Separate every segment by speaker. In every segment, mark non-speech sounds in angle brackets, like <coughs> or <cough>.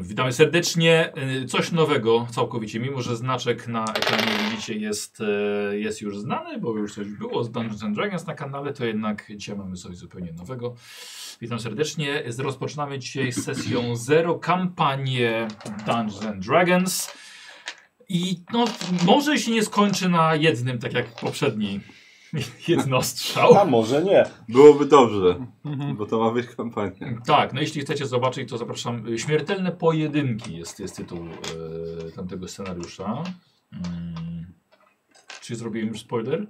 Speaker 1: Witamy serdecznie. Y, Coś nowego całkowicie, mimo że znaczek na ekranie widzicie jest, y, jest już znany, bo już coś było z Dungeons and Dragons na kanale, to jednak dzisiaj mamy coś zupełnie nowego. Witam serdecznie. Z- Rozpoczynamy dzisiaj sesją zero kampanię Dungeons and Dragons. I no, może się nie skończy na jednym, tak jak poprzedni <laughs> jednostrzał.
Speaker 2: A może nie.
Speaker 3: Byłoby dobrze, bo to ma być kampania.
Speaker 1: Tak, no jeśli chcecie zobaczyć, to zapraszam. Y, Śmiertelne pojedynki jest, jest tytuł y, tamtego scenariusza. Mm. Czy zrobiłem już spoiler?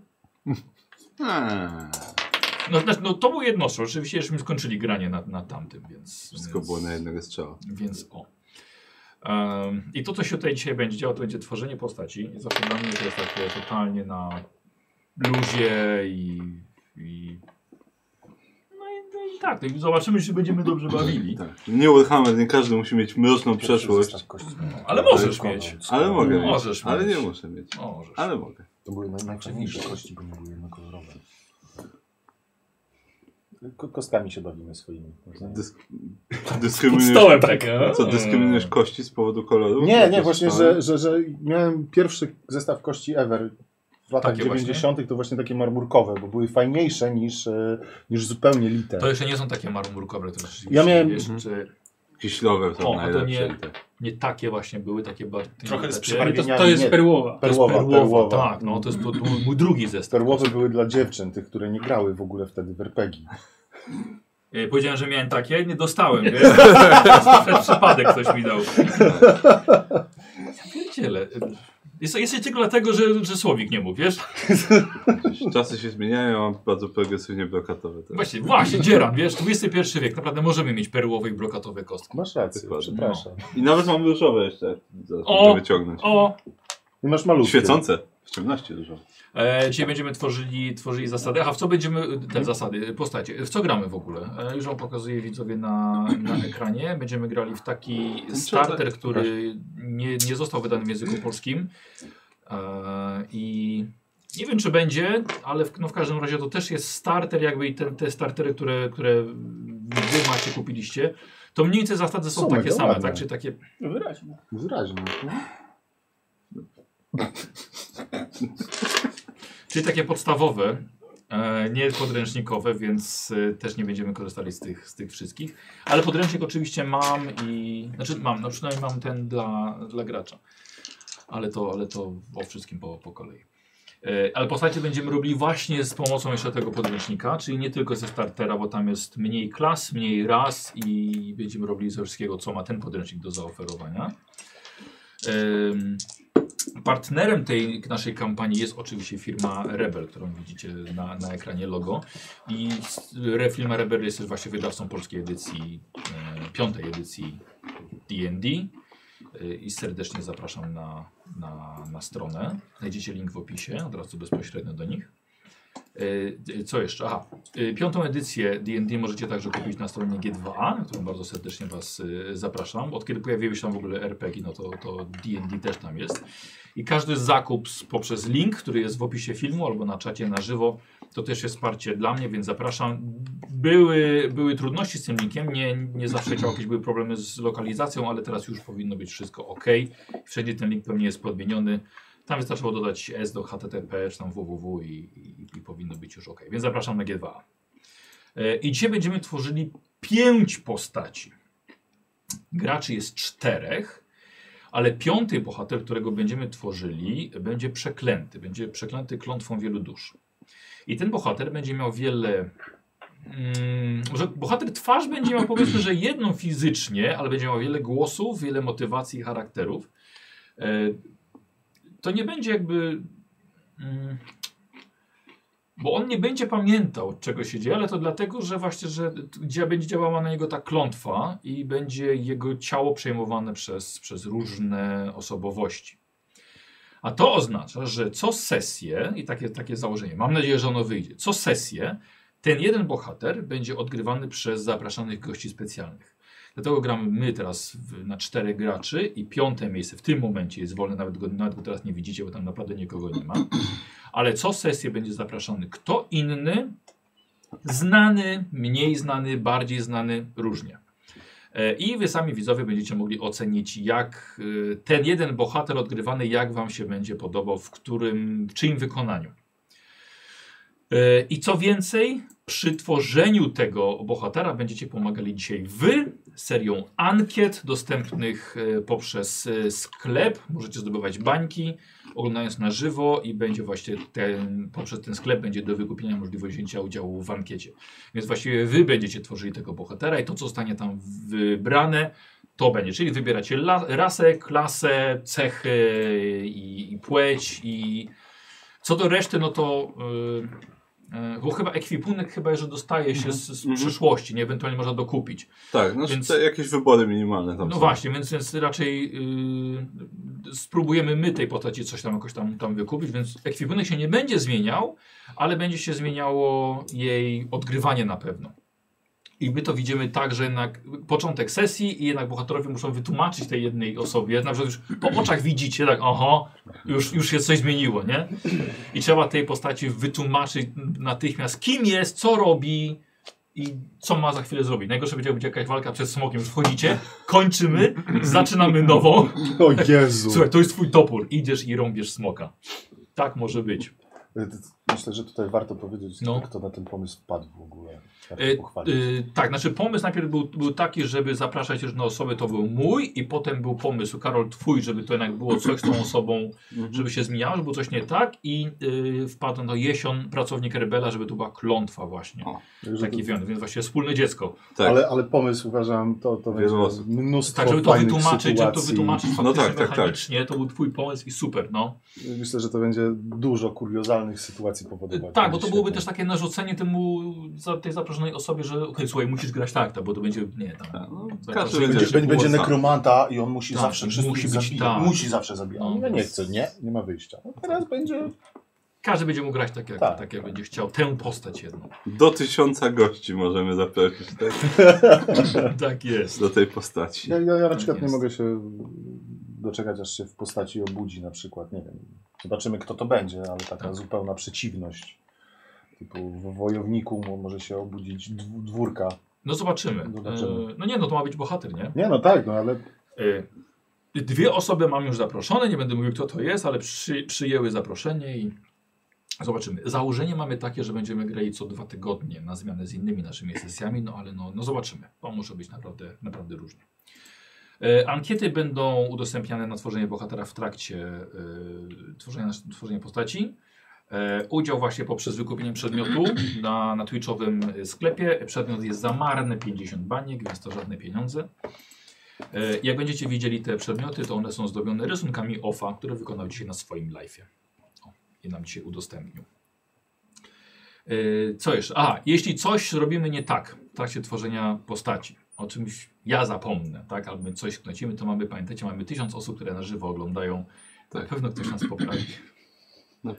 Speaker 1: No, znaczy, no to był jednostro. Oczywiście żeśmy skończyli granie na, na tamtym, więc.
Speaker 3: Wszystko
Speaker 1: więc,
Speaker 3: było na jednego strzała.
Speaker 1: Więc o. Em, I to, co się tutaj dzisiaj będzie działo, to będzie tworzenie postaci. I zawsze dla mnie to jest takie totalnie na luzie i. i no i, no i tak, no i zobaczymy, czy będziemy dobrze bawili.
Speaker 3: Tak. Nie Warhammer, nie każdy musi mieć mroczną No, przeszłość.
Speaker 1: Ale możesz mieć.
Speaker 3: Ale mogę mieć.
Speaker 1: Możesz
Speaker 3: ale
Speaker 1: mieć.
Speaker 3: nie muszę mieć.
Speaker 1: Możesz.
Speaker 3: Ale mogę.
Speaker 4: To były naj- najczarniejsze kości, bo nie były jednokolorowe.
Speaker 2: Ko- Kostkami się bawimy swoimi.
Speaker 3: Dysk dyskryminujesz, co,
Speaker 2: Mm.
Speaker 3: dyskryminujesz kości z powodu koloru?
Speaker 2: Nie, nie,
Speaker 3: Jakieś
Speaker 2: właśnie,
Speaker 3: stare?
Speaker 2: że, że, że miałem pierwszy zestaw kości ever w latach
Speaker 1: Takie
Speaker 2: 90. to właśnie takie marmurkowe, bo były fajniejsze niż, e, niż zupełnie lite.
Speaker 1: To jeszcze nie są takie marmurkowe, to rzeczywiście
Speaker 2: Ja miałem-
Speaker 1: jeszcze
Speaker 3: Jakieś lower są
Speaker 1: O, a to
Speaker 3: najlepsze.
Speaker 1: nie-
Speaker 3: i tak.
Speaker 1: nie takie właśnie były, takie bardziej...
Speaker 5: Trochę z
Speaker 1: takie,
Speaker 2: przybarwieniem.
Speaker 5: przybarwieniami.
Speaker 2: To-
Speaker 5: To,
Speaker 2: to jest
Speaker 5: jest
Speaker 2: nie.
Speaker 5: perłowa.
Speaker 1: to jest
Speaker 2: Perłowa,
Speaker 1: perłowa,
Speaker 2: perłowa.
Speaker 1: tak, no to jest to był mój drugi
Speaker 2: <laughs>
Speaker 1: zestaw.
Speaker 2: Perłowe były dla dziewczyn, tych, które nie grały w ogóle wtedy w RPG.
Speaker 1: E, Powiedziałem, że miałem takie, nie dostałem, wiesz? Przez przypadek ktoś mi dał. Ja pierdzielę. Jest, jest tylko dlatego, że, że Słowik nie mógł, wiesz?
Speaker 3: Gdzieś Czasy się zmieniają, a mam bardzo progresywnie blokatowe. teraz.
Speaker 1: Właśnie, właśnie, dzieran, wiesz, XXI wiek, naprawdę możemy mieć perłowe i brokatowe kostki.
Speaker 2: Masz rację,
Speaker 3: Dokładnie.
Speaker 2: przepraszam.
Speaker 3: I nawet mam różowe jeszcze. Zaraz
Speaker 1: O!
Speaker 3: muszę wyciągnąć.
Speaker 1: O,
Speaker 2: Nie masz malutkie.
Speaker 3: Świecące. W ciemności różowe.
Speaker 1: E, dzisiaj będziemy tworzyli, tworzyli zasady. Aha, w co będziemy. Te zasady, postacie. W co gramy w ogóle? E, już wam pokazuję widzowie na, na ekranie. Będziemy grali w taki starter, który nie, nie został wydany w języku polskim. E, I nie wiem, czy będzie, ale w, no w każdym razie to też jest starter, jakby i te, te startery, które, które wy macie, kupiliście. To mniej więcej zasady są
Speaker 2: Są
Speaker 1: takie
Speaker 2: mega
Speaker 1: same,
Speaker 2: ładne.
Speaker 1: tak? Czy takie.
Speaker 5: No Wyraźnie.
Speaker 2: Wyraźnie.
Speaker 1: Czyli takie podstawowe, e, nie podręcznikowe, więc e, też nie będziemy korzystali z tych, z tych wszystkich. Ale podręcznik oczywiście mam i. Znaczy mam, no przynajmniej mam ten dla, dla gracza. Ale to, ale to o wszystkim po, po kolei. E, Ale postacie będziemy robili właśnie z pomocą jeszcze tego podręcznika, czyli nie tylko ze startera, bo tam jest mniej klas, mniej ras i będziemy robili ze wszystkiego, co ma ten podręcznik do zaoferowania. Em, Partnerem tej naszej kampanii jest oczywiście firma Rebel, którą widzicie na, na ekranie logo. I s- re, firma Rebel jest też właśnie wydawcą polskiej edycji, e, piątej edycji D&D. E, I serdecznie zapraszam na, na, na stronę. Znajdziecie link w opisie, od razu bezpośrednio do nich. E, Co jeszcze? Aha, e, piątą edycję D&D możecie także kupić na stronie G2A, na którą bardzo serdecznie Was e, zapraszam. Od kiedy pojawiły się tam w ogóle RPG, no to to D&D też tam jest. I każdy zakup z- poprzez link, który jest w opisie filmu albo na czacie na żywo, to też jest wsparcie dla mnie, więc zapraszam. Były, były trudności z tym linkiem, nie, nie zawsze działał, jakieś były problemy z lokalizacją, ale teraz już powinno być wszystko ok. Wszędzie ten link pewnie jest podmieniony. Tam wystarczyło dodać S do HTTP, czy tam www i, i, i powinno być już ok. Więc zapraszam na G2. E, I dzisiaj będziemy tworzyli pięć postaci. Graczy jest czterech, ale piąty bohater, którego będziemy tworzyli, będzie przeklęty. Będzie przeklęty klątwą wielu dusz. I ten bohater będzie miał wiele. Mm, że bohater twarz będzie miał powiedzmy, że jedną fizycznie, ale będzie miał wiele głosów, wiele motywacji i charakterów. E, to nie będzie jakby. Mm, bo on nie będzie pamiętał, czego się dzieje, ale to dlatego, że właśnie, że t- gdzie będzie działała na niego ta klątwa i będzie jego ciało przejmowane przez, przez różne osobowości. A to oznacza, że co sesję, i takie, takie założenie, mam nadzieję, że ono wyjdzie, co sesję ten jeden bohater będzie odgrywany przez zapraszanych gości specjalnych. Dlatego gramy my teraz w, na czterech graczy i piąte miejsce w tym momencie jest wolne, nawet go, nawet go teraz nie widzicie, bo tam naprawdę nikogo nie ma. Ale co sesję będzie zapraszany kto inny, znany, mniej znany, bardziej znany, różnie. E, I wy sami widzowie będziecie mogli ocenić, jak e, ten jeden bohater odgrywany, jak wam się będzie podobał, w którym, w czyim wykonaniu. E, I co więcej, przy tworzeniu tego bohatera będziecie pomagali dzisiaj wy serią ankiet dostępnych e, poprzez e, sklep. Możecie zdobywać bańki, oglądając na żywo i będzie właśnie ten, poprzez ten sklep będzie do wykupienia możliwość wzięcia udziału w ankiecie. Więc właściwie wy będziecie tworzyli tego bohatera i to, co zostanie tam wybrane, to będzie. Czyli wybieracie la, rasę, klasę, cechy i, i płeć i co do reszty, no to yy, yy, bo chyba ekwipunek chyba, że dostaje się z, z
Speaker 3: Mhm.
Speaker 1: przyszłości, nie? Ewentualnie można dokupić.
Speaker 3: Tak, no
Speaker 1: Więc-
Speaker 3: te jakieś wybory minimalne tam
Speaker 1: No
Speaker 3: są.
Speaker 1: właśnie, więc, więc raczej yy, spróbujemy my tej postaci coś tam jakoś tam, tam wykupić, więc ekwipunek się nie będzie zmieniał, ale będzie się zmieniało jej odgrywanie na pewno. I my to widzimy tak, że jednak początek sesji i jednak bohaterowie muszą wytłumaczyć tej jednej osobie. Na przykład już po oczach widzicie, tak, oho, już, już się coś zmieniło, nie? I trzeba tej postaci wytłumaczyć natychmiast, kim jest, co robi i co ma za chwilę zrobić. Najgorsze będzie być jakaś walka przed smokiem. Już wchodzicie, kończymy, zaczynamy <laughs> nową.
Speaker 2: O Jezu.
Speaker 1: Słuchaj, to jest twój topór. Idziesz i rąbiesz smoka. Tak może być.
Speaker 2: Myślę, że tutaj warto powiedzieć,
Speaker 1: No.
Speaker 2: kto na ten pomysł wpadł w ogóle. Tak
Speaker 1: E,
Speaker 2: pochwalić.
Speaker 1: e, tak, znaczy pomysł najpierw był, był taki, żeby zapraszać różne osoby, to był mój i potem był pomysł, Karol, twój, żeby to jednak było coś z tą osobą,
Speaker 3: Mhm.
Speaker 1: żeby się zmieniało, żeby było coś nie tak i y, wpadł na jesion pracownik Rebela, żeby to była klątwa właśnie.
Speaker 3: O,
Speaker 2: Także
Speaker 1: Taki
Speaker 2: to-
Speaker 1: wion, więc właśnie wspólne dziecko.
Speaker 3: Tak.
Speaker 2: ale, ale pomysł uważam, to, to będzie
Speaker 3: Wielu osób.
Speaker 2: mnóstwo
Speaker 1: Tak, żeby to
Speaker 2: fajnych
Speaker 1: wytłumaczyć, żeby to
Speaker 2: sytuacji.
Speaker 1: wytłumaczyć
Speaker 3: No
Speaker 1: faktycznie
Speaker 3: tak, tak, tak.
Speaker 1: mechanicznie, to był twój pomysł i super, no.
Speaker 2: Myślę, że to będzie dużo kuriozalnych sytuacji powodować.
Speaker 1: Tak, bo to byłoby
Speaker 2: Świetnie.
Speaker 1: też takie narzucenie temu za, tej zaproszonej osobie, że okej, słuchaj, musisz grać tak, tak, bo to będzie, nie, tam,
Speaker 3: Tak, no,
Speaker 1: Zobaczymy. Będzie-
Speaker 3: każdy będzie,
Speaker 2: Będzie, będzie, będzie
Speaker 3: głos na-
Speaker 2: nekromanta i on musi
Speaker 1: Tak,
Speaker 2: zawsze wszystkich
Speaker 1: musi
Speaker 2: musi
Speaker 1: być
Speaker 2: zabijać.
Speaker 1: tak.
Speaker 2: Musi zawsze zabijać.
Speaker 1: No. Tak.
Speaker 2: No, nie chce, nie? Nie ma wyjścia. No, teraz będzie...
Speaker 1: każdy będzie mógł grać tak, jak, tak.
Speaker 2: Tak.
Speaker 1: jak będzie chciał, tę postać jedną. <laughs>
Speaker 3: Do tysiąca gości możemy zaprosić tak?
Speaker 1: tak jest.
Speaker 3: do tej postaci.
Speaker 2: Ja, ja, ja na
Speaker 1: Tak
Speaker 2: przykład nie
Speaker 1: jest.
Speaker 2: mogę się doczekać, aż się w postaci obudzi na przykład. Nie wiem. Zobaczymy, kto to będzie, ale taka
Speaker 1: Tak.
Speaker 2: zupełna przeciwność. Typu w wojowniku mo- może się obudzić dw- dwórka.
Speaker 1: No zobaczymy.
Speaker 2: Zobaczymy.
Speaker 1: E, no nie, no to ma być bohater, nie?
Speaker 2: Nie no tak, no ale
Speaker 1: E, dwie osoby mam już zaproszone, nie będę mówił kto to jest, ale przy, przyjęły zaproszenie i zobaczymy. Założenie mamy takie, że będziemy grali co dwa tygodnie na zmianę z innymi naszymi sesjami, no ale no, no zobaczymy. To może być naprawdę, naprawdę różnie. E, Ankiety będą udostępniane na tworzenie bohatera w trakcie e, tworzenia, tworzenia postaci. E, Udział właśnie poprzez wykupienie przedmiotu na, na Twitchowym e, sklepie. Przedmiot jest za marne 50 baniek, więc to żadne pieniądze. E, Jak będziecie widzieli te przedmioty, to one są zdobione rysunkami OFA, które wykonał dzisiaj na swoim live'ie. O, je nam dzisiaj udostępnił. E, Co jeszcze? A, jeśli coś zrobimy nie tak w trakcie tworzenia postaci, o czymś ja zapomnę, tak, albo my coś knocimy, to mamy, pamiętajcie, mamy tysiąc osób, które na żywo oglądają. Na
Speaker 3: Tak.
Speaker 1: pewno ktoś nas poprawi.
Speaker 3: No,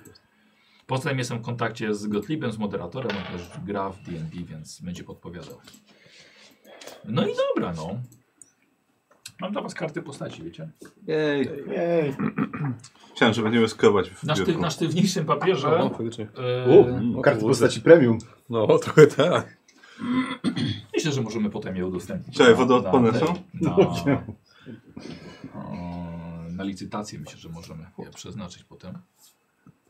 Speaker 1: Poza tym jestem w kontakcie z Gotlibem, z moderatorem, on też gra w D&D, więc będzie podpowiadał. No i dobra, no. Mam dla was karty postaci, wiecie?
Speaker 3: Jej.
Speaker 2: jej,
Speaker 3: Chciałem, że będziemy skrobać w
Speaker 1: Na, szty
Speaker 3: biurku.
Speaker 1: na sztywniejszym papierze.
Speaker 5: No, faktycznie.
Speaker 1: E,
Speaker 3: Mm.
Speaker 2: karty postaci premium.
Speaker 5: No, trochę tak.
Speaker 1: myślę, że możemy potem je udostępnić.
Speaker 3: Czekaj,
Speaker 1: Na-
Speaker 3: wodoodporne
Speaker 1: na-
Speaker 3: są?
Speaker 1: Na,
Speaker 5: No.
Speaker 1: o, na licytację myślę, że możemy je przeznaczyć potem.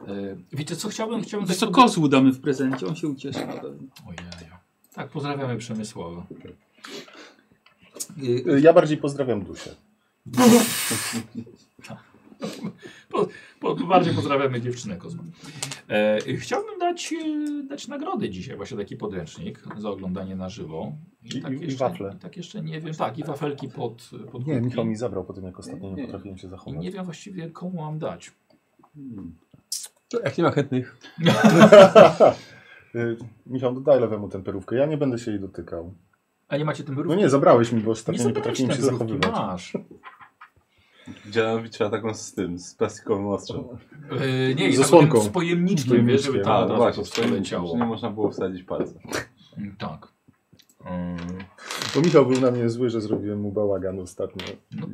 Speaker 1: E, wiecie co, chciałbym... chciałbym
Speaker 6: Wiesz co, kozłu damy w prezencie, on się ucieszy na pewno.
Speaker 1: Ojejo. Tak, pozdrawiamy Przemysława.
Speaker 2: Y, Ja bardziej pozdrawiam Dusię.
Speaker 1: Po, bardziej
Speaker 5: Mm.
Speaker 1: pozdrawiamy dziewczynę Kozma. E, chciałbym dać, e, dać nagrody dzisiaj, właśnie taki podręcznik za oglądanie na żywo.
Speaker 2: I- i- i
Speaker 1: jeszcze,
Speaker 2: wafle.
Speaker 1: I tak jeszcze nie wiem. Tak, i wafelki pod, pod
Speaker 2: Nie,
Speaker 1: kubki.
Speaker 2: Michał mi zabrał po tym, jak ostatnio
Speaker 3: Nie.
Speaker 2: nie potrafiłem się
Speaker 1: I
Speaker 2: zachować.
Speaker 1: nie wiem właściwie komu mam dać.
Speaker 3: Mm.
Speaker 5: To Jak nie ma chętnych.
Speaker 2: <laughs> Y, Michał, dodaj lewemu temperówkę. Ja nie będę się jej dotykał.
Speaker 1: A nie macie tym
Speaker 2: No
Speaker 1: wyrówki?
Speaker 2: nie, zabrałeś mi, bo
Speaker 1: nie
Speaker 2: ostatnio nie,
Speaker 1: zabrałeś
Speaker 2: potrafiłem się
Speaker 1: tej wyrówki,
Speaker 2: zachowywać. <laughs>
Speaker 1: masz.
Speaker 3: Działam trzeba taką z tym, z plastikowym ostrzem.
Speaker 1: E, nie,
Speaker 2: Z
Speaker 1: i tak
Speaker 2: osłonką.
Speaker 1: potem z pojemniczkiem,
Speaker 2: Z
Speaker 1: wiesz, żeby
Speaker 2: pojemniczkiem.
Speaker 1: tam
Speaker 3: A,
Speaker 1: od
Speaker 3: no
Speaker 1: razu
Speaker 3: właśnie,
Speaker 1: to
Speaker 3: to
Speaker 1: przeleciało.
Speaker 3: nie można było wsadzić palca.
Speaker 1: Mm, Tak. Mm,
Speaker 2: Bo Michał był na mnie zły, że zrobiłem mu bałagan ostatnio.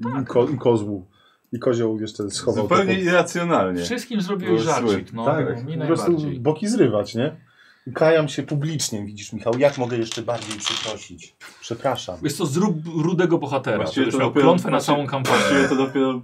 Speaker 1: No
Speaker 2: I, ko I kozłu. I kozioł jeszcze schował.
Speaker 3: Zupełnie
Speaker 2: to
Speaker 3: irracjonalnie.
Speaker 1: Wszystkim zrobiłeś
Speaker 3: Było
Speaker 1: żarcik,
Speaker 3: sły.
Speaker 1: no,
Speaker 2: pod... Tak,
Speaker 1: mi
Speaker 2: po prostu
Speaker 1: najbardziej.
Speaker 2: boki zrywać, nie? Kajam się publicznie, widzisz, Michał. Jak mogę jeszcze bardziej przeprosić? Przepraszam.
Speaker 1: Wiesz co, zrób rudego bohatera.
Speaker 3: Właściwie
Speaker 1: Będziesz
Speaker 3: to
Speaker 1: miał
Speaker 3: dopiero-
Speaker 1: klątwę na
Speaker 3: właściwie-
Speaker 1: całą kampanię.
Speaker 3: Właściwie to dopiero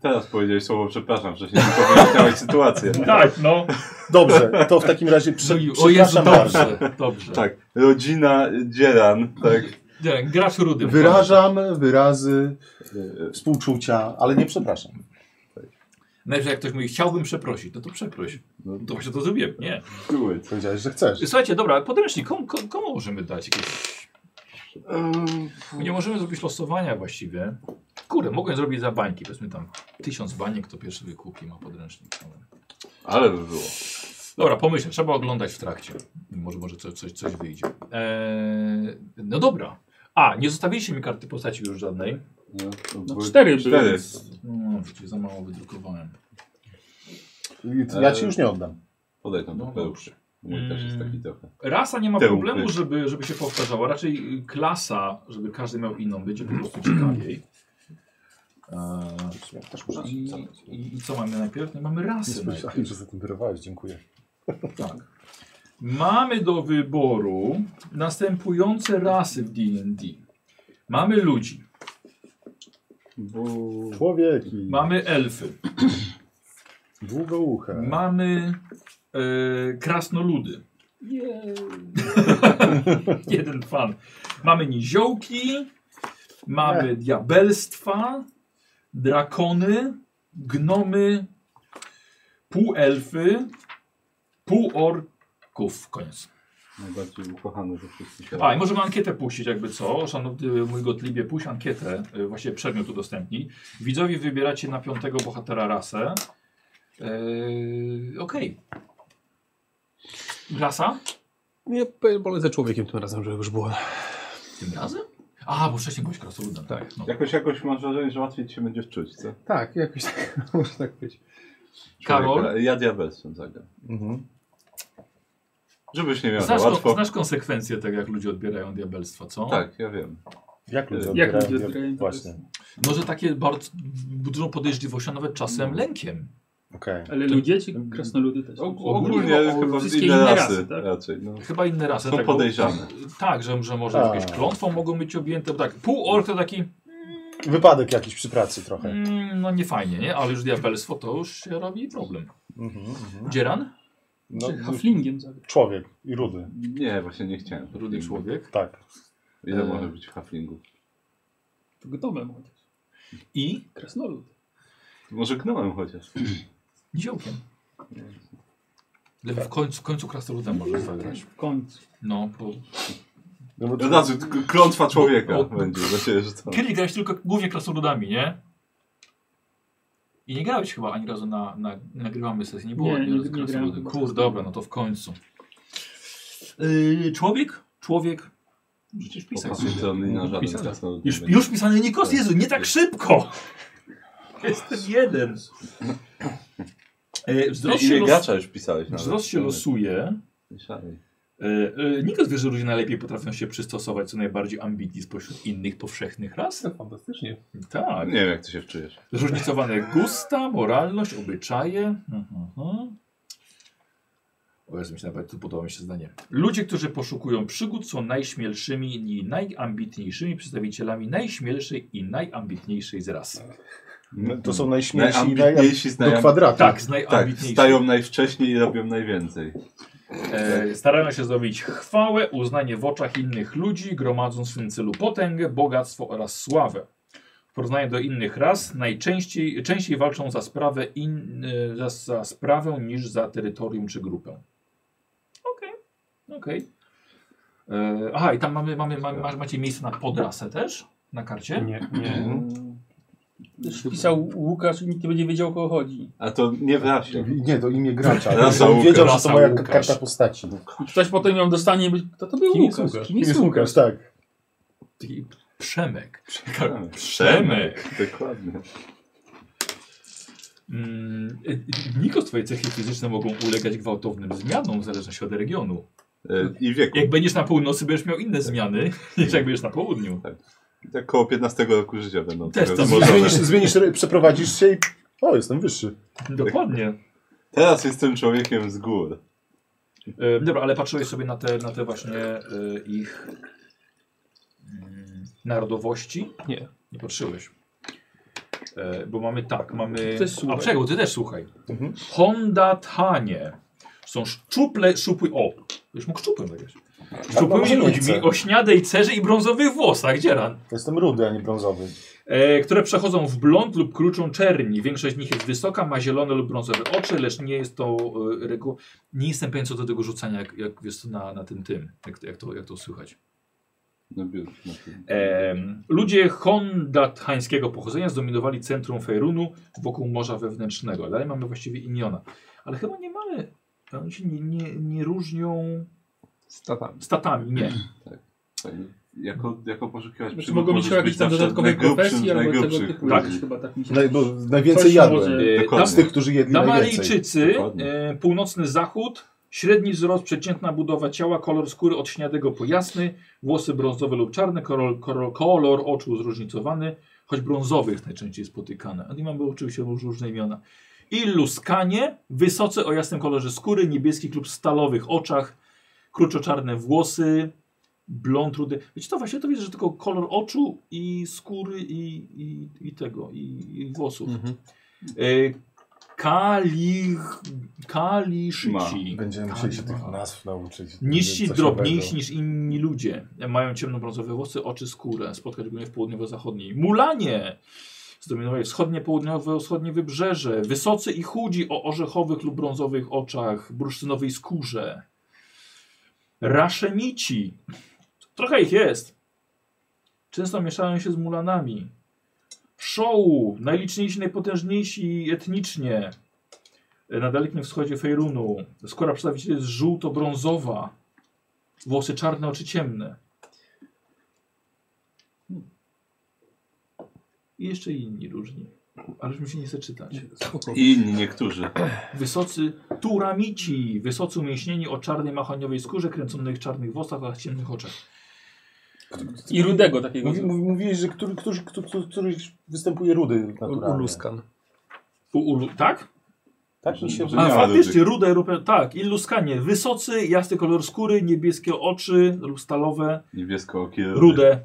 Speaker 3: teraz powiedziałeś słowo przepraszam, wcześniej nie <laughs> powiedziałeś sytuację.
Speaker 1: Tak, no.
Speaker 2: Dobrze, to w takim razie prze,
Speaker 1: Czyli- No O Jezu,
Speaker 2: przepraszam bardzo.
Speaker 1: dobrze, dobrze.
Speaker 3: Tak, rodzina y, Dzieran, tak.
Speaker 1: Nie, Gracz rudy.
Speaker 2: Wyrażam wyrazy e, współczucia, ale nie przepraszam.
Speaker 1: Najpierw jak ktoś mówi, chciałbym przeprosić, no to przeproś.
Speaker 3: No.
Speaker 1: To właśnie to zrobiłem, nie.
Speaker 3: Do it.
Speaker 2: Powiedziałeś, że chcesz.
Speaker 1: Słuchajcie, dobra, podręcznik, komu, komu- komu możemy dać jakieś... My nie możemy zrobić losowania właściwie. Kurde, mogłem zrobić za bańki, powiedzmy tam tysiąc baniek, kto pierwszy wykupi ma podręcznik. no
Speaker 3: Ale by było.
Speaker 1: Dobra, pomyślę, trzeba oglądać w trakcie. Może, może coś, coś, coś wyjdzie. Eee, no dobra. A, nie zostawiliście mi karty postaci już żadnej.
Speaker 3: No, to
Speaker 6: No,
Speaker 3: były
Speaker 6: cztery były.
Speaker 1: No, przecież za mało wydrukowałem.
Speaker 2: Ja ci już nie oddam.
Speaker 3: Podaj tam
Speaker 1: No
Speaker 3: Pełż. Mój też jest taki trochę.
Speaker 1: Rasa nie ma
Speaker 3: Tył,
Speaker 1: problemu,
Speaker 3: tył.
Speaker 1: żeby, żeby się powtarzała. Raczej y, klasa, żeby każdy miał inną, będzie po prostu ciekawiej. Eee,
Speaker 2: Też muszę
Speaker 1: I,
Speaker 2: zabrać.
Speaker 1: i, I co mamy najpierw? No, mamy
Speaker 2: Nie
Speaker 1: rasy.
Speaker 2: słyszałem, że zatemplerowałeś, dziękuję.
Speaker 1: Tak. Mamy do wyboru następujące rasy w D&D. Mamy ludzi,
Speaker 2: Człowieki,
Speaker 1: mamy elfy,
Speaker 2: długouche,
Speaker 1: mamy e, krasnoludy. <laughs> Jeden fan. Mamy niziołki, mamy diabelstwa, drakony, gnomy, półelfy, półorków. Koniec.
Speaker 3: Najbardziej ukochany ze wszystkich.
Speaker 1: A, i możemy ankietę puścić, jakby co. Szanowny mój Gotlibie, puść ankietę, y, właściwie przedmiot udostępnij. Widzowie wybieracie na piątego bohatera rasę. Yy, Okej. Rasa?
Speaker 5: Nie, polę za człowiekiem tym razem, żeby już było.
Speaker 1: Tym razem? A, bo wcześniej byłeś krasoludem.
Speaker 5: Tak.
Speaker 1: No.
Speaker 3: Jakoś, jakoś masz wrażenie, że łatwiej ci się będziesz czuć, co?
Speaker 5: Tak, jakoś tak, <laughs> może tak być.
Speaker 1: Karol,
Speaker 3: Ja diabelstwem zagram. Mhm. Żebyś nie miał
Speaker 1: znasz,
Speaker 3: za łatwo.
Speaker 1: kon, znasz konsekwencje tego, jak ludzie odbierają diabelstwa, co?
Speaker 3: Tak, ja wiem.
Speaker 2: Jak ludzie
Speaker 3: Jak
Speaker 6: ludzie
Speaker 2: odbierają-
Speaker 6: odbierają
Speaker 2: Właśnie,
Speaker 1: No, że takie bardzo dużą podejrzliwością, a nawet czasem lękiem.
Speaker 2: okej.
Speaker 6: Ale ludzie czy krasnoludy też?
Speaker 3: Ogólnie
Speaker 6: O,
Speaker 3: chyba
Speaker 6: wszystkie
Speaker 3: inne
Speaker 6: inne
Speaker 3: rasy,
Speaker 6: rasy, tak?
Speaker 3: raczej. No.
Speaker 1: Chyba inne rasy.
Speaker 3: Są
Speaker 1: tak, bo-
Speaker 3: podejrzane.
Speaker 1: Tak, że, że może
Speaker 2: Tak.
Speaker 1: jakieś klątwą mogą być objęte. bo Tak, pół ork to taki...
Speaker 2: Wypadek jakiś przy pracy trochę.
Speaker 1: Mm, no nie fajnie, nie? Ale już diabelstwo to już się robi problem.
Speaker 2: Mhm, mhm.
Speaker 1: Dzieran?
Speaker 2: No,
Speaker 6: Czy haflingiem zagrać?
Speaker 2: człowiek i rudy,
Speaker 3: Nie, właśnie nie chciałem.
Speaker 1: Rudy człowiek.
Speaker 2: tak.
Speaker 3: Ile
Speaker 1: E.
Speaker 3: może być w haflingu?
Speaker 6: To gnomem chociaż.
Speaker 1: I
Speaker 6: Krasnolud.
Speaker 3: Może gnołem chociaż.
Speaker 1: niziołkiem. Ale w końcu, w końcu krasnoludem możesz zagrać.
Speaker 6: W końcu.
Speaker 1: No, bo...
Speaker 2: No bo
Speaker 3: Od razu k- klątwa człowieka
Speaker 1: Bo- bo-
Speaker 3: będzie za ciebie rzucona.
Speaker 1: Kiedyś grałeś tylko głównie krasnoludami, nie? I nie grałeś chyba ani razu na, na nagrywamy sesję, nie było
Speaker 6: Nie,
Speaker 1: ani
Speaker 6: nie-
Speaker 1: razu
Speaker 6: nie grałem
Speaker 1: krasnoludem.
Speaker 6: chyba.
Speaker 1: Kurde, dobra, no to w końcu. Yy, człowiek? Człowiek? Przecież pisać sobie.
Speaker 3: Opatrzony na żaden
Speaker 5: Pisarz.
Speaker 3: krasnolud
Speaker 1: Już,
Speaker 3: nie
Speaker 1: już pisany Nikos? Jezu, nie tak
Speaker 3: <laughs>
Speaker 1: szybko! Jestem jeden. E, Wzrost
Speaker 3: będzie.
Speaker 1: się,
Speaker 3: Ile
Speaker 1: los,
Speaker 3: gracza już pisałeś? nawet?
Speaker 1: wzrost się losuje.
Speaker 3: Myślałem.
Speaker 1: E, e, Nikos wie, że ludzie najlepiej potrafią się przystosować co najbardziej ambitni spośród innych powszechnych ras.
Speaker 5: To fantastycznie.
Speaker 1: Tak.
Speaker 3: Nie wiem jak ty się czujesz.
Speaker 1: Zróżnicowane gusta, moralność, obyczaje. Mhm. O Jezu, mi się nawet tu podoba mi się zdanie. Ludzie, którzy poszukują przygód są najśmielszymi i najambitniejszymi przedstawicielami najśmielszej i najambitniejszej z ras.
Speaker 2: no, To są najśmielsi i naj...
Speaker 3: najambitniejsi z
Speaker 2: do
Speaker 3: najam...
Speaker 2: kwadratu.
Speaker 1: Tak, z
Speaker 3: Tak,
Speaker 1: najambitniejszych.
Speaker 3: stają najwcześniej i robią najwięcej.
Speaker 1: E, starają się zdobyć chwałę, uznanie w oczach innych ludzi, gromadząc w tym celu potęgę, bogactwo oraz sławę. W porównaniu do innych ras najczęściej częściej walczą za sprawę, in, e, za, za sprawę niż za terytorium czy grupę. Okej, okej. E, Aha, i tam mamy, mamy, mamy, ma- macie miejsce na podrasę też na karcie?
Speaker 5: Nie, nie.
Speaker 6: Też pisał Łukasz i nikt nie będzie wiedział o kogo chodzi.
Speaker 3: A to nie w rasie.
Speaker 2: Nie, to imię gracza.
Speaker 3: Rasa
Speaker 2: Rasa,
Speaker 3: Łukasz.
Speaker 2: wiedział, że to
Speaker 1: Rasa
Speaker 2: moja
Speaker 1: Łukasz.
Speaker 2: karta postaci.
Speaker 6: I ktoś potem ją dostanie i będzie, kto to był
Speaker 5: Kim jest
Speaker 6: Łukasz?
Speaker 5: Łukasz?
Speaker 6: Kim
Speaker 2: Kim
Speaker 6: jest Łukasz?
Speaker 2: Tak.
Speaker 1: Taki Przemek. Przemek.
Speaker 3: Przemek. Tak. Dokładnie.
Speaker 1: Mm, e, e, Nikos, twoje cechy fizyczne mogą ulegać gwałtownym zmianom w zależności od regionu.
Speaker 3: E, I wieku.
Speaker 1: Jak będziesz na północy, będziesz miał inne zmiany niż jak będziesz na południu.
Speaker 3: Tak koło 15 roku życia będą
Speaker 1: Też
Speaker 3: tego
Speaker 1: to
Speaker 3: zmożone.
Speaker 2: Zmienisz, zmienisz, przeprowadzisz się i... O, jestem wyższy.
Speaker 1: Dokładnie.
Speaker 3: Teraz jestem człowiekiem z gór.
Speaker 1: E, dobra, ale patrzyłeś sobie na te, na te właśnie e, ich mm, narodowości?
Speaker 5: Nie.
Speaker 1: Nie patrzyłeś. E, bo mamy tak, mamy...
Speaker 6: Też słuchaj.
Speaker 1: A czego, ty też słuchaj. Honda Tanie. Są szczuple, szczupły... O, już mógł szczupłym być. Szczupłymi
Speaker 2: może nie
Speaker 1: ludźmi
Speaker 2: chcę.
Speaker 1: o śniadej cerze i brązowych włosach. Gdzie ran?
Speaker 2: Jestem rudy, a nie brązowy.
Speaker 1: e, które przechodzą w blond lub kruczą czerni. Większość z nich jest wysoka, ma zielone lub brązowe oczy, lecz nie jest to e, reguł. Nie jestem pewien co do tego rzucania, jak, jak jest to na, na tym tym, jak, jak, to, jak to słychać.
Speaker 3: Na No, biur- na biur-
Speaker 1: Em, ludzie hondathańskiego pochodzenia zdominowali centrum Fejrunu wokół Morza Wewnętrznego. Dalej mamy właściwie Iniona. Ale chyba nie mamy, oni się nie, nie, nie różnią
Speaker 5: Z tatami.
Speaker 1: statami, nie.
Speaker 3: Jako, jako poszukiwać
Speaker 6: Znaczy,
Speaker 3: przygód
Speaker 6: mogą mieć
Speaker 3: możesz
Speaker 6: jakieś tam
Speaker 3: zawsze
Speaker 6: dodatkowe
Speaker 3: najgrubszym z
Speaker 6: profesje albo tego
Speaker 3: najgrubszych
Speaker 6: typu.
Speaker 1: Tak.
Speaker 6: jakieś Chyba tak mi się...
Speaker 2: Naj, bo najwięcej
Speaker 6: Coś
Speaker 2: jadłem.
Speaker 6: może-
Speaker 1: E,
Speaker 3: Dokładnie.
Speaker 2: Z tych, którzy jedli najwięcej.
Speaker 1: Damaryjczycy,
Speaker 3: Dokładnie.
Speaker 1: e, północny zachód, średni wzrost, przeciętna budowa ciała, kolor skóry od śniadego po jasny, włosy brązowe lub czarne, kolor, kolor, kolor oczu zróżnicowany, choć brązowych najczęściej spotykane. A nie mamy oczywiście róż- różne imiona. Illuskanie, wysoce o jasnym kolorze skóry, niebieskich lub stalowych oczach, kruczoczarne włosy, blond, rudy. Wiecie to właśnie, to widzę, że tylko kolor oczu i skóry i, i, i tego, i, i włosów.
Speaker 5: Mhm.
Speaker 1: E, Kalich, kaliszyci.
Speaker 2: Będziemy
Speaker 6: Tak,
Speaker 2: musieli się
Speaker 6: no.
Speaker 1: Kalima.
Speaker 2: tych nazw nauczyć.
Speaker 1: Niżsi,
Speaker 2: Coś
Speaker 1: drobniejsi niż inni ludzie. Mają ciemnobrązowe włosy, oczy, skórę. Spotkać głównie w południowo-zachodniej. Mulanie! Zdominowali wschodnie, południowo-wschodnie wybrzeże. Wysocy i chudzi o orzechowych lub brązowych oczach, bursztynowej skórze. Raszenici. Trochę ich jest. Często mieszają się z mulanami. Szołu. Najliczniejsi, najpotężniejsi etnicznie e, na Dalekim Wschodzie Fejrunu. Skóra przedstawicieli jest żółto-brązowa. Włosy czarne, oczy ciemne. Hmm. I jeszcze inni różni. Ale już mi się nie chce czytać.
Speaker 5: Spoko.
Speaker 3: I inni niektórzy.
Speaker 1: Wysocy turamici. Wysocy umięśnieni o czarnej mahoniowej skórze, kręconych czarnych włosach oraz ciemnych oczach.
Speaker 6: I rudego takiego.
Speaker 2: Mówi, mówi, mówiłeś, że który, któryś, któ- któ- któryś występuje rudy naturalnie.
Speaker 5: Uluskan.
Speaker 1: U, ulu, tak?
Speaker 2: Tak mi się
Speaker 3: Może
Speaker 1: A
Speaker 3: nie ma
Speaker 2: wydaje.
Speaker 1: faktycznie
Speaker 3: dużych.
Speaker 1: rude, rupe, tak, illuskanie. Wysocy, jasny kolor skóry, niebieskie oczy lub stalowe,
Speaker 3: Niebiesko okie.
Speaker 1: rude.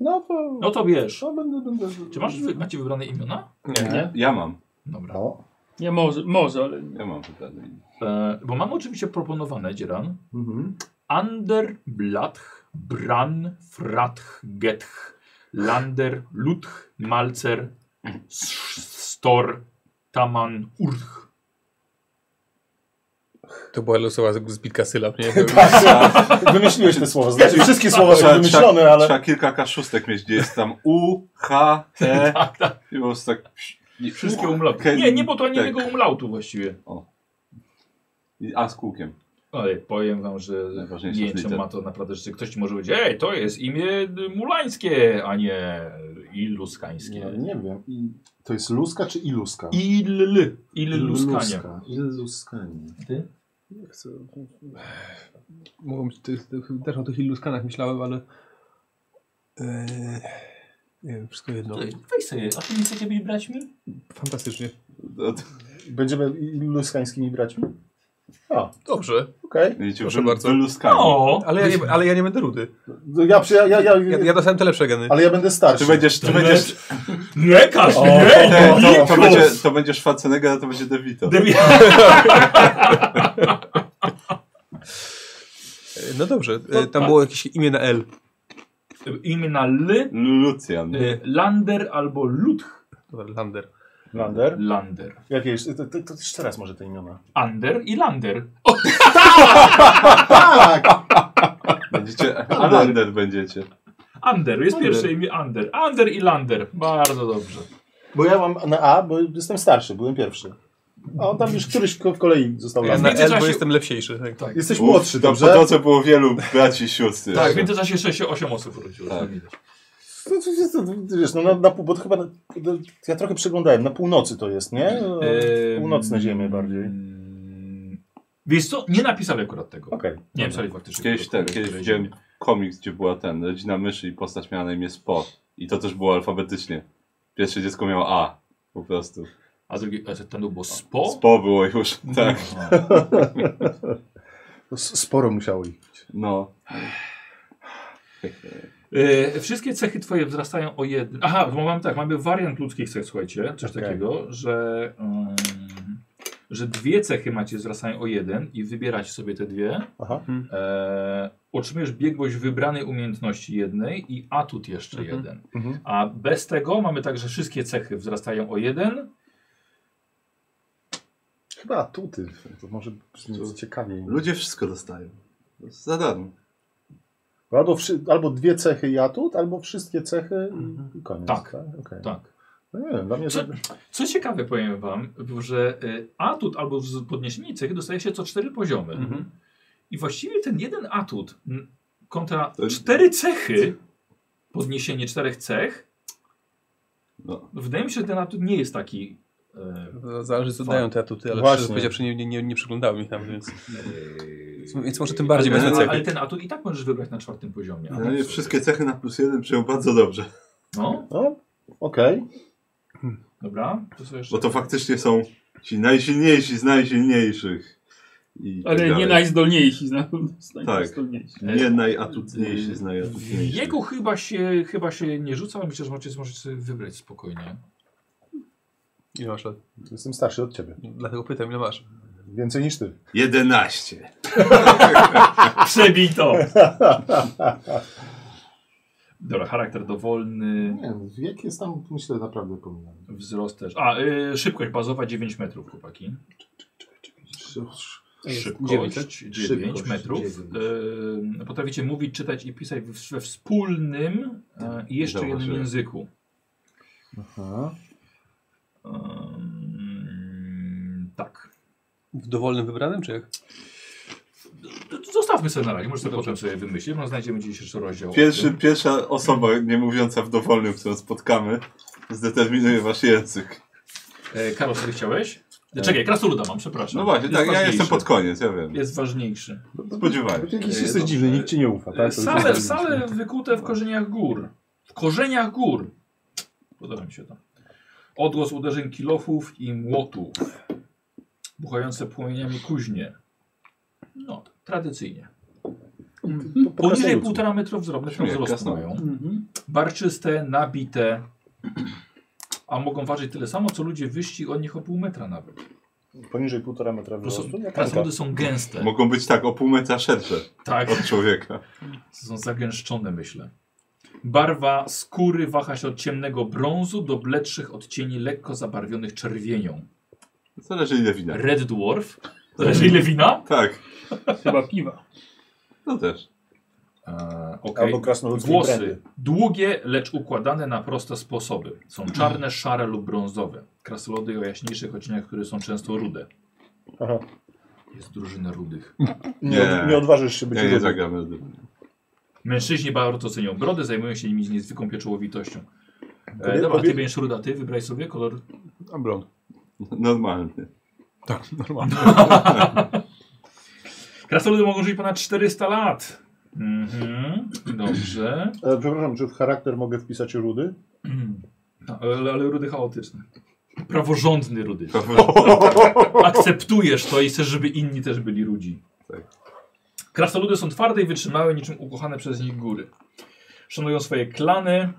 Speaker 2: No to...
Speaker 1: No to wiesz.
Speaker 2: No będę... będę...
Speaker 1: Czy masz, wy- macie wybrane imiona?
Speaker 6: Nie?
Speaker 3: Ja mam.
Speaker 1: Dobra.
Speaker 2: No.
Speaker 6: Nie, może, może, ale...
Speaker 3: Ja mam pytanie.
Speaker 1: E, bo mamy oczywiście proponowane, Dzieran.
Speaker 2: Mhm.
Speaker 1: Ander, Blatch, Bran, Fratch, Getch, Lander, Lutch, Malcer, Sz- Stor, Taman, Urch.
Speaker 5: To była losowa z- zbitka sylab, <laughs> nie?
Speaker 2: Tak, Wymyśliłeś te słowa. Znaczy wszystkie słowa są wymyślone, ale...
Speaker 3: Trzeba kilka kaszustek mieć, gdzie jest tam
Speaker 2: <laughs>
Speaker 3: U, H, T.
Speaker 1: Tak, tak.
Speaker 3: I po prostu tak... I
Speaker 1: Wszystkie umlauty. Nie, nie, bo to ani jednego umlautu właściwie.
Speaker 3: I A z kółkiem.
Speaker 1: Ale powiem wam, że
Speaker 3: Najważniejsze
Speaker 1: jęczą
Speaker 3: liter.
Speaker 1: ma to naprawdę, że ktoś może powiedzieć, ej, to jest imię mulańskie, a nie
Speaker 2: No,
Speaker 1: iluskańskie.
Speaker 2: nie wiem. I- To jest luska czy iluska?
Speaker 1: Il, illuskanie.
Speaker 2: Luska. Illuskanie.
Speaker 5: Jak chcę- Mogą być tych, tych, też o tych iluskanach myślałem, ale. Eee, nie wiem, wszystko jedno.
Speaker 1: Ej, Weź sobie, a ty nie chcecie być braćmi?
Speaker 5: Fantastycznie.
Speaker 3: No to-
Speaker 2: Będziemy illuskańskimi braćmi? A,
Speaker 5: Dobrze.
Speaker 2: okej.
Speaker 3: Widzicie,
Speaker 5: Proszę
Speaker 3: wy-
Speaker 5: bardzo.
Speaker 3: Wyluskami.
Speaker 1: No,
Speaker 5: Ale ja nie, ale ja nie będę rudy.
Speaker 2: No, Ja, przy- ja, ja, ja,
Speaker 5: Ja, ja dostałem te lepsze geny.
Speaker 2: Ale ja będę starszy.
Speaker 3: Ty będziesz... Ty będziesz
Speaker 1: lekarz,
Speaker 2: O,
Speaker 1: nie,
Speaker 3: to, to,
Speaker 1: Nikos!
Speaker 3: będzie, to będzie Schwarzenegger, a to będzie De Vito.
Speaker 1: Debi- <laughs>
Speaker 5: E, No dobrze. E,
Speaker 1: No
Speaker 5: Tam
Speaker 1: tak.
Speaker 5: było jakieś imię na L.
Speaker 1: Imię na L,
Speaker 3: Lucjan.
Speaker 1: y, Lander albo Ludh
Speaker 5: Dobra, Lander.
Speaker 2: Lander.
Speaker 1: Lander.
Speaker 2: Jakie jeszcze? To, to, to jeszcze raz może te imiona.
Speaker 1: Ander i Lander.
Speaker 2: Tak! <laughs>
Speaker 3: Będziecie... Alander będziecie.
Speaker 1: Ander, jest
Speaker 2: Ander.
Speaker 1: pierwsze imię Ander. Ander i Lander. Bardzo dobrze.
Speaker 2: Bo ja mam na A, bo jestem starszy, byłem pierwszy. A on tam już któryś ko- w kolei został
Speaker 1: w
Speaker 5: Ja na
Speaker 2: Lander.
Speaker 5: L,
Speaker 1: międzyczasie-
Speaker 5: bo jestem lepsiejszy. Tak.
Speaker 1: Tak.
Speaker 2: Jesteś
Speaker 3: Uf,
Speaker 2: młodszy,
Speaker 3: to
Speaker 2: dobrze?
Speaker 3: Po drodze było wielu braci i sióstr.
Speaker 1: Tak, w międzyczasie 6-8 osób urodziło.
Speaker 3: Tak.
Speaker 2: To- to jest- to- Wiesz, no na, na, pół- bo to chyba na, to- ja trochę przeglądałem, na północy to jest, nie?
Speaker 1: Ehm,
Speaker 2: Północne ziemie bardziej.
Speaker 1: Wiesz co, nie napisali akurat tego.
Speaker 2: Okej.
Speaker 1: Nie napisali faktycznie.
Speaker 3: Kiedyś ten,
Speaker 1: tego,
Speaker 3: kiedyś
Speaker 1: które-
Speaker 3: widziałem komiks, gdzie była ten, rodzina myszy i postać miała na imię Spot. I to też było alfabetycznie. Pierwsze dziecko miało A. Po prostu. <laughs>
Speaker 1: A drugi, a ten to było spo?
Speaker 3: Spo było już, tak.
Speaker 2: To s- Sporo musiało ich być.
Speaker 3: No.
Speaker 1: E, wszystkie cechy twoje wzrastają o jeden. Aha, bo mam tak, mamy wariant ludzkich cech, słuchajcie, coś
Speaker 2: Okej.
Speaker 1: takiego, że, ym, że dwie cechy macie wzrastają o jeden i wybieracie sobie te dwie.
Speaker 2: Aha.
Speaker 1: E, otrzymujesz biegłość wybranej umiejętności jednej i atut jeszcze
Speaker 5: Mhm.
Speaker 1: jeden.
Speaker 2: Mhm.
Speaker 1: A bez tego mamy także wszystkie cechy wzrastają o jeden.
Speaker 2: Chyba atuty. To może brzmi ciekawiej.
Speaker 3: Ludzie wszystko dostają. Za darmo.
Speaker 2: Albo, wszy... albo dwie cechy i atut, albo wszystkie cechy i- i koniec.
Speaker 1: Tak.
Speaker 2: Okej.
Speaker 1: Tak.
Speaker 2: No nie wiem, dla mnie
Speaker 1: Co-
Speaker 2: to...
Speaker 1: Co ciekawe powiem wam, że y, atut albo z- podniesienie cechy dostaje się co cztery poziomy.
Speaker 5: Mhm.
Speaker 1: I właściwie ten jeden atut m, kontra
Speaker 3: To-
Speaker 1: cztery cechy, podniesienie czterech cech,
Speaker 3: No.
Speaker 1: wydaje mi się, że ten atut nie jest taki... e,
Speaker 5: To No, Zależy co dają te atuty, ale
Speaker 2: Właśnie.
Speaker 5: szczerze powiedziawszy nie, nie, nie, nie przyglądałem ich tam, więc...
Speaker 1: e,
Speaker 5: Więc może tym bardziej
Speaker 1: ale,
Speaker 3: będą
Speaker 1: ale,
Speaker 3: cechy.
Speaker 1: ale ten atut i tak możesz wybrać na czwartym poziomie.
Speaker 3: No nie, wszystkie cechy na plus jeden przyjął bardzo dobrze.
Speaker 1: No,
Speaker 2: No, okej.
Speaker 1: dobra. To sobie jeszcze...
Speaker 3: Bo to faktycznie są ci najsilniejsi z najsilniejszych. I tak
Speaker 6: Ale nie
Speaker 3: dalej.
Speaker 6: najzdolniejsi, zna- <laughs> zna-
Speaker 3: Tak.
Speaker 6: najzdolniejsi.
Speaker 3: Nie najatutniejsi z najatutniejszych.
Speaker 1: Jego chyba się, chyba się nie rzuca, ale myślę, że możecie, możecie sobie wybrać spokojnie.
Speaker 5: Ile masz lat?
Speaker 2: Jestem starszy od ciebie.
Speaker 5: Dlatego pytam, ile masz?
Speaker 2: Więcej niż ty.
Speaker 3: 11.
Speaker 1: Przebij to! <laughs> Dobra, charakter dowolny,
Speaker 4: Nie wiem, wiek jest tam, myślę, naprawdę pomijany.
Speaker 1: wzrost też. A, y, szybkość bazowa 9 metrów, chłopaki.
Speaker 5: dziewięć, tak?
Speaker 1: Szybkość 9
Speaker 4: Szybkość,
Speaker 1: metrów.
Speaker 4: dziewięć.
Speaker 1: Y, potraficie mówić, czytać i pisać w- we wspólnym y, i jeszcze
Speaker 3: Tak. Zauważyłem.
Speaker 1: jednym języku.
Speaker 2: Aha.
Speaker 1: Ym, tak.
Speaker 5: W dowolnym wybranym, czy jak?
Speaker 1: Zostawmy sobie na razie, może sobie potem sobie wymyślić, no znajdziemy gdzieś jeszcze rozdział. o
Speaker 3: Pierwszy,
Speaker 1: tym.
Speaker 3: pierwsza osoba nie mówiąca w dowolnym, którą spotkamy, zdeterminuje wasz język.
Speaker 1: E, Karol, co ty chciałeś? E, Czekaj, krasoluda mam, przepraszam.
Speaker 3: Tak. No właśnie,
Speaker 1: Jest
Speaker 3: tak, ja
Speaker 1: ważniejszy.
Speaker 3: jestem pod koniec, ja wiem.
Speaker 1: Jest ważniejszy.
Speaker 3: Spodziewałem
Speaker 2: Ty
Speaker 3: się.
Speaker 2: jakiś
Speaker 3: E,
Speaker 2: jesteś
Speaker 3: dobrze.
Speaker 2: dziwny, nikt ci nie ufa, tak? To
Speaker 1: Same,
Speaker 2: już-
Speaker 1: same wykute w korzeniach gór. W korzeniach gór. Podoba mi się to. Odgłos uderzeń kilofów i młotów. Buchające płomieniami kuźnie. No, tradycyjnie.
Speaker 2: Po- po
Speaker 1: Poniżej
Speaker 2: krasnoludzku.
Speaker 1: 1,5 metra wzrostu
Speaker 3: Śmieje,
Speaker 1: wzrostu
Speaker 3: krasno.
Speaker 1: mają.
Speaker 6: Mhm.
Speaker 1: Barczyste, nabite. A mogą ważyć tyle samo, co ludzie wyści od nich o pół metra nawet.
Speaker 2: Poniżej półtora metra
Speaker 1: Po prostu
Speaker 2: wzrostu? Jak
Speaker 1: Krasnoludy są gęste.
Speaker 3: Mogą być tak o pół metra szersze
Speaker 1: Tak.
Speaker 3: od człowieka.
Speaker 1: Są zagęszczone, myślę. Barwa skóry waha się od ciemnego brązu do bledszych odcieni lekko zabarwionych czerwienią.
Speaker 3: Zależy ile wina.
Speaker 1: Red Dwarf. Zależy ile wina?
Speaker 3: Tak,
Speaker 6: Chyba piwa.
Speaker 3: no też.
Speaker 1: Eee, okej.
Speaker 2: Albo krasnoludzkie
Speaker 1: Włosy
Speaker 2: brandy.
Speaker 1: długie, lecz układane na proste sposoby. Są
Speaker 2: Mm.
Speaker 1: czarne, szare lub brązowe. Krasolody o jaśniejszych odcieniach, które są często rude.
Speaker 2: Aha.
Speaker 1: Jest drużyna rudych.
Speaker 2: Nie,
Speaker 3: Nie.
Speaker 2: od- nie odważysz się być
Speaker 3: Ja nie
Speaker 2: rudy.
Speaker 3: zagramy.
Speaker 1: Mężczyźni bardzo cenią brody, zajmują się nimi z niezwykłą pieczołowitością. E, dobra,
Speaker 2: Kobiet-
Speaker 1: ty
Speaker 2: kobiet-
Speaker 1: będziesz ruda, ty wybraj sobie kolor
Speaker 5: A blond.
Speaker 3: Normalnie.
Speaker 5: Tak, normalnie.
Speaker 1: Krasnoludy mogą żyć ponad 400 lat. Mhm, dobrze.
Speaker 2: E, przepraszam, czy w charakter mogę wpisać rudy?
Speaker 1: No, ale, ale rudy chaotyczny. Praworządny rudy.
Speaker 3: Prawo-
Speaker 1: Akceptujesz to i chcesz, żeby inni też byli rudzi.
Speaker 3: Tak.
Speaker 1: Krasnoludy są twarde i wytrzymałe, niczym ukochane przez nich góry. Szanują swoje klany.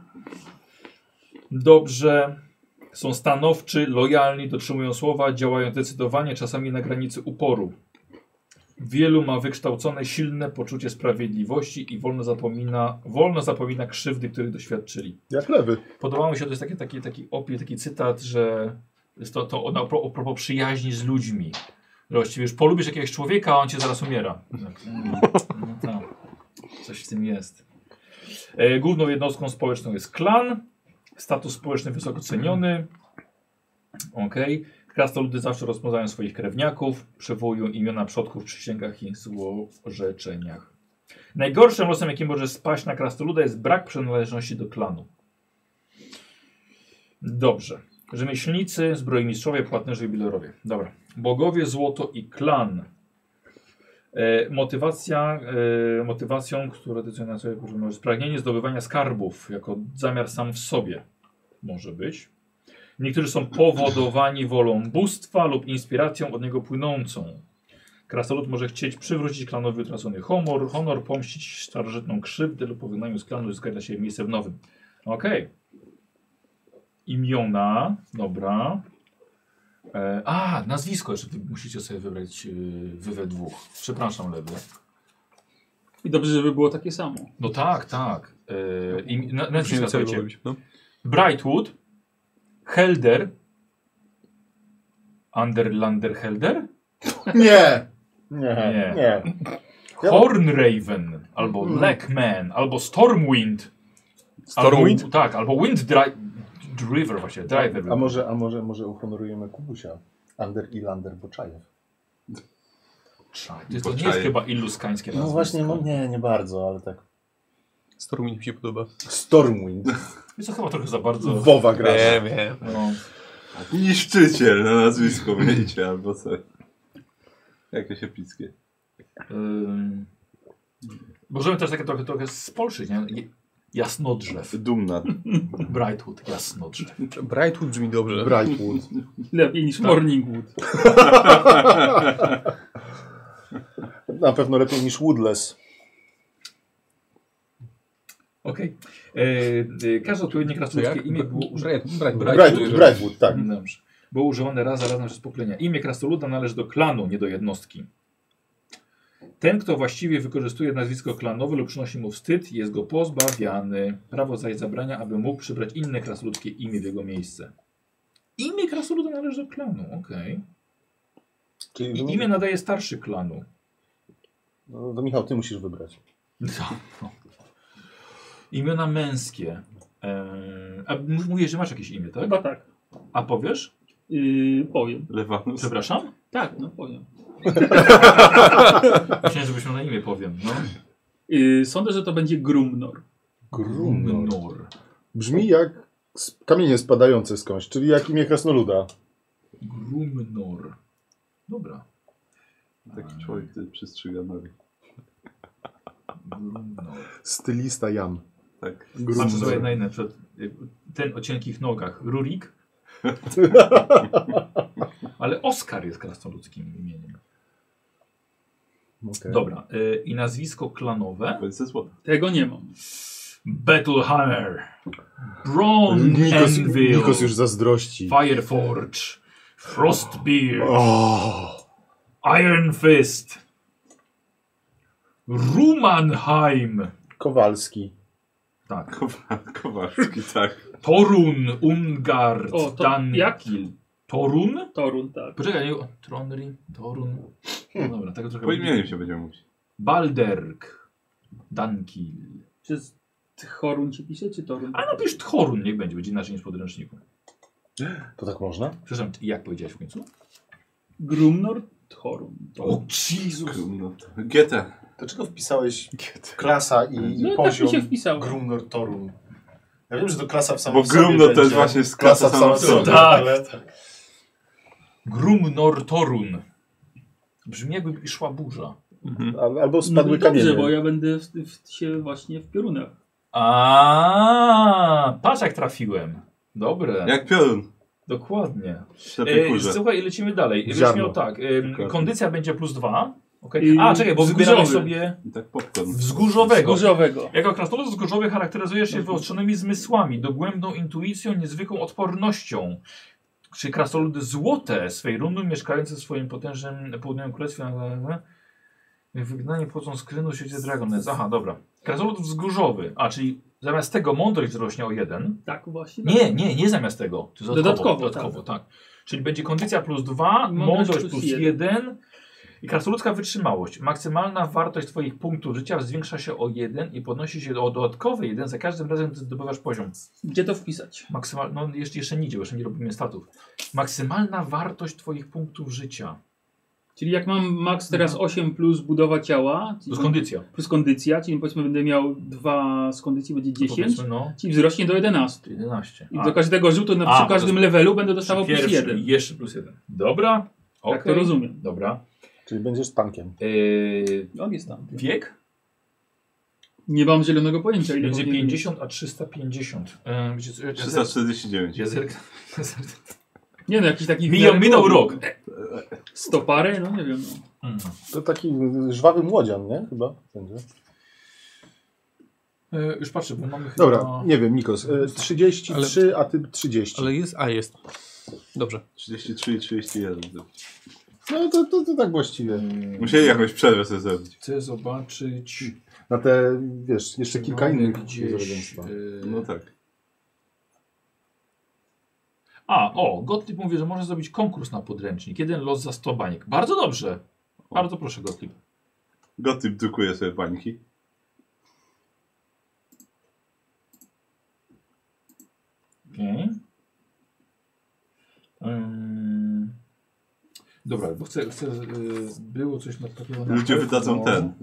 Speaker 1: Dobrze. Są stanowczy, lojalni, dotrzymują słowa, działają zdecydowanie, czasami na granicy uporu. Wielu ma wykształcone, silne poczucie sprawiedliwości i wolno zapomina, wolno zapomina krzywdy, których doświadczyli.
Speaker 2: Jak lewy.
Speaker 1: Podobało mi się, to jest taki, taki, taki opis, taki cytat, że jest to, to ona pro- a propos przyjaźni z ludźmi. Że właściwie już polubisz jakiegoś człowieka, a on cię zaraz umiera. Tak. Mm, No, tak. Coś w tym jest. E, główną jednostką społeczną jest klan. Status społeczny wysoko ceniony. Okej. Krasnoludy zawsze rozpoznają swoich krewniaków, przywołują imiona przodków w przysięgach i złorzeczeniach. Najgorszym losem, jaki może spaść na krasnoluda jest brak przynależności do klanu. Dobrze. Rzemieślnicy, zbrojmistrzowie, płatnerzy i bilerowie. Dobra. Bogowie, złoto i klan. E, motywacja, e, motywacją, która decyduje na sobie, może spragnienie zdobywania skarbów jako zamiar sam w sobie może być. Niektórzy są powodowani wolą bóstwa lub inspiracją od niego płynącą. Krasnolud może chcieć przywrócić klanowi utracony honor, honor pomścić starożytną krzywdę lub po wygnaniu z klanu uzyskać dla siebie miejsce w nowym. Okej. Imiona, dobra. E, a, nazwisko jeszcze wy musicie sobie wybrać e, wy we dwóch. Przepraszam, lewy.
Speaker 6: I dobrze, żeby było takie samo.
Speaker 1: No tak, tak. E, im, na,
Speaker 5: Musimy
Speaker 1: nazwiska,
Speaker 5: całego
Speaker 1: słuchajcie.
Speaker 5: robić, no.
Speaker 1: Brightwood, Helder, Underlander Helder,
Speaker 2: Nie! Nie,
Speaker 1: Nie.
Speaker 2: nie. Ja-
Speaker 1: Hornraven, albo
Speaker 2: Mhm.
Speaker 1: Blackman, albo Stormwind.
Speaker 5: Stormwind?
Speaker 1: Albo, tak, albo Wind Dri- Driver właśnie, Driver.
Speaker 2: A może, a może, może uhonorujemy Kubusia? Ander i Lander Boczajew.
Speaker 1: Ty, To nie jest
Speaker 3: Poczekaj.
Speaker 1: chyba illuskańskie
Speaker 2: No
Speaker 1: nazwisko.
Speaker 2: właśnie, no, nie, nie bardzo, ale tak.
Speaker 5: Stormwind mi się podoba.
Speaker 2: Stormwind.
Speaker 1: Jest to chyba trochę za bardzo...
Speaker 2: Wowa gra.
Speaker 5: Wiem, wiem.
Speaker 1: No,
Speaker 3: Niszczyciel na nazwisko wyjdzie albo co. Jakieś epickie.
Speaker 1: ym, możemy też takie trochę, trochę spolszyć, nie? Jasnodrzew.
Speaker 3: Dumna.
Speaker 1: Brightwood, jasnodrzew.
Speaker 5: Brightwood brzmi dobrze.
Speaker 2: Brightwood.
Speaker 6: Lepiej niż Morningwood.
Speaker 2: Na pewno lepiej niż Woodless.
Speaker 1: Okej. Okay. Yy, każde odpowiednie
Speaker 5: To jak?
Speaker 1: krasnoludzkie imię było używane. Mm,
Speaker 5: Bright-
Speaker 2: Brightwood,
Speaker 5: Bright- Brightwood.
Speaker 2: Brightwood tak.
Speaker 1: Dobrze. Było używane raz za razem przez pokolenia. Imię krasnoluda należy do klanu, nie do jednostki. Ten, kto właściwie wykorzystuje nazwisko klanowe lub przynosi mu wstyd, jest go pozbawiany. Prawo zaś zabrania, aby mógł przybrać inne krasnoludzkie imię w jego miejsce. Imię krasnoluda należy do klanu, okej.
Speaker 2: Czyli
Speaker 1: I Imię nadaje starszy klanu.
Speaker 2: No, to Michał, ty musisz wybrać.
Speaker 1: No. Imiona męskie. Eee, a m- mówisz, że masz jakieś imię, tak?
Speaker 6: Chyba tak.
Speaker 1: A powiesz?
Speaker 6: Yy, powiem.
Speaker 3: Lewanus.
Speaker 1: Przepraszam?
Speaker 6: Tak, no powiem.
Speaker 1: Myślałem, żebyśmy na imię powiem. No.
Speaker 6: Yy, sądzę, że to będzie Grumnor.
Speaker 2: Grumnor. Brzmi jak sp- kamienie spadające skądś, czyli jak imię krasnoluda.
Speaker 1: Grumnor. Dobra.
Speaker 3: Taki człowiek, który przystrzyga nogi.
Speaker 1: Grumnor.
Speaker 2: Stylista Jan.
Speaker 3: Tak.
Speaker 1: Patrzę
Speaker 2: Grumnor.
Speaker 1: sobie na inne. Przed, ten o cienkich nogach.
Speaker 2: <laughs>
Speaker 1: Rurik. Ale Oskar jest krasnoludzkim imieniem.
Speaker 2: Okej.
Speaker 1: Dobra. E, I nazwisko klanowe?
Speaker 3: Będzie złota.
Speaker 6: Tego nie mam.
Speaker 1: Battlehammer. Bronze
Speaker 2: Nikos,
Speaker 1: Anvil.
Speaker 2: Nikos już zazdrości.
Speaker 1: Fireforge. Frostbeard.
Speaker 2: O,
Speaker 1: Iron Fist. Rumanheim.
Speaker 2: Kowalski.
Speaker 1: Tak.
Speaker 3: Kowal, Kowalski, tak.
Speaker 1: Torun, Ungard,
Speaker 6: O, to jak?
Speaker 1: Dankil. Torun?
Speaker 6: Torun, tak.
Speaker 1: Poczekaj, nie... Tronri, Torun.
Speaker 2: Hmm.
Speaker 1: No dobra, tego trochę...
Speaker 3: Po imieniu się będziemy mówić.
Speaker 1: Balderk, Dankil.
Speaker 6: Czy z Tchorun się pisze, czy Torun?
Speaker 1: A napisz Torun, niech będzie, będzie inaczej niż w podręczniku.
Speaker 2: To tak można?
Speaker 1: Przepraszam, jak powiedziałeś w końcu?
Speaker 6: Grumnor, Tchorun.
Speaker 1: O, Jezus.
Speaker 3: No, to- Goethe.
Speaker 2: Dlaczego wpisałeś klasa i,
Speaker 6: No tak mi się wpisało.
Speaker 2: Grumnor Torum? Ja wiem, że to klasa w
Speaker 3: Bo Grumno to jest właśnie z klasa sama w sobie.
Speaker 1: Tak. Grumnor Torun. Brzmi jakby szła burza.
Speaker 2: Albo spadły
Speaker 6: no dobrze,
Speaker 2: kamienie.
Speaker 6: bo ja będę w, w, się właśnie w piorunach.
Speaker 1: A, patrz jak trafiłem. Dobre,
Speaker 3: Jak piorun.
Speaker 1: dokładnie.
Speaker 3: W ślepej
Speaker 1: E,
Speaker 3: kurze.
Speaker 1: słuchaj, lecimy dalej. Lecz
Speaker 2: Ziarno.
Speaker 1: miał tak, em,
Speaker 3: Dokładnie.
Speaker 1: kondycja będzie plus dwa. Okay.
Speaker 6: I
Speaker 1: A, czekaj, bo
Speaker 6: wzgórzowy.
Speaker 1: wybieramy sobie
Speaker 3: I tak popcorn.
Speaker 1: wzgórzowego.
Speaker 6: Górzowego.
Speaker 1: Jako krasnolud wzgórzowy charakteryzujesz się wyostrzonymi zmysłami, dogłębną intuicją, niezwykłą odpornością. Czy krasnoludy złote swej runy mieszkające w swoim potężnym południowym królestwie na wygnanie płocą skrynu siedzi Dragonlance. Aha, dobra. Krasnolud wzgórzowy, a czyli zamiast tego mądrość wzrośnie o jeden.
Speaker 6: Tak właśnie.
Speaker 1: Nie, nie, nie zamiast tego. To jest dodatkowo,
Speaker 6: Dodatkowo,
Speaker 1: dodatkowo tak. Czyli będzie kondycja plus 2,
Speaker 6: I
Speaker 1: mądrość plus 1 i krasnoludzka wytrzymałość. Maksymalna wartość Twoich punktów życia zwiększa się o 1 i podnosi się o dodatkowy 1 za każdym razem, gdy zdobywasz poziom.
Speaker 6: Gdzie to wpisać?
Speaker 1: Maksymal... No jeszcze, jeszcze nigdzie, bo jeszcze nie robimy statów. Maksymalna wartość Twoich punktów życia.
Speaker 6: Czyli jak mam max teraz
Speaker 1: No.
Speaker 6: 8 plus budowa ciała,
Speaker 1: To
Speaker 6: czyli
Speaker 1: jest kondycja.
Speaker 6: plus kondycja, czyli powiedzmy będę miał 2 z kondycji będzie
Speaker 1: No
Speaker 6: 10,
Speaker 1: powiedzmy, no,
Speaker 6: czyli wzrośnie do 11.
Speaker 1: 11.
Speaker 6: I
Speaker 1: A,
Speaker 6: do każdego rzutu na
Speaker 1: A,
Speaker 6: przy
Speaker 1: bo
Speaker 6: każdym
Speaker 1: to-
Speaker 6: levelu będę dostawał plus
Speaker 1: pierwszy,
Speaker 6: 1.
Speaker 1: Jeszcze plus 1. Dobra.
Speaker 6: Tak to
Speaker 1: okej.
Speaker 6: rozumiem.
Speaker 1: Dobra.
Speaker 2: Czyli będziesz tankiem.
Speaker 1: Yy,
Speaker 6: No, On jest tam.
Speaker 1: wiek?
Speaker 6: Nie mam zielonego pojęcia ile
Speaker 1: Będzie
Speaker 6: powinien być.
Speaker 1: 50, a 350. E, wiecie co, ja- ja zerk-
Speaker 3: 349.
Speaker 1: Ja zerk- ja zerk-
Speaker 6: Nie no, jakiś taki...
Speaker 1: Mijał,
Speaker 6: miarę-
Speaker 1: minął rok.
Speaker 6: Sto parę? No nie wiem. No.
Speaker 1: Mm.
Speaker 2: To taki y, żwawy młodzian, nie? Chyba będzie.
Speaker 1: E, już patrzę, bo mamy chyba...
Speaker 2: Dobra, nie wiem, Nikos. y, 33, a ty 30.
Speaker 5: Ale jest, a jest. Dobrze.
Speaker 3: 33 i 31.
Speaker 2: No to, to, to tak właściwie.
Speaker 3: Musieli jakąś przerwę sobie zrobić.
Speaker 1: Chcę zobaczyć...
Speaker 2: Na te, wiesz, jeszcze
Speaker 1: czy
Speaker 2: kilka
Speaker 1: mamy
Speaker 2: innych
Speaker 1: gdzieś...
Speaker 2: zorobienstwa.
Speaker 1: e,
Speaker 3: No tak.
Speaker 1: A, o, Gottlieb mówi, że może zrobić konkurs na podręcznik. Jeden los za 100 baniek. Bardzo dobrze. Bardzo proszę, Gottlieb.
Speaker 3: Gotyp drukuje sobie bańki.
Speaker 1: Okej. Ym, Dobra, bo chcę, chcę y, było coś na takiego na
Speaker 3: Ludzie
Speaker 1: pewno.
Speaker 3: wydadzą ten.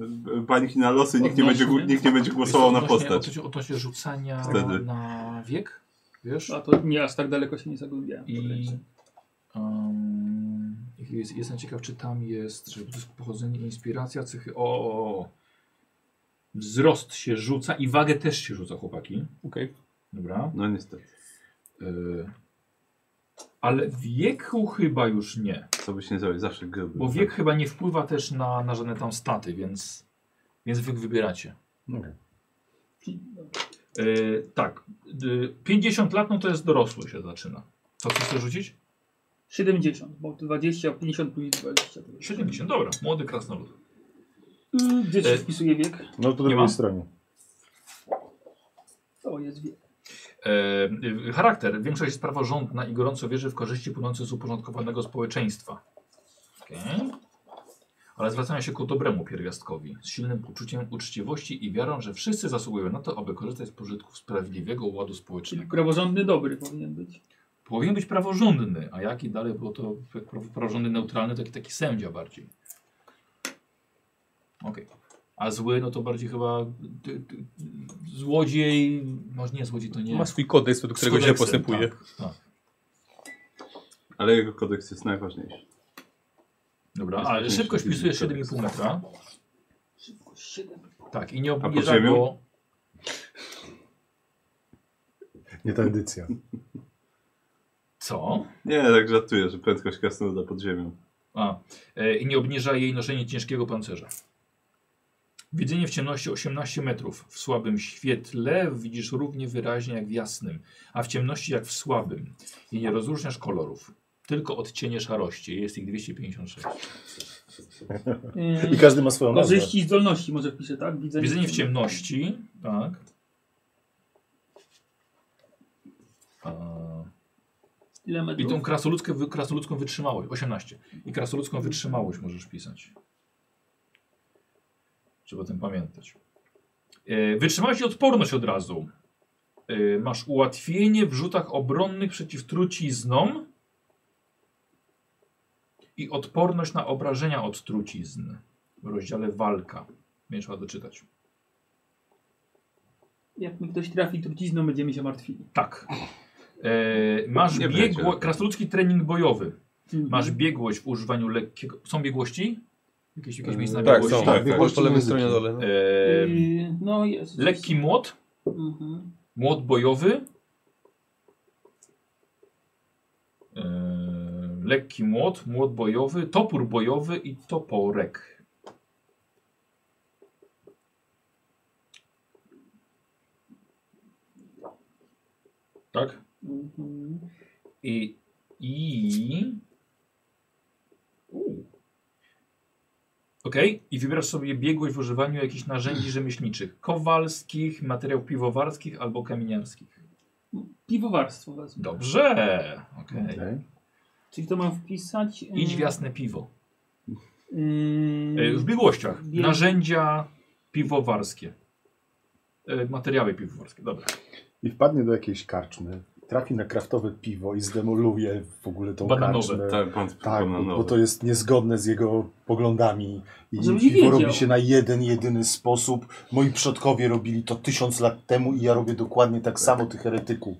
Speaker 3: Bańki na losy, nikt nie, będzie,
Speaker 1: Tak, no. Odnośnie-
Speaker 3: gł- nikt nie będzie głosował na
Speaker 1: Odnośnie-
Speaker 3: postać.
Speaker 1: odnośnie- Odnośnie rzucania
Speaker 3: Wtedy.
Speaker 1: na wiek, wiesz?
Speaker 6: A to nie aż tak daleko się nie zagłębiałem.
Speaker 1: I um, jest, jestem ciekaw, czy tam jest, że to jest pochodzenie, inspiracja, cechy. O, o, o. wzrost się rzuca i wagę też się rzuca, chłopaki.
Speaker 5: Okej.
Speaker 1: Dobra.
Speaker 3: No niestety.
Speaker 1: Y, ale wieku chyba już nie,
Speaker 3: Co byś nie zrobił, zawsze tak. gruby.
Speaker 1: bo wiek chyba nie wpływa też na, na żadne tam staty, więc, więc wy wybieracie.
Speaker 6: no,
Speaker 1: Y, tak, y, 50 lat no to jest dorosły się zaczyna. Co chcesz rzucić?
Speaker 6: 70, bo 20, 50 później 20.
Speaker 1: 70, dobra, młody krasnolud.
Speaker 6: Y, Gdzie
Speaker 1: E.
Speaker 6: się wpisuje wiek?
Speaker 2: No to
Speaker 1: Nie ma?
Speaker 2: drugiej stronie.
Speaker 6: To jest wiek.
Speaker 1: E, y, charakter. Większość jest praworządna i gorąco wierzy w korzyści płynące z uporządkowanego społeczeństwa. Okej. Ale zwracają się ku dobremu pierwiastkowi, z silnym poczuciem uczciwości i wiarą, że wszyscy zasługują na to, aby korzystać z pożytków sprawiedliwego ładu
Speaker 6: Czyli
Speaker 1: społecznego.
Speaker 6: praworządny dobry powinien być.
Speaker 1: Powinien być praworządny, a jaki dalej, bo to jak prawo- praworządny neutralny, to taki, taki sędzia bardziej. Okej. A zły, no to bardziej chyba ty, ty, złodziej, może nie złodziej, to nie.
Speaker 5: Ma swój kodeks, według którego
Speaker 1: Z
Speaker 5: się
Speaker 1: kodeksem,
Speaker 5: postępuje.
Speaker 1: Tak, tak.
Speaker 3: Ale jego kodeks jest najważniejszy.
Speaker 1: Dobra,
Speaker 3: Jest
Speaker 1: ale
Speaker 3: jakieś
Speaker 1: szybkość
Speaker 3: jakieś
Speaker 1: pisuje
Speaker 3: kodeks.
Speaker 1: 7,5 metra.
Speaker 6: Szybko, 7.
Speaker 1: Tak, i nie
Speaker 3: pod
Speaker 1: obniża
Speaker 3: ziemią?
Speaker 1: go.
Speaker 2: Nie ta edycja.
Speaker 1: Co?
Speaker 3: Nie, tak żartuję, że prędkość krasnoluda pod ziemią.
Speaker 1: A, e, i nie obniża jej noszenie ciężkiego pancerza. Widzenie w ciemności 18 metrów. W słabym świetle widzisz równie wyraźnie jak w jasnym, a w ciemności jak w słabym. I nie rozróżniasz kolorów. Tylko odcienie szarości. Jest ich 256.
Speaker 2: I każdy ma swoją nazwę.
Speaker 6: Yy, Korzyści i zdolności może wpiszę, tak? Widzenie,
Speaker 1: Widzenie w ciemności, tak. A,
Speaker 6: Ile metrów?
Speaker 1: I tą krasoludzką, wy- krasoludzką wytrzymałość, 18. I krasoludzką wytrzymałość możesz pisać. Trzeba o tym pamiętać. E, wytrzymałość i odporność od razu. E, masz ułatwienie w rzutach obronnych przeciw truciznom i odporność na obrażenia od trucizn w rozdziale walka. Będziesz miała doczytać.
Speaker 6: Jak mi ktoś trafi trucizną, będziemy się martwili.
Speaker 1: Tak. E, masz
Speaker 3: Nie
Speaker 1: biegło,
Speaker 3: będzie.
Speaker 1: krasnoludzki trening bojowy.
Speaker 6: Mhm.
Speaker 1: Masz biegłość w używaniu lekkiego. Są biegłości? Jakieś, jakieś miejsce na
Speaker 5: Tak, są.
Speaker 1: biegłości?
Speaker 3: tak.
Speaker 5: Po,
Speaker 2: Biegłości
Speaker 5: po lewej
Speaker 2: języki.
Speaker 5: stronie na dole. No.
Speaker 1: Ehm,
Speaker 6: Yy, no jest.
Speaker 1: lekki młot,
Speaker 6: Mhm.
Speaker 1: młot bojowy. Ehm, lekki młot, młot bojowy, topór bojowy i toporek. Tak?
Speaker 6: Mhm.
Speaker 1: I. i... U. Okej, i wybierasz sobie biegłość w używaniu jakichś narzędzi rzemieślniczych. Kowalskich, materiałów piwowarskich albo kamieniarskich.
Speaker 6: Piwowarstwo wezmę.
Speaker 1: Dobrze! Okej.
Speaker 2: Okej.
Speaker 6: Czyli to mam wpisać. yy,
Speaker 1: Idź w jasne piwo. E,
Speaker 6: yy,
Speaker 1: w biegłościach.
Speaker 6: Bieg-
Speaker 1: Narzędzia piwowarskie. E, materiały piwowarskie, dobra. <laughs>
Speaker 2: I wpadnie do jakiejś karczmy, trafi na kraftowe piwo i zdemoluje w ogóle tą
Speaker 1: Bananowe,
Speaker 2: karczmę.
Speaker 3: Tak, pan
Speaker 2: Tak,
Speaker 3: na
Speaker 2: bo,
Speaker 3: nowo.
Speaker 2: bo to jest niezgodne z jego poglądami. I
Speaker 6: Żeby nie
Speaker 2: piwo robi
Speaker 6: wiedział.
Speaker 2: się na jeden, jedyny sposób. Moi przodkowie robili to tysiąc lat temu i ja robię dokładnie tak samo tych heretyków.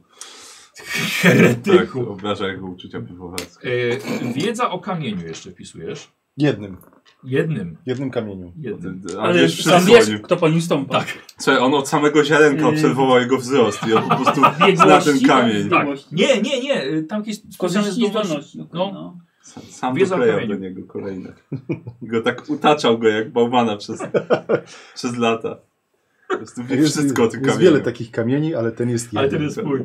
Speaker 3: tak, obraża jego uczucia piwowarskie.
Speaker 1: E, wiedza o kamieniu jeszcze wpisujesz.
Speaker 2: Jednym,
Speaker 1: Jednym.
Speaker 2: jednym kamieniu.
Speaker 1: Jednym.
Speaker 3: Ale,
Speaker 6: Ale
Speaker 3: wiesz,
Speaker 6: sam
Speaker 3: wszyscy
Speaker 6: wiesz,
Speaker 3: o nim-
Speaker 6: kto po nim stąpa.
Speaker 1: Tak.
Speaker 3: Słuchaj, on od samego ziarenka
Speaker 6: Yy.
Speaker 3: obserwował jego wzrost i on po prostu zna
Speaker 6: Biegłości,
Speaker 3: ten
Speaker 6: tak,
Speaker 3: kamień.
Speaker 6: zdolności.
Speaker 1: Nie, nie, nie. e, Tam jakieś specjalne
Speaker 6: Korzyści i
Speaker 1: zdolności.
Speaker 6: zdolności. okej,
Speaker 1: No.
Speaker 6: no.
Speaker 3: Sam, sam
Speaker 1: Wiedzą
Speaker 3: doklejał do
Speaker 1: kamieniu.
Speaker 3: niego kolejne. <laughs> I go tak utaczał go jak
Speaker 4: <laughs>
Speaker 3: bałwana przez, przez lata. Po prostu wie
Speaker 4: Jest,
Speaker 3: wszystko o tym
Speaker 4: jest
Speaker 3: kamieniu.
Speaker 4: wiele tak- takich kamieni, ale ten jest jeden.
Speaker 1: Ale ten jest mój.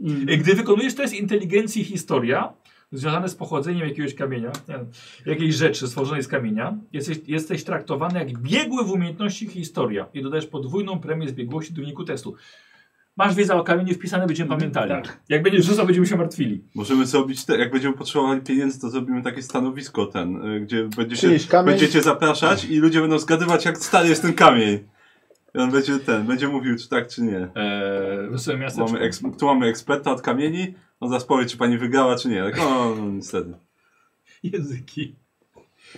Speaker 6: Mm,
Speaker 1: Y, Gdy wykonujesz test inteligencji historia, związane z pochodzeniem jakiegoś kamienia, nie, wiem, jakiejś rzeczy stworzonej z kamienia, jesteś, jesteś traktowany jak biegły w umiejętności historia i dodajesz podwójną premię z biegłości do wyniku testu. Masz wiedzę o kamieniu wpisane, będziemy pamiętali.
Speaker 6: Tak.
Speaker 1: Jak będziesz rzucał, będziemy się martwili.
Speaker 3: Możemy zrobić, te, jak będziemy potrzebowali pieniędzy, to zrobimy takie stanowisko ten, y, gdzie będziecie,
Speaker 4: Przynieś kamień.
Speaker 3: będziecie zapraszać i ludzie będą zgadywać, jak stary jest ten kamień. I on będzie ten, będzie mówił, czy tak, czy nie.
Speaker 1: Eee, Wesołe miasteczko.
Speaker 4: Znaczy-
Speaker 3: Mamy eks, tu mamy eksperta od kamieni, on zaraz powie, czy pani wygrała, czy nie. Tak, no, no niestety.
Speaker 1: Języki.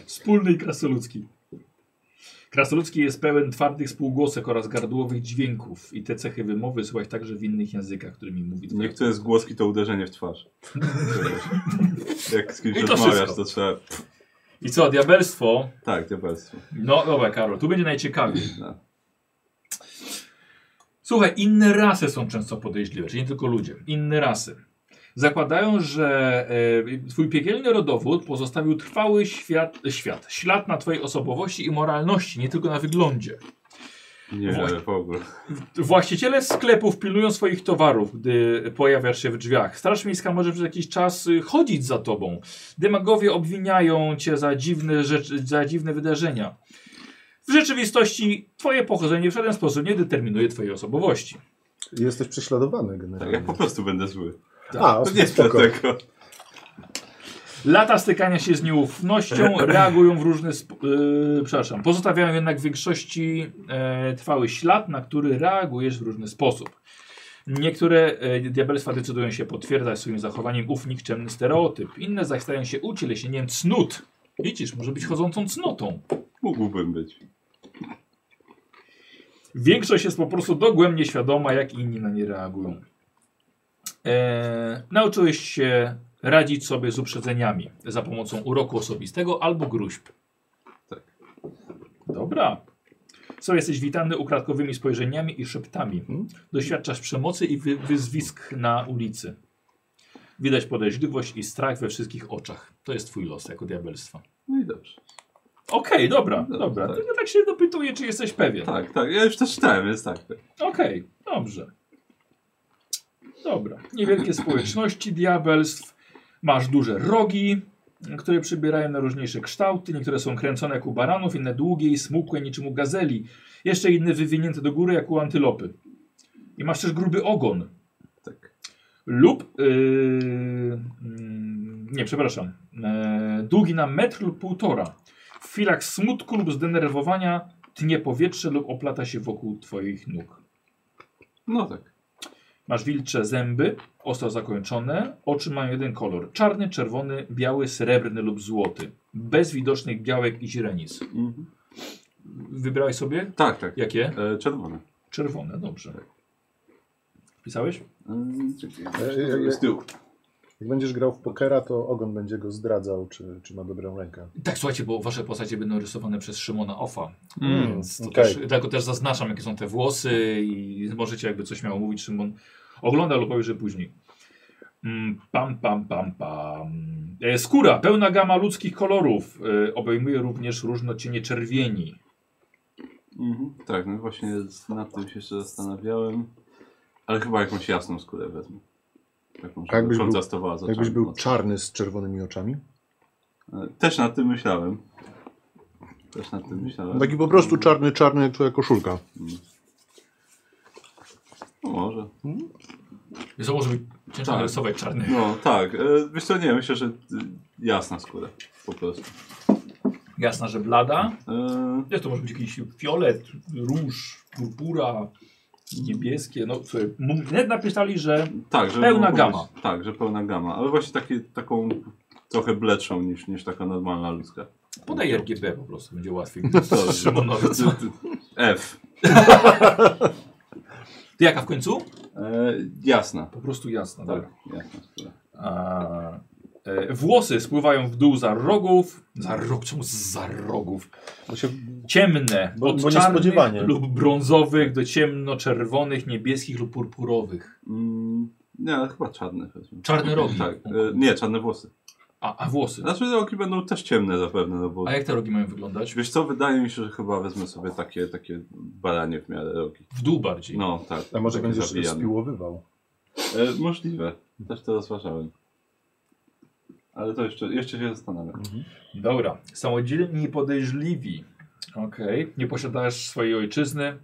Speaker 1: Wspólny i krasoludzki. Krasoludzki jest pełen twardych spółgłosek oraz gardłowych dźwięków i te cechy wymowy słychać także w innych językach, którymi mówi twoja
Speaker 3: Niektóre z głoski to uderzenie w
Speaker 4: <laughs>
Speaker 3: twarz. Jak z kimś
Speaker 1: I to
Speaker 3: rozmawiasz,
Speaker 1: wszystko.
Speaker 3: to trzeba...
Speaker 1: I co, diabelstwo?
Speaker 3: Tak, diabelstwo.
Speaker 1: No dobra, Karol, tu będzie najciekawiej.
Speaker 3: No.
Speaker 1: Słuchaj, inne rasy są często podejrzliwe, czyli nie tylko ludzie. Inne rasy. Zakładają, że e, twój piekielny rodowód pozostawił trwały świat, świat, ślad na twojej osobowości i moralności, nie tylko na wyglądzie.
Speaker 3: Nie,
Speaker 1: Właśnie.
Speaker 3: w ogóle.
Speaker 1: Właściciele sklepów pilnują swoich towarów, gdy pojawiasz się w drzwiach. Straż miejska może przez jakiś czas y, chodzić za tobą. Demagowie obwiniają cię za dziwne, rzeczy, za dziwne wydarzenia. W rzeczywistości twoje pochodzenie w żaden sposób nie determinuje twojej osobowości.
Speaker 4: Jesteś prześladowany
Speaker 3: Tak, ja
Speaker 4: generalnie.
Speaker 3: po prostu będę zły.
Speaker 4: A,
Speaker 3: To nie jest
Speaker 4: spoko.
Speaker 3: dlatego.
Speaker 1: Lata stykania się z nieufnością reagują w różny sposób. przepraszam. Pozostawiają jednak w większości e, trwały ślad, na który reagujesz w różny sposób. Niektóre e, diabelstwa decydują się potwierdzać swoim zachowaniem ów nikczemny stereotyp. Inne zaś stają się ucieleśnieniem cnót. Widzisz, może być chodzącą cnotą.
Speaker 3: Mógłbym być.
Speaker 1: Większość jest po prostu dogłębnie świadoma, jak inni na nie reagują. E, nauczyłeś się radzić sobie z uprzedzeniami za pomocą uroku osobistego albo gruźb.
Speaker 3: Tak.
Speaker 1: Dobra. Co jesteś witany ukradkowymi spojrzeniami i szeptami.
Speaker 3: Mhm.
Speaker 1: Doświadczasz przemocy i wy wyzwisk na ulicy. Widać podejrzliwość i strach we wszystkich oczach. To jest twój los jako diabelstwa.
Speaker 3: No i dobrze.
Speaker 1: Okej, dobra,
Speaker 3: Dobrze,
Speaker 1: dobra.
Speaker 3: tak.
Speaker 1: Tylko tak się dopytuję, czy jesteś pewien.
Speaker 3: Tak, tak. Ja już też czytałem, więc tak. tak.
Speaker 1: Okej, dobrze. Dobra. Niewielkie społeczności diabelstw. Masz duże rogi, które przybierają na różniejsze kształty. Niektóre są kręcone jak u baranów, inne długie i smukłe niczym u gazeli. Jeszcze inne wywinięte do góry jak u antylopy. I masz też gruby ogon.
Speaker 3: tak.
Speaker 1: Lub, yy, mm, nie przepraszam, yy, długi na metr lub półtora. W chwilach smutku lub zdenerwowania tnie powietrze lub oplata się wokół twoich nóg.
Speaker 3: No tak.
Speaker 1: Masz wilcze zęby, ostro zakończone, oczy mają jeden kolor. Czarny, czerwony, biały, srebrny lub złoty. Bez widocznych białek i źrenic.
Speaker 3: Mhm.
Speaker 1: Wybrałeś sobie?
Speaker 3: Tak, tak.
Speaker 1: Jakie?
Speaker 3: E, czerwone.
Speaker 1: Czerwone, dobrze. Wpisałeś?
Speaker 3: E, czekaj,
Speaker 4: E, e,
Speaker 3: Z tyłu.
Speaker 4: Jak będziesz grał w pokera, to ogon będzie go zdradzał, czy, czy ma dobrą rękę.
Speaker 1: Tak, słuchajcie, bo wasze postacie będą rysowane przez Szymona Offa.
Speaker 5: Mm.
Speaker 1: Więc to
Speaker 4: okej.
Speaker 1: też, dlatego też zaznaczam, jakie są te włosy i możecie jakby coś miało mówić, Szymon ogląda lub obejrzy później. Mm, Pam, pam, pam, pam. E, Skóra, pełna gama ludzkich kolorów. E, Obejmuje również różne cienie czerwieni.
Speaker 3: Mhm. Tak, no właśnie z- nad tym się jeszcze zastanawiałem. Ale chyba jakąś jasną skórę wezmę. Taką, żeby
Speaker 4: Jakbyś był-
Speaker 3: kontrastowała z oczami.
Speaker 4: Jakbyś był
Speaker 3: mocno.
Speaker 4: czarny z czerwonymi oczami.
Speaker 3: E, Też nad tym myślałem. Też nad tym myślałem.
Speaker 4: Taki po prostu czarny, czarny jak twoja koszulka.
Speaker 3: No może.
Speaker 1: Więc to może być ciężko
Speaker 3: Tak.
Speaker 1: rysować czarny.
Speaker 3: No tak. E, Wiesz co, nie, myślę, że y, jasna skóra. Po prostu.
Speaker 1: Jasna, że blada.
Speaker 3: E,
Speaker 1: Wiesz, to może być jakiś fiolet, róż, purpura, niebieskie. No, słuchaj, mów- nawet napisali, że
Speaker 3: tak, że
Speaker 1: Pełna
Speaker 3: mogło
Speaker 1: gama.
Speaker 3: Być, tak, że pełna gama. Ale właśnie takie, taką trochę bledszą niż, niż taka normalna ludzka.
Speaker 1: podaj RGB po prostu, będzie <laughs> łatwiej.
Speaker 3: Sorry.
Speaker 1: Szymonowi.
Speaker 3: <laughs> F.
Speaker 1: Ty jaka w końcu?
Speaker 3: E, jasna.
Speaker 1: Po prostu jasna, tak.
Speaker 3: Tak, jasna skóra.
Speaker 1: A, e, włosy spływają w dół za rogów. Za rog, czemu za rogów?
Speaker 4: Bo się
Speaker 1: Ciemne,
Speaker 4: Bo-
Speaker 1: od
Speaker 4: bo niespodziewanie.
Speaker 1: czarnych lub brązowych do ciemno-czerwonych, niebieskich lub purpurowych.
Speaker 3: Mm, nie, ale chyba czarne. wezmę.
Speaker 1: Czarne rogi.
Speaker 3: Tak. E, nie, czarne włosy.
Speaker 1: A, a włosy.
Speaker 3: Znaczy te oki będą też ciemne zapewne, no bo...
Speaker 1: A jak te rogi mają wyglądać?
Speaker 3: Wiesz co, wydaje mi się, że chyba wezmę sobie takie, takie baranie w miarę rogi.
Speaker 1: W dół bardziej.
Speaker 3: No tak.
Speaker 4: A może
Speaker 3: takie
Speaker 4: będziesz
Speaker 3: zawijane.
Speaker 4: spiłowywał.
Speaker 3: E, możliwe. Też to rozważałem. Ale to jeszcze, jeszcze się zastanawiam.
Speaker 4: Mhm.
Speaker 1: Dobra. Samodzielni i podejrzliwi. Okej. Nie posiadasz swojej ojczyzny.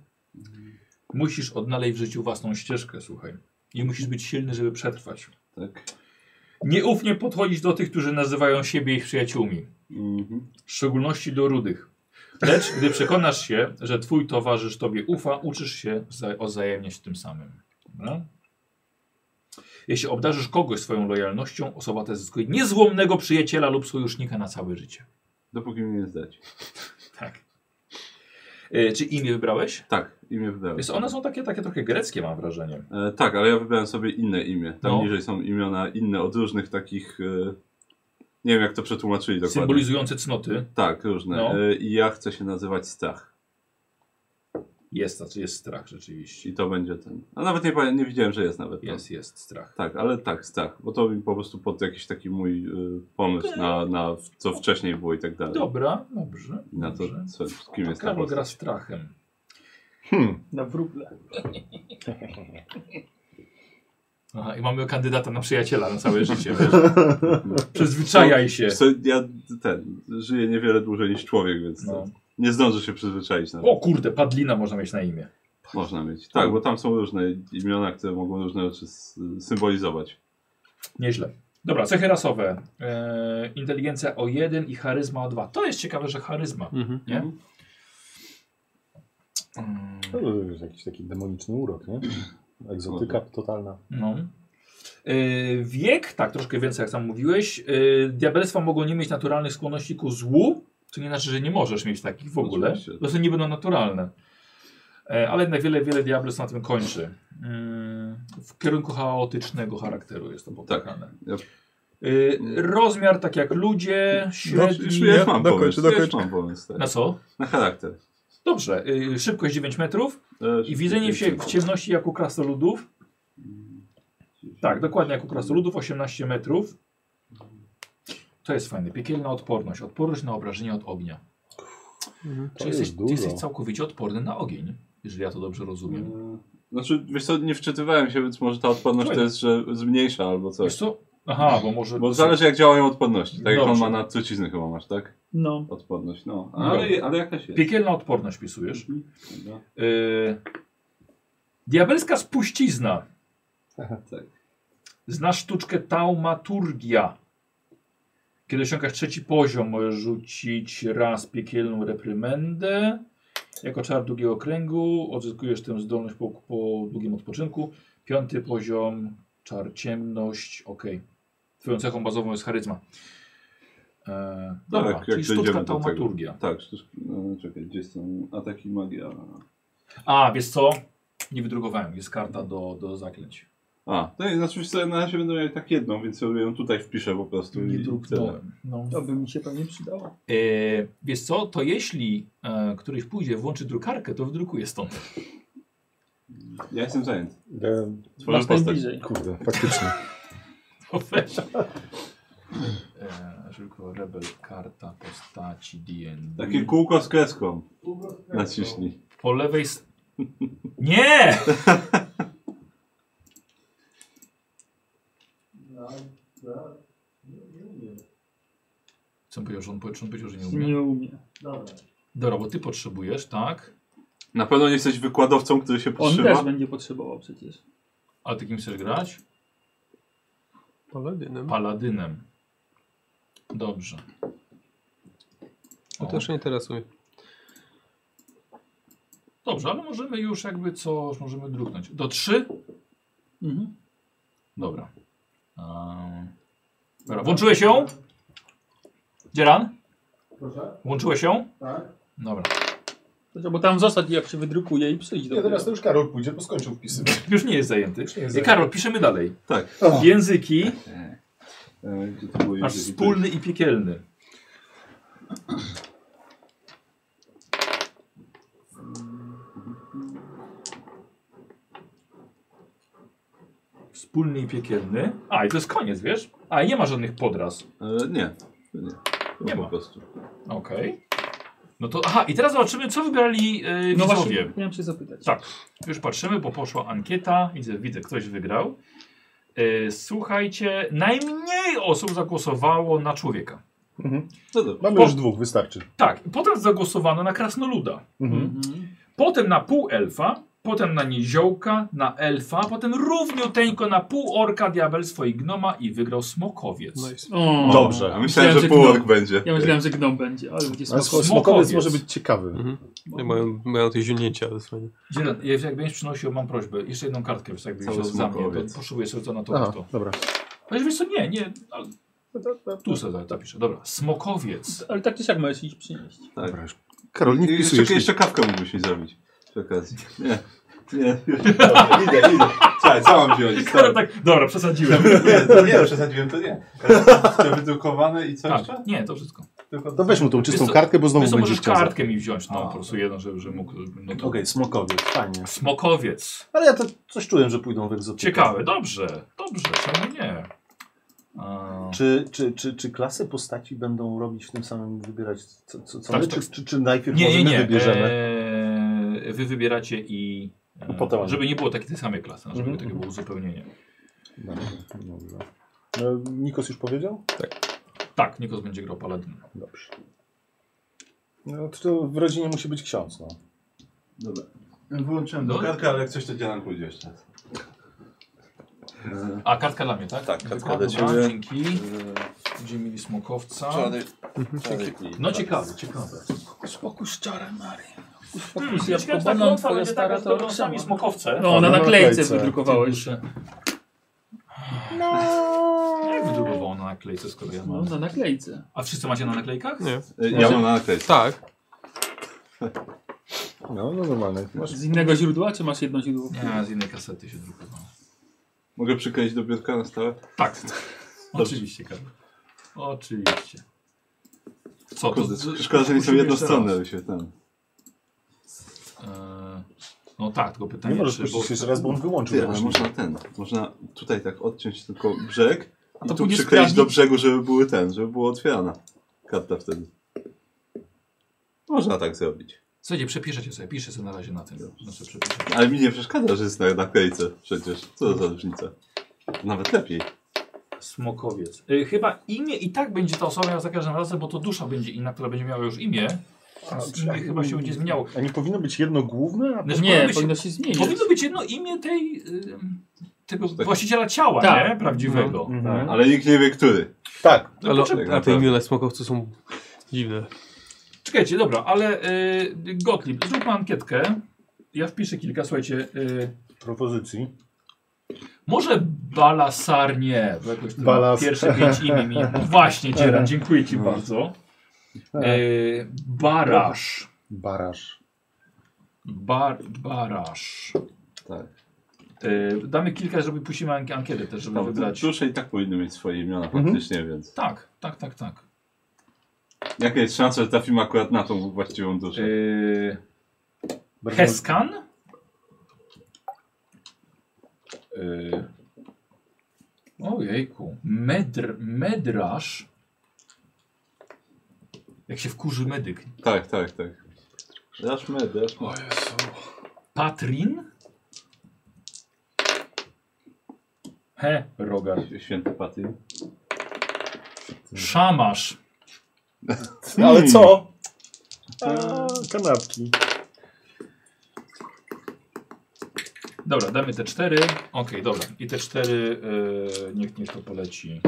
Speaker 1: Musisz odnaleźć w życiu własną ścieżkę, słuchaj. I musisz być silny, żeby przetrwać.
Speaker 3: Tak?
Speaker 1: Nieufnie podchodzić do tych, którzy nazywają siebie ich przyjaciółmi.
Speaker 3: Mhm.
Speaker 1: w szczególności do rudych. Lecz gdy przekonasz się, że twój towarzysz tobie ufa, uczysz się za- odwzajemniać tym samym. Dobra? Jeśli obdarzysz kogoś swoją lojalnością, osoba ta zyskuje niezłomnego przyjaciela lub sojusznika na całe życie.
Speaker 3: Dopóki mnie nie zdać.
Speaker 1: Tak. E, czy imię wybrałeś?
Speaker 3: Tak, imię wybrałem.
Speaker 1: Więc one są takie, takie trochę greckie, mam wrażenie.
Speaker 3: E, tak, ale ja wybrałem sobie inne imię. Tam
Speaker 1: No.
Speaker 3: niżej są imiona inne od różnych takich... E, nie wiem jak to przetłumaczyli dokładnie.
Speaker 1: Symbolizujące cnoty.
Speaker 3: Tak, różne.
Speaker 1: No.
Speaker 3: E, I ja chcę się nazywać Stach.
Speaker 1: Jest, znaczy jest strach rzeczywiście.
Speaker 3: I to będzie ten. A nawet nie, pa- nie widziałem, że jest nawet. tam.
Speaker 1: Jest, jest strach.
Speaker 3: Tak, ale tak, tak. Bo to mi po prostu pod jakiś taki mój y, pomysł na, na w- co wcześniej było i tak dalej.
Speaker 1: Dobra, dobrze.
Speaker 3: I na to,
Speaker 1: dobrze.
Speaker 3: co, z kim jest ta
Speaker 1: Karol gra
Speaker 3: postać.
Speaker 1: strachem.
Speaker 6: Na wróble.
Speaker 1: Aha, i mamy kandydata na przyjaciela na całe życie. wiesz. Przyzwyczajaj się.
Speaker 3: Co, ja ten, żyję niewiele dłużej niż człowiek, więc
Speaker 1: No.
Speaker 3: to- nie zdążę się przyzwyczaić nawet.
Speaker 1: O kurde, padlina można mieć na imię.
Speaker 3: Można mieć. Tak, bo tam są różne imiona, które mogą różne rzeczy s- symbolizować.
Speaker 1: Nieźle. Dobra, cechy rasowe. E, inteligencja o 1 i charyzma o 2. To jest ciekawe, że charyzma.
Speaker 5: Mhm.
Speaker 1: Nie?
Speaker 4: To jest jakiś taki demoniczny urok, nie? Egzotyka totalna.
Speaker 1: No. E, wiek, tak, troszkę więcej, jak sam mówiłeś. E, diabelstwa mogą nie mieć naturalnych skłonności ku złu. To nie znaczy, że nie możesz mieć takich w ogóle.
Speaker 3: Oczywiście.
Speaker 1: Po prostu nie będą naturalne. E, ale jednak wiele, wiele diabelstw na tym kończy. Mm, w kierunku chaotycznego charakteru jest to popłakane.
Speaker 3: Tak, Ja- No,
Speaker 1: Y, rozmiar, tak jak ludzie,
Speaker 3: Już
Speaker 1: średni.
Speaker 3: ja
Speaker 5: Ja-
Speaker 3: mam
Speaker 5: dokończ,
Speaker 3: pomysł. Ja już
Speaker 5: dokończ.
Speaker 3: mam pomysł. Tak.
Speaker 1: Na co?
Speaker 3: Na charakter.
Speaker 1: Dobrze. Y, szybkość 9 metrów
Speaker 3: E,
Speaker 1: i widzenie w, sie- w ciemności jak u krasnoludów. Tak, dokładnie jak u krasnoludów, 18 metrów. To jest fajne. Piekielna odporność. Odporność na obrażenie od ognia.
Speaker 4: To
Speaker 1: Czy jesteś,
Speaker 4: jest
Speaker 1: ty
Speaker 4: dużo.
Speaker 1: jesteś całkowicie odporny na ogień, jeżeli ja to dobrze rozumiem.
Speaker 3: Znaczy, wiesz co, nie wczytywałem się, więc może ta odporność to jest, że zmniejsza albo
Speaker 4: Tak.
Speaker 3: coś.
Speaker 1: Wiesz co? Aha, bo może...
Speaker 3: Bo zależy jak działają odporności. Tak jak on
Speaker 1: Dobrze.
Speaker 3: ma na trucizny chyba masz, tak?
Speaker 6: No.
Speaker 3: Odporność, no.
Speaker 1: No.
Speaker 3: Ale, ale jakaś jest.
Speaker 1: Piekielna odporność pisujesz.
Speaker 3: Dobra.
Speaker 1: Y, diabelska spuścizna.
Speaker 3: Tak.
Speaker 1: Znasz sztuczkę taumaturgia. Kiedy osiągasz trzeci poziom, możesz rzucić raz piekielną reprymendę. Jako czar długiego kręgu odzyskujesz tę zdolność po, po długim odpoczynku. Piąty poziom, czar ciemność, ok. Twoją cechą bazową jest charyzma. E, dobra,
Speaker 3: Tak,
Speaker 1: czyli
Speaker 3: jak dojdziemy
Speaker 1: sztuczka
Speaker 3: do tego.
Speaker 1: taumaturgia.
Speaker 3: Tak, sztuczki. No, czekaj, gdzie są ataki magia?
Speaker 1: A, wiesz co? Nie wydrukowałem, jest karta do, do zaklęć.
Speaker 3: A, to jest, znaczy wiesz co, na razie będę miał i tak jedną, więc sobie ją tutaj wpiszę po prostu.
Speaker 1: Nie
Speaker 3: i tyle.
Speaker 1: druknąłem. No.
Speaker 6: To by mi się pewnie przydało.
Speaker 1: E, wiesz co, to jeśli e, któryś pójdzie, włączy drukarkę, to wydrukuje stąd. <laughs>
Speaker 3: Ja jestem zajęty.
Speaker 4: E,
Speaker 3: Twoją
Speaker 6: Masz
Speaker 3: postać.
Speaker 6: najbliżej.
Speaker 4: Kurde, faktycznie.
Speaker 1: To weź. E, tylko Rebel karta postaci D&D.
Speaker 3: Takie kółko z kreską. Naciśnij.
Speaker 1: Po lewej... s- Nie! Co on powiedział, że on, powie- czy on powiedział, że nie umie?
Speaker 6: Nie umie.
Speaker 1: Dobra, bo ty potrzebujesz, tak?
Speaker 3: Na pewno nie jesteś wykładowcą, który się
Speaker 6: On
Speaker 3: podszywa.
Speaker 6: też będzie potrzebował przecież.
Speaker 1: Ale ty kim chcesz grać?
Speaker 5: Paladynem.
Speaker 1: Paladynem. Dobrze.
Speaker 5: No To też nie interesuje.
Speaker 1: Dobrze, ale możemy już jakby coś, możemy druknąć. Do 3?
Speaker 6: Mhm.
Speaker 1: Dobra. Ehm, Dobra, włączyłeś ją? Dzieran? Proszę? Włączyłeś ją? Tak. Dobra.
Speaker 6: Dobrze, No Bo tam zostać jak się wydrukuje i przyjść do
Speaker 4: Nie, teraz to już Karol pójdzie, bo skończył wpisywać.
Speaker 1: Już nie jest zajęty.
Speaker 4: nie jest
Speaker 1: E,
Speaker 4: zajęty.
Speaker 1: Karol, piszemy dalej.
Speaker 3: Tak.
Speaker 1: Języki,
Speaker 3: E, gdzie to było?
Speaker 1: masz
Speaker 3: Jeżeli to-
Speaker 1: wspólny i piekielny. wspólny i piekielny. A, i to jest koniec, wiesz? A, i nie ma żadnych podraz.
Speaker 3: E, nie. Nie. To
Speaker 1: Nie
Speaker 3: po
Speaker 1: ma.
Speaker 3: prostu.
Speaker 1: Okej. No to, aha, i teraz zobaczymy, co wybrali e,
Speaker 6: No
Speaker 1: widzowie.
Speaker 6: właśnie, miałem się zapytać.
Speaker 1: Tak, już patrzymy, bo poszła ankieta. Widzę, widzę ktoś wygrał. E, słuchajcie, najmniej osób zagłosowało na człowieka.
Speaker 3: No dobra.
Speaker 4: Mamy
Speaker 1: Po-
Speaker 4: już dwóch, wystarczy.
Speaker 1: Tak, potem zagłosowano na krasnoluda.
Speaker 4: Mhm.
Speaker 1: Potem na półelfa, potem na niziołka, na elfa, potem równiuteńko na półorka, diabel swojego gnoma i wygrał smokowiec.
Speaker 5: Nice.
Speaker 6: O,
Speaker 3: Dobrze, a myślałem, że
Speaker 6: gnom-
Speaker 3: półork będzie.
Speaker 6: Ja myślałem, że gnom będzie, ale będzie
Speaker 4: Ale
Speaker 6: spoko.
Speaker 4: smokowiec,
Speaker 1: Smokowiec.
Speaker 4: może być ciekawy.
Speaker 5: Mhm. Nie, mają, mają te ziunięcia, ale fajnie.
Speaker 1: Dzień, jak będziesz przynosił, mam prośbę. Jeszcze jedną kartkę, wiesz, jakby
Speaker 3: Cały
Speaker 1: się za mnie,
Speaker 3: smokowiec.
Speaker 1: to potrzebuję sobie to na to.
Speaker 4: Aha,
Speaker 1: to.
Speaker 4: dobra.
Speaker 1: Ale wiesz co, nie, nie, no, tu sobie zapiszę. Dobra, smokowiec.
Speaker 6: Ale tak czy siak możesz ich przynieść.
Speaker 3: Tak.
Speaker 4: Karol, nie
Speaker 3: I
Speaker 4: wpisujesz.
Speaker 3: Jeszcze,
Speaker 4: nic.
Speaker 3: jeszcze kawkę mógłbyś mi zrobić. Przy <laughs> okazji. Nie. Nie. Dobra, idę, idę. Cześć, co
Speaker 1: <laughs>
Speaker 3: mam wziąć?
Speaker 1: Karol tak, dobra, przesadziłem.
Speaker 3: Nie, to nie, przesadziłem to nie. To wydrukowane i co
Speaker 1: Tak,
Speaker 3: jeszcze?
Speaker 1: nie, to wszystko.
Speaker 3: Tylko...
Speaker 4: To weź mu tą czystą
Speaker 1: Wiesz co-
Speaker 4: kartkę, bo
Speaker 1: Wiesz
Speaker 4: znowu
Speaker 1: co,
Speaker 4: będziesz
Speaker 1: możesz
Speaker 4: chciał. za-
Speaker 1: kartkę mi wziąć, no
Speaker 2: A.
Speaker 1: po prostu jedną, żeby, że mógł. No to...
Speaker 2: Okej, smokowiec, fajnie.
Speaker 1: Smokowiec.
Speaker 2: Ale ja to coś czułem, że pójdą w egzotykę.
Speaker 1: Ciekawe, dobrze, dobrze, czemu nie? A...
Speaker 2: Czy, czy, czy, czy klasy postaci będą robić w tym samym, wybierać co, co, co
Speaker 1: Tak,
Speaker 2: my,
Speaker 1: tak.
Speaker 2: Czy, czy, czy najpierw
Speaker 1: Nie,
Speaker 2: może
Speaker 1: nie,
Speaker 2: my
Speaker 1: nie.
Speaker 2: wybierzemy?
Speaker 1: Eee, wy wybieracie i. e,
Speaker 2: Potem.
Speaker 1: Żeby nie było takiej tej samej klasy, no, żeby
Speaker 2: Mhm,
Speaker 1: takie było uzupełnienie.
Speaker 2: Dobra,
Speaker 1: E-
Speaker 2: dobrze.
Speaker 4: No, Nikos już powiedział?
Speaker 1: Tak, Nikos będzie grał Paladin.
Speaker 4: Dobrze. No to- to w rodzinie musi być ksiądz, no.
Speaker 3: Dobra. Wyłączyłem
Speaker 1: No.
Speaker 3: drukarkę, ale jak coś to dzielam pójdzie jeszcze.
Speaker 1: A, kartka dla mnie, tak?
Speaker 3: Tak, kartka
Speaker 1: Zwykła,
Speaker 3: dla
Speaker 1: dobra,
Speaker 3: ciebie.
Speaker 1: Dzięki. Będziemy mieli smokowca.
Speaker 3: Mhm.
Speaker 1: No ciekawe, ciekawe.
Speaker 6: Spokój z czarem, Mary.
Speaker 1: Hmm,
Speaker 6: Spokój z jabłką,
Speaker 1: ciekawe,
Speaker 6: banan,
Speaker 1: łatwa
Speaker 6: twoja
Speaker 1: będzie tak,
Speaker 6: stara
Speaker 1: taka z
Speaker 6: to
Speaker 1: dobrosami
Speaker 6: Roxana.
Speaker 1: smokowce.
Speaker 6: No, na
Speaker 4: na
Speaker 6: naklejce
Speaker 4: naklejce.
Speaker 6: wydrukowałeś.
Speaker 1: Jak wydrukowało na naklejce, skoro ja
Speaker 6: No,
Speaker 1: mam?
Speaker 6: na naklejce.
Speaker 1: A wszyscy macie na naklejkach?
Speaker 5: Nie.
Speaker 3: E, Ja mam na naklejce.
Speaker 5: Tak.
Speaker 4: No, no normalne.
Speaker 6: Z innego źródła, czy masz jedno źródło?
Speaker 1: Nie, z innej kasety się drukowało.
Speaker 3: Mogę przykleić do biurka na stałe?
Speaker 1: Tak. Oczywiście, Karol. Oczywiście. Co No to?
Speaker 3: Kurde,
Speaker 1: z-
Speaker 3: szkoda, że nie są
Speaker 1: musimy jeszcze
Speaker 3: jednostronne.
Speaker 1: raz.
Speaker 3: by Się tam.
Speaker 1: Eee, No tak, tylko pytanie,
Speaker 4: Nie możesz
Speaker 1: czy...
Speaker 4: puścić jeszcze raz, bo on wyłączył.
Speaker 3: Ty,
Speaker 4: to
Speaker 3: ale
Speaker 4: właśnie.
Speaker 3: można ten, można tutaj tak odciąć tylko brzeg i
Speaker 6: to
Speaker 3: tu
Speaker 6: pójdzie
Speaker 3: przykleić
Speaker 6: sprawdzić?
Speaker 3: do brzegu, żeby były ten, żeby była otwierana karta wtedy. Można tak zrobić.
Speaker 1: Słuchajcie, przepiszecie sobie, piszę sobie na razie na tym. Znaczy, przepiszę.
Speaker 3: Ale mi nie przeszkadza, że jest na naklejce przecież. Co za różnica. Nawet lepiej.
Speaker 1: Smokowiec. Y, chyba imię i tak będzie ta osoba miała za każdym razem, bo to dusza będzie inna, która będzie miała już imię. Więc
Speaker 4: czy-
Speaker 1: imię chyba się będzie zmieniało.
Speaker 2: No
Speaker 4: A nie powinno być jedno główne? A...
Speaker 1: Znaczy,
Speaker 6: Nie,
Speaker 1: powinno,
Speaker 6: powinno
Speaker 1: być,
Speaker 6: się zmienić.
Speaker 1: powinno być jedno imię tej... y, tego
Speaker 3: Tak.
Speaker 1: właściciela ciała,
Speaker 6: Tak.
Speaker 1: nie? Prawdziwego.
Speaker 2: No.
Speaker 4: Mhm.
Speaker 3: Ale nikt nie wie, który.
Speaker 4: Tak.
Speaker 1: No
Speaker 5: Ale,
Speaker 1: poczekaj,
Speaker 5: a te
Speaker 3: naprawdę.
Speaker 5: imiona smokowców są dziwne.
Speaker 1: Czekajcie, dobra, ale y, Gottlieb, zróbmy ankietkę. Ja wpiszę kilka, słuchajcie. Y,
Speaker 4: Propozycji.
Speaker 1: może Balasarnie, bo jakoś to
Speaker 4: Balas.
Speaker 1: pierwsze pięć imię mi. Właśnie, Dzieran, dziękuję ci
Speaker 3: No.
Speaker 1: bardzo. Y, barasz.
Speaker 4: Baraż.
Speaker 1: Bar, barasz.
Speaker 3: Tak.
Speaker 1: Y, damy kilka, żeby puścimy ank- ankietę też, żeby
Speaker 3: Tam
Speaker 1: wybrać.
Speaker 3: dusze i tak powinny mieć swoje imiona
Speaker 4: Mhm.
Speaker 3: faktycznie, więc.
Speaker 1: Tak, tak, tak, tak.
Speaker 3: Jaka jest szansa, że trafimy akurat na tą właściwą duszę?
Speaker 1: Y, Heskan. Yy. Ojejku. Medr, medrasz. Jak się wkurzy medyk.
Speaker 3: Tak, tak, tak. Dasz me, dasz me.
Speaker 1: Patrin. He, rogar.
Speaker 3: Święty Patyn.
Speaker 1: Szamasz. No,
Speaker 4: Ale co? A, kanapki.
Speaker 1: Dobra, damy te cztery. Okej, dobra. I te cztery, yy, niech, niech to poleci.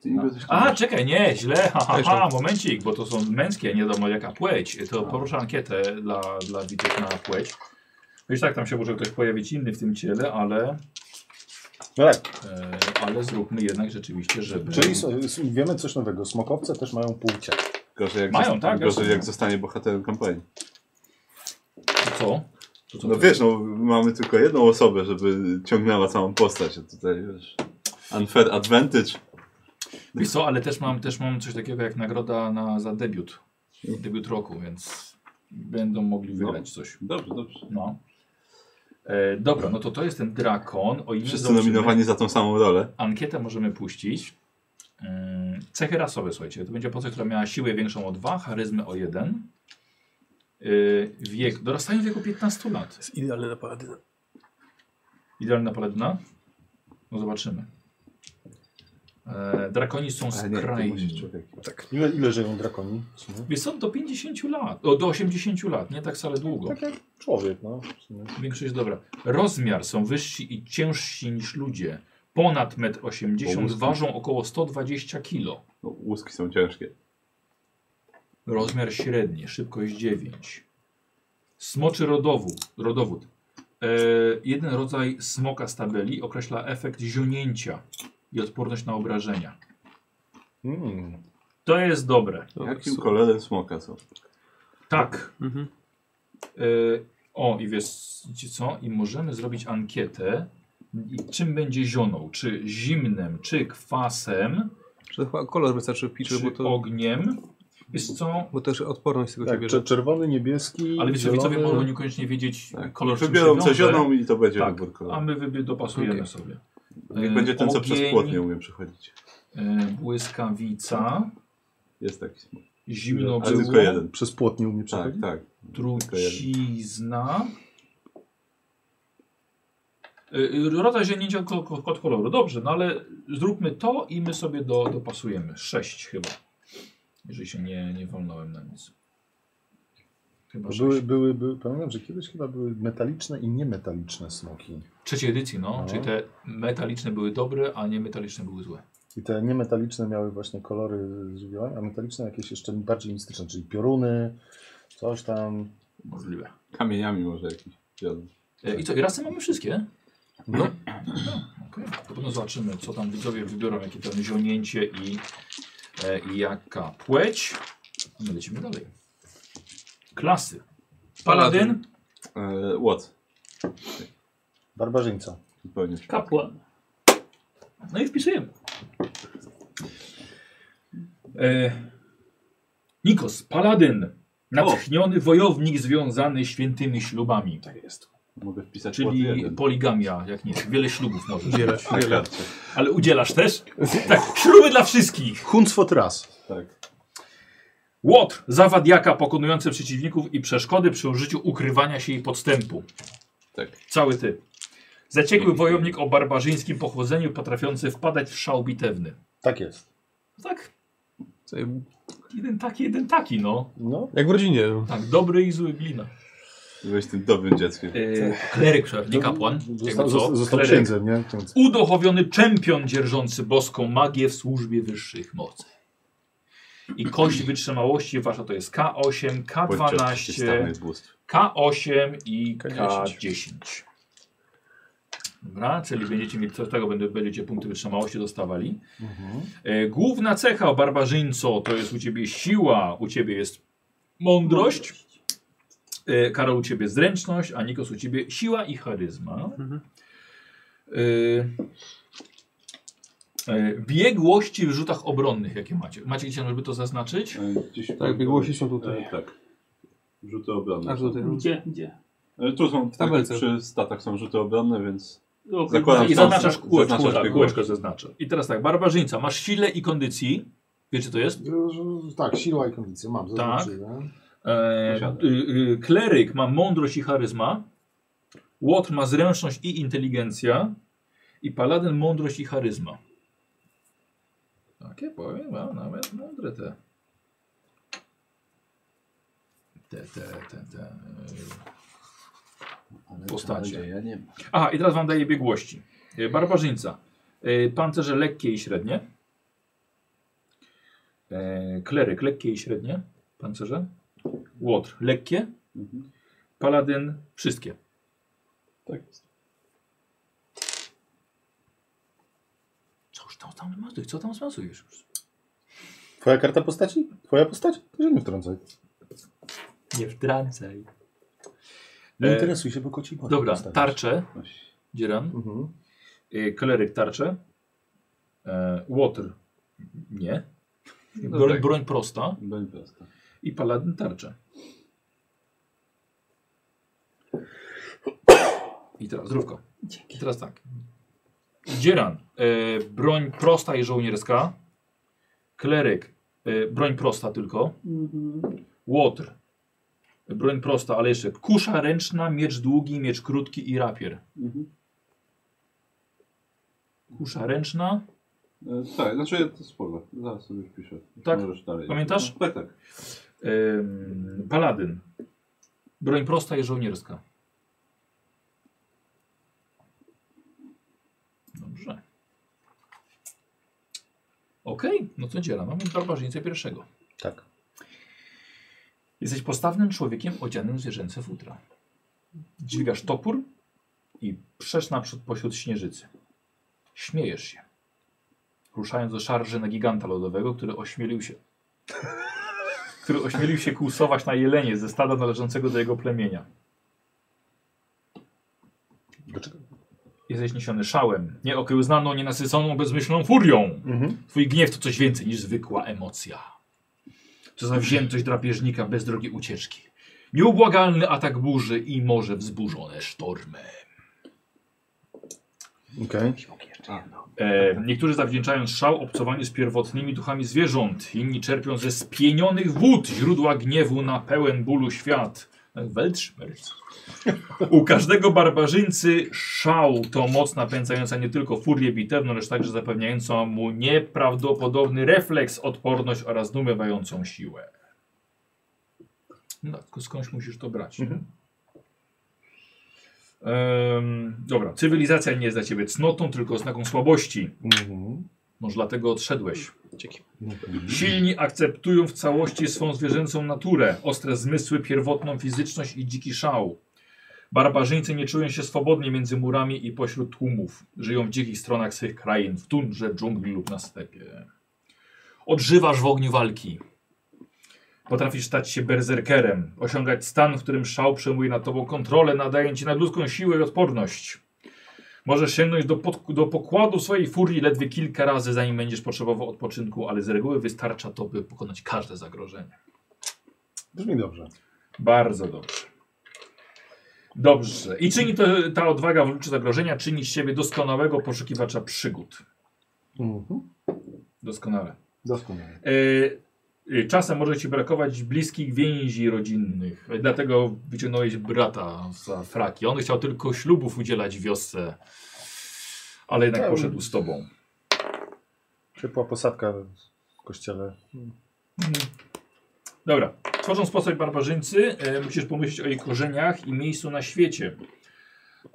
Speaker 3: Ty niby coś tam
Speaker 1: A,
Speaker 3: masz.
Speaker 1: czekaj, nie, źle. Ha, ha,
Speaker 5: Też
Speaker 1: ha,
Speaker 5: tam.
Speaker 1: momencik, bo to są męskie, nie wiadomo jaka płeć. To poruszę ankietę dla, dla widzów na płeć. Wiesz, tak, tam się może ktoś pojawić inny w tym ciele, ale,
Speaker 4: No tak.
Speaker 1: e, ale zróbmy jednak rzeczywiście, żeby.
Speaker 4: Czyli so- s- wiemy coś nowego. Smokowce też mają płcie.
Speaker 3: Gorzej jak,
Speaker 1: Mają,
Speaker 3: zosta-
Speaker 1: tak,
Speaker 3: gorzej
Speaker 1: jasne.
Speaker 3: jak zostanie bohaterem kampanii.
Speaker 1: Co? To co
Speaker 3: No
Speaker 1: to
Speaker 3: wiesz, no mamy tylko jedną osobę, żeby ciągnęła całą postać. A tutaj wiesz. Unfair advantage.
Speaker 1: Wiesz co, ale też mam, też mam coś takiego jak nagroda na, za debiut. Debiut roku, więc będą mogli wygrać coś.
Speaker 3: Dobrze, dobrze.
Speaker 1: No. E, dobra, no to to jest ten drakon. O imię
Speaker 3: Wszyscy
Speaker 1: zobaczymy.
Speaker 3: nominowani za tą samą rolę.
Speaker 1: Ankietę możemy puścić. Mm, Cechy rasowe, słuchajcie. To będzie postać, która miała siłę większą o 2, charyzmę o 1. Wiek, dorastają w wieku 15 lat.
Speaker 5: jest idealny na paladyna.
Speaker 1: Idealna paladyna? No zobaczymy. E, drakoni są
Speaker 3: Ale nie, to musisz
Speaker 1: skrajni.
Speaker 3: człowiek.
Speaker 5: Tak.
Speaker 2: Ile, ile żyją drakoni? w sumie?
Speaker 1: Wiesz co, do 50 lat, o, do 80 lat, nie tak wcale długo.
Speaker 2: Tak jak człowiek, no. w sumie.
Speaker 1: Większość dobra. Rozmiar są wyżsi i ciężsi niż ludzie. Ponad 1,80 m
Speaker 3: Połuski.
Speaker 1: ważą około 120 kg.
Speaker 3: No, łuski są ciężkie.
Speaker 1: Rozmiar średni, szybkość 9. Smoczy rodowód. rodowód. E, jeden rodzaj smoka z tabeli określa efekt zionięcia i odporność na obrażenia.
Speaker 4: Hmm.
Speaker 2: Mm.
Speaker 1: To jest dobre.
Speaker 5: No,
Speaker 3: Jakim kolorem smoka są?
Speaker 1: Tak.
Speaker 5: Mhm.
Speaker 1: E, o, i wiesz co? I możemy zrobić ankietę. I czym będzie zioną? Czy zimnem, czy kwasem,
Speaker 5: Że chyba kolor wystarczy wpisze,
Speaker 1: czy
Speaker 5: bo to...
Speaker 1: ogniem? Wiesz co?
Speaker 5: Bo też odporność z tego się
Speaker 4: Tak,
Speaker 5: bierze.
Speaker 4: cze- czerwony, niebieski,
Speaker 1: Ale wiesz, co,
Speaker 4: zielony.
Speaker 1: widzowie mogą niekoniecznie wiedzieć
Speaker 3: Tak.
Speaker 1: kolor, z czym
Speaker 3: Wybiorą
Speaker 1: się
Speaker 3: coś
Speaker 1: wiąże,
Speaker 3: zioną i to będzie
Speaker 1: Tak.
Speaker 3: wybór
Speaker 1: a
Speaker 3: koloru.
Speaker 1: my wybie- dopasujemy
Speaker 5: Okej.
Speaker 1: sobie.
Speaker 3: Niech
Speaker 1: e,
Speaker 3: będzie ten, co przez
Speaker 1: ogień.
Speaker 3: płot nie umie przechodzić.
Speaker 1: E, Błyskawica,
Speaker 3: Jest taki smok.
Speaker 1: zimno
Speaker 3: Ale tylko
Speaker 1: było,
Speaker 3: jeden.
Speaker 4: Przez płot nie umie
Speaker 3: Tak,
Speaker 4: przechodzić.
Speaker 3: tak.
Speaker 1: trucizna. E, Rodzaj zielnięcia ko- ko- od koloru. Dobrze, no ale zróbmy to i my sobie do, dopasujemy. Sześć chyba. Jeżeli się nie, nie wolnąłem na nic. Chyba
Speaker 4: Bo
Speaker 1: sześć.
Speaker 4: Były, były, były, pamiętam, że kiedyś chyba były metaliczne i niemetaliczne smoki.
Speaker 1: Trzeciej edycji, no.
Speaker 4: No.
Speaker 1: Czyli te metaliczne były dobre, a nie metaliczne były złe.
Speaker 4: I te niemetaliczne miały właśnie kolory żywioła, a metaliczne jakieś jeszcze bardziej mistyczne, czyli pioruny, coś tam.
Speaker 1: Możliwe.
Speaker 3: Kamieniami może jakiś. wiadomo.
Speaker 1: E, I co, i razem mamy wszystkie?
Speaker 4: No,
Speaker 1: Okej, to potem zobaczymy, co tam widzowie wybiorą, jakie tam zionięcie i, e, i jaka płeć. My lecimy dalej. Klasy. Paladyn,
Speaker 3: E, Łot.
Speaker 4: barbarzyńca.
Speaker 3: Zupełnie.
Speaker 6: Kapłan.
Speaker 1: no i wpisujemy. E, Nikos, paladyn. Natchniony wojownik związany świętymi ślubami. Tak jest.
Speaker 3: Mogę wpisać łot
Speaker 1: Czyli
Speaker 3: jeden. Tak,
Speaker 1: poligamia, jak nie, wiele ślubów możesz.
Speaker 5: Wiele,
Speaker 3: Na
Speaker 5: wiele.
Speaker 3: karcie.
Speaker 1: Ale udzielasz też? <laughs> Tak, śluby dla wszystkich.
Speaker 4: Hunsfot raz.
Speaker 3: Tak.
Speaker 1: Łotr, zawadiaka pokonujący przeciwników i przeszkody przy użyciu ukrywania się i podstępu.
Speaker 3: Tak.
Speaker 1: Cały typ. Zaciekły wojownik o barbarzyńskim pochodzeniu, potrafiący wpadać w szał bitewny.
Speaker 4: Tak jest.
Speaker 1: Tak,
Speaker 5: Co,
Speaker 1: jeden taki, jeden taki, no.
Speaker 4: No,
Speaker 5: Jak w rodzinie. no.
Speaker 1: Tak, dobry i zły glina.
Speaker 3: Byłeś tym dobrym dzieckiem.
Speaker 1: Yy, kleryk, przepraszam, nie kapłan.
Speaker 4: E, został,
Speaker 1: Jakby co?
Speaker 4: zosta- został
Speaker 1: Kleryk.
Speaker 4: księdzem, nie? Więc
Speaker 1: Udochowiony czempion dzierżący boską magię w służbie wyższych mocy. I kość wytrzymałości wasza to jest K8,
Speaker 3: Podczas
Speaker 1: K12,
Speaker 3: stannych bóstw.
Speaker 1: K8 i
Speaker 5: K10.
Speaker 1: K10. Dobra, czyli będziecie mieć, z tego będę- będziecie punkty wytrzymałości dostawali. E, główna cecha barbarzyńco to jest u ciebie siła, u ciebie jest mądrość, e, Karol u ciebie zręczność, a Nikos u ciebie siła i charyzma.
Speaker 5: Mhm.
Speaker 1: E, e, biegłości w rzutach obronnych, jakie macie. Macie gdzie żeby to zaznaczyć?
Speaker 3: E, gdzieś
Speaker 5: Tak,
Speaker 3: tam-
Speaker 5: biegłości są tutaj.
Speaker 3: E, tak. Rzuty obronne.
Speaker 5: Aż do tej.
Speaker 6: Gdzie? Gdzie?
Speaker 3: E, Tu są w tabelce.
Speaker 5: tabelce.
Speaker 3: Przy statach są rzuty obronne, więc
Speaker 6: O,
Speaker 3: Zakładam,
Speaker 1: I
Speaker 3: że-
Speaker 1: zaznaczasz kółeczko,
Speaker 3: zaznaczasz
Speaker 1: tak,
Speaker 3: biegłość.
Speaker 1: kółeczko zaznaczę. I teraz tak, barbarzyńca, masz sile i kondycji. Wiesz, co to jest?
Speaker 4: Tak, siła i kondycja mam,
Speaker 1: Tak.
Speaker 4: zaznaczyłem.
Speaker 1: Eee,
Speaker 3: Posiada.
Speaker 1: y, y, kleryk ma mądrość i charyzma. Łotr ma zręczność i inteligencja. I paladyn mądrość i charyzma. Takie powiem wam, nawet mądre te. Te, te, te, te. eee. Postacie.
Speaker 3: Ja nie mam.
Speaker 1: Aha, i teraz wam daję biegłości. E, Barbarzyńca. E, Pancerze lekkie i średnie. E, Kleryk lekkie i średnie. Pancerze. Łotr lekkie.
Speaker 3: Mhm.
Speaker 1: Paladyn wszystkie.
Speaker 3: Tak jest.
Speaker 1: Cóż tam, tam masujesz? Co tam zmasujesz już?
Speaker 4: Twoja karta postaci? Twoja postać? To się nie
Speaker 1: E,
Speaker 4: wtrącaj.
Speaker 1: Nie wtrącaj.
Speaker 4: Nie
Speaker 1: E,
Speaker 4: interesuj się, bo koci potem
Speaker 1: Dobra,
Speaker 4: dostaniesz.
Speaker 1: tarcze.
Speaker 3: Oś.
Speaker 1: Dzieran.
Speaker 4: Mhm.
Speaker 1: E, Kleryk tarcze. E, Łotr nie.
Speaker 5: No
Speaker 1: Broń,
Speaker 5: tak.
Speaker 1: broń prosta.
Speaker 3: Broń prosta.
Speaker 1: I paladyn tarcze. I teraz zdrówko. I teraz tak. Dzieran, e, broń prosta i żołnierska. Kleryk, e, broń prosta tylko.
Speaker 6: Mhm.
Speaker 1: Łotr, e, broń prosta, ale jeszcze kusza ręczna, miecz długi, miecz krótki i rapier.
Speaker 6: Mhm.
Speaker 1: Kusza ręczna.
Speaker 3: E, tak, znaczy to sporo. Zaraz sobie wpiszę.
Speaker 1: Tak?
Speaker 3: Możesz dalej.
Speaker 1: Pamiętasz?
Speaker 3: No, tak, tak.
Speaker 1: Ym, Paladyn. Broń prosta i żołnierska. Dobrze. Okej, no co dziela? Mamy barbarzyńcę pierwszego.
Speaker 4: Tak.
Speaker 1: Jesteś postawnym człowiekiem odzianym w zwierzęce futra. Dźwigasz topór i przesz naprzód pośród śnieżycy. Śmiejesz się, ruszając do szarży na giganta lodowego, który ośmielił się <laughs> który ośmielił się kłusować na jelenie ze stada należącego do jego plemienia. Jesteś niesiony szałem, nieokiełznaną, nienasyconą, bezmyślną furią. Twój gniew to coś więcej niż zwykła emocja. To zawziętość drapieżnika bez drogi ucieczki. Nieubłagalny atak burzy i morze wzburzone sztormy.
Speaker 4: Okej.
Speaker 1: E, niektórzy zawdzięczają szał obcowaniu z pierwotnymi duchami zwierząt, inni czerpią ze spienionych wód źródła gniewu na pełen bólu świat. Weltschmerz. U każdego barbarzyńcy szał to moc napędzająca nie tylko furię bitewną, lecz także zapewniająca mu nieprawdopodobny refleks, odporność oraz zdumiewającą siłę. No, tylko skądś musisz to brać. nie? Em, dobra, cywilizacja nie jest dla ciebie cnotą, tylko znaką słabości.
Speaker 4: Mhm.
Speaker 1: Może dlatego odszedłeś.
Speaker 3: Mhm.
Speaker 1: Silni akceptują w całości swą zwierzęcą naturę, ostre zmysły, pierwotną fizyczność i dziki szał. Barbarzyńcy nie czują się swobodnie między murami i pośród tłumów. Żyją w dzikich stronach swych krain, w tundrze, dżungli lub na stepie. Odżywasz w ogniu walki. Potrafisz stać się berserkerem, osiągać stan, w którym szał przejmuje nad tobą kontrolę, nadając ci nadludzką siłę i odporność. Możesz sięgnąć do, pod, do pokładu swojej furii ledwie kilka razy, zanim będziesz potrzebował odpoczynku, ale z reguły wystarcza to, by pokonać każde zagrożenie.
Speaker 4: Brzmi dobrze.
Speaker 1: Bardzo dobrze. Dobrze. I czyni to, ta odwaga w obliczu zagrożenia, czyni z siebie doskonałego poszukiwacza przygód.
Speaker 4: Mhm.
Speaker 1: Doskonale.
Speaker 4: Doskonale.
Speaker 1: E, e, Czasem może ci brakować bliskich więzi rodzinnych, e, dlatego wyciągnąłeś brata za fraki. On chciał tylko ślubów udzielać wiosce, ale jednak
Speaker 4: Tak.
Speaker 1: poszedł z tobą.
Speaker 4: Ciepła posadka w kościele.
Speaker 1: Mhm. Dobra. Tworząc postać barbarzyńcy, e, musisz pomyśleć o jej korzeniach i miejscu na świecie.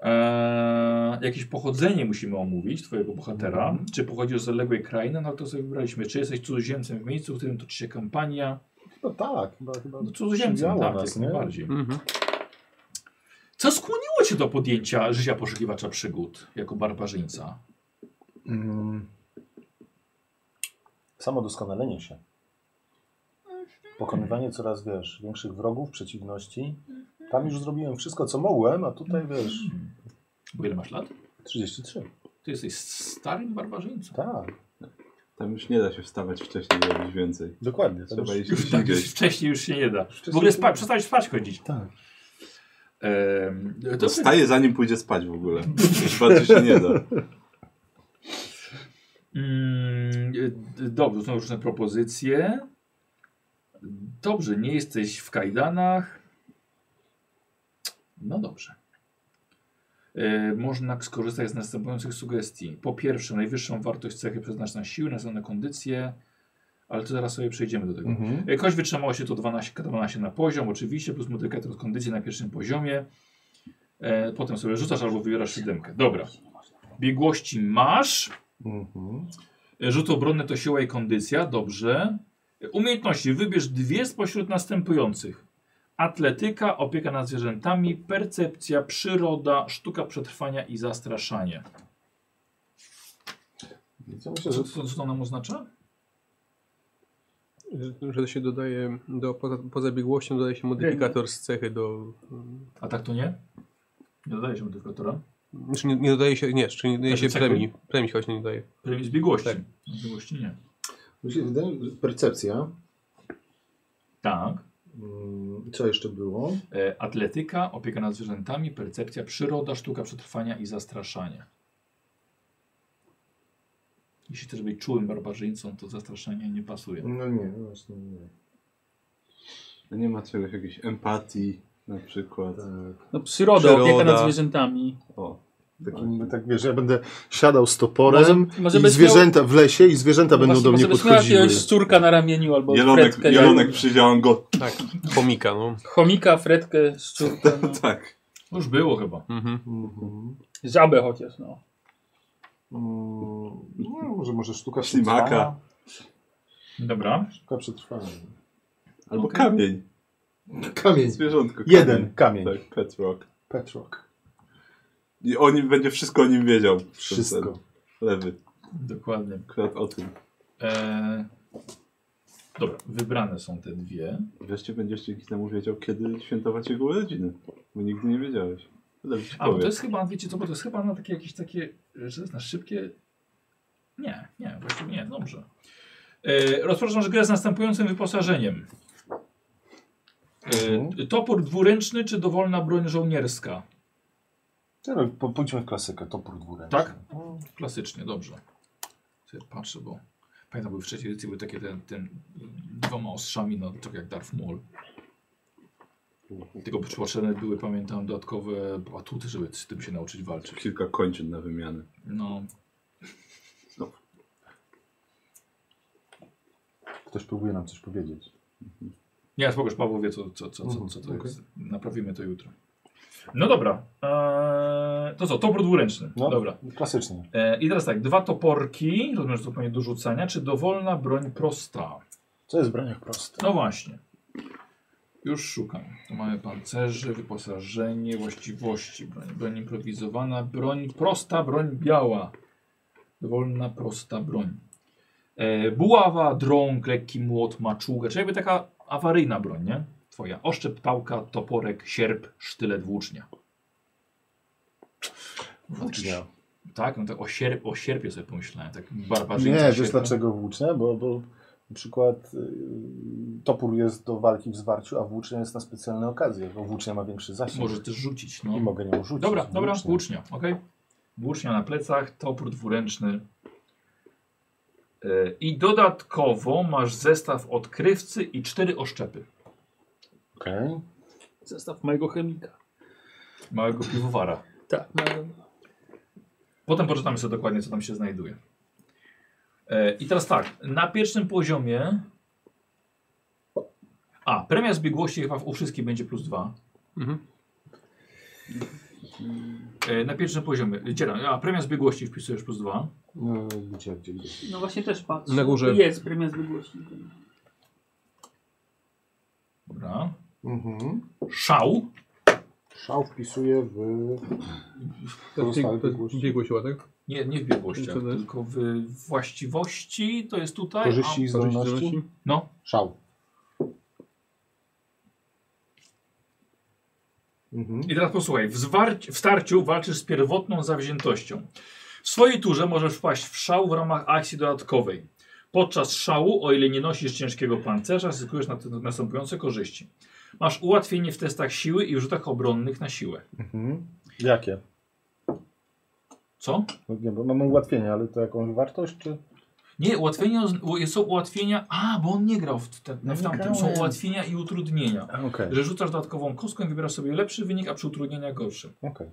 Speaker 1: E, jakieś pochodzenie musimy omówić twojego bohatera.
Speaker 4: Mhm.
Speaker 1: Czy pochodzisz z zaległej krainy, no to sobie wybraliśmy. Czy jesteś cudzoziemcem w miejscu, w którym toczy się kampania?
Speaker 4: No tak, chyba, chyba
Speaker 1: No, cudzoziemcem,
Speaker 4: przywiało
Speaker 1: tak,
Speaker 4: nas,
Speaker 1: jak
Speaker 4: nie?
Speaker 1: najbardziej.
Speaker 5: Mhm.
Speaker 1: Co skłoniło cię do podjęcia życia poszukiwacza przygód jako barbarzyńca?
Speaker 4: Mm. Samo doskonalenie się. Pokonywanie coraz, wiesz, większych wrogów, przeciwności. Tam już zrobiłem wszystko, co mogłem, a tutaj, wiesz,
Speaker 1: Bo ile masz lat?
Speaker 4: 33.
Speaker 1: Ty jesteś starym barbarzyńcą.
Speaker 4: Tak,
Speaker 3: Tam już nie da się wstawać wcześniej i robić więcej.
Speaker 4: dokładnie. To
Speaker 3: Trzeba
Speaker 4: już...
Speaker 3: iść
Speaker 1: Już <laughs>
Speaker 3: gdzieś
Speaker 1: tak, już
Speaker 3: indziej.
Speaker 1: wcześniej już się nie da. W
Speaker 4: Wcześniej
Speaker 1: ogóle
Speaker 4: się
Speaker 1: spa-
Speaker 4: nie da.
Speaker 1: przestałeś spać chodzić.
Speaker 4: Tak.
Speaker 1: Ehm, to
Speaker 3: Dostaje zanim pójdzie spać w ogóle. Już bardziej się nie da.
Speaker 1: Mm, y, d- dobrze, są różne propozycje. Dobrze, nie jesteś w kajdanach. No dobrze. E, można skorzystać z następujących sugestii. Po pierwsze, najwyższą wartość cechy przeznacz na siły, na na kondycję, ale to zaraz sobie przejdziemy do tego.
Speaker 4: Mhm.
Speaker 1: E, Kość wytrzymała się to 12, 12 na poziom, oczywiście, plus modyfikator kondycji na pierwszym poziomie. E, potem sobie rzucasz albo wybierasz siódemkę. Dobra. Biegłości masz.
Speaker 4: Mhm.
Speaker 1: Rzut obronny to siła i kondycja, dobrze. Umiejętności, wybierz dwie spośród następujących. Atletyka, opieka nad zwierzętami, percepcja, przyroda, sztuka przetrwania i zastraszanie.
Speaker 4: Więc Ja myślę, że
Speaker 1: Co, co, co to nam oznacza?
Speaker 5: Że, że się dodaje, do, poza, poza biegłością dodaje się modyfikator z cechy do...
Speaker 1: A tak to nie? Nie dodaje się modyfikatora.
Speaker 5: Znaczy nie, nie dodaje się, nie, czy nie dodaje
Speaker 1: Znaczy
Speaker 5: się
Speaker 1: cechy?
Speaker 5: premii. Premii się właśnie nie dodaje.
Speaker 1: Premii zbiegłości.
Speaker 5: Tak.
Speaker 1: Zbiegłości nie.
Speaker 4: Mi się wydaje, że percepcja
Speaker 1: Tak.
Speaker 2: Mm, Co jeszcze było?
Speaker 1: E, Atletyka, opieka nad zwierzętami, percepcja, przyroda, sztuka przetrwania i zastraszanie. Jeśli chcesz być czułym barbarzyńcą, to zastraszanie nie pasuje.
Speaker 2: No nie, no właśnie nie.
Speaker 3: Nie ma czegoś, jakiejś empatii na przykład.
Speaker 2: Tak,
Speaker 6: No, przyroda,
Speaker 3: Przyroda.
Speaker 6: opieka nad zwierzętami.
Speaker 3: O,
Speaker 2: takim, tak wiesz, ja będę siadał z toporem
Speaker 6: Może- może
Speaker 2: i
Speaker 6: byś No
Speaker 2: zwierzęta w lesie i zwierzęta będą
Speaker 6: Właśnie,
Speaker 2: do mnie
Speaker 6: może byś miał
Speaker 2: podchodziły.
Speaker 6: jakiegoś szczurka na ramieniu albo
Speaker 3: jelonek,
Speaker 6: fretkę.
Speaker 3: jelonek przyjdzie, a on go...
Speaker 5: Tak, chomika, no.
Speaker 6: Chomika, fretkę, szczurka,
Speaker 3: <laughs>
Speaker 6: no.
Speaker 3: Tak.
Speaker 1: Już było chyba.
Speaker 5: Mhm.
Speaker 2: Mhm.
Speaker 6: żabę chociaż, no.
Speaker 2: Mm, No, może, może sztuka
Speaker 3: Ślimaka.
Speaker 2: przetrwania.
Speaker 1: Dobra.
Speaker 2: Sztuka przetrwania.
Speaker 3: Albo
Speaker 1: Okej.
Speaker 3: kamień.
Speaker 2: Kamień.
Speaker 3: Zwierzątko. Kamień.
Speaker 2: Jeden kamień.
Speaker 3: Tak, pet rock.
Speaker 2: Petrock.
Speaker 3: I o nim będzie wszystko o nim wiedział.
Speaker 2: Wszystko.
Speaker 3: Lewy.
Speaker 1: Dokładnie.
Speaker 3: Akurat o tym.
Speaker 1: E, dobra, wybrane są te dwie.
Speaker 3: Wreszcie będziesz dzięki temu wiedział, kiedy świętować jego urodziny. Bo nigdy nie wiedziałeś. Lewy ci
Speaker 1: A bo
Speaker 3: powie.
Speaker 1: to jest chyba, wiecie co, bo to jest chyba na takie jakieś takie, że to jest na szybkie... Nie, nie, właściwie nie, dobrze. E, rozpoczynasz grę z następującym wyposażeniem. E, topór dwuręczny czy dowolna broń żołnierska?
Speaker 2: no,
Speaker 7: Teraz po, pójdźmy w klasykę, topór dwuręczny.
Speaker 1: Tak? Klasycznie, dobrze. Sobie patrzę, bo pamiętam, były w trzeciej edycji były takie ten, ten dwoma ostrzami, no tak jak Darth Maul. Tylko potrzebne były, pamiętam, dodatkowe atuty, żeby z tym się nauczyć walczyć.
Speaker 3: Kilka kończyn na wymianę.
Speaker 1: No,
Speaker 2: Ktoś próbuje nam coś powiedzieć.
Speaker 1: nie, spokojnie, Paweł wie, co, co, co, co,
Speaker 2: Mhm,
Speaker 1: co to
Speaker 2: okej.
Speaker 1: jest. Naprawimy to jutro. No dobra, eee, to co, topór dwuręczny.
Speaker 2: No.
Speaker 1: Dobra.
Speaker 2: Klasycznie.
Speaker 1: Eee, I teraz tak, dwa toporki, rozumiem, że to pewnie do rzucania, czy dowolna broń prosta?
Speaker 2: Co jest w braniach prostych?
Speaker 1: No właśnie. Już szukam. Tu mamy pancerze, wyposażenie, właściwości broń. Broń improwizowana, broń prosta, broń biała. Dowolna, prosta broń. E, buława, drąg, lekki młot, maczuga, czyli jakby taka awaryjna broń, nie? Twoja. Oszczep, pałka, toporek, sierp, sztylet, włócznia.
Speaker 2: Włócznia.
Speaker 1: Tak, no tak o, sierp, o sierpie sobie pomyślałem, tak barbarzyńca
Speaker 2: Nie, wiesz
Speaker 1: sierpa.
Speaker 2: dlaczego włócznia? Bo, bo na przykład y, topór jest do walki w zwarciu, a włócznia jest na specjalne okazje, bo włócznia ma większy zasięg.
Speaker 1: Może też rzucić, no.
Speaker 2: I mogę nią rzucić.
Speaker 1: Dobra, dobra,
Speaker 2: włócznią.
Speaker 1: włócznia, ok. Włócznia na plecach, topór dwuręczny. Yy, I dodatkowo masz zestaw odkrywcy i cztery oszczepy
Speaker 2: Okej.
Speaker 6: Zestaw mojego chemika.
Speaker 1: małego piwowara.
Speaker 6: Tak, no,
Speaker 1: Potem poczytamy sobie dokładnie, co tam się znajduje. Yy, I teraz tak, na pierwszym poziomie... A, premia zbiegłości chyba u wszystkich będzie plus dwa.
Speaker 5: Mhm.
Speaker 1: Yy, Na pierwszym poziomie, dzieram, a premia zbiegłości wpisujesz plus dwa.
Speaker 2: No, gdzie, gdzie, gdzie?
Speaker 8: No właśnie też patrzę.
Speaker 9: Na górze.
Speaker 8: Jest premia zbiegłości.
Speaker 1: Dobra.
Speaker 2: Mhm.
Speaker 1: Szał.
Speaker 2: Szał wpisuję w...
Speaker 9: To jest
Speaker 2: Pozostałe
Speaker 9: bieg- to jest
Speaker 2: biegłości.
Speaker 9: biegła siła, tak?
Speaker 1: Nie, nie w biegłościach,
Speaker 9: Co to jest?
Speaker 1: tylko w właściwości to jest tutaj.
Speaker 2: Korzyści i
Speaker 9: Korzyści
Speaker 2: zdolności?
Speaker 9: zdolności?
Speaker 1: No,
Speaker 2: Szał. Mhm.
Speaker 1: i teraz posłuchaj. W, zwarci- w starciu walczysz z pierwotną zawziętością. W swojej turze możesz wpaść w szał w ramach akcji dodatkowej. Podczas szału, o ile nie nosisz ciężkiego pancerza, zyskujesz na na następujące korzyści. Masz ułatwienie w testach siły i w rzutach obronnych na siłę.
Speaker 2: Mhm. Jakie?
Speaker 1: Co?
Speaker 2: No, nie, bo mam ułatwienie, ale to jakąś wartość, czy...
Speaker 1: Nie, ułatwienia, są ułatwienia. A, bo on nie grał w, te, w
Speaker 2: No nie
Speaker 1: tamtym. Są
Speaker 2: grałem.
Speaker 1: ułatwienia i utrudnienia.
Speaker 2: A, Okej,
Speaker 1: Że rzucasz dodatkową kostką i wybierasz sobie lepszy wynik, a przy utrudnieniach gorszy.
Speaker 2: okej.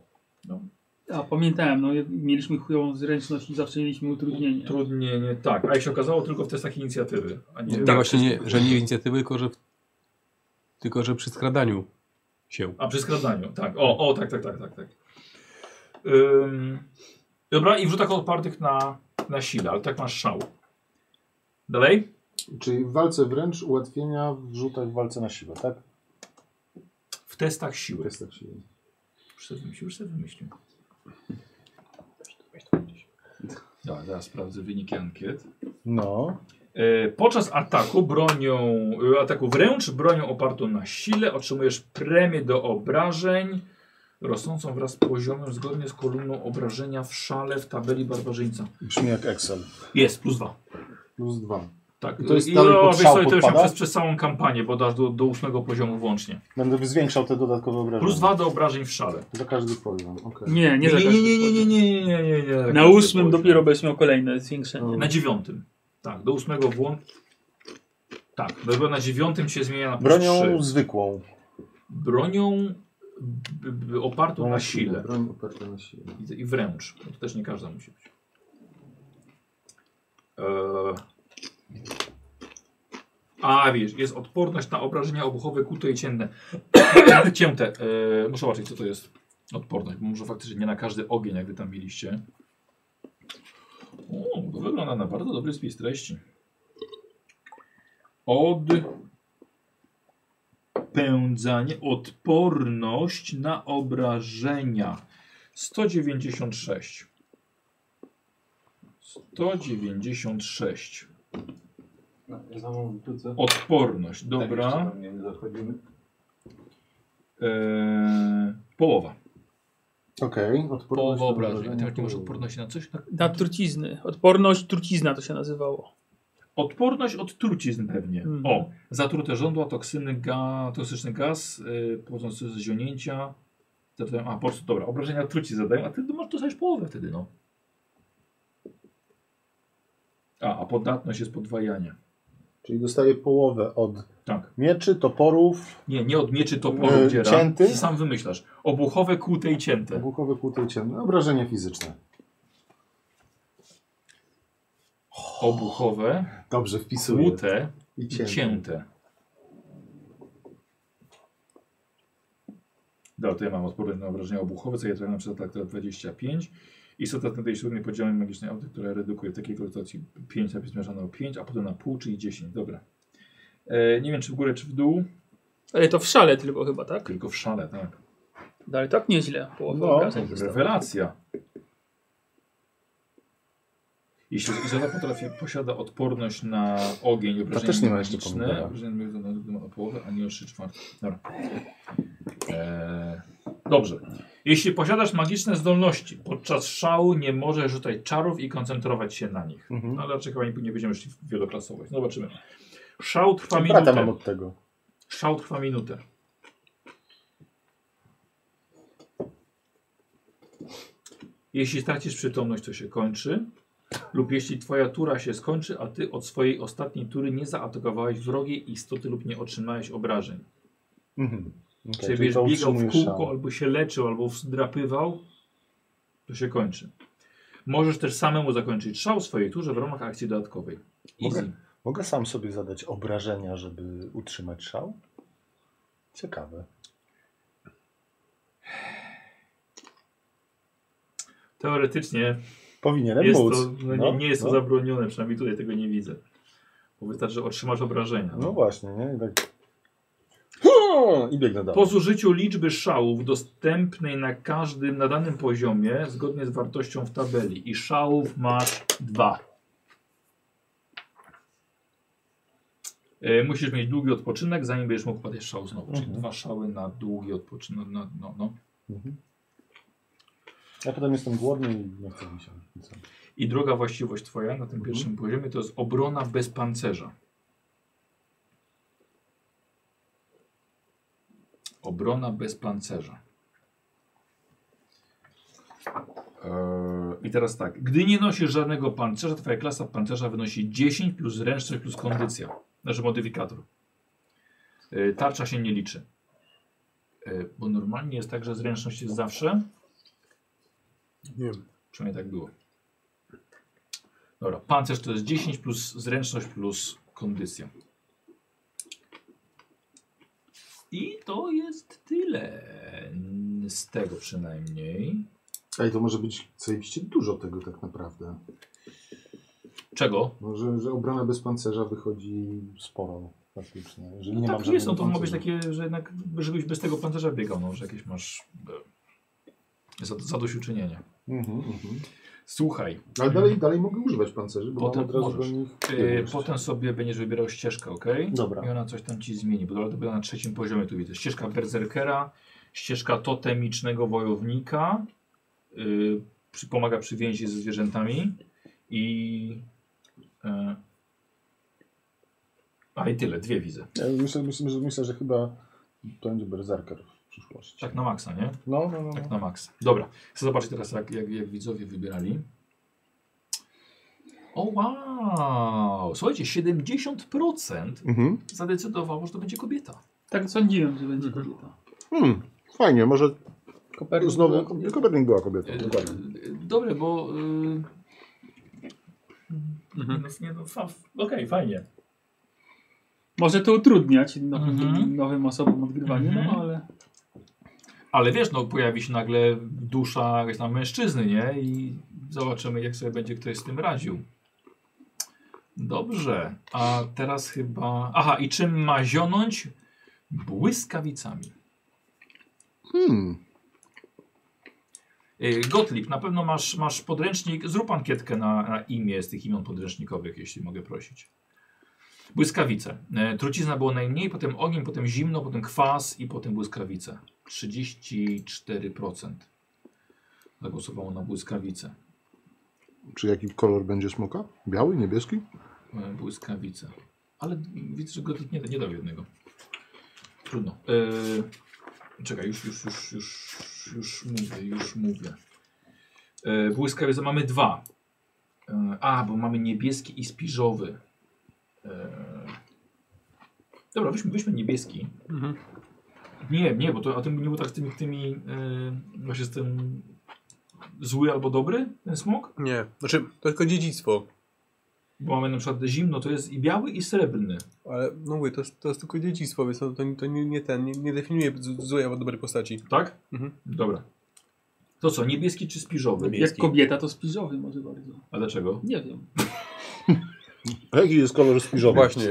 Speaker 6: A pamiętałem, no mieliśmy chujową zręczność i zawsze mieliśmy utrudnienie.
Speaker 1: Utrudnienie, tak. A jak się okazało, tylko w testach inicjatywy, a nie...
Speaker 5: Nie, Tak, właśnie nie, że nie w inicjatywy, tylko że, w, tylko że przy skradaniu się.
Speaker 1: A przy skradaniu, tak. O, o, tak, tak, tak, tak. tak. Ym, dobra, i wrzutach opartych na, na sile, ale tak masz szał. Dalej?
Speaker 2: Czyli w walce wręcz ułatwienia w rzutach w walce na siłę, tak?
Speaker 1: W testach siły.
Speaker 3: tak
Speaker 2: Testach siły.
Speaker 1: Już sobie wymyślił, już sobie wymyślił. Dobra, zaraz sprawdzę wyniki ankiet.
Speaker 2: No.
Speaker 1: E, Podczas ataku bronią, e, ataku wręcz bronią opartą na sile otrzymujesz premię do obrażeń rosnącą wraz z poziomem zgodnie z kolumną obrażenia w szale w tabeli barbarzyńca.
Speaker 2: Brzmi jak Excel.
Speaker 1: Jest, plus dwa.
Speaker 2: Plus dwa.
Speaker 1: Tak,
Speaker 2: I to jest
Speaker 1: i
Speaker 2: dalej
Speaker 1: o,
Speaker 2: pod
Speaker 1: wiesz
Speaker 2: szał
Speaker 1: co, i to już
Speaker 2: podpada?
Speaker 1: przez, przez całą kampanię, bo dasz do, do ósmego poziomu włącznie.
Speaker 2: Będę zwiększał te dodatkowe obrażenia.
Speaker 1: Plus dwa do obrażeń w szale.
Speaker 2: Za każdy poziom, okej.
Speaker 6: Nie, nie, za każdym razem.
Speaker 1: nie, nie, nie, nie, nie.
Speaker 6: Na ósmym dopiero będziesz miał kolejne zwiększenie.
Speaker 1: Na dziewiątym. Tak, do ósmego włącz. Tak, dopiero na dziewiątym się zmienia na plus
Speaker 2: Bronią
Speaker 1: trzy.
Speaker 2: zwykłą.
Speaker 1: Bronią b, b, opartą na sile
Speaker 4: Broń oparta na sile.
Speaker 1: i, i wręcz. Bo To też nie każda musi być. Eee. A wiesz, jest odporność na obrażenia obuchowe kute i <coughs> cienne. Cięte. Eee, muszę zobaczyć co to jest odporność, bo może faktycznie nie na każdy ogień, jak wy tam mieliście. O, to wygląda na bardzo dobry spis treści. Odpędzanie, odporność na obrażenia. 196. 196.
Speaker 10: No, Ja zamówię wrócę.
Speaker 1: Odporność,
Speaker 10: Tak,
Speaker 1: dobra.
Speaker 10: jeszcze pewnie nie zachodzimy.
Speaker 1: Eee, połowa.
Speaker 2: Okej,
Speaker 1: Połowa
Speaker 2: na
Speaker 1: obrażeń.
Speaker 2: obrażenia.
Speaker 1: Ty nie masz odporności na coś? tak? Na...
Speaker 6: Na trucizny. Odporność trucizna to się nazywało.
Speaker 1: Odporność od trucizn pewnie.
Speaker 6: Mhm.
Speaker 1: O, zatrute żądła, toksyny, ga, toksyczny gaz, yy, pochodzący ze zionięcia. Zatem- A, po prostu, dobra, obrażenia truci zadają, a ty masz dostajesz połowę wtedy, no. Tak. A, a podatność jest podwajanie.
Speaker 2: Czyli dostaję połowę od
Speaker 1: Tak.
Speaker 2: mieczy, toporów,
Speaker 1: Nie, nie od mieczy toporu
Speaker 2: Yy,
Speaker 1: dziera.
Speaker 2: cięty?
Speaker 1: Ty sam wymyślasz. Obuchowe, kłute i cięte.
Speaker 2: bukowe kłute i ciemne. Obrażenia fizyczne.
Speaker 1: Obuchowe,
Speaker 2: Dobrze, wpisuję.
Speaker 1: kłute
Speaker 2: I
Speaker 1: i
Speaker 2: ciemne.
Speaker 1: cięte. Dobra, to ja mam odporność na obrażenia obuchowe, co ja trafiam przez atak 25. Istota ten tej śródnej podziałem magicznej auty, która redukuje takiej kolekcji 5 na zmierzane o 5, a potem na pół, czyli 10. Dobra. E, nie wiem, czy w górę, czy w dół.
Speaker 6: Ale to w szale tylko chyba, tak?
Speaker 1: Tylko w szale, tak.
Speaker 6: Dalej tak nieźle. Połowa
Speaker 2: No.
Speaker 6: obrażeń została.
Speaker 1: Rewelacja. Jeśli izolata potrafi, posiada odporność na ogień i obrażenia
Speaker 2: też nie ma jeszcze
Speaker 1: magiczne,
Speaker 2: pomidora.
Speaker 1: obrażenia magiczne ma o połowę, a nie o 3 czwarte. Dobra. Eee, dobrze. Jeśli posiadasz magiczne zdolności, podczas szału nie możesz rzucać czarów i koncentrować się na nich.
Speaker 2: Mhm.
Speaker 1: No, ale raczej chyba nie, nie będziemy szli w wieloklasowość. No, Zobaczymy. Szał trwa
Speaker 2: Brata mam
Speaker 1: minutę.
Speaker 2: od tego.
Speaker 1: Szał trwa minutę. Jeśli stracisz przytomność, to się kończy. Lub jeśli twoja tura się skończy, a ty od swojej ostatniej tury nie zaatakowałeś wrogiej istoty lub nie otrzymałeś obrażeń.
Speaker 2: Okej,
Speaker 1: Mhm. Czyli
Speaker 2: czyli
Speaker 1: będziesz
Speaker 2: to
Speaker 1: biegał w
Speaker 2: utrzymuje
Speaker 1: kółko,
Speaker 2: szał.
Speaker 1: albo się leczył, albo wzdrapywał, to się kończy. Możesz też samemu zakończyć szał w swojej turze w ramach akcji dodatkowej.
Speaker 2: Mogę?
Speaker 1: Easy.
Speaker 2: Mogę sam sobie zadać obrażenia, żeby utrzymać szał? Ciekawe.
Speaker 1: Teoretycznie
Speaker 2: Powinienem
Speaker 1: Jest
Speaker 2: móc.
Speaker 1: to, no, nie, nie jest to zabronione, przynajmniej tutaj tego nie widzę. Bo wystarczy, że otrzymasz obrażenia.
Speaker 2: No właśnie, nie? I tak... Hu! I biegnę dalej.
Speaker 1: Po zużyciu liczby szałów dostępnej na każdym, na danym poziomie, zgodnie z wartością w tabeli. I szałów masz dwa. E, musisz mieć długi odpoczynek, zanim będziesz mógł podać szał znowu. Czyli dwa szały na długi odpoczynek. No, no, no.
Speaker 2: Ja potem jestem głodny i nie chcę mi się. nic.
Speaker 1: I druga właściwość twoja na tym pierwszym poziomie to jest obrona bez pancerza. Obrona bez pancerza. Eee, I teraz tak. Gdy nie nosisz żadnego pancerza, twoja klasa pancerza wynosi 10 plus zręczność plus kondycja. Znaczy modyfikator. Eee, tarcza się nie liczy. Eee, bo normalnie jest tak, że zręczność jest zawsze.
Speaker 5: Nie wiem.
Speaker 1: Przynajmniej tak było. Dobra, pancerz to jest 10 plus zręczność plus kondycja. I to jest tyle mm, z tego przynajmniej.
Speaker 4: Ej, to może być zajebiście dużo tego tak naprawdę.
Speaker 1: Czego?
Speaker 4: Może, No, że obrona bez pancerza wychodzi sporo faktycznie. Jeżeli nie mam
Speaker 1: tak jest, no
Speaker 4: żadnego
Speaker 1: to ma być
Speaker 4: pancerza.
Speaker 1: takie, że jednak żebyś bez tego pancerza biegał, no, że jakieś masz e, za- zadośćuczynienie.
Speaker 4: Mhm, mhm.
Speaker 1: Słuchaj,
Speaker 4: Ale dalej, dalej mogę używać pancerzy, bo
Speaker 1: Potem
Speaker 4: mam od razu
Speaker 1: możesz.
Speaker 4: do nich...
Speaker 1: e, potem sobie będziesz wybierał ścieżkę, ok?
Speaker 2: Dobra.
Speaker 1: I ona coś tam ci zmieni, bo to była na trzecim poziomie, tu widzę. Ścieżka berserkera, ścieżka totemicznego wojownika, yy, przy, pomaga przy więzi ze zwierzętami i, yy, e, A i tyle, dwie widzę.
Speaker 4: Ja myślę, myślę, że, myślę, że chyba to będzie berserker w przyszłości.
Speaker 1: Tak na maksa, nie?
Speaker 4: No, no, no.
Speaker 1: Tak
Speaker 4: no.
Speaker 1: na maksa. Dobra, chcę zobaczyć teraz, jak, jak, jak widzowie wybierali. O wow! Słuchajcie, 70%
Speaker 11: Mhm.
Speaker 1: zadecydowało, że to będzie kobieta.
Speaker 6: Tak sądziłem, że będzie kobieta.
Speaker 11: Hmm, fajnie, może
Speaker 2: No,
Speaker 5: Kopernik
Speaker 11: znowu...
Speaker 5: była kobietą.
Speaker 11: Kopernik była kobietą,
Speaker 1: Y,
Speaker 11: dokładnie.
Speaker 1: y, Dobre, bo... Yy...
Speaker 5: Mhm.
Speaker 1: No, nie, no, fa- Okej, fajnie.
Speaker 6: Może to utrudniać nowym,
Speaker 1: Mhm.
Speaker 6: nowym osobom odgrywanie,
Speaker 1: Mhm.
Speaker 6: no ale
Speaker 1: Ale wiesz, no pojawi się nagle dusza jakaś tam mężczyzny, nie? I zobaczymy, jak sobie będzie ktoś z tym radził. Dobrze, a teraz chyba... Aha, i czym ma zionąć? Błyskawicami.
Speaker 11: Hmm,
Speaker 1: Y, Gottlieb, na pewno masz, masz podręcznik, zrób ankietkę na, na imię z tych imion podręcznikowych, jeśli mogę prosić. Błyskawice. E, Trucizna było najmniej, potem ogień, potem zimno, potem kwas i potem błyskawice. 34% zagłosowało na błyskawice.
Speaker 11: czy jaki kolor będzie smoka? Biały, niebieski?
Speaker 1: E, Błyskawice. Ale widzę, że Gottlieb nie, nie dał jednego. Trudno. E, czekaj, już, już, już, już, już mówię, już mówię. E, błyskawice mamy dwa. E, a, bo mamy niebieski i spiżowy. E, dobra, weźmy, weźmy niebieski.
Speaker 5: Mhm.
Speaker 1: Nie, nie, bo to, a to nie był tak z tymi, tymi e, właśnie z tym zły albo dobry, ten smok?
Speaker 12: Nie, znaczy to tylko dziedzictwo.
Speaker 1: Bo mamy na przykład zimno, to jest i biały i srebrny.
Speaker 12: Ale no mówię, to, jest- to jest tylko dziedzictwo, więc
Speaker 5: no
Speaker 12: to, to, nie- to nie, nie ten, nie, nie definiuje z- złej albo dobrej postaci.
Speaker 1: Tak?
Speaker 12: Mhm.
Speaker 1: Dobra. To co, niebieski czy spiżowy?
Speaker 12: Niebieski.
Speaker 6: jak kobieta to spiżowy może bardzo.
Speaker 1: A dlaczego?
Speaker 6: Nie wiem.
Speaker 2: A jaki jest kolor spiżowy?
Speaker 12: Właśnie,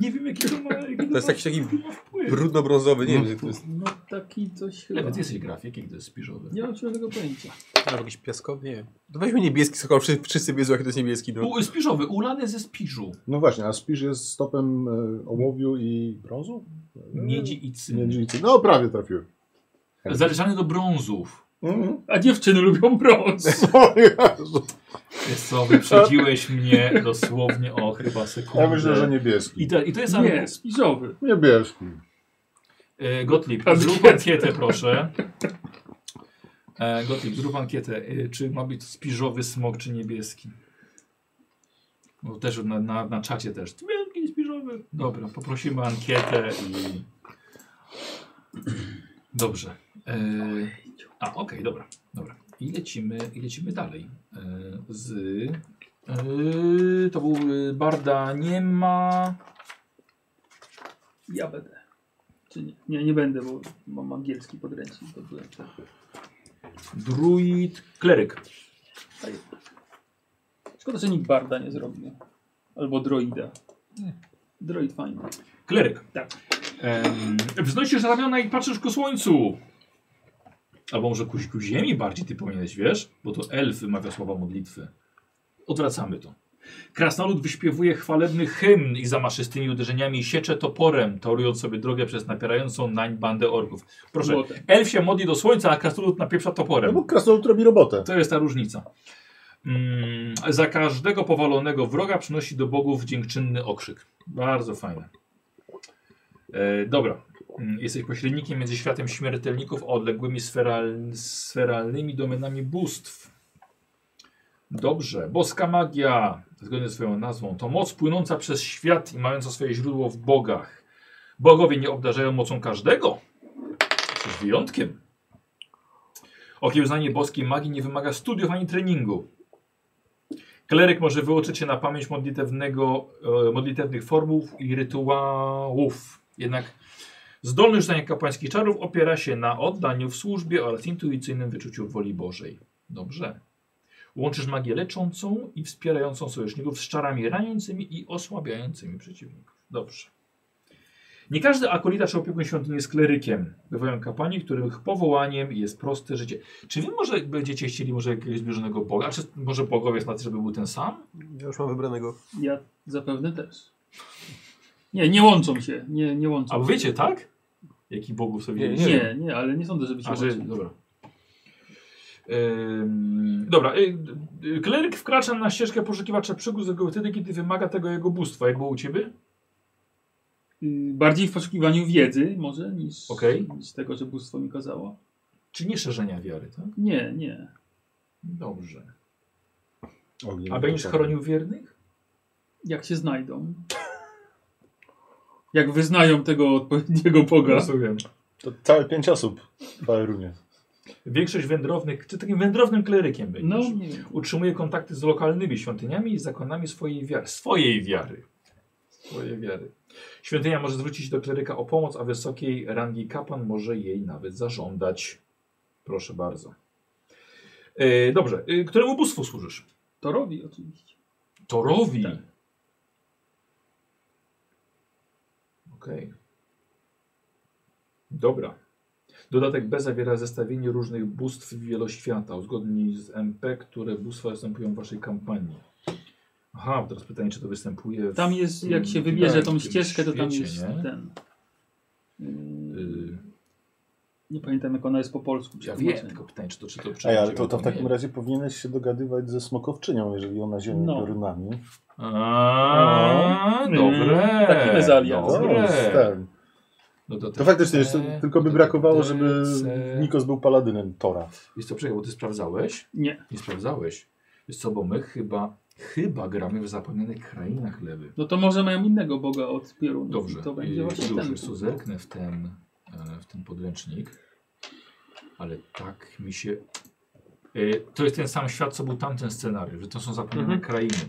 Speaker 1: Nie wiem, jaki to ma, jaki
Speaker 12: to jest jakiś taki
Speaker 1: wpływ.
Speaker 12: brudno-brązowy, nie wiem, czy to jest
Speaker 6: No taki coś chyba.
Speaker 1: Lewy, ty jesteś grafik, jaki to jest spiżowy.
Speaker 6: Nie mam żadnego pojęcia.
Speaker 12: albo jakiś piaskowy, nie wiem. To weźmy niebieski, skoro wszyscy, wszyscy wiedzą, jaki to jest niebieski. No.
Speaker 1: U, y, spiżowy, ulany ze spiżu.
Speaker 4: no właśnie, a spisz jest stopem e, ołowiu i brązu?
Speaker 1: Miedzi i cyny.
Speaker 4: Miedzi. No prawie trafiłem.
Speaker 1: Zależany do brązów.
Speaker 4: Mhm.
Speaker 6: A dziewczyny lubią
Speaker 1: <laughs>
Speaker 6: brąz.
Speaker 4: O Jezu.
Speaker 1: Wiesz co, wyprzedziłeś mnie dosłownie o chyba sekundę.
Speaker 4: Ja myślę, że
Speaker 1: I
Speaker 4: niebieski.
Speaker 1: to, i to jest...
Speaker 6: Nie, spiżowy.
Speaker 4: Niebieski.
Speaker 1: E, Gottlieb,
Speaker 6: Ankietę.
Speaker 1: zrób ankietę, proszę. E, Gottlieb, zrób ankietę. E, czy ma być spiżowy smok, czy niebieski? Bo też na, na, na czacie też. Niebieski, spiżowy. Dobra, poprosimy o ankietę i... Dobrze. E, a, okej, dobra, dobra. I lecimy, i lecimy dalej. E, z... E, to był e, Barda nie ma...
Speaker 6: Ja będę. Czy nie? Nie, nie będę, bo mam angielski podręcznik. To byłem tak.
Speaker 1: Druid... Kleryk.
Speaker 6: Szkoda, że nikt barda nie zrobił. Albo droida. Droid fajny.
Speaker 1: Kleryk.
Speaker 6: Tak.
Speaker 1: Em, Wznosisz ramiona i patrzysz ku słońcu. Albo może ku, ku ziemi bardziej ty powinieneś, wiesz? Bo to elf wymawia słowa modlitwy. Odwracamy to. Krasnolud wyśpiewuje chwalebny hymn i zamaszystymi uderzeniami siecze toporem, torując sobie drogę przez napierającą nań bandę orków. Proszę,
Speaker 6: Złote.
Speaker 1: elf się modli do słońca, a krasnolud napieprza toporem.
Speaker 2: No bo krasnolud robi robotę.
Speaker 1: To jest ta różnica. Mm, za każdego powalonego wroga przynosi do bogów dziękczynny okrzyk. Bardzo fajne. E, dobra. Mm, Jesteś pośrednikiem między światem śmiertelników a odległymi sferal, sferalnymi domenami bóstw. Dobrze. Boska magia, zgodnie ze swoją nazwą, to moc płynąca przez świat i mająca swoje źródło w bogach. Bogowie nie obdarzają mocą każdego. Z wyjątkiem. Okiełznanie boskiej magii nie wymaga studiów ani treningu. Kleryk może wyuczyć się na pamięć modlitewnego, e, modlitewnych formuł i rytuałów. Jednak zdolność zdania kapłańskich czarów opiera się na oddaniu w służbie oraz intuicyjnym wyczuciu woli Bożej. Dobrze. Łączysz magię leczącą i wspierającą sojuszników z czarami raniącymi i osłabiającymi przeciwników. Dobrze. Nie każdy akolita czy opiekun świątyni jest klerykiem. Bywają kapłani, których powołaniem jest proste życie. Czy wy może będziecie chcieli może jakiegoś zbliżonego Boga? Czy może bogowie jest na to, żeby był ten sam?
Speaker 12: Ja już mam wybranego.
Speaker 6: Ja zapewne też. Nie, nie łączą się. Nie, nie łączą
Speaker 1: A
Speaker 6: się.
Speaker 1: wy wiecie, tak? Jaki bogów sobie
Speaker 12: Nie,
Speaker 1: widzieliście?
Speaker 6: Nie, nie, ale nie sądzę, żeby się
Speaker 1: A, że,
Speaker 6: łączyli.
Speaker 1: dobra. Ym, dobra, y, y, kleryk wkracza na ścieżkę poszukiwacza przygód tylko wtedy, kiedy wymaga tego jego bóstwa. Jak było u ciebie?
Speaker 6: y, bardziej w poszukiwaniu wiedzy może niż,
Speaker 1: Okej.
Speaker 6: niż tego, że bóstwo mi kazało.
Speaker 1: Czy nie szerzenia wiary, tak?
Speaker 6: Nie, nie.
Speaker 1: Dobrze.
Speaker 2: Ogniem
Speaker 1: A
Speaker 6: Tak.
Speaker 1: będziesz
Speaker 2: potrzebny.
Speaker 1: chronił wiernych?
Speaker 6: Jak się znajdą? Jak wyznają tego odpowiedniego Boga.
Speaker 1: Rozumiem.
Speaker 2: To całe pięć osób w Aerunie.
Speaker 1: Większość wędrownych, czy takim wędrownym klerykiem
Speaker 6: No,
Speaker 1: będziesz?
Speaker 6: nie wiem.
Speaker 1: Utrzymuje kontakty z lokalnymi świątyniami i zakonami swojej wiary. Swojej wiary. Swojej wiary. Świątynia może zwrócić się do kleryka o pomoc, a wysokiej rangi kapłan może jej nawet zażądać. Proszę bardzo. E, dobrze. E, któremu bóstwu służysz?
Speaker 6: Torowi oczywiście.
Speaker 1: Torowi.
Speaker 6: Tak.
Speaker 1: Okej. Dobra. Dodatek B zawiera zestawienie różnych bóstw wieloświata. Uzgodnij z MP, które bóstwa występują w waszej kampanii. Aha, teraz pytanie, czy to występuje w...
Speaker 6: Tam jest,
Speaker 1: w
Speaker 6: jak się
Speaker 1: tym-
Speaker 6: wybierze
Speaker 1: w
Speaker 6: tą
Speaker 1: tym
Speaker 6: ścieżkę, to tam
Speaker 1: świecie,
Speaker 6: jest
Speaker 1: nie?
Speaker 6: ten.
Speaker 1: Y,
Speaker 6: Yy, nie pamiętam jak ona jest po polsku.
Speaker 1: ja wiem,
Speaker 6: przetłumaczona.
Speaker 1: tylko pytanie, czy to, czy to
Speaker 2: Ej,
Speaker 1: przechodzi,
Speaker 2: ale to,
Speaker 1: jak
Speaker 2: to w takim
Speaker 1: nie.
Speaker 2: razie powinieneś się dogadywać ze smokowczynią, jeżeli ona ziemi
Speaker 6: No.
Speaker 2: piorunami.
Speaker 1: A,
Speaker 6: O,
Speaker 1: dobre.
Speaker 6: mm, taki bez aliansu.
Speaker 1: Dobre.
Speaker 2: O, ten.
Speaker 1: Dodatek
Speaker 2: To faktycznie, jest,
Speaker 1: B,
Speaker 2: tylko by
Speaker 1: dodatek
Speaker 2: brakowało,
Speaker 1: D,
Speaker 2: żeby
Speaker 1: C.
Speaker 2: Nikos był paladynem Tora.
Speaker 1: Jest to przejechał, bo ty sprawdzałeś?
Speaker 6: Nie.
Speaker 1: Nie sprawdzałeś. Wiesz co, bo my chyba, chyba gramy w zapomnianych krainach lewy.
Speaker 6: No to może mają innego Boga od piorunów.
Speaker 1: Dobrze.
Speaker 6: I To będzie właśnie
Speaker 1: już,
Speaker 6: ten.
Speaker 1: już tu zerknę w ten, e, w ten podręcznik. Ale tak mi się... E, To jest ten sam świat, co był tamten scenariusz, że to są zapomniane
Speaker 6: Mhm.
Speaker 1: krainy.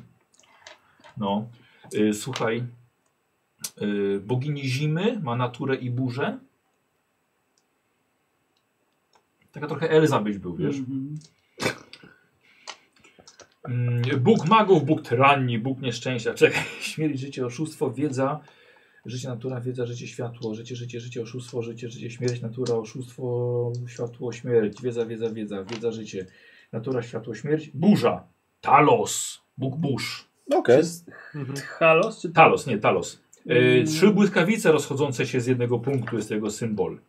Speaker 1: No. E, Słuchaj. E, Bogini zimy ma naturę i burzę. Taka trochę Elza byś był, wiesz?
Speaker 6: Mhm.
Speaker 1: Mm, Bóg magów, Bóg tyranii, Bóg nieszczęścia. Czekaj, <laughs> śmierć, życie, oszustwo, wiedza, życie, natura, wiedza, życie, światło, życie, życie, życie, oszustwo, życie, życie, śmierć, natura, oszustwo, światło, śmierć, wiedza, wiedza, wiedza, wiedza, życie, natura, światło, śmierć, burza, talos, Bóg burz.
Speaker 2: No Okej.
Speaker 6: Halos czy
Speaker 1: Talos, nie, talos. E,
Speaker 6: Mm.
Speaker 1: trzy błyskawice rozchodzące się z jednego punktu jest jego symbol.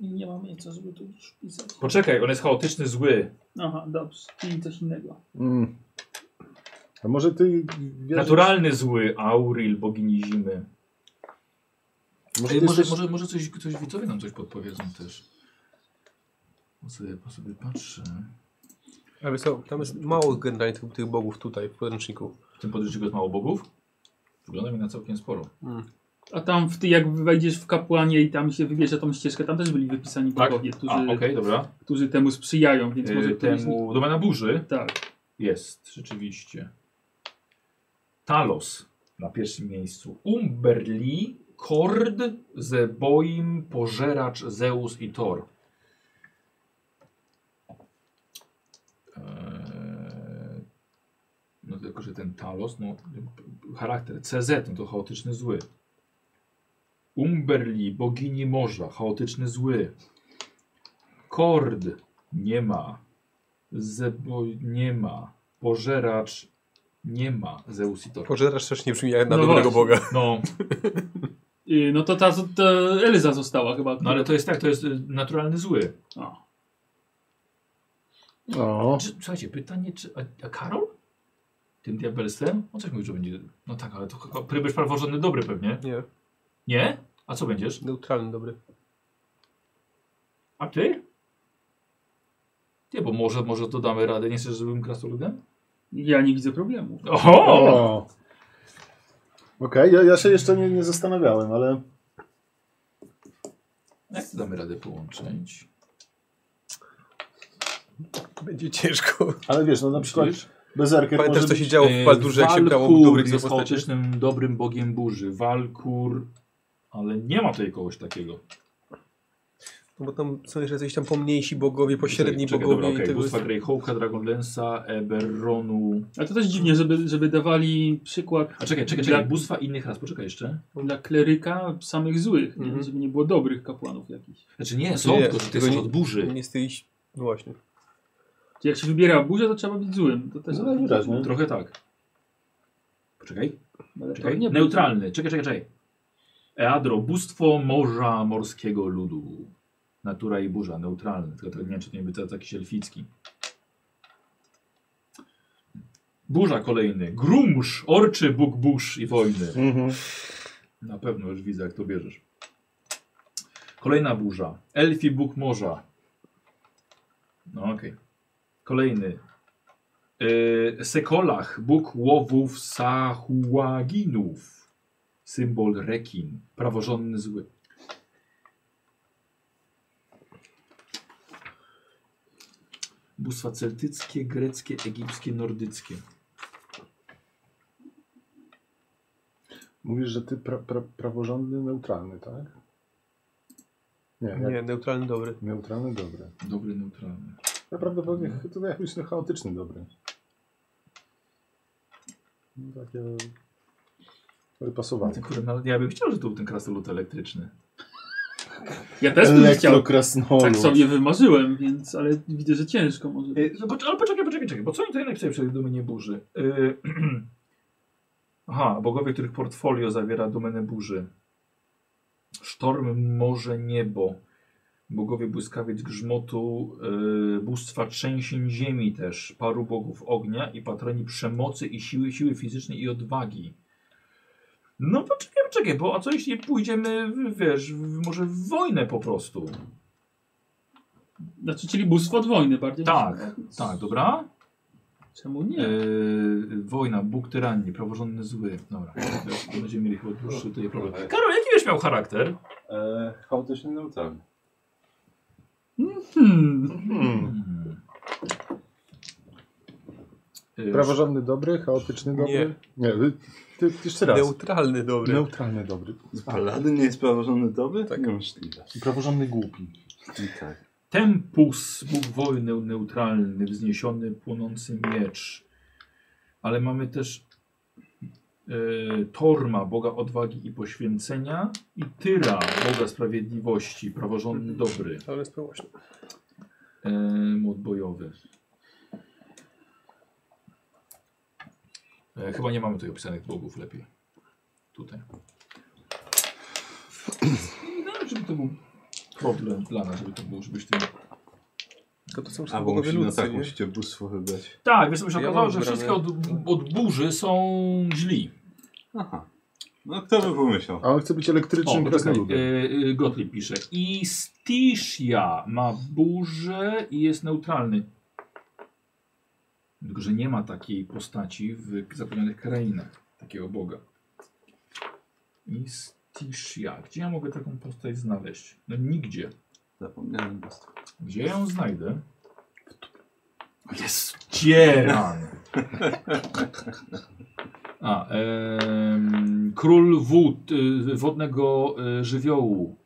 Speaker 6: Nie mam miejsca, żeby tu już pisać.
Speaker 1: Poczekaj, on jest chaotyczny, zły.
Speaker 6: Aha, dobrze. Czyli coś innego.
Speaker 2: Mm. A może ty wierzysz,
Speaker 1: Naturalny zły, Auril, bogini zimy.
Speaker 2: Może
Speaker 1: Ej,
Speaker 2: ty
Speaker 1: może,
Speaker 2: jesteś...
Speaker 1: może, może coś, coś widzowie nam coś podpowiedzą też. Po sobie, po sobie patrzę.
Speaker 12: Ale wiesz co, tam jest mało generalnie tych, tych bogów tutaj w podręczniku.
Speaker 1: W tym podręczniku jest mało bogów? Wygląda mi na całkiem sporo.
Speaker 6: A tam w ty, jak wejdziesz w kapłanie i tam się wybierze tą ścieżkę, tam też byli wypisani bogowie, którzy,
Speaker 1: Tak? A, okej, dobra.
Speaker 6: którzy temu sprzyjają, więc może
Speaker 1: Yy,
Speaker 6: któryś z nich...
Speaker 1: temu domena burzy
Speaker 6: Tak.
Speaker 1: jest, rzeczywiście. Talos na pierwszym miejscu. Umberli, Kord, Zeboim, Pożeracz, Zeus i Thor. Eee, No tylko, że ten Talos, no charakter CZ, no to chaotyczny zły. Umberli, bogini morza, chaotyczny zły. Kord, nie ma. Zebo, nie ma. Pożeracz, nie ma. Zeus i Thor.
Speaker 12: Pożerasz też nie brzmi jak na
Speaker 6: No
Speaker 12: dobrego
Speaker 6: właśnie.
Speaker 12: boga.
Speaker 1: No,
Speaker 6: Yy, no to ta, ta Elza została chyba.
Speaker 1: no ale to jest tak, to jest y, naturalny zły.
Speaker 6: A.
Speaker 2: O,
Speaker 1: Czy, słuchajcie, pytanie, czy. A, a Karol? Tym diabelsem? On coś mówił, że będzie. No tak, ale to chyba- będziesz praworządny dobry pewnie.
Speaker 12: Nie,
Speaker 1: Nie? A co będziesz?
Speaker 12: neutralny dobry.
Speaker 1: A ty? Nie, bo może, może to damy radę. Nie chcesz, żebym krasnoludem?
Speaker 6: Ja nie widzę problemu.
Speaker 1: Oho!
Speaker 2: o. Okej, ja, ja się jeszcze nie, nie zastanawiałem, ale
Speaker 1: Jak to damy radę połączyć?
Speaker 12: Będzie ciężko.
Speaker 2: Ale wiesz, no na przykład
Speaker 1: Myślisz?
Speaker 2: Bezerker
Speaker 12: Pamiętasz,
Speaker 2: może
Speaker 12: co
Speaker 2: być...
Speaker 1: Yy,
Speaker 12: się działo w Baldurze, jak się grało
Speaker 1: Walkur
Speaker 12: dobrych
Speaker 1: jest
Speaker 12: postaci?
Speaker 1: chaotycznym, dobrym bogiem burzy. Walkur. Ale nie ma tutaj kogoś takiego.
Speaker 12: No bo tam są jeszcze jakieś tam pomniejsi bogowie, pośredni
Speaker 1: Czekaj,
Speaker 12: bogowie
Speaker 1: Dobra,
Speaker 12: i
Speaker 1: okay.
Speaker 12: tego
Speaker 1: Bóstwa
Speaker 12: jest...
Speaker 1: Greyhawka, Dragonlance'a, Eberronu.
Speaker 6: Ale to też dziwnie, żeby, żeby dawali przykład
Speaker 1: A czekaj, czekaj,
Speaker 6: Dla-
Speaker 1: czekaj. Bóstwa innych raz, poczekaj jeszcze.
Speaker 6: dla kleryka samych złych, nie?
Speaker 12: Mhm.
Speaker 6: żeby nie było dobrych kapłanów jakichś.
Speaker 1: Znaczy nie, są,
Speaker 12: nie,
Speaker 1: tylko że ty
Speaker 12: tego
Speaker 1: jesteś
Speaker 12: nie-
Speaker 1: od burzy.
Speaker 12: Nie jesteś... No właśnie.
Speaker 6: Czyli jak się wybiera burzę, to trzeba być złym. To też
Speaker 2: No najwyraźniej.
Speaker 1: Trochę tak. Poczekaj,
Speaker 6: Ale to
Speaker 1: czekaj.
Speaker 6: nie-
Speaker 1: Neutralny. Czekaj, czekaj, czekaj. Eadro, bóstwo morza morskiego ludu. Natura i burza, neutralny. Tylko to nie wiem, czy to nie by to jakiś elficki. Burza kolejny. Grumsz, orczy, bóg burz i wojny.
Speaker 2: Mhm.
Speaker 1: Na pewno już widzę, jak to bierzesz. Kolejna burza. Elfi Bóg Morza. No okej. Kolejny. Yy, Sekolach, Bóg łowów Sahuaginów. Symbol rekin. Praworządny zły. Bóstwa celtyckie, greckie, egipskie, nordyckie.
Speaker 4: Mówisz, że ty pra, pra, praworządny, neutralny, tak? Nie,
Speaker 2: Tak.
Speaker 4: jak
Speaker 5: Nie, neutralny dobry.
Speaker 4: neutralny, dobry.
Speaker 1: Dobry, neutralny.
Speaker 4: Ja prawdopodobnie ch- to jakiś chaotyczny, dobry. No, takie wypasowane.
Speaker 1: Ty, kurde, no, ja bym chciał, żeby to był ten krasnolud elektryczny.
Speaker 6: Ja też bym chciał.
Speaker 4: Elektrokrasnolud.
Speaker 6: Tak sobie wymarzyłem, więc, ale widzę, że ciężko może.
Speaker 1: Y, no poc- ale poczekaj, poczekaj, czekaj, bo co oni tutaj napisali przed domenie burzy? Y, <clears throat> Aha, bogowie, których portfolio zawiera domenę burzy. Sztorm, morze, niebo. Bogowie błyskawiec grzmotu, y, bóstwa trzęsień ziemi też, paru bogów ognia i patroni przemocy i siły, siły fizycznej i odwagi. No poczekaj, poczekaj, bo a co jeśli pójdziemy, w- wiesz, w, może w wojnę po prostu?
Speaker 6: Znaczy, czyli bóstwo od wojny bardziej.
Speaker 1: Tak, tak, dobra?
Speaker 6: Czemu nie?
Speaker 1: Yy, wojna, Bóg tyranii, praworządny zły. Dobra, teraz będziemy mieli chyba dłuższy tutaj problem. Karol, jaki wiesz miał charakter?
Speaker 3: E, chaotyczny neutralny.
Speaker 6: Hmm.
Speaker 1: Hmm. Yy,
Speaker 4: Praworządny, dobry, chaotyczny, dobry? Nie. wy- ty, ty jeszcze raz.
Speaker 12: Neutralny dobry.
Speaker 4: Neutralny, dobry.
Speaker 3: Paladyn nie jest praworządny dobry? Tak. Niemożliwe.
Speaker 4: Praworządny, głupi.
Speaker 3: I tak.
Speaker 1: Tempus, Bóg wojny, neutralny, wzniesiony, płonący miecz. Ale mamy też yy, Torma, Boga odwagi i poświęcenia i Tyra, Boga sprawiedliwości, praworządny, dobry.
Speaker 5: Ale jest miłośny.
Speaker 1: E, mod bojowy. E, chyba nie mamy tutaj opisanych bogów lepiej. Tutaj. No, żeby to był problem dla nas, żeby to było, żebyś ty...
Speaker 5: To, to są
Speaker 3: A bo
Speaker 5: bogowie
Speaker 3: musi, no
Speaker 5: ludzcy,
Speaker 3: tak,
Speaker 5: nie?
Speaker 3: musicie bóstwo wybrać.
Speaker 1: Tak, więc by się
Speaker 5: Ja
Speaker 1: okazało,
Speaker 5: mam
Speaker 1: że
Speaker 5: wybrane-
Speaker 1: wszystkie od, od burzy są źli.
Speaker 3: Aha. No kto by pomyślał?
Speaker 4: A on chce być elektrycznym
Speaker 1: O, poczekaj,
Speaker 4: krasnoludem.
Speaker 1: e, e, Gottlieb pisze. I Stishia ma burzę i jest neutralny. Tylko, że nie ma takiej postaci w zapomnianych krainach. Takiego boga. I Stishia. Gdzie ja mogę taką postać znaleźć? No nigdzie.
Speaker 3: Zapomniałem bóstwo.
Speaker 1: Gdzie ja ją znajdę? Jest cieran. A, em, król wód, y, wodnego y, żywiołu.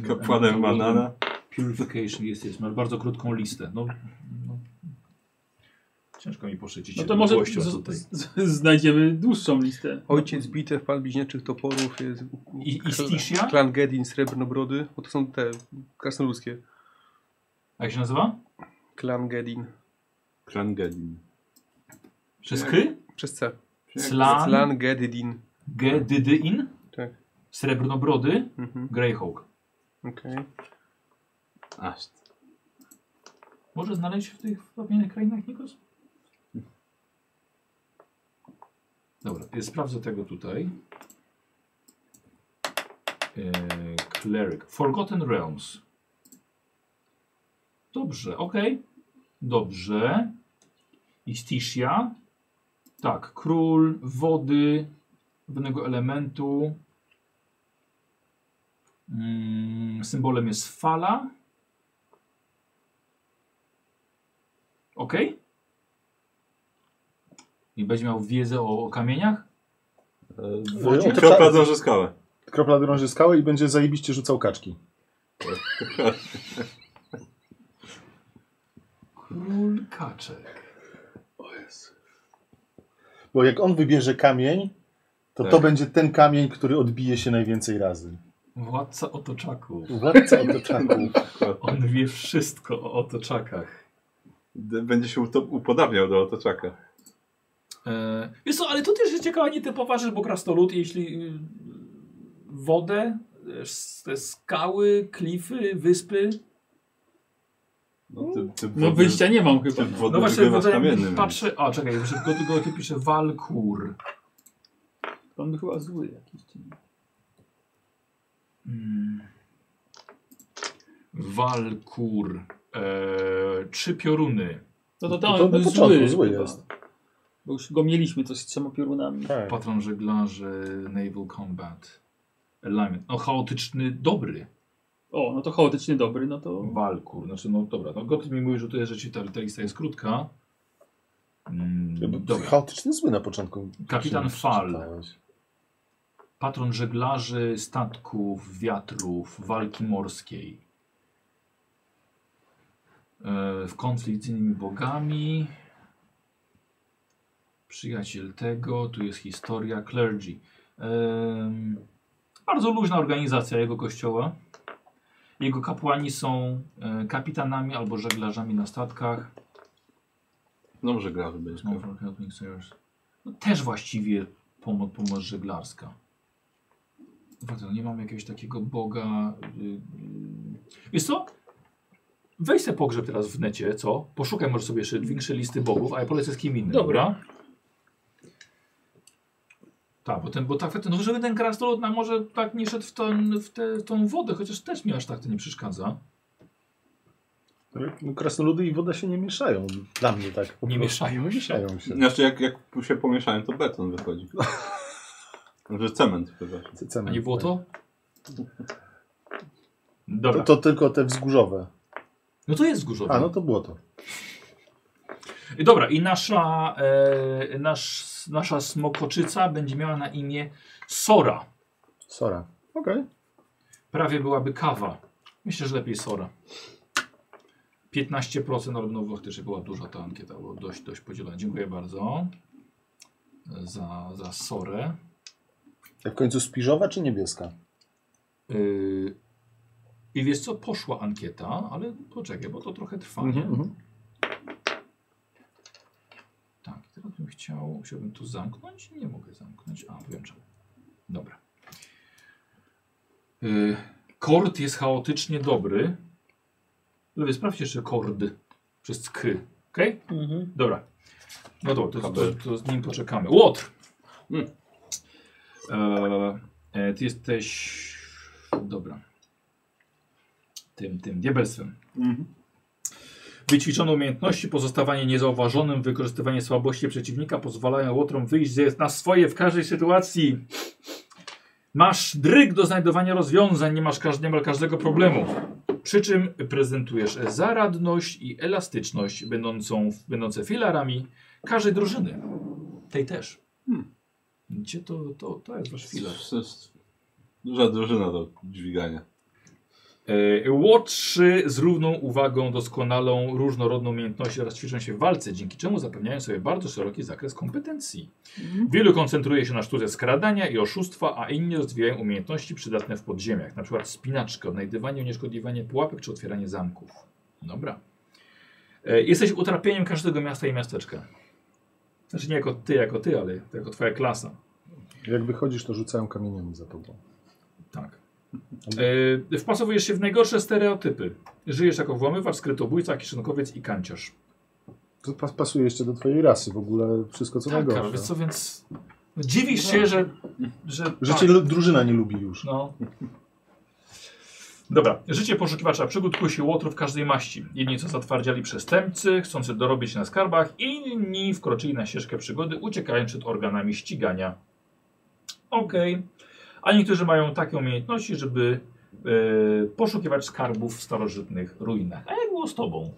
Speaker 3: <laughs> Kapłanem banana.
Speaker 1: Purification jest, jest. Masz bardzo krótką listę. No, no. Ciężko mi poszycić.
Speaker 6: No
Speaker 1: się
Speaker 6: to może
Speaker 1: długością
Speaker 6: z,
Speaker 1: tutaj.
Speaker 6: z, z, znajdziemy dłuższą listę.
Speaker 5: Ojciec bitew, pan bliźniaczych toporów. Jest...
Speaker 1: I, i Stishia?
Speaker 5: Klan Gedin, Srebrnobrody. Bo to są te krasnoludzkie.
Speaker 1: A jak się nazywa?
Speaker 5: Klan Gedin.
Speaker 3: Klan Gadin.
Speaker 1: Przez K?
Speaker 5: Przez C.
Speaker 1: Slan,
Speaker 5: Klan Gedin.
Speaker 1: G, Dydy'in?
Speaker 5: Tak.
Speaker 1: Srebrnobrody?
Speaker 5: Mhm.
Speaker 1: Greyhawk.
Speaker 5: Okej.
Speaker 3: Aż.
Speaker 1: Może znaleźć w tych wspomnianych krainach, Nikos? Dobra, y, sprawdzę tego tutaj. Yy, cleric. Forgotten Realms. Dobrze, ok. Dobrze. Istishia. Tak, król wody, pewnego elementu. Mm, symbolem jest fala. Ok? I będzie miał wiedzę o, o kamieniach?
Speaker 4: Ej, o,
Speaker 3: Kropla
Speaker 4: tak.
Speaker 3: dąży skałę.
Speaker 4: Kropla drąży skałę i będzie zajebiście rzucał kaczki.
Speaker 1: Król kaczek.
Speaker 4: Bo jak on wybierze kamień, to
Speaker 3: Tak.
Speaker 4: to będzie ten kamień, który odbije się najwięcej razy. tak.
Speaker 1: Władca otoczaków.
Speaker 4: Władca otoczaków.
Speaker 1: On wie wszystko o otoczakach.
Speaker 3: D- Będzie się utop- upodabniał do otoczaka.
Speaker 1: E, wiesz co, ale to też jest ciekawa nietypowa rzecz, bo krasnolud, jeśli y, wodę, y, s- te skały, klify, wyspy.
Speaker 3: No, ty, ty
Speaker 6: No wyjścia nie mam chyba.
Speaker 3: Ty wodny
Speaker 1: No właśnie,
Speaker 3: wygrywasz
Speaker 1: wodę
Speaker 3: kamiennym.
Speaker 1: patrzę... A, czekaj, szybko tylko tu pisze Walkur.
Speaker 6: To Pan był chyba zły jakiś. No czy nie?
Speaker 1: Mm. Walkur. Eee, trzy pioruny.
Speaker 6: No to
Speaker 4: No
Speaker 6: tam
Speaker 4: to na
Speaker 6: był
Speaker 4: początku
Speaker 6: zły.
Speaker 4: zły
Speaker 6: chyba.
Speaker 4: jest.
Speaker 6: Bo już go mieliśmy coś z trzema piorunami.
Speaker 4: Tak.
Speaker 1: Patron żeglarzy Naval Combat. Alignment. No chaotyczny dobry
Speaker 6: O, no to chaotycznie dobry, no to...
Speaker 1: walkur. Znaczy no dobra, no Goty mi mówi, że to jest rzeczy, ta, ta lista jest krótka. Mm, dobra.
Speaker 4: Chaotyczny zły na początku.
Speaker 1: Kapitan Fal.
Speaker 4: Czytałeś.
Speaker 1: Patron żeglarzy, statków, wiatrów, walki morskiej. E, W konflikt z innymi bogami. Przyjaciel tego, tu jest historia clergy. Em, Bardzo luźna organizacja jego kościoła. Jego kapłani są e, kapitanami albo żeglarzami na statkach.
Speaker 3: Dobrze gra wybierz.
Speaker 1: No, for helping sailors. No, też właściwie pomoc, pomoc żeglarska. Bardzo, nie mam jakiegoś takiego boga. y, y. Wiesz co? Weź se pogrzeb teraz w necie, co? Poszukaj może sobie jeszcze większe listy bogów, a ja polecę z kim innym. Dobra. Tak, bo ten, bo tak, no żeby ten krasnolud nam może tak nie szedł w, ten, w, te, w tą wodę, chociaż też mi aż tak to nie przeszkadza.
Speaker 4: No, krasnoludy i woda się nie mieszają. Dla mnie tak. po
Speaker 1: Nie
Speaker 4: prostu.
Speaker 1: mieszają
Speaker 4: Nie
Speaker 1: się. No.
Speaker 4: mieszają się.
Speaker 3: Znaczy jak, jak się pomieszałem, to beton wychodzi. Może cement chyba.
Speaker 4: C- cement.
Speaker 1: A nie było to?
Speaker 4: To,
Speaker 1: Dobra.
Speaker 4: to tylko te wzgórzowe.
Speaker 1: No to jest wzgórzowe.
Speaker 4: A, no to było to.
Speaker 1: Dobra, i nasza, e, nasz, nasza smokoczyca będzie miała na imię Sora.
Speaker 4: Sora. Okej.
Speaker 1: Prawie byłaby kawa. Myślę, że lepiej Sora. 15% odnowych też była duża ta ankieta, była dość, dość podzielona. Dziękuję bardzo za, za Sorę.
Speaker 4: A W końcu spiżowa czy niebieska?
Speaker 1: Y, I wiesz co, poszła ankieta, ale poczekaj, bo to trochę trwa. nie? Tak, teraz bym chciał, chciałbym tu zamknąć. Nie mogę zamknąć. A, wiem czemu. Dobra. Y, kord jest chaotycznie dobry. Lewy, sprawdź jeszcze kord przez k. Ok?
Speaker 6: Mhm.
Speaker 1: Dobra. No dobra, to, to, to z nim poczekamy. Łotr!
Speaker 3: Mm.
Speaker 1: E, e, ty jesteś... Dobra. Tym, tym diabelstwem. Wyćwiczone umiejętności, pozostawanie niezauważonym, wykorzystywanie słabości przeciwnika pozwalają łotrom wyjść ze- na swoje w każdej sytuacji. Masz dryg do znajdowania rozwiązań, nie masz każd- niemal każdego problemu. Przy czym prezentujesz zaradność i elastyczność, będącą, będące filarami każdej drużyny. Tej też. Gdzie to, to, to jest wasz filar?
Speaker 3: To jest Duża drużyna do dźwigania.
Speaker 1: E, Łotrzy z równą uwagą doskonalą różnorodną umiejętność oraz ćwiczą się w walce, dzięki czemu zapewniają sobie bardzo szeroki zakres kompetencji.
Speaker 6: Mhm.
Speaker 1: Wielu koncentruje się na sztuce skradania i oszustwa, a inni rozwijają umiejętności przydatne w podziemiach, np. spinaczkę, odnajdywanie, unieszkodliwianie pułapek czy otwieranie zamków. Dobra. E, Jesteś utrapieniem każdego miasta i miasteczka. Znaczy nie jako ty, jako ty, ale jako twoja klasa.
Speaker 4: Jak wychodzisz, to rzucają kamieniami za tobą.
Speaker 1: Tak. E, wpasowujesz się w najgorsze stereotypy. Żyjesz jako włamywacz, skrytobójca, kieszonkowiec i kanciarz.
Speaker 4: To pas pasuje jeszcze do twojej rasy w ogóle wszystko co
Speaker 1: tak, Karol,
Speaker 4: najgorsze.
Speaker 1: wiesz co, więc no, dziwisz się, że... że
Speaker 4: Że
Speaker 1: tak,
Speaker 4: cię lu- drużyna nie lubi już.
Speaker 1: no. Dobra, życie poszukiwacza przygód kusi łotrów każdej maści. Jedni co zatwardziali przestępcy, chcący dorobić na skarbach, inni wkroczyli na ścieżkę przygody, uciekając przed organami ścigania. Okej. A niektórzy mają takie umiejętności, żeby e, poszukiwać skarbów w starożytnych ruinach. A jak było z tobą?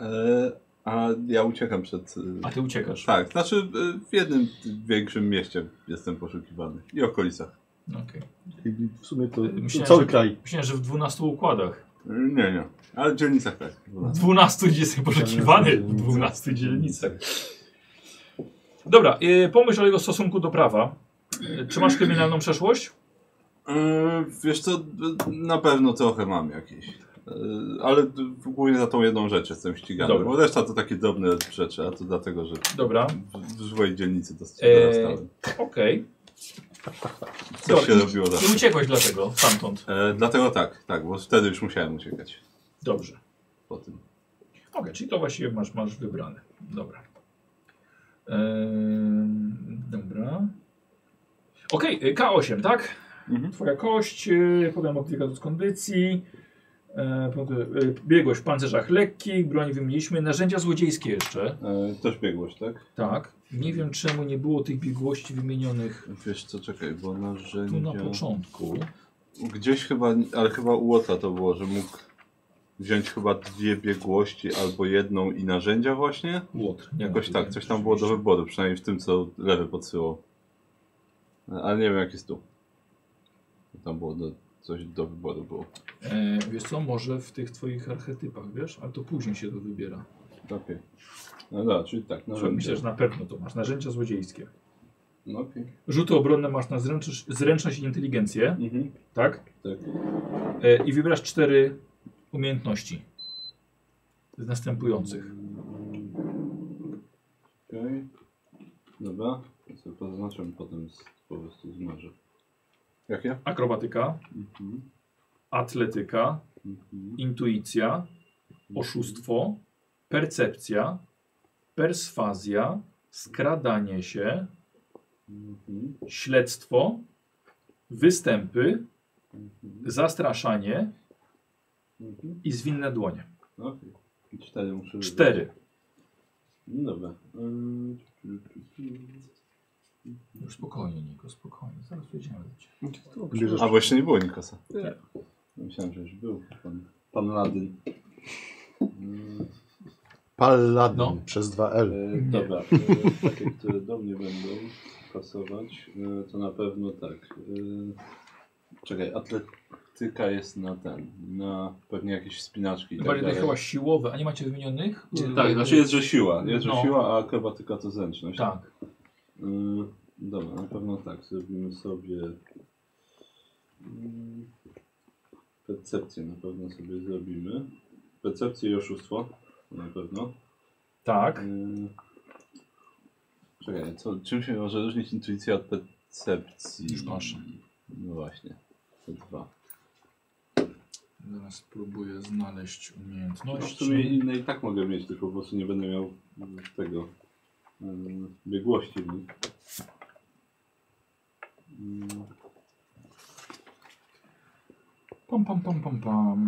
Speaker 3: E, a ja uciekam przed... y,
Speaker 1: A ty uciekasz.
Speaker 3: Tak, znaczy y, w jednym większym mieście jestem poszukiwany. I okolicach.
Speaker 1: Okej.
Speaker 4: I w sumie to
Speaker 1: Myślałem,
Speaker 4: cały
Speaker 1: że-
Speaker 4: kraj.
Speaker 1: Myślałem, że w 12 układach.
Speaker 3: Y, Nie, nie. Ale w dzielnicach tak.
Speaker 1: W 12 gdzie jesteś poszukiwany w 12 dzielnicach. Dobra, y, pomyśl o jego stosunku do prawa. Y, Czy masz kryminalną przeszłość?
Speaker 3: Yy, wiesz co, y, na pewno trochę mam jakieś. Yy, ale d- głównie za tą jedną rzecz jestem ścigany.
Speaker 1: Dobra.
Speaker 3: Bo reszta to takie drobne rzeczy, a to dlatego, że
Speaker 1: Dobra,
Speaker 3: w, w złej dzielnicy dos-
Speaker 1: Eee,
Speaker 3: dorastałem.
Speaker 1: okej.
Speaker 3: Coś
Speaker 1: dobra,
Speaker 3: się robiło
Speaker 1: I
Speaker 3: zawsze.
Speaker 1: uciekłeś dlatego stamtąd.
Speaker 3: E, dlatego tak, tak, bo wtedy już musiałem uciekać
Speaker 1: Dobrze.
Speaker 3: po tym.
Speaker 1: Okej, czyli to właściwie masz, masz wybrane. Dobra. Ym, dobra. Okej, y, K8, tak?
Speaker 3: Mhm.
Speaker 1: Twoja kość, y, potem modyfikator z kondycji, e, punkty, y, biegłość w pancerzach lekkich, broń wymieniliśmy, narzędzia złodziejskie jeszcze.
Speaker 3: E, też biegłość, tak?
Speaker 1: Tak. Nie wiem czemu nie było tych biegłości wymienionych
Speaker 3: Wiesz co, czekaj, bo
Speaker 1: tu na
Speaker 3: narzędzia...
Speaker 1: początku.
Speaker 3: Gdzieś chyba, ale chyba u Ota to było, że mógł wziąć chyba dwie biegłości albo jedną i narzędzia właśnie.
Speaker 1: Łotr. nie
Speaker 3: Jakoś
Speaker 1: ma
Speaker 3: tak,
Speaker 1: tutaj,
Speaker 3: coś tam było do
Speaker 1: rzeczywiście.
Speaker 3: wyboru, przynajmniej w tym co lewy podsyłał. Ale nie wiem jak jest tu. Tam było do, coś do wyboru było.
Speaker 1: E, wiesz co, może w tych twoich archetypach, wiesz? Ale to później się to wybiera.
Speaker 3: Okej. No dobra, czyli tak, narzędzia.
Speaker 1: Myślę, że na pewno to masz. Narzędzia złodziejskie.
Speaker 3: No okej.
Speaker 1: Rzuty obronne masz na zręcz, zręczność i inteligencję,
Speaker 3: Mhm.
Speaker 1: tak?
Speaker 3: Tak.
Speaker 1: E, I wybierasz cztery umiejętności. Z następujących.
Speaker 3: Okej. Dobra. Ja sobie pozaznaczam potem z, po prostu zmarzę. Jakie?
Speaker 1: Akrobatyka,
Speaker 3: Mhm.
Speaker 1: atletyka,
Speaker 3: Mhm.
Speaker 1: intuicja, oszustwo, percepcja, perswazja, skradanie się,
Speaker 3: Mhm.
Speaker 1: śledztwo, występy,
Speaker 3: Mhm.
Speaker 1: zastraszanie
Speaker 3: Mhm.
Speaker 1: i zwinne dłonie.
Speaker 3: Okej. Cztery muszę wybrać.
Speaker 1: Cztery.
Speaker 3: No dobra. Ym, tu, tu, tu.
Speaker 1: Już No, spokojnie, Niko, spokojnie. Zaraz wyjdziemy do ciebie.
Speaker 11: Bierzesz,
Speaker 3: A bo jeszcze nie było Nikosa.
Speaker 5: Nie.
Speaker 3: Myślałem, że już był pan, pan Ladyn. E, Ym,
Speaker 2: Paladin
Speaker 1: No.
Speaker 2: przez 2L.
Speaker 3: E, dobra, e, takie, które do mnie będą pasować, e, to na pewno tak. E, czekaj, atletyka jest na ten, na pewnie jakieś spinaczki i tak
Speaker 1: Bardziej
Speaker 3: dalej.
Speaker 1: tak chyba siłowe, a nie macie wymienionych?
Speaker 3: Tak, znaczy jest, że siła, jest, że
Speaker 1: No.
Speaker 3: siła, a akrobatyka to zręczność.
Speaker 1: Tak.
Speaker 3: E, dobra, na pewno tak, zrobimy sobie mm, percepcję na pewno sobie zrobimy. Percepcję i oszustwo, na pewno.
Speaker 1: Tak.
Speaker 3: Mm. Czekaj, co, czym się może różnić intuicja od percepcji?
Speaker 1: Już masz.
Speaker 3: No właśnie, te dwa.
Speaker 1: Zaraz spróbuję znaleźć
Speaker 3: No w
Speaker 1: umiejętności.
Speaker 3: sumie inne i tak mogę mieć, tylko po prostu nie będę miał mm, tego mm, biegłości w nich. Mm,
Speaker 1: Pam, pam, pam, pam, pam.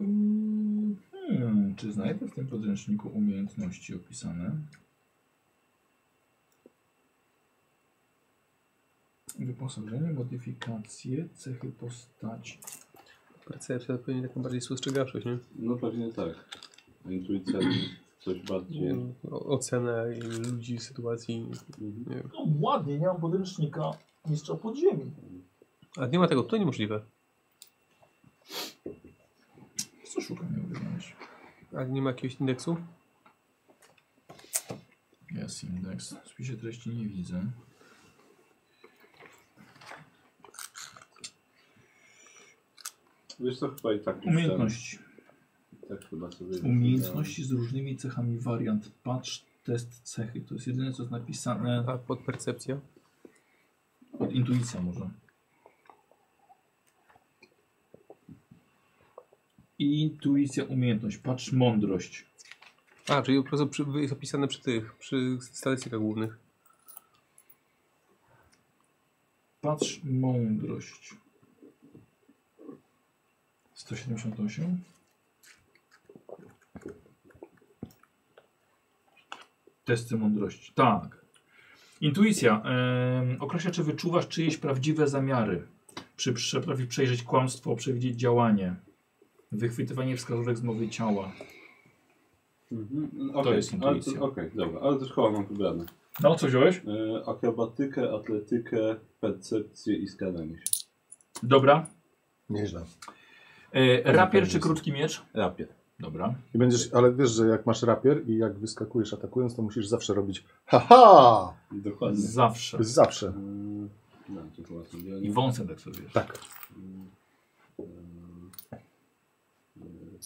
Speaker 1: Mm, Hmm, czy znajdę w tym podręczniku umiejętności opisane? Wyposażenie, modyfikacje, cechy postaci.
Speaker 5: Percepcja pewnie taką bardziej spostrzegawczość, nie?
Speaker 3: No pewnie tak. A Intuicja coś bardziej...
Speaker 5: O, ocenę i ludzi, sytuacji.
Speaker 3: Mhm.
Speaker 1: No ładnie, nie mam podręcznika mistrza podziemi.
Speaker 5: Ale nie ma tego, to niemożliwe.
Speaker 1: Co szukam, miałby znaleźć?
Speaker 5: A nie ma jakiegoś indeksu?
Speaker 1: Jest indeks. W spisie treści nie widzę.
Speaker 3: Wiesz co, chyba i tak... już
Speaker 1: Umiejętności.
Speaker 3: Ten, tak chyba sobie
Speaker 1: Umiejętności z różnymi cechami wariant. Patrz, test, cechy. To jest jedyne, co jest napisane.
Speaker 5: A pod percepcja?
Speaker 1: Pod intuicja może. Intuicja, umiejętność. Patrz, mądrość.
Speaker 5: A, czyli po prostu przy, jest opisane przy tych, przy statystykach głównych.
Speaker 1: Patrz, mądrość. 178? Testy mądrości. Tak. Intuicja. Em, określa, czy wyczuwasz czyjeś prawdziwe zamiary. Przy przeprawi przejrzeć kłamstwo, przewidzieć działanie. Wychwytywanie wskazówek z mowy ciała.
Speaker 3: Mhm.
Speaker 1: To jest intuicja.
Speaker 3: ale to- Okej, dobra, ale to chyba mam wybrane.
Speaker 1: No, co wziąłeś?
Speaker 3: E, akrobatykę, atletykę, percepcję i skradanie się.
Speaker 1: Dobra.
Speaker 2: Nieźle.
Speaker 1: E, rapier czy krótki miecz?
Speaker 3: Rapie.
Speaker 1: Dobra.
Speaker 2: I będziesz, ale wiesz, że jak masz rapier i jak wyskakujesz atakując, to musisz zawsze robić haha!
Speaker 3: Dokładnie.
Speaker 1: Zawsze.
Speaker 2: Zawsze.
Speaker 3: Mm, No, to chyba są dwie.
Speaker 1: I wąsem tak sobie wiesz.
Speaker 2: Tak.
Speaker 3: Mm, mm, mm,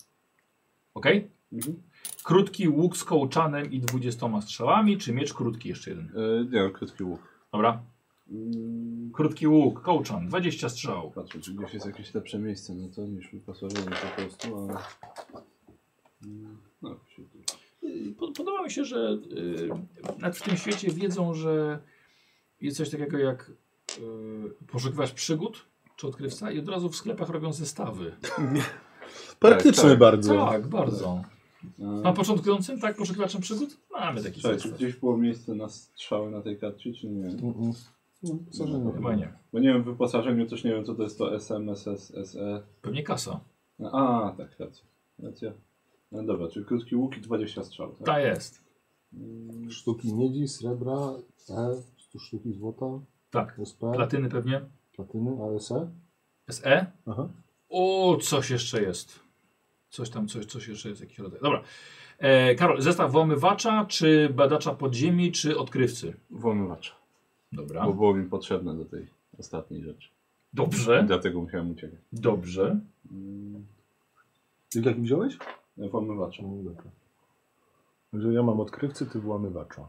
Speaker 1: Okej?
Speaker 3: mhm.
Speaker 1: Krótki łuk z kołczanem i 20 strzałami, czy miecz krótki jeszcze jeden?
Speaker 3: E, Nie, no, krótki łuk.
Speaker 1: Dobra.
Speaker 3: Mm,
Speaker 1: Krótki łuk, kołczan, 20 strzał.
Speaker 3: Patrzę, czy gdzieś jest jakieś lepsze miejsce, no to niż wyposażenie po prostu, ale... Mm, No, wśród tych.
Speaker 1: Y, pod- Podoba mi się, że y, nawet w tym świecie wiedzą, że jest coś takiego jak y, poszukiwać przygód czy odkrywca i od razu w sklepach robią zestawy.
Speaker 4: Praktyczny
Speaker 3: tak.
Speaker 4: bardzo.
Speaker 1: Tak, bardzo.
Speaker 3: E,
Speaker 1: Na początkującym, tak, poszukiwaczem przygód? Mamy taki
Speaker 3: Słuchaj, czy
Speaker 1: zestaw.
Speaker 3: gdzieś było miejsce na strzały na tej karcie, czy nie?
Speaker 4: Mm-mm. No, co, że nie.
Speaker 1: Chyba nie.
Speaker 3: Bo nie wiem, w wyposażeniu coś nie wiem, co to jest to SMSS, SE.
Speaker 1: Pewnie kasa.
Speaker 3: E. A, tak, racja. Racja. No dobra, czyli krótki łuk i 20 strzał, tak?
Speaker 1: Ta jest.
Speaker 3: Mm,
Speaker 11: Sztuki miedzi, srebra, E, sztuki złota,
Speaker 1: Tak.
Speaker 11: SP,
Speaker 1: Platyny pewnie. E?
Speaker 11: platyny,
Speaker 4: E.
Speaker 11: ASE.
Speaker 1: SE?
Speaker 11: Aha.
Speaker 1: O, coś jeszcze jest. Coś tam, coś, coś jeszcze jest, jakiś rodzaj. Dobra. E, Karol, zestaw włamywacza, czy badacza podziemi, czy odkrywcy?
Speaker 3: Włamywacza.
Speaker 1: Dobra.
Speaker 3: Bo było mi potrzebne do tej ostatniej rzeczy.
Speaker 1: Dobrze,
Speaker 3: Dlatego musiałem uciekać.
Speaker 1: dobrze.
Speaker 3: Mm,
Speaker 4: Ty jaki wziąłeś?
Speaker 3: Włamywacza.
Speaker 4: No, dobra. Że ja mam odkrywcy, ty włamywacza.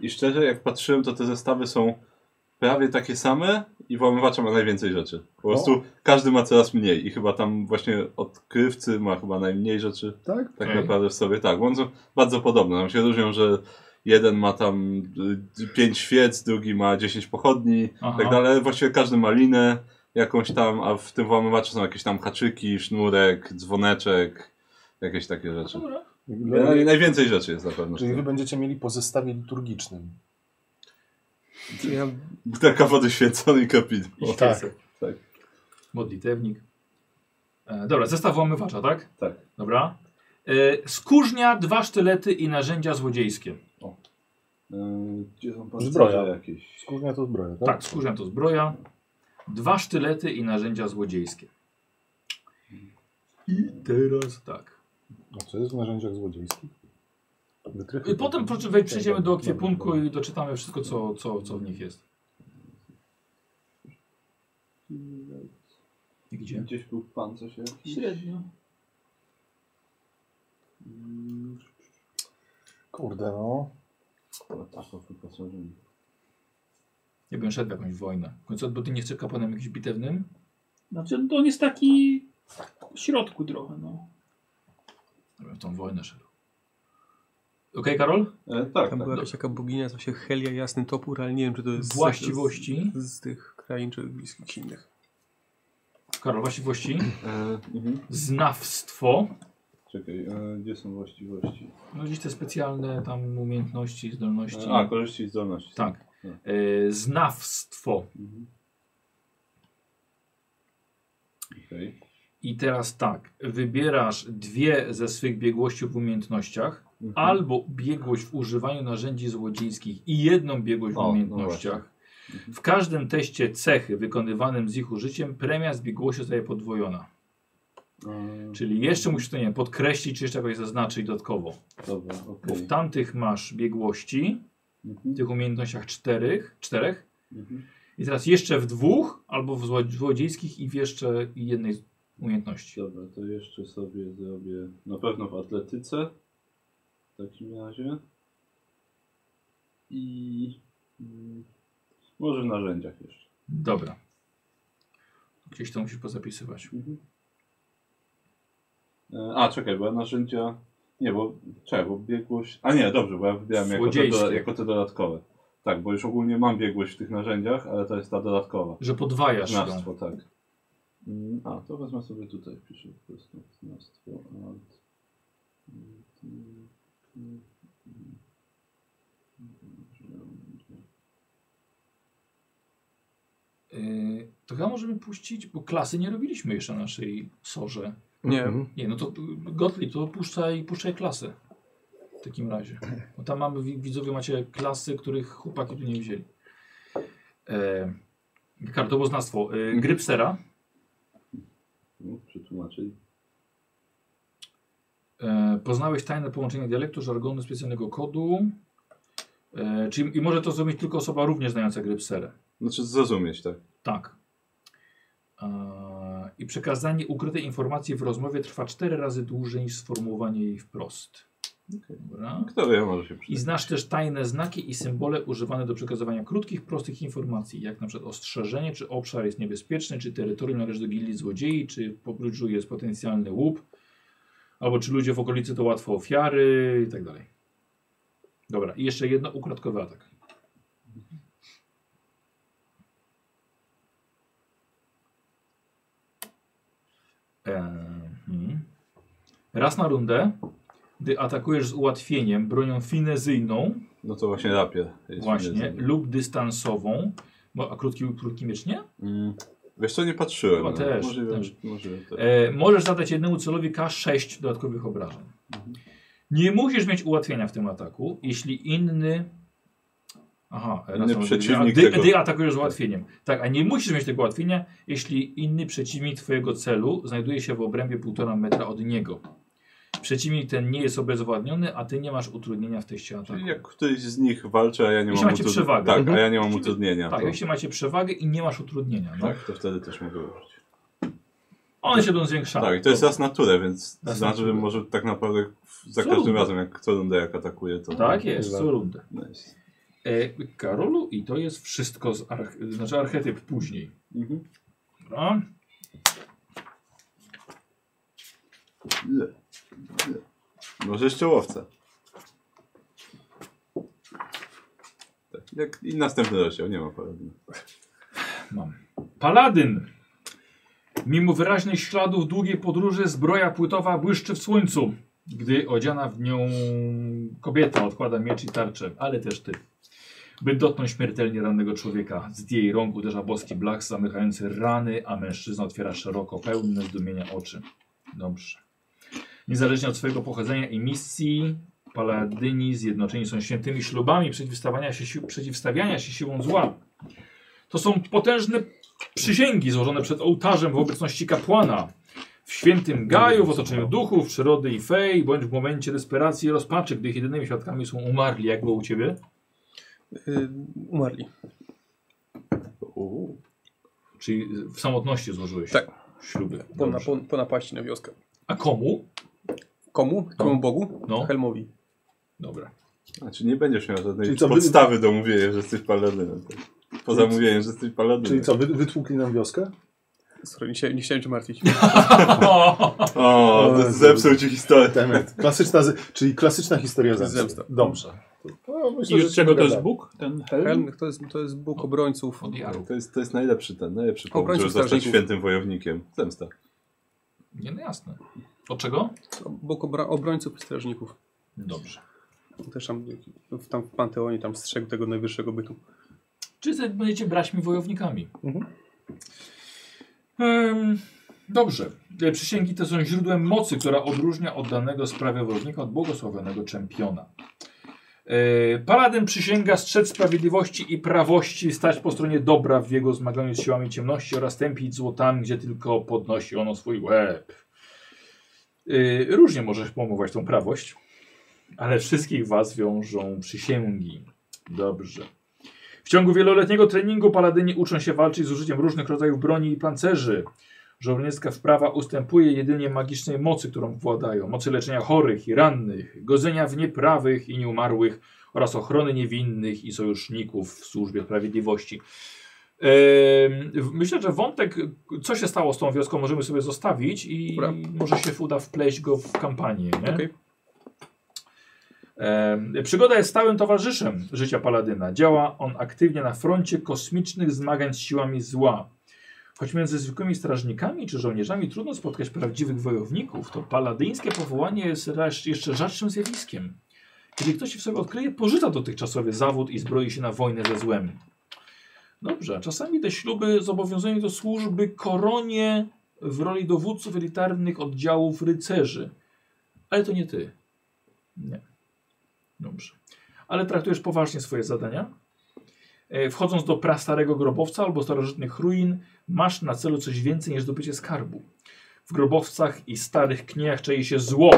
Speaker 3: I szczerze, jak patrzyłem, to te zestawy są prawie takie same i włamywacza ma najwięcej rzeczy. Po prostu każdy ma coraz mniej i chyba tam właśnie odkrywcy ma chyba najmniej rzeczy.
Speaker 4: Tak?
Speaker 3: Tak
Speaker 1: Okej.
Speaker 3: naprawdę w sobie, tak. Bo one są bardzo podobne. Nam się różnią, że jeden ma tam 5 świec, drugi ma 10 pochodni,
Speaker 1: Aha.
Speaker 3: tak dalej. Właściwie każdy ma linę jakąś tam, a w tym włamywaczu są jakieś tam haczyki, sznurek, dzwoneczek, jakieś takie rzeczy.
Speaker 1: Dobra.
Speaker 2: No
Speaker 3: Naj- Najwięcej rzeczy jest na pewno.
Speaker 4: Czyli wy będziecie mieli po zestawie liturgicznym.
Speaker 5: Ja
Speaker 3: Butelka wody święconej i kapidło.
Speaker 1: I tak.
Speaker 3: tak.
Speaker 1: Modlitewnik. E, dobra, zestaw włamywacza, tak?
Speaker 3: Tak.
Speaker 1: Dobra. E, skórznia, dwa sztylety i narzędzia złodziejskie.
Speaker 3: Yy, Gdzie są pancerze
Speaker 4: Zbroja.
Speaker 3: jakieś?
Speaker 4: Skórznia to zbroja, tak?
Speaker 1: Tak, skórznia to zbroja. Dwa sztylety i narzędzia złodziejskie. I teraz tak.
Speaker 4: A co jest w narzędziach złodziejskich? Wytrychy.
Speaker 1: I potem proszę, wej- przejdziemy do kwiepunku
Speaker 4: No,
Speaker 1: i doczytamy wszystko, co, co, co w nich jest. I Gdzie?
Speaker 3: Gdzieś był pancerz jakiś?
Speaker 6: Średnio.
Speaker 3: Mm,
Speaker 4: Kurde no.
Speaker 3: no tak, o wyposażeniu.
Speaker 1: Ja bym szedł w jakąś wojnę. W końcu, bo ty nie chcesz kapłanem jakimś bitewnym?
Speaker 6: Znaczy, no to on jest taki w środku trochę, no.
Speaker 1: Ja bym w tą wojnę szedł. Okej, Karol?
Speaker 3: E, tak, tak.
Speaker 5: tam była
Speaker 1: No.
Speaker 5: jakaś taka boginia, co się Helia Jasny Topór, ale nie wiem, czy to jest z-
Speaker 1: Właściwości?
Speaker 5: z, z tych krain, czy z jakichś innych.
Speaker 1: Karol, właściwości?
Speaker 3: E, mhm.
Speaker 1: <clears throat> Znawstwo.
Speaker 3: Czekaj, e, gdzie są właściwości?
Speaker 1: No gdzieś te specjalne tam umiejętności, zdolności.
Speaker 3: E, a, korzyści i zdolności.
Speaker 1: tak. E, znawstwo.
Speaker 3: Mhm. Okej.
Speaker 1: I teraz tak. Wybierasz dwie ze swych biegłości w umiejętnościach.
Speaker 3: Mhm.
Speaker 1: Albo biegłość w używaniu narzędzi złodziejskich i jedną biegłość w
Speaker 3: O, no
Speaker 1: umiejętnościach.
Speaker 3: Mhm.
Speaker 1: w każdym teście cechy wykonywanym z ich użyciem premia z biegłości zostaje podwojona.
Speaker 3: E,
Speaker 1: Czyli jeszcze musisz to nie wiem, podkreślić, czy jeszcze jakoś zaznaczyć dodatkowo.
Speaker 3: Dobra,
Speaker 1: Bo
Speaker 3: okej.
Speaker 1: w tamtych masz biegłości,
Speaker 3: Mhm,
Speaker 1: w tych umiejętnościach czterech, czterech
Speaker 3: mhm.
Speaker 1: i teraz jeszcze w dwóch, albo w zło- złodziejskich i w jeszcze jednej z umiejętności.
Speaker 3: Dobra, to jeszcze sobie zrobię na pewno w atletyce w takim razie. I mm, może w narzędziach jeszcze.
Speaker 1: Dobra. Gdzieś to musisz pozapisywać.
Speaker 3: Mhm. E, A, czekaj, bo ja narzędzia. Nie, bo czekaj, bo biegłość. A nie, dobrze, bo ja wybieram jako te,
Speaker 1: Złodziejskie.
Speaker 3: doda- jako te dodatkowe. Tak, bo już ogólnie mam biegłość w tych narzędziach, ale to jest ta dodatkowa.
Speaker 1: Że podwajasz ją.
Speaker 3: Znawstwo, tak. Mm, A, to wezmę sobie tutaj, piszę po prostu znawstwo. Alt.
Speaker 1: Yy, to chyba możemy puścić, bo klasy nie robiliśmy jeszcze na naszej sorze.
Speaker 5: Nie,
Speaker 1: Nie, no to y, Gottlieb, to puszczaj, puszczaj klasy. W takim razie. Bo tam mamy, wi- widzowie macie klasy, których chłopaki tu nie wzięli. E, kartoboznawstwo. E, Grypsera.
Speaker 3: No, Przetłumaczyli.
Speaker 1: E, poznałeś tajne połączenie dialektu, żargonu, specjalnego kodu. E, czyli, I może to zrobić tylko osoba również znająca Grypserę.
Speaker 3: Znaczy zrozumieć, tak.
Speaker 1: Tak. E, I przekazanie ukrytej informacji w rozmowie trwa cztery razy dłużej niż sformułowanie jej wprost. Dobra.
Speaker 3: No, Kto wie, może się
Speaker 1: I
Speaker 3: przydać.
Speaker 1: znasz też tajne znaki i symbole używane do przekazywania krótkich, prostych informacji, jak na przykład ostrzeżenie, czy obszar jest niebezpieczny, czy terytorium należy do gildii złodziei, czy w pobliżu jest potencjalny łup. Albo czy ludzie w okolicy to łatwo ofiary i tak dalej. Dobra, i jeszcze jedno ukradkowy atak. Mhm. Raz na rundę, gdy atakujesz z ułatwieniem bronią finezyjną,
Speaker 3: No to właśnie rapie. jest
Speaker 1: właśnie,
Speaker 3: jedzenie.
Speaker 1: lub dystansową, bo, a krótki, krótki miecz nie?
Speaker 3: Mm. Wiesz co, nie patrzyłem.
Speaker 1: Chyba
Speaker 3: no.
Speaker 1: też,
Speaker 3: Możliwe,
Speaker 1: też.
Speaker 3: możliwe, tak.
Speaker 1: E, możesz zadać jednemu celowi K6 dodatkowych obrażeń.
Speaker 3: Mhm.
Speaker 1: Nie musisz mieć ułatwienia w tym ataku, jeśli inny. Aha, raz mam-
Speaker 3: przeciwnik
Speaker 1: gdy,
Speaker 3: tego.
Speaker 1: gdy atakujesz z ułatwieniem. Tak, a nie musisz mieć tego ułatwienia, jeśli inny przeciwnik Twojego celu znajduje się w obrębie 1,5 metra od niego. Przeciwnik ten nie jest obezwładniony, a Ty nie masz utrudnienia w teście ataku.
Speaker 3: Czyli jak któryś z nich walczy, a ja nie
Speaker 1: Jeśli
Speaker 3: mam
Speaker 1: macie
Speaker 3: utrud-
Speaker 1: przewagę.
Speaker 3: Tak,
Speaker 1: Mhm.
Speaker 3: a ja nie mam utrudnienia.
Speaker 1: Tak,
Speaker 3: to,
Speaker 1: jeśli macie przewagę i nie masz utrudnienia. No.
Speaker 3: tak, to wtedy też mogę użyć.
Speaker 1: One się będą zwiększały.
Speaker 3: Tak, i to jest raz na turę, więc
Speaker 1: Raz na
Speaker 3: znaczy, że
Speaker 1: turę.
Speaker 3: może tak naprawdę w- za
Speaker 1: Co
Speaker 3: każdym
Speaker 1: rundę?
Speaker 3: razem, jak co rundę jak atakuje, to...
Speaker 1: tak jest, co rundę.
Speaker 3: Nice.
Speaker 1: E, Karolu, i to jest wszystko z arch... znaczy archetyp później.
Speaker 3: Mhm.
Speaker 1: Dobra.
Speaker 3: Ile? Ile? Może jeszcze łowca. Tak, jak i następny rozdział, nie ma porówny.
Speaker 1: Mam. Paladyn. Mimo wyraźnych śladów długiej podróży zbroja płytowa błyszczy w słońcu, gdy odziana w nią kobieta odkłada miecz i tarczę, ale też ty. By dotknąć śmiertelnie rannego człowieka, z jej rąk uderza boski blach zamykający rany, a mężczyzna otwiera szeroko, pełne zdumienia oczy. Dobrze. Niezależnie od swojego pochodzenia i misji, paladyni zjednoczeni są świętymi ślubami przeciwstawiania się, sił- przeciwstawiania się siłą zła. To są potężne przysięgi złożone przed ołtarzem w obecności kapłana. W świętym gaju, w otoczeniu duchów, przyrody i fej, bądź w momencie desperacji i rozpaczy, gdy ich jedynymi świadkami są umarli. Jak było u ciebie?
Speaker 5: Y, umarli.
Speaker 1: Czyli w samotności złożyłeś
Speaker 5: Tak.
Speaker 1: śluby.
Speaker 5: Po, na,
Speaker 1: Dobrze.
Speaker 5: po, po napaści na wioskę.
Speaker 1: A komu?
Speaker 5: Komu? Komu Bogu?
Speaker 1: No.
Speaker 5: Helmowi.
Speaker 1: Dobra.
Speaker 3: Znaczy nie będziesz miał żadnej
Speaker 4: Czyli co, wy-
Speaker 3: podstawy do mówienia, że jesteś paladynem. tak? Poza
Speaker 4: Czyli co-
Speaker 3: mówieniem, że jesteś paladynem.
Speaker 4: Czyli co, wy, wytłukli nam
Speaker 3: <laughs>
Speaker 4: wioskę?
Speaker 5: Sorry, nie, chciałem- nie chciałem cię martwić.
Speaker 1: Mhm.
Speaker 3: O,
Speaker 4: O,
Speaker 3: zepsuł ci historię.
Speaker 4: Demet. Klasyczna, z- czyli klasyczna historia zemsty.
Speaker 5: Zemsta.
Speaker 4: Dobrze. No, myślę,
Speaker 6: I od
Speaker 4: się
Speaker 6: czego to jest
Speaker 4: dogadamy.
Speaker 6: Bóg? Ten helm?
Speaker 5: Helm to jest, to jest Bóg obrońców.
Speaker 1: Od Jaru.
Speaker 3: To jest, to jest najlepszy ten, najlepszy powód,
Speaker 5: Obrońców
Speaker 3: żeby zostać
Speaker 5: strażników.
Speaker 3: świętym wojownikiem. Zemsta.
Speaker 1: Nie, no jasne. Od czego?
Speaker 5: Bóg obra- obrońców i strażników.
Speaker 1: Dobrze.
Speaker 5: Też tam, w- tam w Panteonie tam strzegł tego najwyższego bytu.
Speaker 1: Czy ze- będziecie braćmi wojownikami?
Speaker 5: Mhm.
Speaker 1: Em, dobrze. E, Przysięgi te są źródłem mocy, która odróżnia oddanego sprawie wojownika od błogosławionego czempiona. E, Paladyn przysięga strzec sprawiedliwości i prawości, stać po stronie dobra w jego zmaganiu z siłami ciemności oraz tępić zło tam, gdzie tylko podnosi ono swój łeb. E, różnie możesz pomówić tą prawość, ale wszystkich was wiążą przysięgi. Dobrze. W ciągu wieloletniego treningu paladyni uczą się walczyć z użyciem różnych rodzajów broni i pancerzy. Żołnierska wprawa ustępuje jedynie magicznej mocy, którą władają, mocy leczenia chorych i rannych, godzenia w nieprawych i nieumarłych oraz ochrony niewinnych i sojuszników w służbie sprawiedliwości. Em, w- myślę, że wątek, co się stało z tą wioską, możemy sobie zostawić i
Speaker 5: Dobra.
Speaker 1: może się uda wpleść go w kampanię. Nie?
Speaker 5: Okej.
Speaker 1: Em, Przygoda jest stałym towarzyszem życia Paladyna. Działa on aktywnie na froncie kosmicznych zmagań z siłami zła. Choć między zwykłymi strażnikami czy żołnierzami trudno spotkać prawdziwych wojowników, to paladyńskie powołanie jest raż- jeszcze rzadszym zjawiskiem. Kiedy ktoś w sobie odkryje, porzuca dotychczasowy zawód i zbroi się na wojnę ze złem. Dobrze, a czasami te śluby zobowiązują do służby koronie w roli dowódców elitarnych oddziałów rycerzy. Ale to nie ty. Nie. Dobrze. Ale traktujesz poważnie swoje zadania. E, Wchodząc do prastarego grobowca albo starożytnych ruin, masz na celu coś więcej niż zdobycie skarbu. W grobowcach i starych kniejach czai się zło,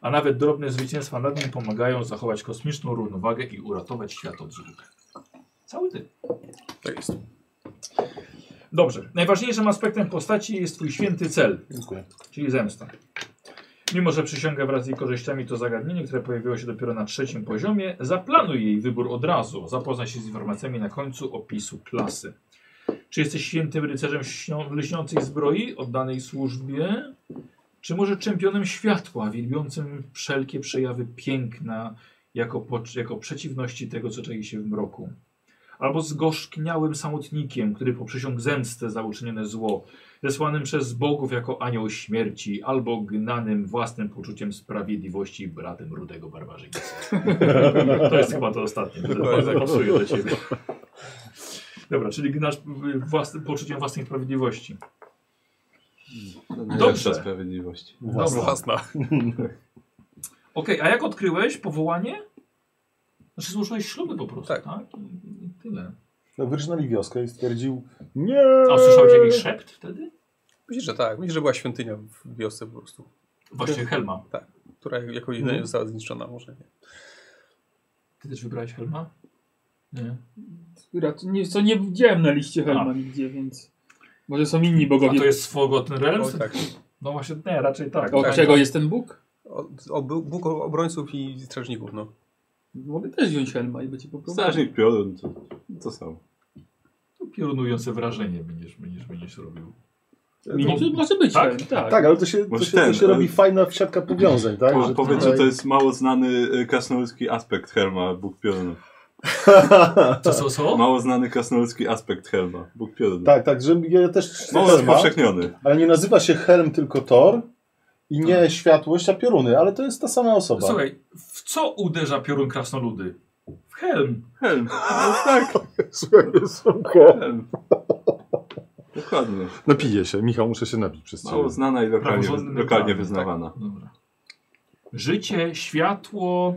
Speaker 1: a nawet drobne zwycięstwa nad nim pomagają zachować kosmiczną równowagę i uratować świat od złóg. Cały ty.
Speaker 5: Tak jest.
Speaker 1: Dobrze. Najważniejszym aspektem postaci jest twój święty cel,
Speaker 4: Dziękuję.
Speaker 1: czyli zemsta. Mimo, że przysięga wraz z jej korzyściami to zagadnienie, które pojawiło się dopiero na trzecim poziomie, zaplanuj jej wybór od razu. Zapoznaj się z informacjami na końcu opisu klasy. Czy jesteś świętym rycerzem śnią- lśniącej zbroi, oddanej służbie? Czy może czempionem światła, wielbiącym wszelkie przejawy piękna jako, pocz- jako przeciwności tego, co czai się w mroku? Albo zgorzkniałym samotnikiem, który poprzysiągł zemstę za uczynione zło, zesłanym przez bogów jako anioł śmierci, albo gnanym własnym poczuciem sprawiedliwości bratem rudego barbarzyńcy. To jest chyba to ostatnie, to bardzo pasuje do ciebie. Dobra, czyli gnasz y, własnym poczuciem własnej sprawiedliwości.
Speaker 3: No, Najlepsza
Speaker 1: Dobrze.
Speaker 3: sprawiedliwość.
Speaker 1: Dobra.
Speaker 12: Własna.
Speaker 1: Okej, a jak odkryłeś powołanie? Znaczy złożyłeś śluby po prostu, tak?
Speaker 5: Tak.
Speaker 1: I, i tyle.
Speaker 4: No, wyrżnęli wioskę i stwierdził, nie!
Speaker 1: A słyszałeś jakiś szept wtedy?
Speaker 5: Myślę, że tak. Myślę, że była świątynia w wiosce po prostu,
Speaker 1: Właśnie Helma.
Speaker 5: która jako jedyna
Speaker 1: Mhm.
Speaker 5: została zniszczona, może nie.
Speaker 1: Ty też wybrałeś Helma? Nie.
Speaker 6: Rac- nie- Co nie widziałem na liście
Speaker 1: A.
Speaker 6: Helma nigdzie, więc... Może są inni
Speaker 1: A
Speaker 6: bogowie.
Speaker 1: to jest Forgotten
Speaker 5: O,
Speaker 1: Realms?
Speaker 5: tak.
Speaker 1: No właśnie, nie, raczej tak.
Speaker 6: Od
Speaker 5: tak,
Speaker 6: czego
Speaker 5: no.
Speaker 6: jest ten Bóg?
Speaker 5: O, o, był- Bóg obrońców i strażników, no.
Speaker 6: Mogę też wziąć Helma i będzie poprowadził.
Speaker 3: No, Strażnik piorun, to, to samo.
Speaker 1: No, Piorunujące wrażenie będziesz, będziesz, będziesz robił.
Speaker 6: No, to może być
Speaker 1: Tak?
Speaker 6: Helm, tak.
Speaker 4: Tak, ale to się, to
Speaker 3: Może
Speaker 4: się, to
Speaker 3: ten,
Speaker 4: się
Speaker 3: ale-
Speaker 4: robi fajna siatka powiązań, tak?
Speaker 3: Po,
Speaker 4: Że
Speaker 3: powiedz,
Speaker 4: tutaj-
Speaker 3: że to jest mało znany y, krasnoludzki aspekt Helma, Bóg piorun.
Speaker 1: Co, co, co?
Speaker 3: Mało znany krasnoludzki aspekt Helma, Bóg
Speaker 4: <laughs>
Speaker 3: piorun.
Speaker 4: Tak, tak, że ja też
Speaker 3: Mało
Speaker 4: Helma,
Speaker 3: spowszechniony.
Speaker 4: ale nie nazywa się Helm, tylko Thor i nie
Speaker 3: Tak.
Speaker 4: światłość, a pioruny, ale to jest ta sama osoba. <laughs>
Speaker 1: Słuchaj, w co uderza piorun krasnoludy? W Helm.
Speaker 3: <laughs> Helm, no, tak,
Speaker 11: Słuchaj, słonko.
Speaker 3: Helm. Dokładnie.
Speaker 11: Napiję No się, Michał, muszę się napić przez ciebie.
Speaker 3: Mało znana i lokalnie,
Speaker 1: Praworządnym
Speaker 3: lokalnie
Speaker 4: tak?
Speaker 1: prawem,
Speaker 3: wyznawana.
Speaker 1: Dobra. Życie, światło.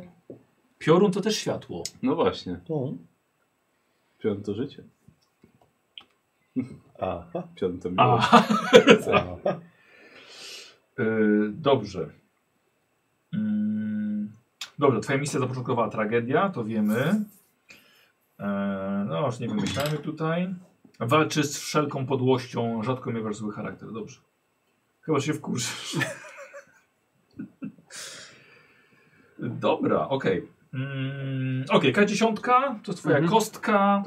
Speaker 1: Piorun to też światło.
Speaker 3: No właśnie,
Speaker 4: Mhm.
Speaker 3: piąte życie.
Speaker 4: Aha.
Speaker 3: Piąte miłość. <laughs>
Speaker 1: A,
Speaker 4: Aha.
Speaker 1: yy, dobrze. Mm, dobra, twoja misja zapoczątkowała tragedia, to wiemy. E, no, już nie wymyślajmy tutaj. Walczy z wszelką podłością, rzadko miewasz zły charakter, dobrze. Chyba się wkurzysz. <laughs> Dobra, okej. Mm, okej, K10 to jest twoja kostka.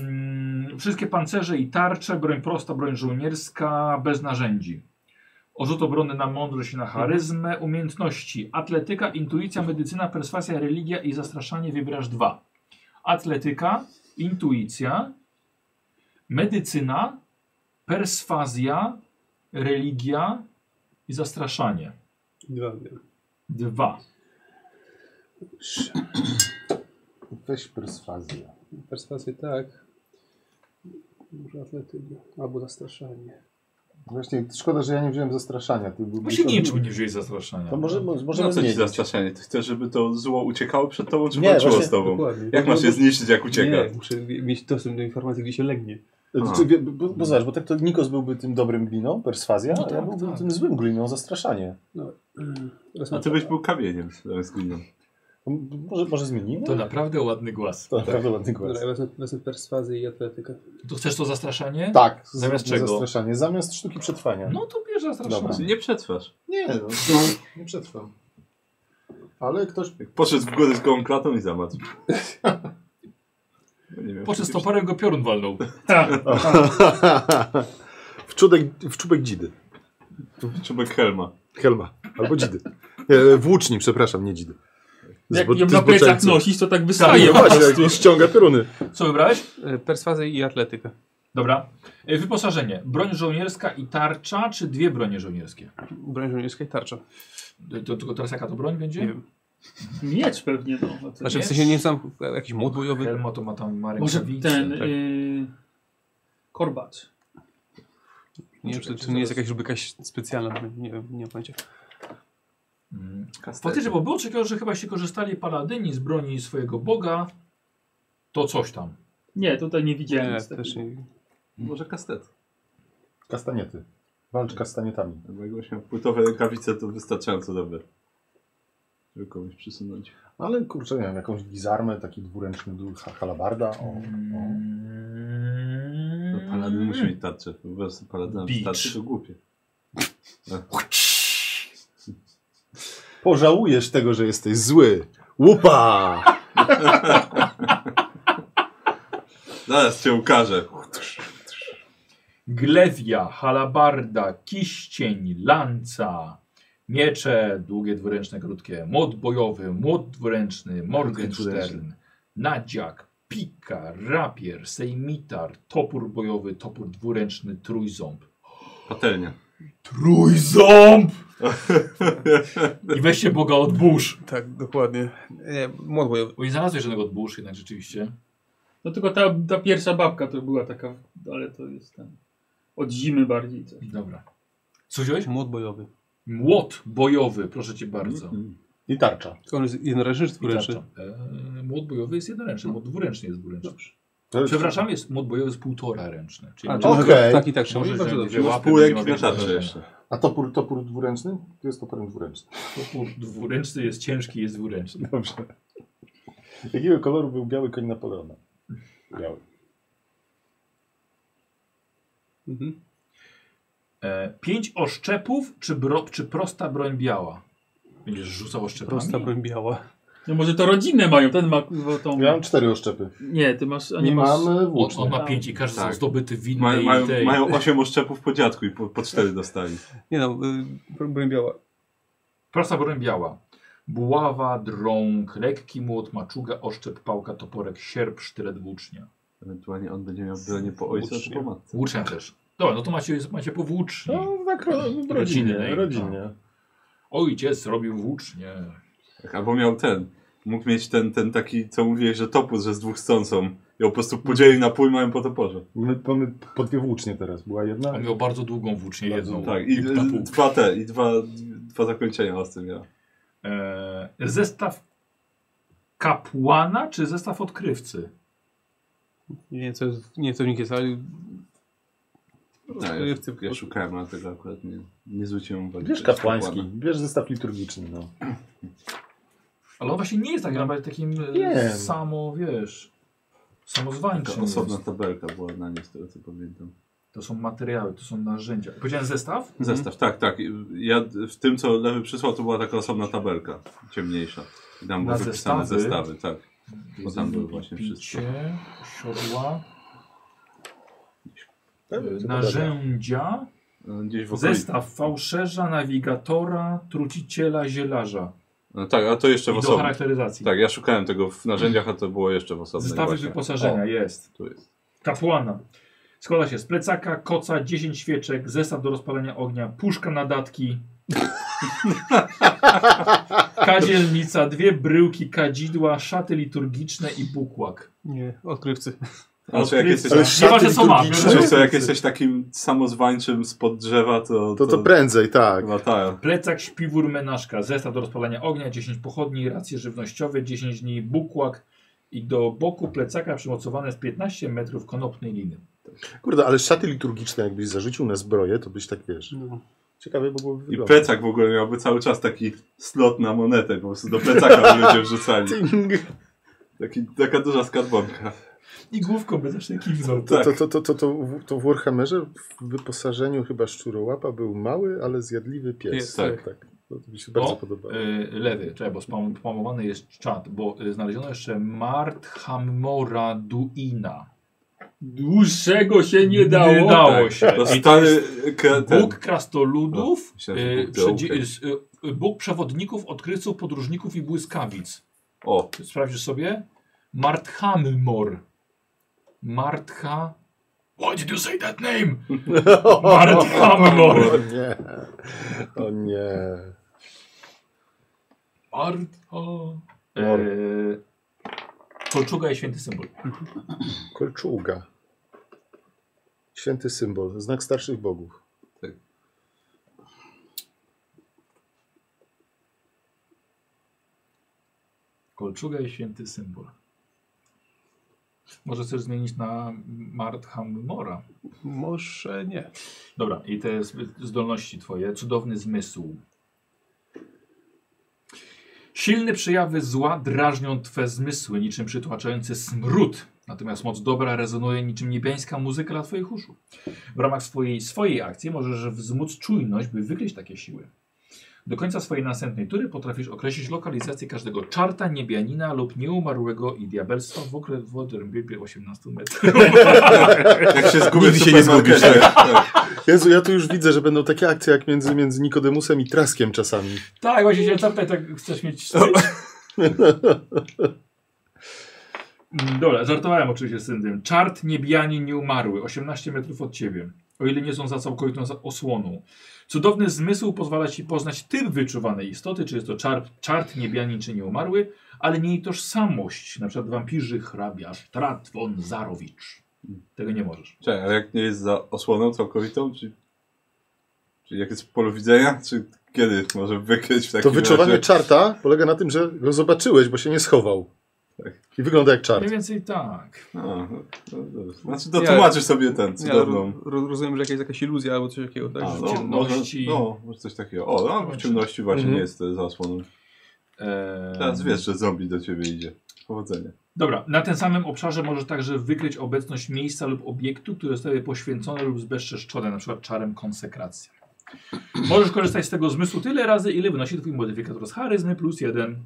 Speaker 1: Ym, wszystkie pancerze i tarcze, broń prosta, broń żołnierska, bez narzędzi. Orzut obrony na mądrość i na
Speaker 4: Mhm.
Speaker 1: charyzmę, umiejętności, atletyka, intuicja, medycyna, perswazja, religia i zastraszanie wybierasz dwa. Atletyka, intuicja, medycyna, perswazja, religia i zastraszanie.
Speaker 5: Dwa wiem.
Speaker 1: Dwa.
Speaker 4: Weź perswazję.
Speaker 5: Perswazję tak. Może atletykę. Albo zastraszanie.
Speaker 4: Właśnie szkoda, że ja nie wziąłem zastraszania. Ty byłbyś-
Speaker 1: Właśnie nie wiem, czemu nie wziąłeś zastraszania.
Speaker 4: To może, może
Speaker 3: Może
Speaker 4: możemy
Speaker 3: no co ci
Speaker 4: zmienić.
Speaker 3: zastraszanie? Ty chcesz, żeby to zło uciekało przed tobą, czy
Speaker 4: Nie,
Speaker 3: walczyło
Speaker 4: właśnie-
Speaker 3: z tobą?
Speaker 5: Dokładnie.
Speaker 3: Jak masz je zniszczyć, jak ucieka?
Speaker 5: Nie, muszę mieć dostęp do informacji, gdzie się legnie.
Speaker 3: A.
Speaker 4: Ty- Bo, bo, bo zobacz, bo tak to Nikos byłby tym dobrym gliną, perswazja,
Speaker 1: No
Speaker 4: a ja
Speaker 1: tak,
Speaker 4: byłbym
Speaker 1: tak.
Speaker 4: tym złym gliną, zastraszanie.
Speaker 5: Teraz
Speaker 3: A ty byś był kamieniem zamiast gliną.
Speaker 4: To m- Może, może zmienimy?
Speaker 1: To naprawdę ładny głos.
Speaker 4: To naprawdę ładny głos.
Speaker 5: Dobra, ja wezmę, wezmę perswazję i atletykę.
Speaker 1: To chcesz to zastraszanie?
Speaker 4: Tak, z-
Speaker 1: Zamiast czego?
Speaker 4: zastraszanie. Zamiast sztuki przetrwania.
Speaker 1: No to bierz zastraszanie.
Speaker 4: Tak. Dobra.
Speaker 3: Czy Znaczy, nie przetrwasz?
Speaker 4: Nie, no, nie przetrwam. Ale <laughs> ktoś...
Speaker 3: Jak poszedł w górę z gołą klatą i zamatł. <laughs> No nie wiem,
Speaker 1: Podczas
Speaker 3: przecież-
Speaker 1: toporem go
Speaker 4: <laughs>
Speaker 1: piorun walnął.
Speaker 11: <laughs> w, czubek, w czubek dzidy.
Speaker 3: Czubek helma.
Speaker 11: Helma. Albo dzidy. E, włóczni, przepraszam, nie dzidy.
Speaker 6: Jak
Speaker 11: Zbo-
Speaker 6: ją na plecach
Speaker 11: zboczeńcy.
Speaker 6: nosisz, to tak
Speaker 11: Nie,
Speaker 6: wystaje.
Speaker 11: właśnie, jak ściąga pioruny.
Speaker 1: Co wybrałeś?
Speaker 5: E, Perswazję i atletykę.
Speaker 1: Dobra. E, Wyposażenie. Broń żołnierska i tarcza, czy dwie bronie żołnierskie?
Speaker 5: Broń żołnierska i tarcza.
Speaker 1: E, To, tylko teraz jaka to broń będzie?
Speaker 5: Nie wiem.
Speaker 6: Miecz pewnie, no. A co
Speaker 5: Znaczy w
Speaker 1: nie?
Speaker 5: sensie nie znam jakiś młot bojowy.
Speaker 1: Helmo to ma tam Marek
Speaker 6: Może ten...
Speaker 1: e,
Speaker 5: tak.
Speaker 6: y, Korbacz.
Speaker 5: Nie wiem, czy to nie jest jakaś żeby jakaś specjalna. Nie wiem, nie mam pojęcia.
Speaker 1: Mm. Faktycznie, bo było czegoś, że chyba się korzystali paladyni z broni swojego boga. To coś tam.
Speaker 6: Nie, tutaj nie widziałem.
Speaker 5: Nie,
Speaker 6: niestety.
Speaker 5: E, też nie.
Speaker 3: Może kastet.
Speaker 4: Kastaniety. Walcz kastanietami.
Speaker 3: Bo jakbyś miał płytowe rękawice, to wystarczająco dobre. Żeby komuś przysunąć.
Speaker 4: Ale kurczę, nie wiem, jakąś gizarmę, taki dwuręczny dół, ha- halabarda. O, o.
Speaker 3: No, paladyn musi mieć tarczę. Po prostu paladyn
Speaker 1: Bicz.
Speaker 3: tarczy to głupie.
Speaker 11: Pożałujesz tego, że jesteś zły. Łupa!
Speaker 3: Zaraz cię ukażę.
Speaker 1: Glewia, halabarda, kiścień, lanca, miecze, długie dwuręczne, krótkie, młot bojowy, młot dwuręczny, morgenstern, nadziak, pika, rapier, sejmitar, topór bojowy, topór dwuręczny, trójząb.
Speaker 3: Patelnia.
Speaker 1: Trójząb! <laughs> I weź się Boga od burz.
Speaker 5: Tak, dokładnie. Nie, młot E, bojowy.
Speaker 1: Bo nie znalazłeś żadnego od burz jednak rzeczywiście.
Speaker 6: No tylko ta, ta pierwsza babka to była taka, ale to jest ten. Od zimy bardziej coś.
Speaker 1: Dobra. Co wziąłeś?
Speaker 12: Młot bojowy.
Speaker 1: Młot bojowy, proszę cię bardzo.
Speaker 2: I tarcza.
Speaker 12: Tylko On jest jednoręczny czy
Speaker 1: I
Speaker 12: dwuręczny?
Speaker 1: tarcza. Eee, Młot bojowy jest jednoręczny, młot dwuręczny jest dwuręczny.
Speaker 2: To jest-
Speaker 1: Przepraszam, jest młot bojowy jest półtora ręczny. Czyli
Speaker 12: A,
Speaker 1: może-
Speaker 12: czyli może
Speaker 2: Okej.
Speaker 12: go Tak i tak trzeba.
Speaker 1: może
Speaker 12: Bardzo
Speaker 1: wziąć
Speaker 12: dobrze.
Speaker 1: dwie
Speaker 3: Masz
Speaker 1: łapy,
Speaker 3: półek
Speaker 1: bo nie ma
Speaker 3: i na
Speaker 1: większego
Speaker 3: tarczę
Speaker 1: znaczenia.
Speaker 3: jeszcze.
Speaker 2: A topór, topór dwuręczny? To jest toporem dwuręczny.
Speaker 1: Topór dwuręczny jest ciężki, jest dwuręczny.
Speaker 2: <laughs> Dobrze. Jakiego koloru był biały koń Napoleona? Biały.
Speaker 12: Mhm.
Speaker 1: E, pięć oszczepów, czy, bro, czy prosta broń biała? Będziesz rzucał oszczepami?
Speaker 12: Prosta broń biała.
Speaker 6: No może to rodzinę mają, ten ma kurwa tą...
Speaker 2: Ja mam cztery oszczepy.
Speaker 6: Nie, ty masz... A nie
Speaker 2: Nie
Speaker 6: masz...
Speaker 2: mam e,
Speaker 1: On,
Speaker 2: włóczni.
Speaker 1: on ma pięć i każdy
Speaker 3: Tak.
Speaker 1: są zdobyty winny
Speaker 3: Mają, mają,
Speaker 1: i tej.
Speaker 3: mają 8 oszczepów po dziadku i po, po 4 dostali.
Speaker 12: Nie no, y, broń biała.
Speaker 1: Prosta broń biała. Buława, drąg, lekki młot, maczuga, oszczep, pałka, toporek, sierp, sztylet, włócznia.
Speaker 3: Ewentualnie on będzie miał bronię po ojcu czy po matce.
Speaker 1: Włócznia też. Dobra, no to macie, macie po włóczni.
Speaker 2: No, tak ro,
Speaker 1: Rodzinnej,
Speaker 3: no.
Speaker 2: rodzinnie. rodzinnie.
Speaker 1: Ojciec robił włócznie.
Speaker 3: Tak, albo miał ten. Mógł mieć ten, ten taki, co mówiłeś, że topór, że z dwóch stron są. I po prostu podzielił na pół i mają po toporze.
Speaker 2: My mamy po dwie włócznie teraz. Była jedna?
Speaker 1: On miał bardzo długą włócznię,
Speaker 2: Bardzo
Speaker 1: jedną.
Speaker 3: Tak, i
Speaker 1: No, jak
Speaker 3: y,
Speaker 1: na pół.
Speaker 3: dwa te, i dwa, dwa zakończenia z tym miał.
Speaker 1: E, zestaw kapłana, czy zestaw odkrywcy?
Speaker 12: Nie wiem co, jest- nie wiem, co w nich jest, ale...
Speaker 1: No,
Speaker 3: Tak, ja,
Speaker 12: Odkrywcy po
Speaker 3: ja
Speaker 12: prostu.
Speaker 3: szukałem, ale tego akurat nie, nie zwróciłem uwagi.
Speaker 2: Bierz
Speaker 3: To jest
Speaker 2: kapłański,
Speaker 3: kapłana.
Speaker 2: bierz zestaw liturgiczny. No.
Speaker 1: Ale on właśnie nie jest tak
Speaker 3: No.
Speaker 1: naprawdę takim e,
Speaker 2: Wiem.
Speaker 1: samo, wiesz,
Speaker 3: Taka
Speaker 1: samozwańczym.
Speaker 3: osobna
Speaker 1: jest.
Speaker 3: tabelka była na nie, z tego co pamiętam.
Speaker 1: To są materiały, to są narzędzia. Powiedziałem zestaw?
Speaker 3: Zestaw, tak, tak. Ja w tym, co Lewy przysłał, to była taka osobna tabelka, ciemniejsza. I tam
Speaker 1: Na
Speaker 3: były wypisane
Speaker 1: zestawy?
Speaker 3: zestawy, tak. Bo tam były właśnie wszystko.
Speaker 1: Picie, siodła,
Speaker 2: Tak,
Speaker 1: e,
Speaker 2: co
Speaker 1: narzędzia,
Speaker 3: No, Gdzieś w okolicy.
Speaker 1: zestaw fałszerza, nawigatora, truciciela, zielarza.
Speaker 3: No tak, a to jeszcze w
Speaker 1: I do
Speaker 3: osobie.
Speaker 1: charakteryzacji.
Speaker 3: Tak, ja szukałem tego w narzędziach, a to było jeszcze w osobnej
Speaker 1: Zestawy
Speaker 3: właśnie.
Speaker 1: wyposażenia, jest.
Speaker 3: O, tu jest.
Speaker 1: Kapłana. Składa się z plecaka, koca, 10 świeczek, zestaw do rozpalania ognia, puszka na datki, kadzielnica, dwie bryłki, kadzidła, szaty liturgiczne i bukłak.
Speaker 12: Nie, odkrywcy.
Speaker 3: Znaczy, jak
Speaker 1: Odkrywca.
Speaker 3: jesteś,
Speaker 1: Ale
Speaker 2: szaty
Speaker 1: Nieważne, co ma.
Speaker 2: liturgiczne?
Speaker 3: znaczy, co, jak jesteś takim samozwańczym spod drzewa, to...
Speaker 11: To to prędzej, tak.
Speaker 3: Chyba tak.
Speaker 1: Plecak, śpiwór, menażka, zestaw do rozpalania ognia, 10 pochodni, racje żywnościowe, 10 dni, bukłak i do boku plecaka przymocowane z 15 metrów konopnej liny.
Speaker 11: Kurde, ale szaty liturgiczne jakbyś zarzucił na zbroję, to byś tak, wiesz,
Speaker 12: No,
Speaker 11: ciekawie mogłoby
Speaker 3: I
Speaker 11: wyglądać.
Speaker 3: plecak w ogóle miałby cały czas taki slot na monetę, po prostu do plecaka by ludzie wrzucali.
Speaker 2: <laughs>
Speaker 3: Taki, taka duża skarbonka.
Speaker 1: I główką by zawsze kiwnął.
Speaker 11: To,
Speaker 2: Tak.
Speaker 11: to, to, to, to, to, w- to w Warhammerze w wyposażeniu chyba szczurołapa był mały, ale zjadliwy pies.
Speaker 12: Pies,
Speaker 3: tak.
Speaker 11: tak. No, To mi się bardzo
Speaker 1: O,
Speaker 11: podobało.
Speaker 1: Y, lewy, czekaj, bo spam, spamowany jest czat, bo y, znaleziono jeszcze Marthammora Duina.
Speaker 6: Dłuższego się nie dało.
Speaker 1: Nie dało się.
Speaker 3: To
Speaker 1: I to
Speaker 3: stary
Speaker 1: jest
Speaker 3: kre- ten,
Speaker 1: Bóg krastoludów,
Speaker 3: O, myślałem, że
Speaker 1: y,
Speaker 3: Bóg
Speaker 1: przedzi-
Speaker 3: Bełkę.
Speaker 1: z- y, y, Bóg przewodników, odkrywców, podróżników i błyskawic.
Speaker 3: O,
Speaker 1: Sprawdzisz sobie? Marthammor. Martha... Why did you say that
Speaker 3: <laughs>
Speaker 1: name? Marthammor.
Speaker 11: O nie. O nie.
Speaker 1: Martha... Y, Kolczuga i święty symbol.
Speaker 11: Kolczuga. Święty symbol, znak starszych bogów.
Speaker 1: Kolczuga i święty symbol. Może chcesz zmienić na Mordhamora.
Speaker 12: Może nie.
Speaker 1: Dobra, i te z- zdolności twoje. Cudowny zmysł. Silne przejawy zła drażnią twe zmysły, niczym przytłaczający smród. Natomiast moc dobra rezonuje niczym niebiańska muzyka dla twoich uszu. W ramach swojej, swojej akcji możesz wzmóc czujność, by wykryć takie siły. Do końca swojej następnej tury potrafisz określić lokalizację każdego czarta, niebianina lub nieumarłego i diabelstwa w okre- w odrębie 18 metrów.
Speaker 3: Jak się zgubię,
Speaker 11: Nigdy
Speaker 3: to
Speaker 11: się nie
Speaker 3: supermarket.
Speaker 11: zgubisz,
Speaker 3: Tak, tak.
Speaker 11: Jezu, ja tu już widzę, że będą takie akcje jak między, między Nikodemusem i Traskiem czasami.
Speaker 1: tak, właśnie się zapytaj, tak chcesz mieć... Mm, Dobra, żartowałem oczywiście z tym. Czart, niebianin, nieumarły, 18 metrów od ciebie. O ile nie są za całkowitą za- osłoną. Cudowny zmysł pozwala ci poznać typ wyczuwanej istoty, czy jest to czart, czart niebianin, czy nieumarły, ale nie jej tożsamość, na przykład wampirzy, hrabiarz, trat, von zarowicz. Tego nie możesz.
Speaker 3: Czekaj, ale jak nie jest za osłoną całkowitą, czy, czy jak jest w polu widzenia, czy kiedy może wykryć w takim
Speaker 11: To wyczuwanie
Speaker 3: razie?
Speaker 11: czarta polega na tym, że go zobaczyłeś, bo się nie schował. I wygląda jak czart.
Speaker 1: Mniej więcej tak.
Speaker 3: A, no, no, dobrze. znaczy to tłumaczysz sobie ten
Speaker 5: Nie, ale
Speaker 3: cudowną.
Speaker 5: ro- ro- rozumiem, że jakaś jakaś iluzja albo coś takiego, tak?
Speaker 3: A,
Speaker 5: Że-
Speaker 3: no, może,
Speaker 1: ciemności.
Speaker 3: no, może coś takiego. O, no, w ciemności właśnie
Speaker 11: Mhm.
Speaker 3: nie jest za osłoną.
Speaker 1: Eee,
Speaker 3: Teraz wiesz, że zombie do ciebie idzie. Powodzenia.
Speaker 1: Dobra, na tym samym obszarze możesz także wykryć obecność miejsca lub obiektu, które zostały poświęcone lub zbezczeszczone, na przykład czarem konsekracji. Możesz korzystać z tego zmysłu tyle razy, ile wynosi twój modyfikator z charyzmy plus jeden.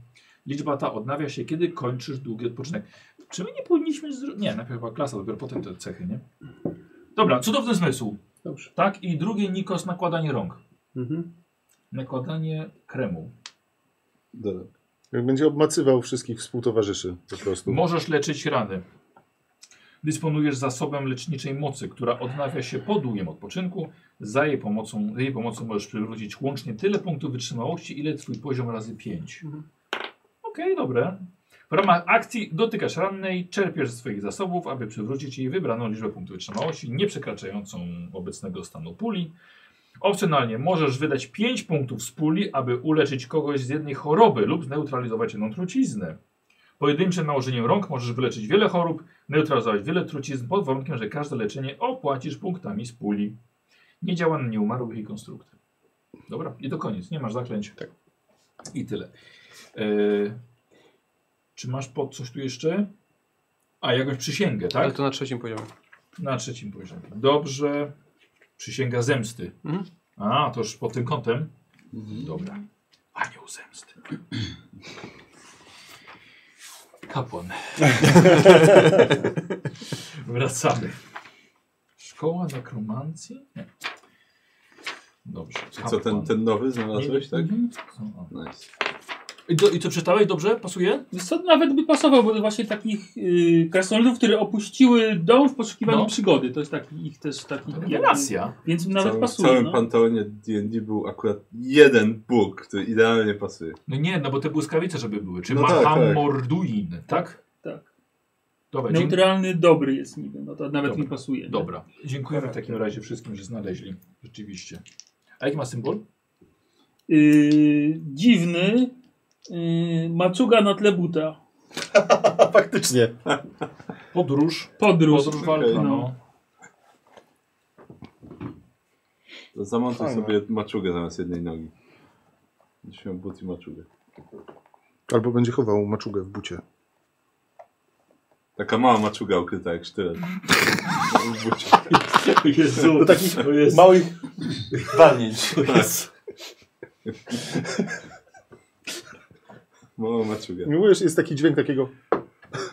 Speaker 1: Liczba ta odnawia się, kiedy kończysz długi odpoczynek. Czy my nie powinniśmy zro- Nie, najpierw była klasa, dopiero potem te cechy, nie? Dobra, cudowny zmysł. Dobrze. Tak, i drugie Nikos, nakładanie rąk.
Speaker 5: Mhm.
Speaker 1: Nakładanie kremu.
Speaker 3: Dobra.
Speaker 11: Jak będzie obmacywał wszystkich współtowarzyszy po prostu.
Speaker 1: Możesz leczyć rany. Dysponujesz zasobem leczniczej mocy, która odnawia się po długim odpoczynku. Za jej pomocą, jej pomocą możesz przywrócić łącznie tyle punktów wytrzymałości, ile twój poziom razy 5. Okej, dobre. W ramach akcji dotykasz rannej, czerpiesz ze swoich zasobów, aby przywrócić jej wybraną liczbę punktów wytrzymałości, nie przekraczającą obecnego stanu puli. Opcjonalnie możesz wydać 5 punktów z puli, aby uleczyć kogoś z jednej choroby lub zneutralizować jedną truciznę. Pojedynczym nałożeniem rąk możesz wyleczyć wiele chorób, neutralizować wiele trucizn pod warunkiem, że każde leczenie opłacisz punktami z puli. Nie działa na nieumarłych i konstrukty. Dobra, i to koniec. Nie masz zaklęć. Tak. I tyle. Yy, czy masz pod coś tu jeszcze? A, jakąś przysięgę,
Speaker 5: Ale
Speaker 1: tak?
Speaker 5: to na trzecim poziomie.
Speaker 1: Na trzecim poziomie. Dobrze. Przysięga zemsty.
Speaker 5: Mhm.
Speaker 1: A, to już pod tym kątem. Dobra. Anioł zemsty. <laughs> Kapłan. Wracamy. Szkoła nekromancji? Nie. Dobrze.
Speaker 3: Czy co, ten, ten nowy znalazłeś, tak?
Speaker 1: Mhm. Co?
Speaker 3: Nice.
Speaker 1: I, do, I co przeczytałeś? Dobrze? Pasuje?
Speaker 6: <laughs> Wiesz co, nawet by pasował, bo to właśnie takich yy, krasnoludów, które opuściły dom w poszukiwaniu
Speaker 1: No.
Speaker 6: przygody. To jest taki, ich też taki... jakby-
Speaker 1: Rewelacja.
Speaker 6: Więc
Speaker 3: W
Speaker 6: nawet
Speaker 3: całym, w
Speaker 6: pasuje.
Speaker 3: całym
Speaker 6: no.
Speaker 3: panteonie D&D był akurat jeden bóg, który idealnie pasuje.
Speaker 1: No nie, no bo te błyskawice, żeby były. Czy
Speaker 3: No
Speaker 1: no
Speaker 3: tak, tak.
Speaker 1: Morduin, tak?
Speaker 6: Tak.
Speaker 1: Dobra, dzięki.
Speaker 6: Neutralny, dobry jest niby, no to nawet
Speaker 1: Dobra.
Speaker 6: mi pasuje. nie?
Speaker 1: Dobra. Dziękujemy w takim razie wszystkim, że znaleźli. Rzeczywiście. A jaki ma symbol?
Speaker 6: Yy, dziwny, yy, maczuga na tle buta.
Speaker 2: A faktycznie.
Speaker 1: Podróż.
Speaker 6: Podróż.
Speaker 1: Podróż walka, no.
Speaker 3: To zamontuj
Speaker 2: Fajne.
Speaker 3: sobie maczugę zamiast jednej nogi. Będziesz miał but i maczugę.
Speaker 11: Albo będzie chował maczugę w bucie.
Speaker 3: Taka mała maczuga ukryta jak <laughs> sztylet. W bucie.
Speaker 6: No.
Speaker 2: Jezu. Do takich małych walnięć.
Speaker 3: tak. <laughs> Mała maczuga.
Speaker 11: No wiesz, jest taki dźwięk takiego...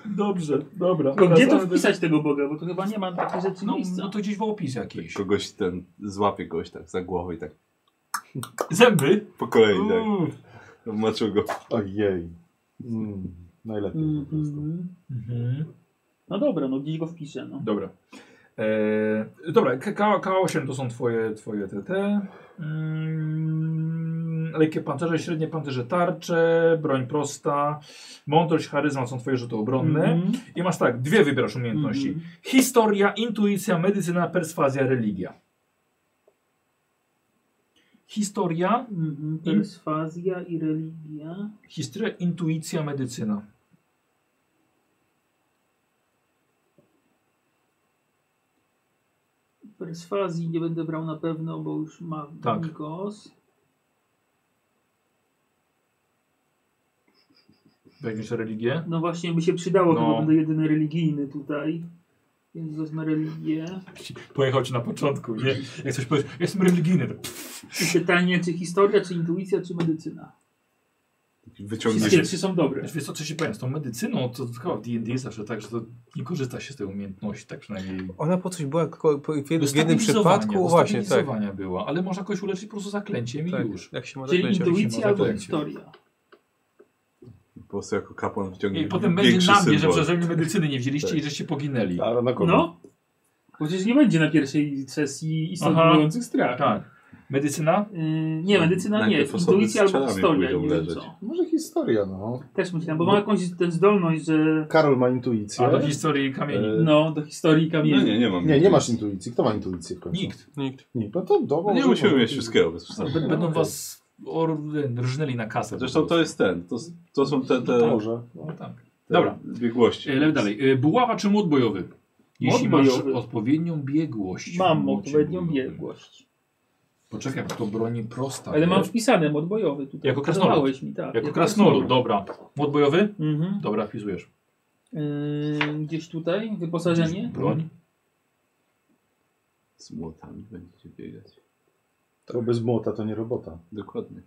Speaker 6: Dobrze, dobra. Tylko gdzie to wpisać tego Boga, bo to chyba nie ma takiej rzeczy
Speaker 1: No,
Speaker 6: miejsca.
Speaker 1: no to gdzieś w opis jakiś.
Speaker 3: Kogoś ten, złapie kogoś tak za głowę i tak
Speaker 1: Zęby?
Speaker 3: po kolei tak.
Speaker 1: Uuu.
Speaker 3: Maczugą.
Speaker 2: Ojej.
Speaker 11: Hmm.
Speaker 2: Mm,
Speaker 6: no,
Speaker 2: najlepiej po prostu.
Speaker 6: Mhm.
Speaker 1: Mhm.
Speaker 6: No dobra, no gdzieś go wpiszę. No.
Speaker 1: Dobra. Eee, dobra, K- K- K8 to są twoje, twoje te, te. Mm, lekkie pancerze, średnie pancerze tarcze, broń prosta, mądrość, charyzma są twoje rzuty obronne.
Speaker 6: Mhm.
Speaker 1: I masz tak, dwie wybierasz umiejętności.
Speaker 6: Mhm.
Speaker 1: Historia, intuicja, medycyna, perswazja, religia. Historia,
Speaker 6: Mhm. Perswazja i religia.
Speaker 1: historia, intuicja, medycyna.
Speaker 6: Perswazji nie będę brał na pewno, bo już mam
Speaker 1: Tak.
Speaker 6: Nikos.
Speaker 1: Weźmiesz religię?
Speaker 6: No właśnie by się przydało,
Speaker 1: No.
Speaker 6: chyba będę jedyny religijny tutaj. Więc wezmę religię.
Speaker 1: Pojechał ci na początku, nie? Jak coś powiesz, jestem religijny. to pff,
Speaker 6: I pytanie, czy historia, czy intuicja, czy medycyna? Wszystkie
Speaker 1: Myślę,
Speaker 11: Wyciągniesz.
Speaker 6: trzy są dobre.
Speaker 1: Wiesz co, co się powiem, z tą medycyną, to chyba w D&D jest zawsze tak, że to nie korzysta się z tej umiejętności, tak przynajmniej.
Speaker 12: Ona po coś była tylko po- w jednym, w jednym
Speaker 1: Ustabilizowania,
Speaker 12: przypadku, właśnie, tak.
Speaker 1: ustabilizowania była, ale można kogoś uleczyć po prostu zaklęciem
Speaker 12: tak.
Speaker 1: i już.
Speaker 12: Jak się ma
Speaker 6: Czyli
Speaker 12: zaklęcia.
Speaker 1: się
Speaker 6: intuicja albo
Speaker 1: zaklęcie.
Speaker 6: historia.
Speaker 3: Po prostu jako kapłan wyciągnie
Speaker 1: I potem będzie
Speaker 3: większy
Speaker 1: na mnie, że
Speaker 3: symbol.
Speaker 1: przeze mnie medycyny nie wzięliście
Speaker 3: Tak.
Speaker 1: i żeście poginęli.
Speaker 4: Ale na kogo?
Speaker 6: No? Przecież nie będzie na pierwszej sesji istot
Speaker 1: Aha.
Speaker 6: wywołujących strach.
Speaker 1: Tak. Medycyna?
Speaker 6: Yy, nie,
Speaker 3: No,
Speaker 6: medycyna nie.
Speaker 3: najpierw osoby z
Speaker 6: Intuicja albo
Speaker 3: strzelami
Speaker 6: historia.
Speaker 3: pójdą
Speaker 6: Nie wiem
Speaker 3: leżeć.
Speaker 6: co.
Speaker 4: Może historia, no.
Speaker 6: Też myślałem, bo ma jakąś tę zdolność, że
Speaker 4: Karol ma intuicję.
Speaker 1: A do historii kamieni.
Speaker 3: E,
Speaker 6: no, do historii
Speaker 3: No
Speaker 6: kamieni.
Speaker 3: nie, nie mam.
Speaker 4: Nie, nie masz intuicji. Kto ma intuicję w końcu?
Speaker 1: Nikt.
Speaker 12: Nikt.
Speaker 4: Nikt. No to
Speaker 3: No
Speaker 4: dobra.
Speaker 3: nie
Speaker 4: może-
Speaker 3: musimy
Speaker 4: może-
Speaker 3: mieć wszystkiego bez przesady.
Speaker 1: B- Będą was or, rżnęli na kasę. po
Speaker 3: Zresztą to
Speaker 1: prostu.
Speaker 3: jest ten, to, to są te, te,
Speaker 4: To może.
Speaker 1: No tak.
Speaker 3: te
Speaker 1: Dobra.
Speaker 3: biegłości.
Speaker 1: E, Lewy dalej. E, Buława czy młot bojowy? Jeśli
Speaker 6: Młot
Speaker 1: masz
Speaker 6: bojowy.
Speaker 1: odpowiednią biegłość. w
Speaker 6: Mam
Speaker 1: młocie
Speaker 6: odpowiednią
Speaker 1: bojowym.
Speaker 6: biegłość.
Speaker 1: Poczekaj, bo to broni
Speaker 3: Tak,
Speaker 1: prosta.
Speaker 6: Ale mam
Speaker 1: wiesz?
Speaker 6: wpisane mod bojowy tutaj.
Speaker 1: Jako krasnolud.
Speaker 6: Dodałeś Mi, tak,
Speaker 1: Jako krasnolud, dobra. Młot bojowy?
Speaker 6: Mhm.
Speaker 1: Dobra, wpisujesz.
Speaker 6: Yy, gdzieś tutaj wyposażenie.
Speaker 1: Broń?
Speaker 3: Z młotami będziecie biegać.
Speaker 4: To bez młota to nie robota.
Speaker 3: Dokładnie.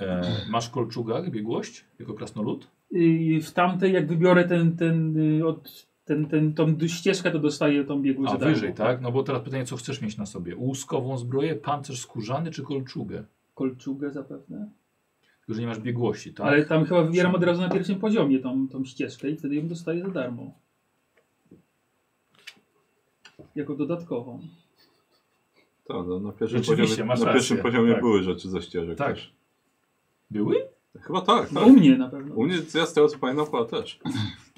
Speaker 1: E, masz w kolczugach biegłość jako krasnolud?
Speaker 6: Yy, w tamtej, jak wybiorę ten, ten, yy, od, ten, ten, tą d- ścieżkę, to dostaję tą biegłość.
Speaker 1: A
Speaker 6: za darmo.
Speaker 1: wyżej, tak? No bo teraz pytanie, co chcesz mieć na sobie? Łuskową zbroję, pancerz skórzany czy kolczugę?
Speaker 6: Kolczugę zapewne.
Speaker 1: Tylko, że nie masz biegłości, tak?
Speaker 6: Ale tam chyba wybieram od razu na pierwszym poziomie tą, tą ścieżkę i wtedy ją dostaję za darmo. Jako dodatkową.
Speaker 3: To, no, na pierwszym
Speaker 1: Rzeczywiście,
Speaker 3: poziomie,
Speaker 1: masz
Speaker 3: na
Speaker 1: rację,
Speaker 3: pierwszym poziomie
Speaker 1: tak.
Speaker 3: były rzeczy ze ścieżek
Speaker 1: Tak.
Speaker 3: też.
Speaker 1: Były?
Speaker 3: Chyba tak, tak.
Speaker 6: No, U mnie na pewno.
Speaker 3: U mnie, ja z tego co pamiętam, chyba też.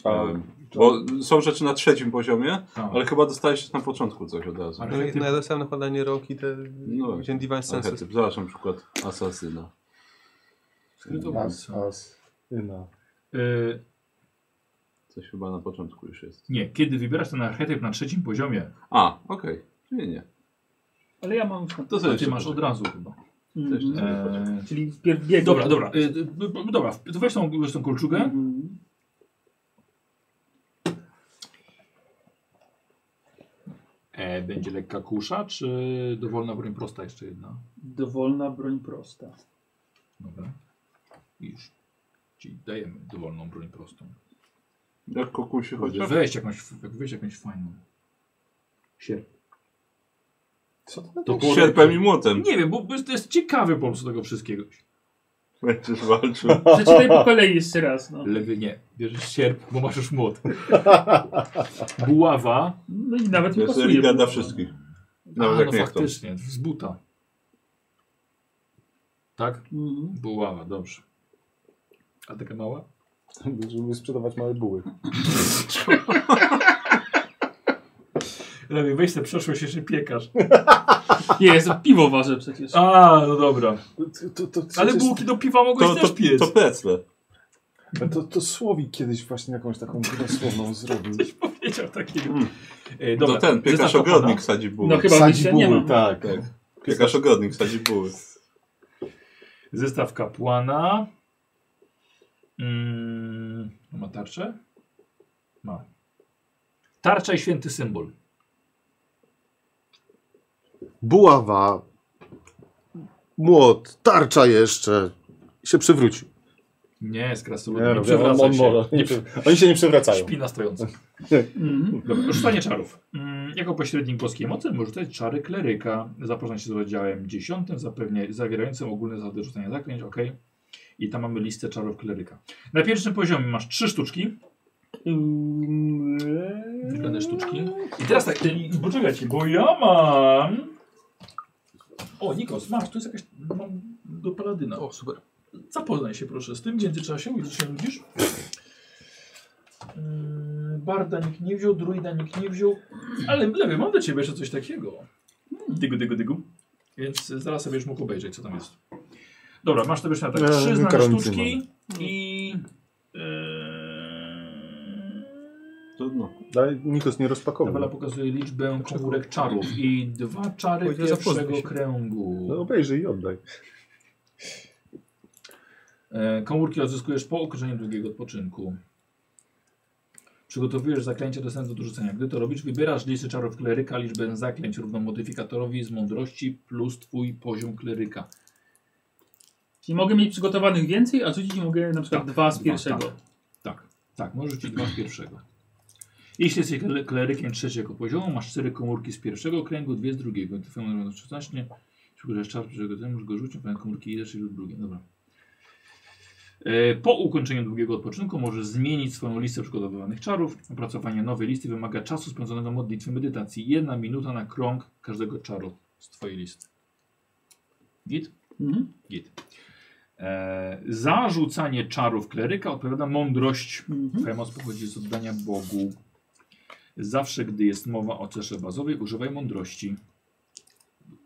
Speaker 4: A,
Speaker 3: Em, Bo są rzeczy na trzecim poziomie,
Speaker 1: Tak.
Speaker 3: ale chyba dostajesz na początku coś od razu.
Speaker 1: Ale-
Speaker 12: No i na sam nakładanie rąk i te...
Speaker 3: No,
Speaker 12: Wziąłem device
Speaker 3: Archetyp.
Speaker 12: senses.
Speaker 3: Zobacz na przykład asasyna.
Speaker 4: As, as, yna.
Speaker 1: E,
Speaker 3: Coś chyba na początku już jest.
Speaker 1: nie, kiedy wybierasz ten archetyp na trzecim poziomie,
Speaker 3: A, okej. Czyli nie.
Speaker 6: Ale ja mam już tam.
Speaker 3: To
Speaker 1: to
Speaker 3: sobie
Speaker 1: ty
Speaker 3: jeszcze
Speaker 1: masz od razu chyba.
Speaker 3: to jeszcze
Speaker 6: Mhm.
Speaker 3: sobie
Speaker 1: E,
Speaker 6: Czyli wpierw biegłość.
Speaker 1: Dobra, dobra. y, y, b- b- Dobra, w- to weź tą, weź tą kolczugę.
Speaker 6: Mhm.
Speaker 1: E, będzie lekka kusza, czy dowolna broń prosta jeszcze jedna?
Speaker 6: Dowolna broń
Speaker 3: <laughs>
Speaker 6: prosta.
Speaker 1: Dobra. I Już. Czyli dajemy dowolną broń prostą.
Speaker 3: Jak kokusi chociaż?
Speaker 1: Weź jakąś, f- weź jakąś fajną. Sierp.
Speaker 4: Co to
Speaker 1: To było-
Speaker 3: Sierpem i młotem.
Speaker 1: Nie wiem, bo bo to jest ciekawy po prostu tego wszystkiego.
Speaker 3: Będziesz walczył.
Speaker 6: Przeczytaj po kolei jeszcze raz. No,
Speaker 1: Lewy nie. Bierzesz sierp, bo masz już młot. Buława.
Speaker 6: no i nawet mi
Speaker 3: Jest
Speaker 6: pasuje.
Speaker 3: religia dla
Speaker 6: bo-
Speaker 3: wszystkich. Nawet
Speaker 1: A,
Speaker 3: jak
Speaker 1: no
Speaker 3: nie chcą.
Speaker 1: faktycznie, z buta. Tak?
Speaker 6: Mhm.
Speaker 1: Buława, dobrze. A taka mała?
Speaker 4: Będziemy sprzedawać małe buły.
Speaker 1: Lewy, weź sobie przeszłość, jeszcze piekarz.
Speaker 6: Nie, jest piwo waży przecież.
Speaker 1: A, no dobra.
Speaker 4: To, to, to, to,
Speaker 1: Ale
Speaker 4: to,
Speaker 1: bułki do piwa mogłeś
Speaker 3: To, to,
Speaker 1: też piec. <laughs>
Speaker 3: to plecle.
Speaker 4: to, to, to Słowik kiedyś właśnie jakąś taką grę słowną zrobił.
Speaker 1: Powiedział takiego.
Speaker 3: Mm.
Speaker 1: E,
Speaker 3: To ten, piekarz
Speaker 1: Zestaw
Speaker 3: ogrodnik
Speaker 1: kopana.
Speaker 3: sadzi buły.
Speaker 6: No chyba
Speaker 4: Sadzi
Speaker 6: wyjścia nie
Speaker 4: buły,
Speaker 6: mam.
Speaker 4: tak.
Speaker 3: Tak. Piekarz ogrodnik sadzi buły.
Speaker 1: Zestaw kapłana. Mm, ma tarczę? Ma. Tarcza i święty symbol.
Speaker 11: Buława. Młot. Tarcza jeszcze. I Się przywrócił.
Speaker 1: Nie, z krasu
Speaker 4: Nie,
Speaker 1: nie
Speaker 4: robię, on-
Speaker 1: przewraca
Speaker 4: on
Speaker 1: się.
Speaker 4: może. <laughs>
Speaker 1: Nie przy...
Speaker 4: Oni się nie przewracają.
Speaker 1: Śpina stojąca.
Speaker 6: Mhm.
Speaker 1: Dobra, rzucanie czarów. Mm, jako pośrednik boskiej mocy może rzucać czary kleryka. Zapoznać się z rozdziałem 10, zapewnie zawierającym ogólne zasady rzucania zaklęć. Ok. I tam mamy listę czarów kleryka. Na pierwszym poziomie masz trzy sztuczki.
Speaker 6: Ym,
Speaker 1: Wygląda sztuczki. I teraz tak, ty- poczekajcie, bo ja mam... O, Nikos, masz, tu jest jakaś... Mam do paladyna.
Speaker 12: O, super.
Speaker 1: Zapoznaj się proszę z tym w międzyczasie, ile się nudzisz. Mm, Barda nikt nie wziął, druida nikt nie wziął, ale lewy, mam dla ciebie jeszcze coś takiego. Dygu, dygu, dygu. Więc y, zaraz sobie już mógł obejrzeć, co tam jest. Dobra, masz sobie jeszcze na tak.
Speaker 11: Ja
Speaker 1: Trzy znane
Speaker 11: karolicy
Speaker 1: sztuczki i... e, Yy...
Speaker 3: Trudno.
Speaker 4: Ale Nikos nie rozpakował.
Speaker 1: Tabela pokazuje liczbę komórek czarów i dwa czary
Speaker 12: Powiedział, zapoznaj
Speaker 1: pierwszego
Speaker 12: się.
Speaker 1: kręgu.
Speaker 4: No obejrzyj i oddaj.
Speaker 1: E, Komórki odzyskujesz po określeniu długiego odpoczynku. Przygotowujesz zaklęcie dostępne do rzucenia. Gdy to robisz, wybierasz listy czarów kleryka, liczbę zaklęć równą modyfikatorowi z mądrości plus twój poziom kleryka.
Speaker 6: Czyli mogę mieć przygotowanych więcej, a rzucić mogę na przykład
Speaker 1: Tak,
Speaker 6: dwa z
Speaker 1: dwa,
Speaker 6: pierwszego.
Speaker 1: tak. Tak, tak, możesz rzucić dwa z pierwszego. Jeśli jesteś kle- klerykiem trzeciego poziomu, masz cztery komórki z pierwszego kręgu, dwie z drugiego. Gdy twoją numer 16, przygotujesz czas, którego ten możesz go rzucić, pamiętaj komórki ile, czyli lub drugie. Dobra. E, Po ukończeniu długiego odpoczynku możesz zmienić swoją listę przygotowywanych czarów. Opracowanie nowej listy wymaga czasu spędzonego na modlitwie medytacji. Jedna minuta na krąg każdego czaru z twojej listy. Git?
Speaker 6: Mhm.
Speaker 1: Git. E, za rzucanie czarów kleryka odpowiada mądrość.
Speaker 6: Mhm.
Speaker 1: Twoja moc pochodzi z oddania Bogu. Zawsze, gdy jest mowa o cesze bazowej, używaj mądrości.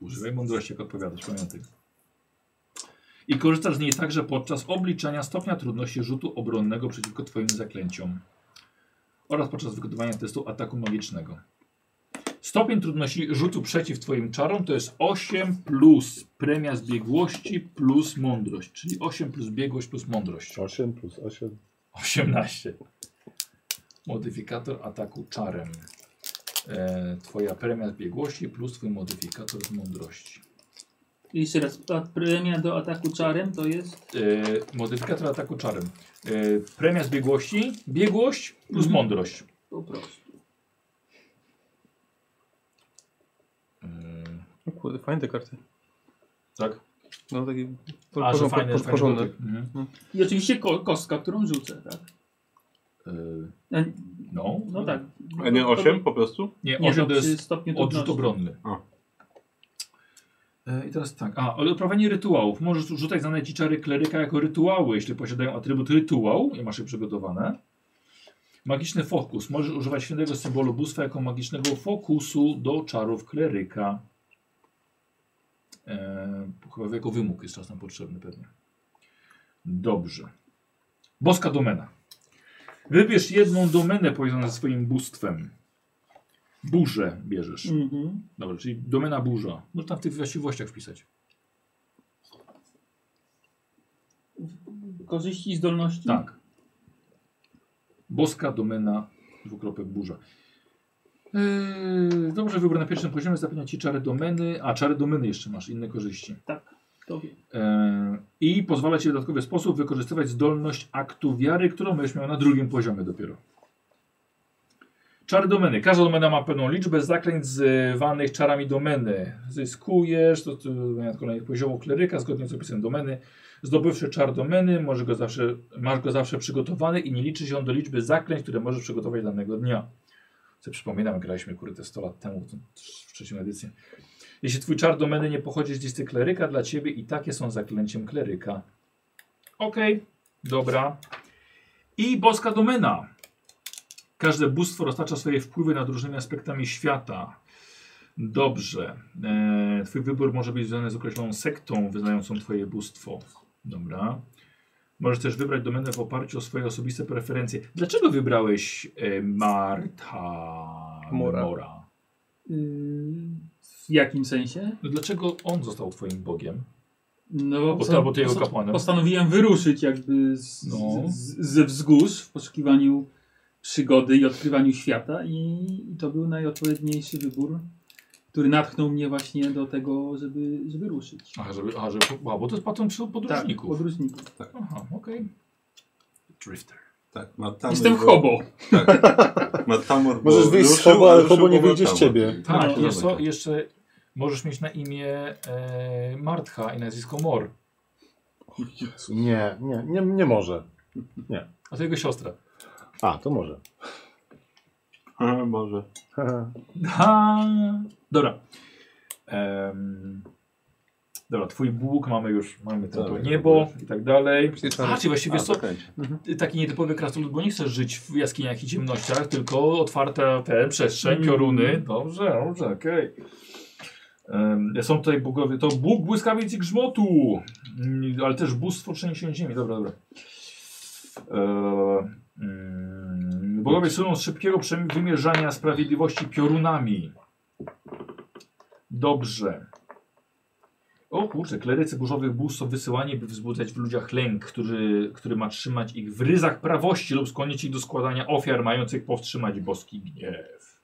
Speaker 1: Używaj mądrości, jak odpowiadasz, pamiętaj. I korzystasz z niej także podczas obliczania stopnia trudności rzutu obronnego przeciwko Twoim zaklęciom oraz podczas wykonywania testu ataku magicznego. Stopień trudności rzutu przeciw Twoim czarom to jest 8 plus premia z biegłości plus mądrość, czyli 8 plus biegłość plus mądrość.
Speaker 11: 8 plus 8.
Speaker 1: 18. Modyfikator ataku czarem. E, twoja premia z biegłości plus twój modyfikator z mądrości.
Speaker 6: I jeszcze raz, ta premia do ataku czarem to jest...
Speaker 1: E, modyfikator ataku czarem. E, premia z biegłości, biegłość plus
Speaker 6: Mhm.
Speaker 1: mądrość.
Speaker 6: Po prostu.
Speaker 1: E,
Speaker 12: No
Speaker 5: O kurde, fajne te karty.
Speaker 1: tak?
Speaker 5: No takie
Speaker 1: A, że
Speaker 5: porząd-
Speaker 1: fajny,
Speaker 5: por-
Speaker 1: fajny
Speaker 5: porządne.
Speaker 1: dotyk. Mhm.
Speaker 6: I oczywiście ko kostka, którą rzucę, tak?
Speaker 1: E,
Speaker 6: E,
Speaker 1: no,
Speaker 6: No tak.
Speaker 3: A nie
Speaker 6: To-
Speaker 3: 8 po prostu?
Speaker 1: Nie, no
Speaker 6: Nie,
Speaker 1: 8
Speaker 6: to
Speaker 1: to
Speaker 6: przy
Speaker 1: jest
Speaker 6: stopniu
Speaker 1: Odrzut
Speaker 6: trudności.
Speaker 1: obronny.
Speaker 3: A.
Speaker 1: E, I teraz tak. A, ale odprawianie rytuałów. Możesz używać znane ci czary kleryka jako rytuały, jeśli posiadają atrybut rytuał i masz je przygotowane. Magiczny fokus. Możesz używać świętego symbolu bóstwa jako magicznego fokusu do czarów kleryka. E, chyba jako wymóg jest czasem potrzebny pewnie. Dobrze. Boska domena. Wybierz jedną domenę powiązaną ze swoim bóstwem. Burzę bierzesz.
Speaker 6: Mhm.
Speaker 1: Dobra, czyli domena burza. Można w tych właściwościach wpisać.
Speaker 6: Korzyści i zdolności.
Speaker 1: Tak. Boska domena dwukropek burza. Yy, dobrze wybrane na pierwszym poziomie zapewnia ci czary domeny, a czary domeny jeszcze masz, inne korzyści.
Speaker 6: To wiem.
Speaker 1: Yy, I pozwala ci w dodatkowy sposób wykorzystywać zdolność aktu wiary, którą będziesz miał na drugim poziomie dopiero. Czary domeny. Każda domena ma pewną liczbę zaklęć zwanych czarami domeny. Zyskujesz, to, to wymienia kolejnych poziomów kleryka zgodnie z opisem domeny. Zdobywszy czar domeny, może go zawsze, masz go zawsze przygotowany i nie liczy się on do liczby zaklęć, które możesz przygotować danego dnia. Sobie przypominam, jak graliśmy kurde 100 lat temu w tą- w trzecią edycję. Jeśli twój czar domeny nie pochodzi z listy kleryka, dla ciebie i takie są zaklęciem kleryka. Okej, dobra. I boska domena. Każde bóstwo roztacza swoje wpływy nad różnymi aspektami świata. Dobrze. E, twój wybór może być związany z określoną sektą wyznającą twoje bóstwo. Dobra. Możesz też wybrać domenę w oparciu o swoje osobiste preferencje. Dlaczego wybrałeś e, Marta
Speaker 5: Mora.
Speaker 1: Mora?
Speaker 6: Yy, w jakim sensie?
Speaker 1: No dlaczego on został twoim bogiem?
Speaker 6: No,
Speaker 1: Bo
Speaker 6: posta-
Speaker 1: to- bo ty jego
Speaker 6: posta-
Speaker 1: kapłanem.
Speaker 6: Postanowiłem wyruszyć jakby z,
Speaker 1: No.
Speaker 6: z, z, ze wzgórz w poszukiwaniu przygody i odkrywaniu świata i, i to był najodpowiedniejszy wybór, który natchnął mnie właśnie do tego, żeby, żeby ruszyć.
Speaker 1: Aha, żeby, aha, żeby, a, bo to jest patron przy-
Speaker 6: Tak,
Speaker 1: podróżników.
Speaker 6: podróżników.
Speaker 1: Aha, okej. Drifter.
Speaker 3: Tak, Matamor.
Speaker 6: Jestem hobo.
Speaker 3: Matamor.
Speaker 2: Możesz
Speaker 3: bo
Speaker 2: wyjść z
Speaker 3: ruszył,
Speaker 2: hobo, ale
Speaker 3: ruszył
Speaker 2: hobo nie
Speaker 3: po
Speaker 2: wyjdzie z
Speaker 3: Matamor.
Speaker 2: ciebie.
Speaker 1: Tak,
Speaker 6: No.
Speaker 1: jest to, jeszcze możesz mieć na imię e, Martha i nazwisko Mor,
Speaker 2: Jezu, Nie, nie, nie, nie może.
Speaker 1: a to jego siostra.
Speaker 2: A, to może.
Speaker 3: A, Boże.
Speaker 1: <laughs> Ha! Dobra. Em, dobra, twój Bóg mamy już, mamy ten to
Speaker 3: Tak,
Speaker 1: niebo i tak dalej.
Speaker 5: Świeczary.
Speaker 1: A, czy właściwie
Speaker 3: A,
Speaker 1: so,
Speaker 3: zakręcie.
Speaker 1: ty taki nietypowy krasnolud, bo nie chcesz żyć w jaskiniach i ciemnościach, tylko otwarta te przestrzeń,
Speaker 6: Mm.
Speaker 1: pioruny. Dobrze, dobrze, okej. Em, Są tutaj bogowie, to Bóg błyskawic i grzmotu, Mm, ale też bóstwo trzęsień ziemi, dobra, dobra. E, mm, Bogowie słyną z szybkiego przem- wymierzania sprawiedliwości piorunami. Dobrze. O kurczę, klerycy burzowych bóz są wysyłani, by wzbudzać w ludziach lęk, który, który ma trzymać ich w ryzach prawości lub skłonić ich do składania ofiar mających powstrzymać boski gniew.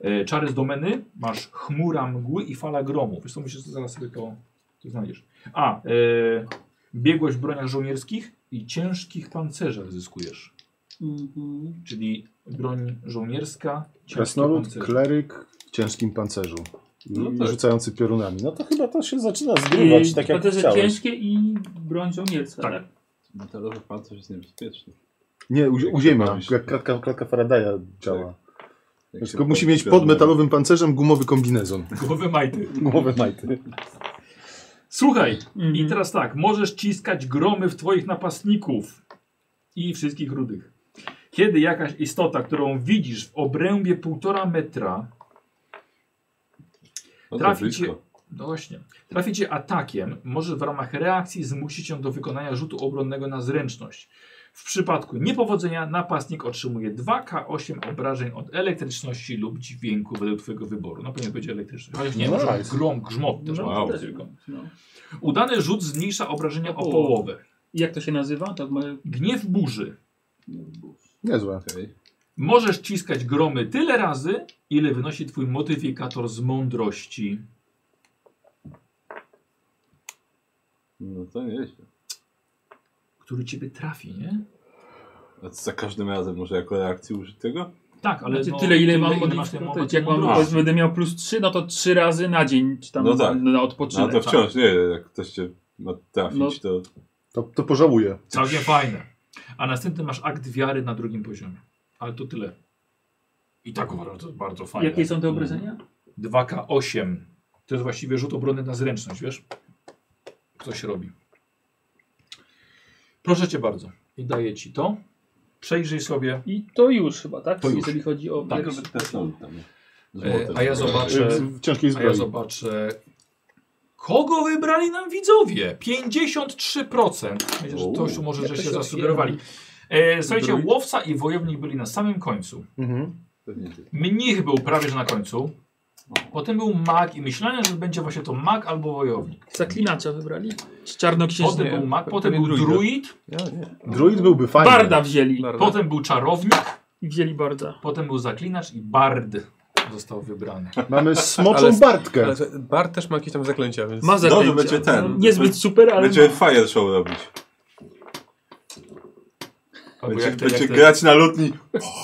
Speaker 1: E, czary z domeny masz chmura mgły i fala gromu. Wiesz co, myślę, że zaraz sobie to, to znajdziesz. A, e, biegłość w broniach żołnierskich i ciężkich pancerzach zyskujesz.
Speaker 6: Mhm.
Speaker 1: Czyli broń żołnierska, ciężkie
Speaker 4: Krasnolud,
Speaker 1: pancerze.
Speaker 4: kleryk w ciężkim pancerzu.
Speaker 3: No
Speaker 4: I
Speaker 3: tak.
Speaker 4: Rzucający piorunami. No to chyba to się zaczyna zgrywać,
Speaker 6: Y,
Speaker 4: tak jak
Speaker 6: pancerze
Speaker 4: chciałeś.
Speaker 6: ciężkie i broń żołnierska, tak?
Speaker 3: Metalowy pancerz jest niebezpieczny.
Speaker 11: Nie, u, u ziemia, jak kratka, kratka Faradaya działa. Tylko musi mieć pod metalowym pancerzem gumowy kombinezon.
Speaker 1: Głowy majty.
Speaker 11: <laughs> Gumowe majty.
Speaker 1: Słuchaj,
Speaker 6: Mhm.
Speaker 1: I teraz tak, możesz ciskać gromy w twoich napastników i wszystkich rudych. Kiedy jakaś istota, którą widzisz w obrębie półtora metra,
Speaker 3: No to
Speaker 1: trafi cię,
Speaker 3: blisko.
Speaker 1: no właśnie, trafi cię atakiem, możesz w ramach reakcji zmusić ją do wykonania rzutu obronnego na zręczność. W przypadku niepowodzenia napastnik otrzymuje 2K8 obrażeń od elektryczności lub dźwięku według twojego wyboru. No pewnie będzie elektryczność. Chociaż nie, może
Speaker 4: Nice.
Speaker 1: grom, grzmot też
Speaker 6: No,
Speaker 1: ma.
Speaker 6: też,
Speaker 1: tylko.
Speaker 6: no.
Speaker 1: Udany rzut zmniejsza obrażenia o
Speaker 6: O.
Speaker 1: połowę.
Speaker 6: I Jak to się nazywa? Tak, To ma...
Speaker 1: Gniew burzy.
Speaker 11: Niezłe.
Speaker 3: Okej.
Speaker 1: Możesz ciskać gromy tyle razy, ile wynosi twój modyfikator z mądrości.
Speaker 3: No to nieźle.
Speaker 1: Który ciebie trafi, nie?
Speaker 3: A to za każdym razem może jako reakcję użyć tego?
Speaker 1: Tak, ale
Speaker 6: Znaczy,
Speaker 1: no,
Speaker 6: tyle ile mam
Speaker 1: masz tej
Speaker 6: modyfikator.
Speaker 1: mądrości.
Speaker 6: Jak mam,
Speaker 1: mądrości.
Speaker 6: powiedzmy, będę miał plus 3, no to 3 razy na dzień, czy tam
Speaker 3: Tak. No tak.
Speaker 6: na, na
Speaker 3: No
Speaker 6: odpoczynek.
Speaker 3: to wciąż, nie, jak ktoś cię ma trafić,
Speaker 6: No.
Speaker 3: to...
Speaker 11: To, to pożałuję.
Speaker 1: Całkiem fajne. A następny masz akt wiary na drugim poziomie. Ale to tyle. I tak uważam, że to jest bardzo fajne.
Speaker 6: Jakie są te obrażenia?
Speaker 1: 2K8. To jest właściwie rzut obrony na zręczność, wiesz? Coś robi. Proszę cię bardzo. I daję ci to. Przejrzyj sobie.
Speaker 6: I to już chyba, tak?
Speaker 1: To już.
Speaker 6: Jeżeli chodzi o...
Speaker 1: Tak.
Speaker 6: pierwszy-
Speaker 3: Tesnął tam. Z
Speaker 1: E,
Speaker 3: młotem.
Speaker 1: a ja zobaczę.
Speaker 11: W ciężkiej
Speaker 1: A ja
Speaker 11: zbroi.
Speaker 1: zobaczę. Kogo wybrali nam widzowie? 53%. Myślę, że to już może, że
Speaker 6: Ja
Speaker 1: się
Speaker 6: też
Speaker 1: zasugerowali. E, słuchajcie, łowca i wojownik byli na samym końcu.
Speaker 11: Mhm.
Speaker 3: Pewnie ty.
Speaker 1: Mnich był prawie że na końcu. Potem był mag i myślałem, że będzie właśnie to mag albo wojownik.
Speaker 6: Zaklinacza wybrali? Z czarnoksiężnego.
Speaker 1: Potem był mag,
Speaker 12: pewnie
Speaker 1: potem był
Speaker 12: druida.
Speaker 1: druid,
Speaker 12: Ja nie.
Speaker 11: Druid byłby fajny.
Speaker 6: Barda wzięli.
Speaker 12: Barda.
Speaker 1: potem był czarownik,
Speaker 6: I wzięli barda.
Speaker 1: potem był zaklinacz i bard został wybrany.
Speaker 11: Mamy smoczą
Speaker 12: Ale-
Speaker 11: Bartkę.
Speaker 12: Ale to- Bart też ma jakieś tam zaklęcia, więc...
Speaker 6: Ma zaklęcia. No,
Speaker 3: Dobrze, będzie ten.
Speaker 6: Niezbyt super, ale...
Speaker 3: Będzie
Speaker 1: no.
Speaker 3: fire show robić.
Speaker 1: Albo
Speaker 3: Będzie,
Speaker 1: jak te,
Speaker 3: będzie
Speaker 1: jak, te,
Speaker 3: grać na lotni.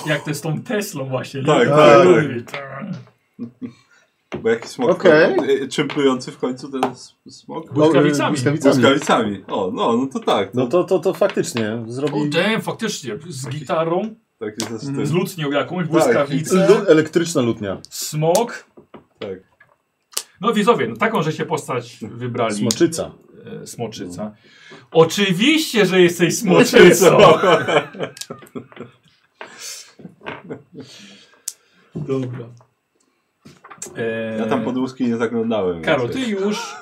Speaker 1: jak te z tą Teslą właśnie. nie?
Speaker 3: Tak,
Speaker 11: tak,
Speaker 3: Bo jaki smok.
Speaker 11: Okej. No,
Speaker 3: y, Czym plujący w końcu ten s- smok?
Speaker 1: Błyskawicami.
Speaker 3: Błyskawicami. O, no, no to tak. To,
Speaker 2: No to, to, to faktycznie
Speaker 1: O,
Speaker 2: zrobi
Speaker 1: damn, faktycznie, z gitarą,
Speaker 3: Tak jest też
Speaker 1: z
Speaker 3: styl.
Speaker 1: lutnią jakąś,
Speaker 11: Lu-
Speaker 1: błyskawice,
Speaker 11: elektryczna lutnia.
Speaker 1: smok.
Speaker 3: Tak.
Speaker 1: No widzowie, no taką, że się postać wybrali.
Speaker 11: Smoczyca.
Speaker 1: e, smoczyca. Oczywiście, że jesteś
Speaker 3: <laughs>
Speaker 1: smoczycą.
Speaker 3: No,
Speaker 1: Dobra. E,
Speaker 3: Ja tam pod łuski nie zaglądałem.
Speaker 1: Karol, ty
Speaker 3: raczej.
Speaker 1: już,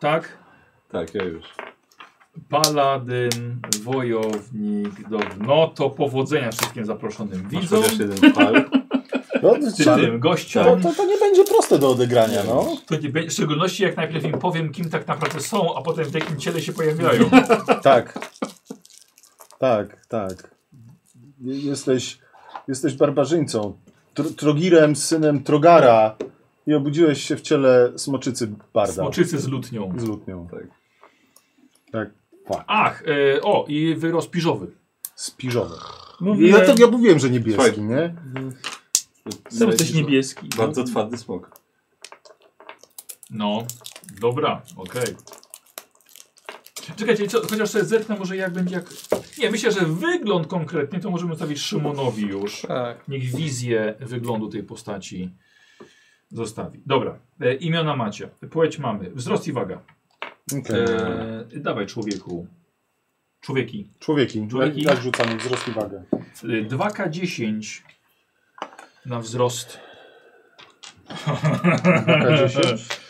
Speaker 1: tak?
Speaker 3: Tak, ja już.
Speaker 1: Paladyn, wojownik, do... no to powodzenia wszystkim zaproszonym
Speaker 3: Masz
Speaker 1: widzom,
Speaker 3: chociaż jeden Tak. pal.
Speaker 1: <laughs>
Speaker 2: No,
Speaker 1: czy
Speaker 2: to,
Speaker 1: tym gościom.
Speaker 2: to, to, to nie będzie proste do odegrania, no.
Speaker 1: To nie będzie, w szczególności jak najpierw im powiem, kim tak naprawdę są, a potem w jakim ciele się
Speaker 3: <laughs>
Speaker 1: pojawiają.
Speaker 2: Tak. Tak, tak. Je- Jesteś, jesteś barbarzyńcą. Tr trogirem, synem Trogara i obudziłeś się w ciele smoczycy Barda.
Speaker 1: Smoczycy z lutnią.
Speaker 2: Z lutnią.
Speaker 3: Tak.
Speaker 2: Tak.
Speaker 1: Ach, e, o, i wyrost piżowy.
Speaker 2: Spiżowe.
Speaker 6: Mówię,
Speaker 11: Ja, to, ja mówiłem, że niebieski,
Speaker 3: Słuchaj.
Speaker 11: nie?
Speaker 6: są coś niebieski.
Speaker 3: Bardzo twardy smok.
Speaker 1: No, dobra, okej. Czekajcie, co, chociaż sobie zerknę może jak będzie jak... Nie, myślę, że wygląd konkretnie to możemy stawić Szymonowi już.
Speaker 12: Tak.
Speaker 1: Niech wizję wyglądu tej postaci zostawi. Dobra, e, imiona macie, płeć mamy, wzrost i waga.
Speaker 2: Okej.
Speaker 1: E, dawaj człowieku. Człowieki. E,
Speaker 2: Człowieki.
Speaker 1: Człowieki.
Speaker 2: Jak, jak rzucamy wzrost i wagę?
Speaker 1: 2K10 na wzrost.
Speaker 2: 2K10?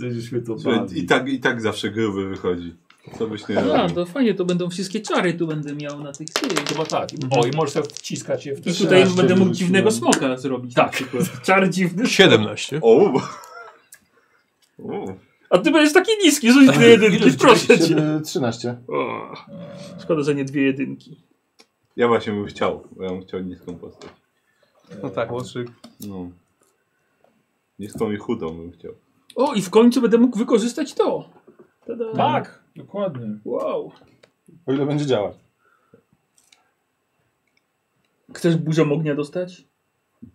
Speaker 1: Będziesz mnie to
Speaker 3: Słuchaj,
Speaker 1: bawi.
Speaker 3: I tak, I tak zawsze gruby wychodzi. Co byś nie
Speaker 6: A,
Speaker 3: robił.
Speaker 6: to fajnie, to będą wszystkie czary tu będę miał na tych tych.
Speaker 1: Chyba tak. O, i możesz sobie wciskać je w
Speaker 6: I tutaj
Speaker 1: trzy.
Speaker 6: będę mógł
Speaker 2: wyrzuciłem.
Speaker 6: dziwnego smoka zrobić.
Speaker 1: Tak.
Speaker 6: na przykład. Czar dziwny.
Speaker 12: 17.
Speaker 3: O! <laughs> u. U.
Speaker 6: A ty będziesz taki niski, <laughs> rzuć dwie jedynki, proszę cię.
Speaker 2: 13.
Speaker 6: O, szkoda, że nie dwie jedynki.
Speaker 3: Ja właśnie bym chciał, bo ja bym chciał niską postać.
Speaker 5: No tak, łotrzyk.
Speaker 3: No. Niską i chudą bym chciał.
Speaker 6: O, i w końcu będę mógł wykorzystać to. Tada.
Speaker 1: Tak, dokładnie.
Speaker 6: Wow.
Speaker 2: O ile będzie działać.
Speaker 6: Chcesz burzę ognia dostać?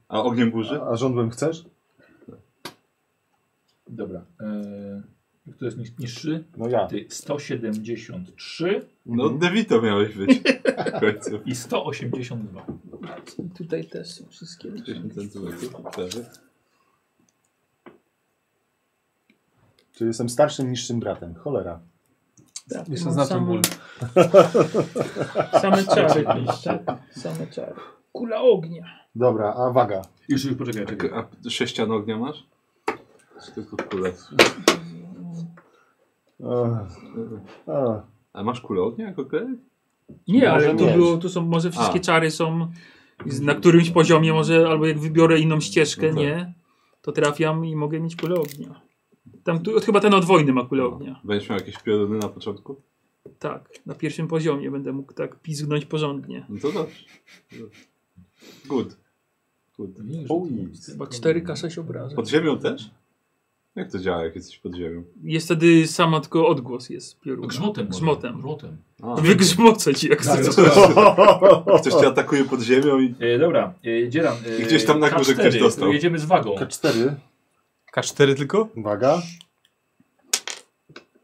Speaker 3: A ogniem burzy?
Speaker 2: A rządłem chcesz?
Speaker 1: Dobra. Eee, kto jest niż- niższy?
Speaker 2: No ja.
Speaker 1: Ty 173
Speaker 3: No Devito miałeś być w końcu.
Speaker 1: i 182.
Speaker 6: I tutaj też są wszystkie.
Speaker 3: 10 centymetrów. prawie.
Speaker 2: Czyli jestem starszym, niższym bratem. Cholera.
Speaker 6: Tak,
Speaker 13: Jeszcze
Speaker 6: mam
Speaker 13: znaczem
Speaker 6: samą-
Speaker 13: ból.
Speaker 6: <laughs> Same czary. Tak, Same czary. Kula ognia.
Speaker 2: Dobra, a waga.
Speaker 1: Już, już poczekaj,
Speaker 3: A, k-
Speaker 1: czekaj.
Speaker 3: Tak, a sześcian ognia masz? Czy tylko kulę?
Speaker 2: Ech, ech.
Speaker 3: A masz kulę ognia jako klej?
Speaker 6: Nie, ale to
Speaker 2: mieć.
Speaker 6: było, to są, może wszystkie
Speaker 3: A.
Speaker 6: czary są z- na którymś poziomie może, albo jak wybiorę inną ścieżkę,
Speaker 3: No tak.
Speaker 6: nie, to trafiam i mogę mieć kulę ognia. Tam, tu, chyba ten odwojny ma kulę ognia.
Speaker 3: No. Będziesz miał jakieś pioruny na początku?
Speaker 6: Tak, na pierwszym poziomie będę mógł tak pizgnąć porządnie.
Speaker 3: No to dobrze. Good. Good.
Speaker 1: Nie, że
Speaker 2: Oj,
Speaker 1: to jest
Speaker 6: Chyba
Speaker 1: problem.
Speaker 6: 4K6 obrażeń.
Speaker 3: Pod ziemią też? Jak to działa, jak jesteś pod ziemią?
Speaker 6: Jest wtedy sama tylko odgłos jest piorun.
Speaker 1: No,
Speaker 14: <laughs>
Speaker 1: Grzmotem. może.
Speaker 6: Grzmotem.
Speaker 1: Grzmotem.
Speaker 3: A,
Speaker 6: Wygrzmocę ci jak chcesz.
Speaker 3: ktoś cię atakuje pod ziemią i
Speaker 1: E, dobra, e, dzieram. E,
Speaker 3: I gdzieś tam na górze
Speaker 1: K4,
Speaker 3: ktoś dostał.
Speaker 1: Jedziemy z wagą.
Speaker 2: K4.
Speaker 5: K4 tylko?
Speaker 2: Waga.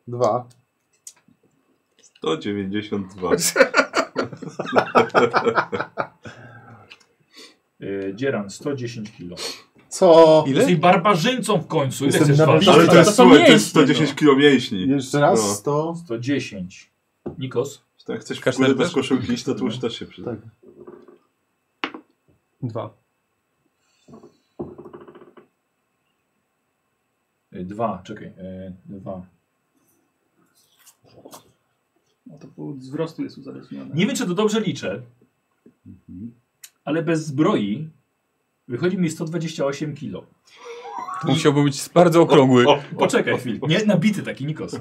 Speaker 2: Dwa.
Speaker 3: 192.
Speaker 1: E, dzieram 110 kg.
Speaker 2: Co?
Speaker 5: Ile?
Speaker 1: Jesteś barbarzyńcą w końcu. Ile
Speaker 2: Jestem
Speaker 1: chcesz
Speaker 2: nawet-
Speaker 1: ważyć?
Speaker 3: Ale
Speaker 6: to
Speaker 3: to jest,
Speaker 6: są
Speaker 3: słuchaj, to jest
Speaker 6: mięśnie,
Speaker 3: 110 kg mięśni.
Speaker 2: Jeszcze raz
Speaker 3: No.
Speaker 2: 100.
Speaker 1: 110. Nikos?
Speaker 3: Czy Tak, chcesz w
Speaker 5: Kasztan
Speaker 3: górę bez
Speaker 5: też?
Speaker 3: koszulki iść, to tłuszcz też się przyda.
Speaker 2: Tak.
Speaker 13: Dwa.
Speaker 1: E, Dwa, czekaj. E, dwa.
Speaker 6: No to pół wzrostu jest uzależnione.
Speaker 1: Nie wiem, czy to dobrze liczę,
Speaker 3: Mhm.
Speaker 1: ale bez zbroi wychodzi mi 128 kg.
Speaker 5: To musiałby być bardzo okrągły. <laughs>
Speaker 1: Poczekaj chwilę. Nie, nabity taki Nikos.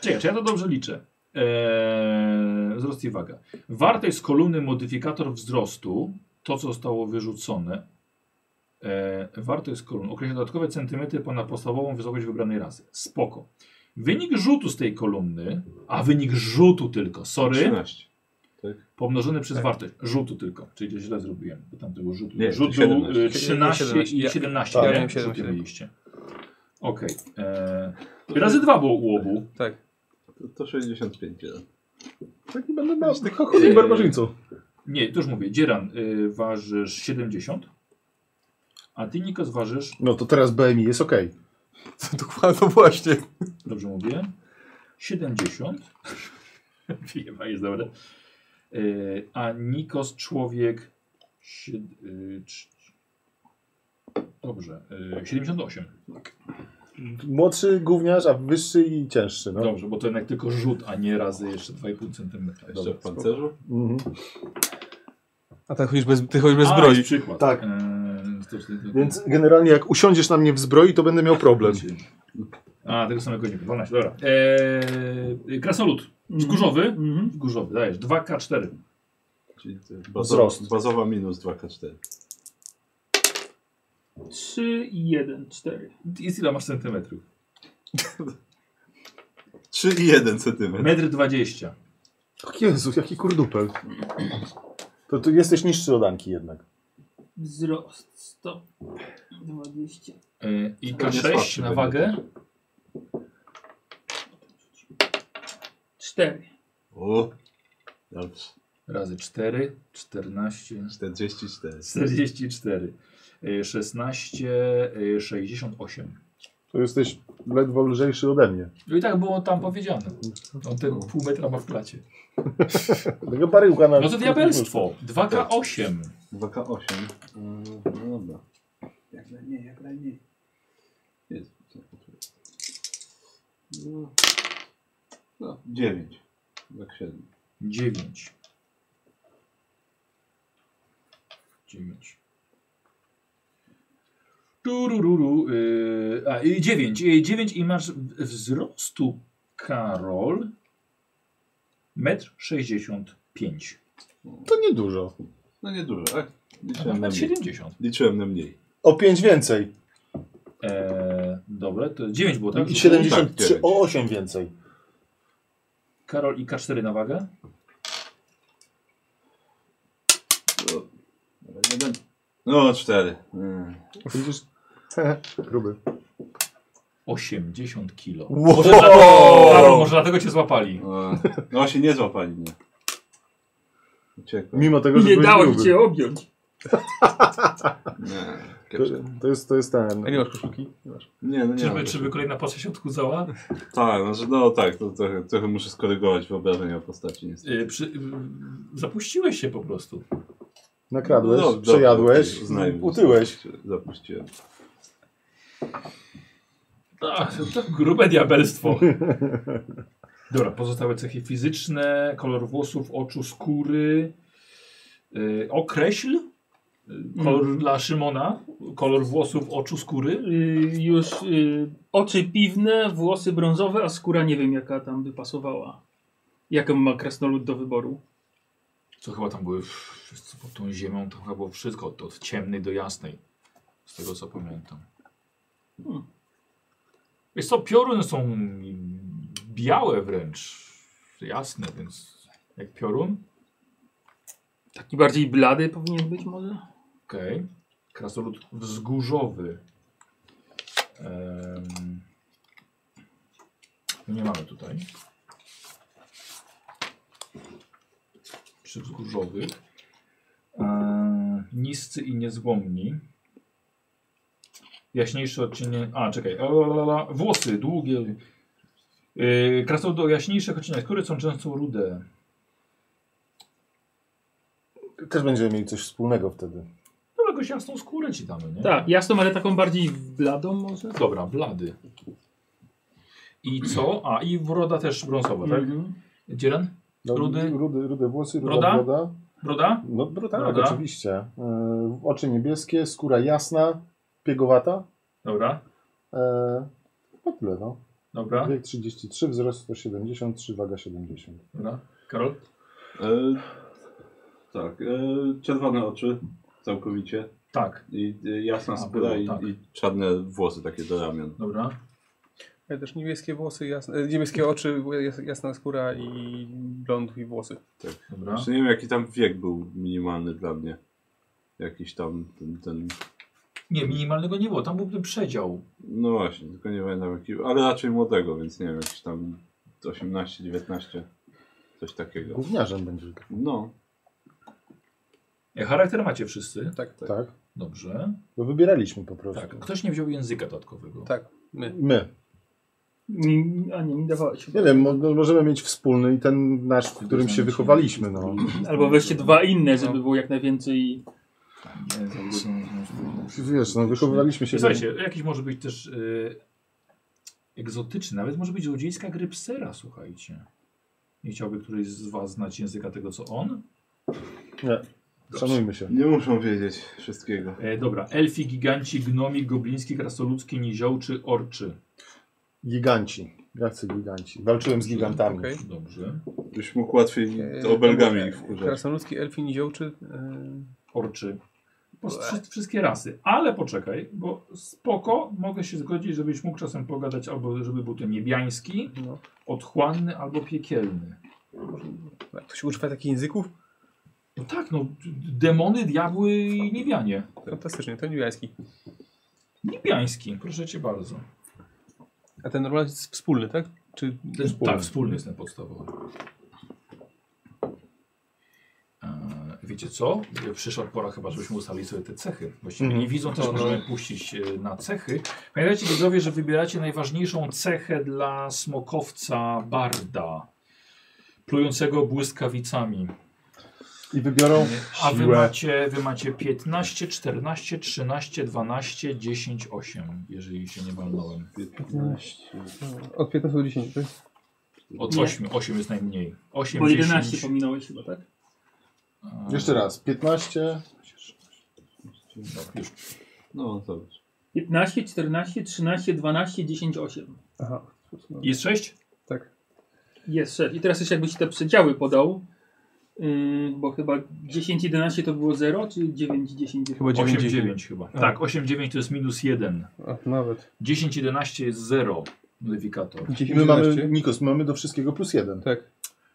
Speaker 1: Czekaj, czy ja to dobrze liczę? Eee, wzrost i waga. Wartość z kolumny modyfikator wzrostu, to co zostało wyrzucone, eee, wartość z kolumny określa dodatkowe centymetry ponad podstawową wysokość wybranej razy. Spoko. Wynik rzutu z tej kolumny, a wynik rzutu tylko, sorry,
Speaker 3: 13.
Speaker 1: pomnożony
Speaker 5: Tak.
Speaker 1: przez wartość, rzutu tylko, czyli to źle zrobiłem, bo tam tego rzutu,
Speaker 3: Nie,
Speaker 1: rzutu
Speaker 3: 17.
Speaker 1: y, 13 i
Speaker 5: Ja- tak,
Speaker 1: 17,
Speaker 5: ja
Speaker 1: nie?
Speaker 5: miałem 7,
Speaker 1: Rzuty
Speaker 5: 7.
Speaker 1: mieliście. Okej. eee, Razy dwa było u obu.
Speaker 5: Tak.
Speaker 3: To, to 65. jeden.
Speaker 2: Taki będę miał. Chodzi barbarzyńcą.
Speaker 1: Nie, to już mówię. Dzieran, y, ważysz 70, a ty, Nikos, ważysz,
Speaker 2: No to teraz BMI jest ok.
Speaker 5: Dokładnie, no właśnie.
Speaker 1: dobrze mówię, <laughs> 70. Wiema jest dobre. Y, A Nikos, człowiek... sied- y, cz- Dobrze, y, 78.
Speaker 2: Młodszy gówniarz, a wyższy i cięższy. No.
Speaker 1: Dobrze, bo to jednak tylko rzut, a nie razy jeszcze 2,5 cm.
Speaker 3: A Jeszcze w pancerzu?
Speaker 2: Mhm.
Speaker 5: A tak chodzisz bez, ty chodzisz bez
Speaker 1: A, jest
Speaker 5: zbroi.
Speaker 1: przykład.
Speaker 2: Tak.
Speaker 1: Y, to- to- to-
Speaker 2: Więc generalnie jak usiądziesz na mnie w zbroi, to będę miał problem.
Speaker 1: A, tego samego nie 12, dobra. Eee, krasolut. Wzgórzowy.
Speaker 6: Mhm.
Speaker 1: Wzgórzowy, dajesz. 2K4.
Speaker 3: Czyli to jest bazowa,
Speaker 2: Wzrost.
Speaker 3: bazowa minus 2K4.
Speaker 6: 3 i 1, 4.
Speaker 1: Jest ile masz centymetrów?
Speaker 3: 3 i 1 cm.
Speaker 1: Metr 20.
Speaker 2: Och, Jezu, jaki kurdupel. To tu jesteś niższy od Anki jednak.
Speaker 6: Wzrost 100, 20.
Speaker 1: Eee, I
Speaker 3: Pewnie
Speaker 1: K6
Speaker 3: słabszy
Speaker 1: na
Speaker 3: będzie.
Speaker 1: wagę.
Speaker 6: 4.
Speaker 3: O, dobrze.
Speaker 1: Razy 4. 14.
Speaker 3: 44.
Speaker 1: 44. Eee, 16. eee, 68.
Speaker 2: To jesteś ledwo lżejszy ode mnie.
Speaker 1: No i tak było tam powiedziane. On ten pół metra ma w
Speaker 2: <laughs>
Speaker 1: klacie.
Speaker 2: Tego baryłka na...
Speaker 1: No to diabelstwo. 2K8.
Speaker 3: 2K8. Mm, No dobra.
Speaker 15: Jak najmniej, jak najmniej.
Speaker 3: Jest. No. No, 9. Tak 7.
Speaker 1: 9. 9. Turururu, yy, a, i 9. Yy, 9 i masz w- wzrostu, Karol, 1,65 m.
Speaker 2: To niedużo.
Speaker 3: No niedużo, tak?
Speaker 1: A
Speaker 3: Liczyłem na
Speaker 1: Nawet
Speaker 3: mniej.
Speaker 1: 70.
Speaker 3: Liczyłem na mniej.
Speaker 2: O 5 więcej.
Speaker 1: E, dobra, to 9 było, tak?
Speaker 2: I
Speaker 3: tak,
Speaker 2: 73
Speaker 3: dziewięć.
Speaker 2: o 8 więcej.
Speaker 1: Karol i K4 na wagę.
Speaker 3: To... ale jeden. No, cztery. Mm.
Speaker 11: Będziesz... Gruby.
Speaker 1: 80 kilo.
Speaker 2: Wow.
Speaker 1: Może, dlatego, Karol, może dlatego cię złapali.
Speaker 3: No, no właśnie nie złapali mnie. Uciekłem.
Speaker 11: Mimo tego, że
Speaker 14: Nie
Speaker 11: byłeś
Speaker 14: dało ci
Speaker 11: gruby.
Speaker 14: cię objąć.
Speaker 3: Nie,
Speaker 11: To,
Speaker 3: kurczę.
Speaker 11: to, jest, to jest ten...
Speaker 12: A nie masz koszulki? Nie masz.
Speaker 3: nie, no nie.
Speaker 1: Czyżby,
Speaker 3: mam.
Speaker 1: czyżby kolejna postać się odchudzała?
Speaker 3: Tak, no, że, no tak, to trochę, trochę muszę skorygować wyobrażenia o postaci. niestety.
Speaker 1: Yy, przy, yy, zapuściłeś się po prostu.
Speaker 11: Nakradłeś,
Speaker 3: No, dobra,
Speaker 11: przejadłeś,
Speaker 3: okej, uznajmy, że
Speaker 11: utyłeś.
Speaker 3: Zapuściłem.
Speaker 1: A, Tak, to grube diabelstwo. Dobra, pozostałe cechy fizyczne, kolor włosów, oczu, skóry. Yy, określ yy, kolor dla Szymona, kolor włosów, oczu, skóry.
Speaker 14: Y, już y, oczy piwne, włosy brązowe, a skóra nie wiem jaka tam by pasowała. Jaką ma krasnolud do wyboru?
Speaker 1: Co chyba tam były wszyscy pod tą ziemią, to chyba było wszystko, od, od ciemnej do jasnej. Z tego co pamiętam.
Speaker 14: Hmm.
Speaker 1: Wiesz co, piorun są białe wręcz, jasne, więc jak piorun,
Speaker 14: Taki bardziej blady powinien być może?
Speaker 1: Okej. Krasolud wzgórzowy. Em, no nie mamy tutaj. Przy wzgórzowych. Eee, niscy i niezłomni. Jaśniejszy odcienie. A, czekaj. Lalalala. Włosy długie. Yy, Krasolud o jaśniejszych odcieniach skóry są często rude.
Speaker 2: Też będziemy mieli coś wspólnego wtedy.
Speaker 1: No, jakąś jasną skórę ci damy, nie?
Speaker 14: Tak, jasną, ale taką bardziej bladą może?
Speaker 1: Dobra, blady. I co? A, i broda też brązowa, tak?
Speaker 14: Mhm.
Speaker 1: Dzieran?
Speaker 2: No,
Speaker 1: Rudy?
Speaker 2: rudy, rude włosy, ruda
Speaker 1: Broda?
Speaker 2: broda.
Speaker 1: Broda?
Speaker 2: No broda,
Speaker 1: Broda.
Speaker 2: tak, oczywiście. Yy, oczy niebieskie, skóra jasna, piegowata.
Speaker 1: Dobra,
Speaker 2: Yy, no tyle no.
Speaker 1: dobra,
Speaker 2: Wiek 33, wzrost 173, waga 70.
Speaker 1: dobra. Karol?
Speaker 3: E, tak, e, czerwone oczy całkowicie
Speaker 1: Tak,
Speaker 3: i e, jasna
Speaker 1: A,
Speaker 3: skóra
Speaker 1: było,
Speaker 3: i,
Speaker 1: tak. No.
Speaker 3: i czarne włosy takie do ramion.
Speaker 1: dobra.
Speaker 5: Ja też niebieskie włosy, jasne, e, niebieskie oczy, jas- jasna skóra i blond i włosy.
Speaker 1: Dobra.
Speaker 3: Znaczy, nie wiem jaki tam wiek był minimalny dla mnie. Jakiś tam ten, ten
Speaker 1: Nie, minimalnego nie było, tam był ten przedział.
Speaker 3: no właśnie, tylko nie pamiętam jaki, ale raczej młodego, więc nie wiem, jakiś tam 18, 19, coś takiego.
Speaker 2: Gówniarzem będzie.
Speaker 3: No,
Speaker 1: E, Charakter macie wszyscy?
Speaker 2: Tak.
Speaker 1: Dobrze.
Speaker 2: No wybieraliśmy po prostu.
Speaker 1: Tak, ktoś nie wziął języka dodatkowego.
Speaker 5: Tak. My.
Speaker 2: My.
Speaker 14: Mi- A nie, mi dawałeś.
Speaker 2: Nie wiem, mo no, możemy mieć wspólny i ten nasz, w którym się
Speaker 1: Znamy
Speaker 2: wychowaliśmy. No.
Speaker 14: Albo weźcie dwa inne, żeby było jak najwięcej.
Speaker 2: Wiesz, no, wychowywaliśmy się...
Speaker 1: Słuchajcie, jakiś może być też y, egzotyczny, nawet może być złodziejska gry psera, słuchajcie. Nie chciałby któryś z was znać języka tego, co on?
Speaker 2: Nie. Szanujmy się.
Speaker 3: nie muszą wiedzieć wszystkiego.
Speaker 1: E, dobra, elfi, giganci, gnomi, gobliński, krasoludzki, niziołczy, orczy.
Speaker 2: Giganci. Ja chcę giganci. Walczyłem z gigantami.
Speaker 5: Okej.
Speaker 1: Dobrze.
Speaker 3: Byś mógł łatwiej
Speaker 5: E,
Speaker 3: obelgami
Speaker 5: to
Speaker 3: ich
Speaker 5: może
Speaker 3: wkurzać.
Speaker 5: Krasnoludzki, elfin, niziołczy. e,
Speaker 1: Orczy. Po, wszy, wszystkie rasy. Ale poczekaj, bo spoko, mogę się zgodzić, żebyś mógł czasem pogadać albo żeby był to niebiański,
Speaker 5: No.
Speaker 1: otchłanny albo piekielny.
Speaker 5: A Ktoś używa takich języków?
Speaker 1: No tak, no d- demony, diabły i niebianie.
Speaker 5: Fantastycznie, to niebiański.
Speaker 1: Niebiański, proszę cię bardzo.
Speaker 5: A ten normalny jest wspólny, tak? Czy
Speaker 1: Tak, wspólny jest ten podstawowy. E, Wiecie co? Przyszła pora chyba, żebyśmy ustalili sobie te cechy. Właściwie nie widzą, też możemy puścić e, na cechy. Pamiętajcie widzowie, że wybieracie najważniejszą cechę dla smokowca Barda. Plującego błyskawicami. E,
Speaker 2: I wybiorą
Speaker 1: A wy
Speaker 2: siłę.
Speaker 1: macie, wy macie 15, 14, 13, 12, 10, 8, jeżeli się nie walnąłem. No
Speaker 3: 15.
Speaker 5: Od 15 do 10, tak?
Speaker 1: Od
Speaker 14: Nie.
Speaker 1: 8, 8 jest najmniej. 8,
Speaker 14: Bo 11
Speaker 1: 10,
Speaker 14: pominąłeś chyba, tak?
Speaker 2: Jeszcze raz. 15,
Speaker 3: No, zobacz.
Speaker 14: 15, 14, 13, 12, 10, 8.
Speaker 5: Aha.
Speaker 1: Jest 6?
Speaker 5: Tak.
Speaker 14: Jest 6. I teraz jeszcze jakbyś te przedziały podał, yy, bo chyba 10, 11 to było 0, czy 9, 10, 9?
Speaker 12: Chyba 9,
Speaker 1: 8, 9 chyba.
Speaker 5: A.
Speaker 1: Tak, 8, 9 to jest minus 1.
Speaker 5: A, nawet.
Speaker 1: 10, 11 jest 0 modyfikator.
Speaker 2: I
Speaker 5: 10,
Speaker 2: my mamy,
Speaker 5: 11.
Speaker 2: Nikos, my mamy do wszystkiego plus jeden.
Speaker 5: Tak.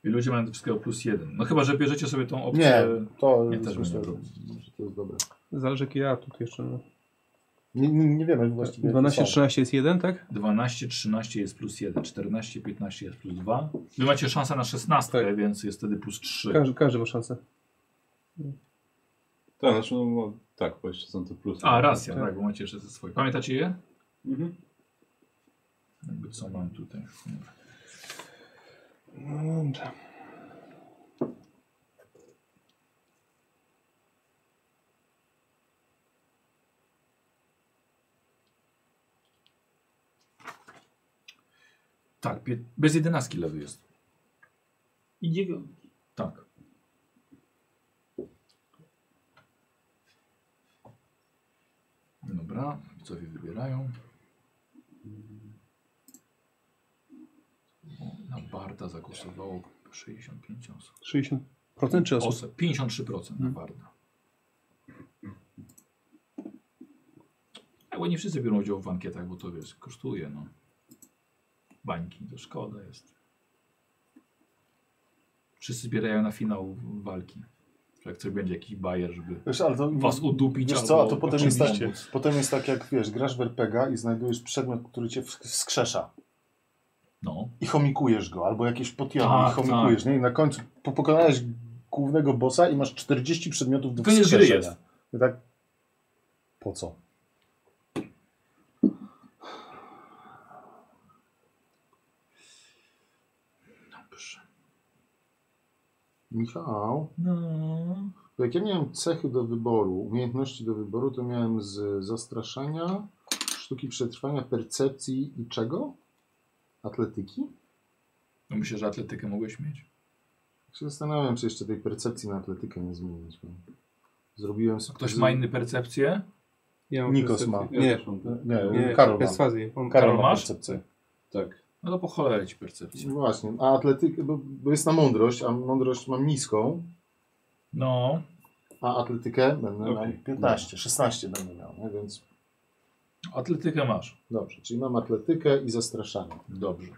Speaker 1: I ludzie mają do wszystkiego plus 1. No chyba, że bierzecie sobie tą
Speaker 2: Nie,
Speaker 1: opcję.
Speaker 2: to
Speaker 1: Ja
Speaker 2: ja
Speaker 1: też
Speaker 2: myślę,
Speaker 1: bym
Speaker 2: że
Speaker 1: nie
Speaker 2: że to jest dobre.
Speaker 5: Zależy jaki ja tu jeszcze. No.
Speaker 2: Nie, nie, nie wiemy właściwie. jakie
Speaker 5: 12,
Speaker 2: są.
Speaker 5: 13 jest 1, tak?
Speaker 1: 12, 13 jest plus 1, 14, 15 jest plus 2. Wy macie szansę na 16,
Speaker 5: Tak.
Speaker 1: więc jest wtedy plus 3.
Speaker 5: Każdy, każdy ma szansę.
Speaker 3: Tak, znaczy, no, no, tak, bo jeszcze są te plusy.
Speaker 1: A, racja, tak,
Speaker 5: Tak.
Speaker 1: bo macie jeszcze ze swoje. Pamiętacie je?
Speaker 3: Mhm.
Speaker 1: Jakby co mam tutaj.
Speaker 5: Dobrze.
Speaker 1: Tak, pie- bez 11 lewy jest.
Speaker 14: I 9.
Speaker 1: Tak. Dobra, co wybierają? O, Na Barda zagłosowało 65 osób.
Speaker 5: 60% czy osób?
Speaker 1: Osób, 53% na Barda. Ale nie wszyscy biorą udział w ankietach, bo to wiesz, kosztuje. No. Bańki to szkoda jest. Wszyscy zbierają na finał walki. Że Jak coś będzie jakiś bajer, żeby
Speaker 2: Wiesz, ale to,
Speaker 1: was udupić
Speaker 2: wiesz
Speaker 1: albo
Speaker 2: co, a to potem jest, tak,
Speaker 1: oczywiście.
Speaker 2: potem jest tak, jak wiesz, grasz w RPGa i znajdujesz przedmiot, który cię wsk- wskrzesza
Speaker 1: No.
Speaker 2: i chomikujesz go, albo jakieś potiony
Speaker 1: Tak,
Speaker 2: i chomikujesz, nie? I na końcu po- pokonałeś głównego bossa i masz 40 przedmiotów do
Speaker 1: Koniec gry
Speaker 2: wskrzeszenia.
Speaker 1: jest.
Speaker 2: I tak, po co?
Speaker 1: Dobrze.
Speaker 11: Michał,
Speaker 14: No.
Speaker 11: to jak ja miałem cechy do wyboru, umiejętności do wyboru, to miałem z zastraszania, sztuki przetrwania, percepcji i czego? Atletyki?
Speaker 1: No myślę, że atletykę mogłeś mieć.
Speaker 11: Tak się zastanawiam, czy jeszcze tej percepcji na atletykę nie zmienić. bo Zrobiłem
Speaker 1: A
Speaker 11: sobie...
Speaker 1: Ktoś ma inny percepcję?
Speaker 5: Ja mam
Speaker 2: Nikos
Speaker 5: percepcję.
Speaker 2: ma.
Speaker 3: Ja
Speaker 5: Nie,
Speaker 3: też mam tak.
Speaker 2: Nie,
Speaker 5: nie,
Speaker 2: Karol ma.
Speaker 5: perswazję. On
Speaker 2: Karol ma
Speaker 1: masz?
Speaker 2: percepcję.
Speaker 3: Tak.
Speaker 1: No to po cholerę ci percepcję.
Speaker 11: Właśnie, a atletyka, bo, bo jest na mądrość, a mądrość mam niską,
Speaker 1: No,
Speaker 11: a atletykę będę
Speaker 3: Okej.
Speaker 11: miał
Speaker 2: 15, 16 będę miał.
Speaker 11: No, więc
Speaker 1: atletykę masz.
Speaker 11: dobrze, czyli mam atletykę i zastraszanie.
Speaker 1: Dobrze.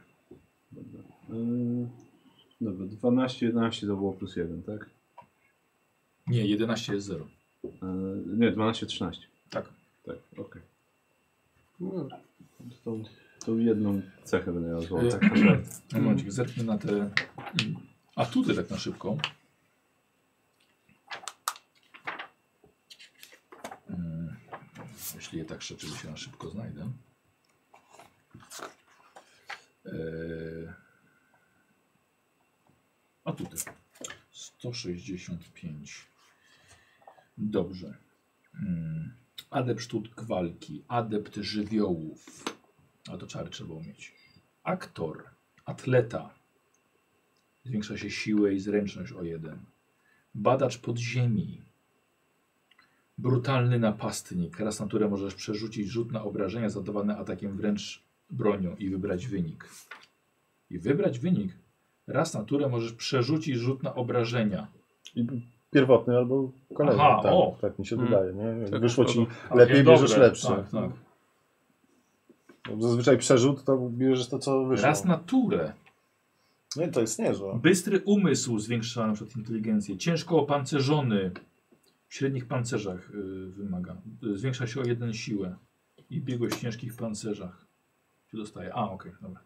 Speaker 3: Yy, dobra, 12, 11 to było plus 1, tak?
Speaker 1: Nie, 11 jest 0.
Speaker 3: Yy, nie, 12, 13.
Speaker 1: Tak.
Speaker 3: Tak, okej. No, To, to jedną cechę będę miał złą.
Speaker 1: Yy,
Speaker 3: Tak.
Speaker 1: No, Momencik, zerknę na te mm, atuty tak na szybko. Mm, Jeśli je tak rzeczywiście na szybko znajdę. Yy, Atuty. 165. Dobrze. Mm, Adept sztuk walki, adept żywiołów. A to czary trzeba umieć aktor, atleta. Zwiększa się siłę i zręczność o jeden. Badacz podziemi. Brutalny napastnik. Raz na turę możesz przerzucić rzut na obrażenia zadawane atakiem wręcz bronią i wybrać wynik. I wybrać wynik. Raz na turę możesz przerzucić rzut na obrażenia.
Speaker 2: I Pierwotny albo kolejny.
Speaker 1: Aha,
Speaker 2: tak,
Speaker 1: o. Hmm.
Speaker 2: tak mi się
Speaker 12: Mm.
Speaker 2: wydaje. Nie? Jak
Speaker 12: Tak,
Speaker 2: Wyszło
Speaker 12: to-
Speaker 2: ci
Speaker 1: Ale
Speaker 2: lepiej,
Speaker 1: dobre.
Speaker 2: bierzesz lepszy.
Speaker 1: Tak, tak.
Speaker 2: Bo Zazwyczaj przerzut to bierzesz to, co wyszło.
Speaker 1: Raz na turę.
Speaker 2: Nie, to jest niezłe.
Speaker 1: Bystry umysł zwiększa na przykład inteligencję. Ciężko opancerzony w średnich pancerzach y, wymaga. Y, Zwiększa się o jeden siłę. I biegłość w ciężkich pancerzach się dostaje. A, okej, dobra.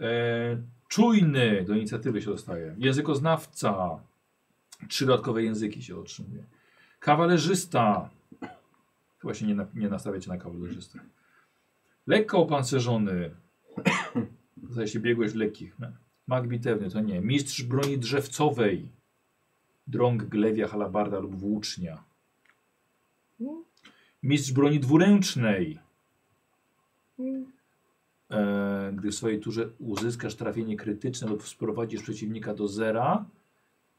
Speaker 1: E, czujny do inicjatywy się dostaje. Językoznawca. Trzy dodatkowe języki się otrzymuje. Kawalerzysta. Chyba się nie, na, nie nastawiacie na kawalerzystę. Lekko opancerzony. Zdaje się biegłość w lekkich. No. Mag bitewny, to nie. Mistrz broni drzewcowej. Drąg, glewia, halabarda lub włócznia. Mistrz broni dwuręcznej. E, gdy w swojej turze uzyskasz trafienie krytyczne lub sprowadzisz przeciwnika do zera,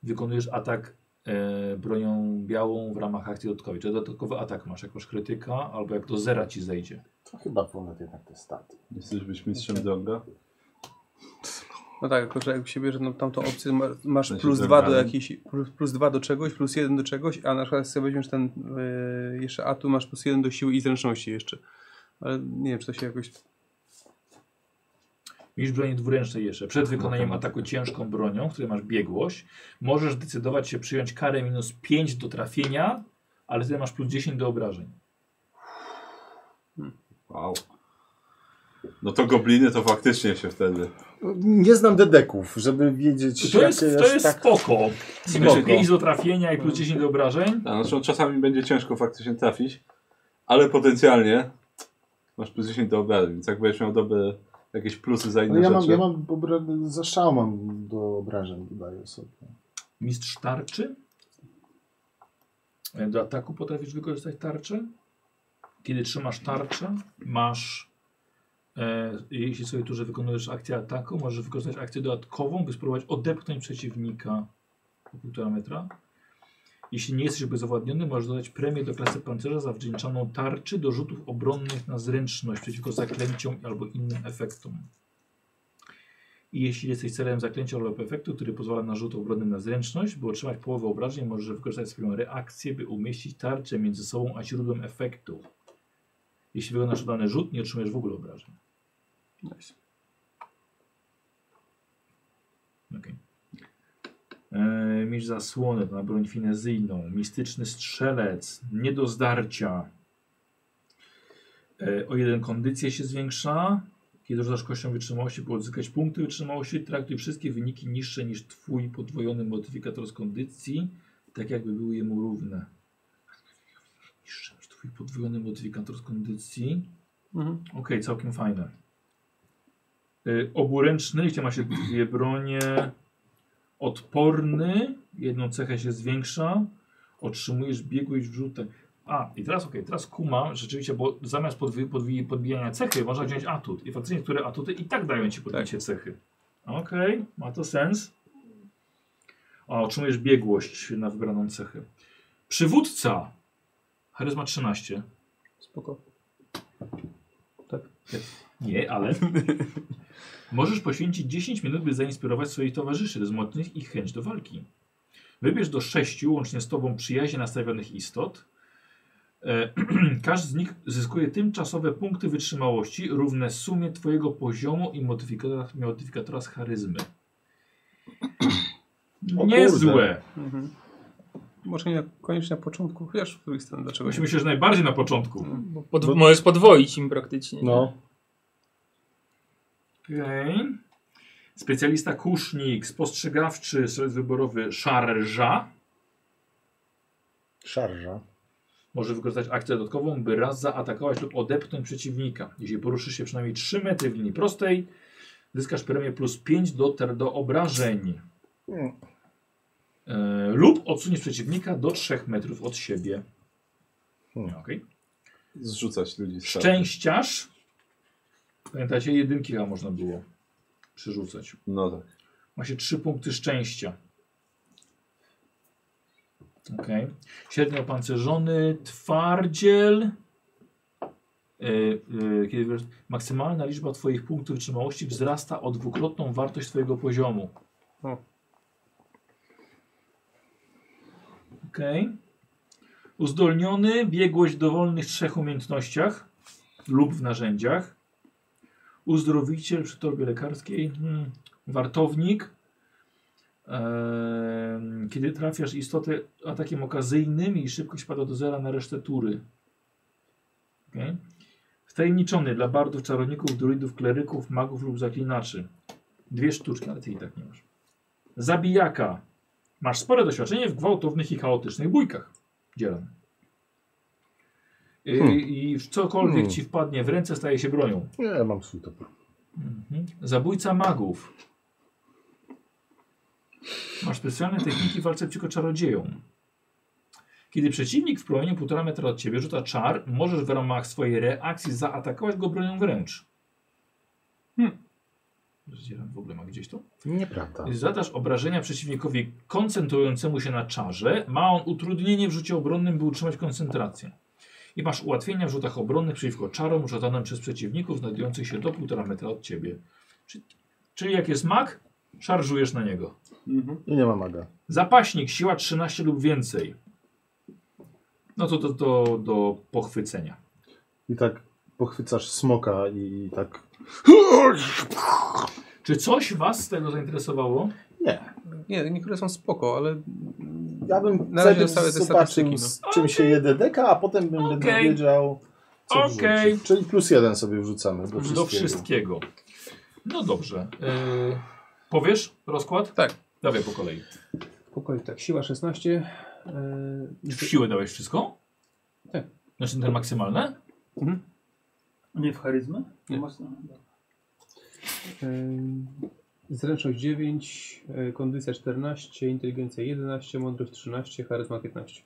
Speaker 1: wykonujesz atak e, bronią białą w ramach akcji dodatkowej. Czyli dodatkowy atak masz, jak masz krytyka, albo jak do zera ci zejdzie.
Speaker 2: To chyba ponad jednak te staty.
Speaker 3: Nie chcesz być mistrzem Donga?
Speaker 5: No tak, tylko że jak się bierze tam, tamtą opcję, ma- masz
Speaker 3: sensie
Speaker 5: plus dwa do
Speaker 3: zebrany.
Speaker 5: jakiejś, plus, plus dwa do czegoś, plus jeden do czegoś, a na przykład jak sobie weźmiesz ten y, jeszcze A, tu masz plus jeden do siły i zręczności jeszcze. Ale nie wiem, czy to się jakoś...
Speaker 1: Misz broni dwuręcznej jeszcze. Przed wykonaniem ataku ciężką bronią, w której masz biegłość, możesz decydować się przyjąć karę minus 5 do trafienia, ale wtedy masz plus 10 do obrażeń.
Speaker 3: Wow. No to gobliny to faktycznie się wtedy.
Speaker 2: Nie znam dedeków, żeby wiedzieć,
Speaker 1: To jest,
Speaker 2: jakie
Speaker 1: to jest
Speaker 2: tak...
Speaker 1: spoko.
Speaker 3: Spoko.
Speaker 1: 5 do trafienia i plus 10 do obrażeń.
Speaker 3: A, Znaczy, czasami będzie ciężko faktycznie trafić, ale potencjalnie masz plus 10 do obrażeń, więc jak będziesz miał dobre jakieś plusy za
Speaker 2: No
Speaker 3: inne
Speaker 11: Ale No ja mam,
Speaker 3: rzeczy.
Speaker 11: ja mam obra- za szał mam do obrażeń dodaję sobie.
Speaker 1: Mistrz tarczy. E, Do ataku potrafisz wykorzystać tarczę. Kiedy trzymasz tarczę, masz. E, jeśli sobie tu, że wykonujesz akcję ataku, możesz wykorzystać akcję dodatkową, by spróbować odepchnąć przeciwnika o 1,5 metra. Jeśli nie jesteś bezowładniony, możesz dodać premię do klasy pancerza za wdzięczaną tarczy do rzutów obronnych na zręczność przeciwko zaklęciom albo innym efektom. I jeśli jesteś celem zaklęcia lub efektu, który pozwala na rzut obronny na zręczność, by otrzymać połowę obrażeń, możesz wykorzystać swoją reakcję, by umieścić tarczę między sobą a źródłem efektu. Jeśli wykonasz dany rzut, nie otrzymujesz w ogóle obrażeń.
Speaker 5: Nice.
Speaker 1: Okay. Eee, mieć zasłonę na broń finezyjną, mistyczny strzelec, nie do zdarcia. Eee, o jeden kondycję się zwiększa. Kiedy rzucasz kością wytrzymałości, by odzyskać punkty wytrzymałości, traktuj wszystkie wyniki niższe niż twój podwojony modyfikator z kondycji, tak jakby były jemu równe. Niższe niż twój podwojony modyfikator z kondycji.
Speaker 5: Mhm.
Speaker 1: Okej, całkiem fajne. Y, oburęczny, gdzie ma się dwie bronie. Odporny, jedną cechę się zwiększa. Otrzymujesz biegłość w rzutach. A, i teraz okej, teraz kumam, rzeczywiście, bo zamiast podwi podwi podbijania cechy, można wziąć atut. I faktycznie, które atuty i tak dają ci podbicie cechy. Okej, ma to sens. A, otrzymujesz biegłość na wybraną cechę. Przywódca. Charyzma 13.
Speaker 5: Spoko.
Speaker 1: Nie, ale. Możesz poświęcić 10 minut, by zainspirować swoich towarzyszy rozmocnych ich chęć do walki. Wybierz do sześciu, łącznie z tobą, przyjaźnie nastawionych istot. E, <clears throat> Każdy z nich zyskuje tymczasowe punkty wytrzymałości równe sumie twojego poziomu i modyfikatora, modyfikatora z charyzmy.
Speaker 2: O
Speaker 1: Niezłe.
Speaker 5: Mhm. Może nie na, koniecznie na początku, chociaż z drugiej strony dlaczego
Speaker 1: Myślę, że najbardziej na początku.
Speaker 14: Bo pod, możesz podwoić im praktycznie.
Speaker 2: No,
Speaker 1: Okej. Specjalista kusznik, spostrzegawczy, strzelec wyborowy, szarża.
Speaker 2: szarża.
Speaker 1: Może wykorzystać akcję dodatkową, by raz zaatakować lub odepchnąć przeciwnika. Jeśli poruszysz się przynajmniej 3 metry w linii prostej, zyskasz premię plus 5 do, ter- do obrażeń.
Speaker 2: Hmm.
Speaker 1: E, lub odsuniesz przeciwnika do 3 metrów od siebie.
Speaker 2: Hmm.
Speaker 1: Okej.
Speaker 3: Zrzucać ludzi z tarczy.
Speaker 1: Szczęściarz. Pamiętajcie, jedynki chyba można było przerzucać.
Speaker 3: No tak.
Speaker 1: Ma się 3 punkty szczęścia. Okej. Średnio opancerzony, twardziel. Yy, yy, kiedy wiesz, maksymalna liczba Twoich punktów wytrzymałości wzrasta o dwukrotną wartość Twojego poziomu.
Speaker 5: O.
Speaker 1: Okej. Uzdolniony, biegłość w dowolnych trzech umiejętnościach lub w narzędziach. Uzdrowiciel przy torbie lekarskiej. Hmm. Wartownik. Em, Kiedy trafiasz istotę atakiem okazyjnym, jej szybkość pada do zera na resztę tury. Okay. Wtajemniczony dla bardów, czarowników, druidów, kleryków, magów lub zaklinaczy. Dwie sztuczki, ale ty i tak nie masz. Zabijaka. Masz spore doświadczenie w gwałtownych i chaotycznych bójkach. Dzielam. I, I cokolwiek
Speaker 2: Hmm.
Speaker 1: ci wpadnie w ręce, staje się bronią.
Speaker 2: Nie, ja mam swój topór.
Speaker 1: Mhm. Zabójca magów. Masz specjalne techniki w walce przeciwko czarodziejom. Kiedy przeciwnik w promieniu 1,5 metra od ciebie rzuca czar, możesz w ramach swojej reakcji zaatakować go bronią wręcz. Zdzieram w ogóle ma gdzieś to?
Speaker 11: Nieprawda.
Speaker 1: Zadasz obrażenia przeciwnikowi koncentrującemu się na czarze. Ma on utrudnienie w rzucie obronnym, by utrzymać koncentrację. I masz ułatwienia w rzutach obronnych przeciwko czarom rzucanym przez przeciwników znajdujących się do 1,5 metra od ciebie. Czyli, czyli jak jest mak, szarżujesz na niego.
Speaker 2: I nie ma maga.
Speaker 1: Zapaśnik, siła 13 lub więcej. No to do, do, do pochwycenia.
Speaker 2: I tak pochwycasz smoka i tak...
Speaker 1: Czy coś was z tego zainteresowało?
Speaker 12: Nie, niektóre są spoko, ale
Speaker 2: Ja bym
Speaker 12: Na razie
Speaker 2: najpierw
Speaker 12: zostały te
Speaker 2: zobaczył,
Speaker 12: statystyki, no.
Speaker 2: z czym się je DDK, a potem bym będę
Speaker 1: Okej.
Speaker 2: wiedział, co
Speaker 1: Okej.
Speaker 2: wrzucić. Czyli plus jeden sobie wrzucamy do wszystkiego.
Speaker 1: Do wszystkiego. No dobrze. Yy, powiesz rozkład?
Speaker 12: Tak.
Speaker 1: Dawaj po kolei.
Speaker 5: Po kolei tak, siła 16. Yy,
Speaker 1: Czy w siłę dałeś wszystko?
Speaker 5: Tak.
Speaker 1: Znaczy ten maksymalne?
Speaker 14: Nie w charyzmę? No
Speaker 12: Nie.
Speaker 14: Mocno.
Speaker 5: yy, zręczność 9, yy, kondycja 14, inteligencja 11, mądrość 13, charyzma 15.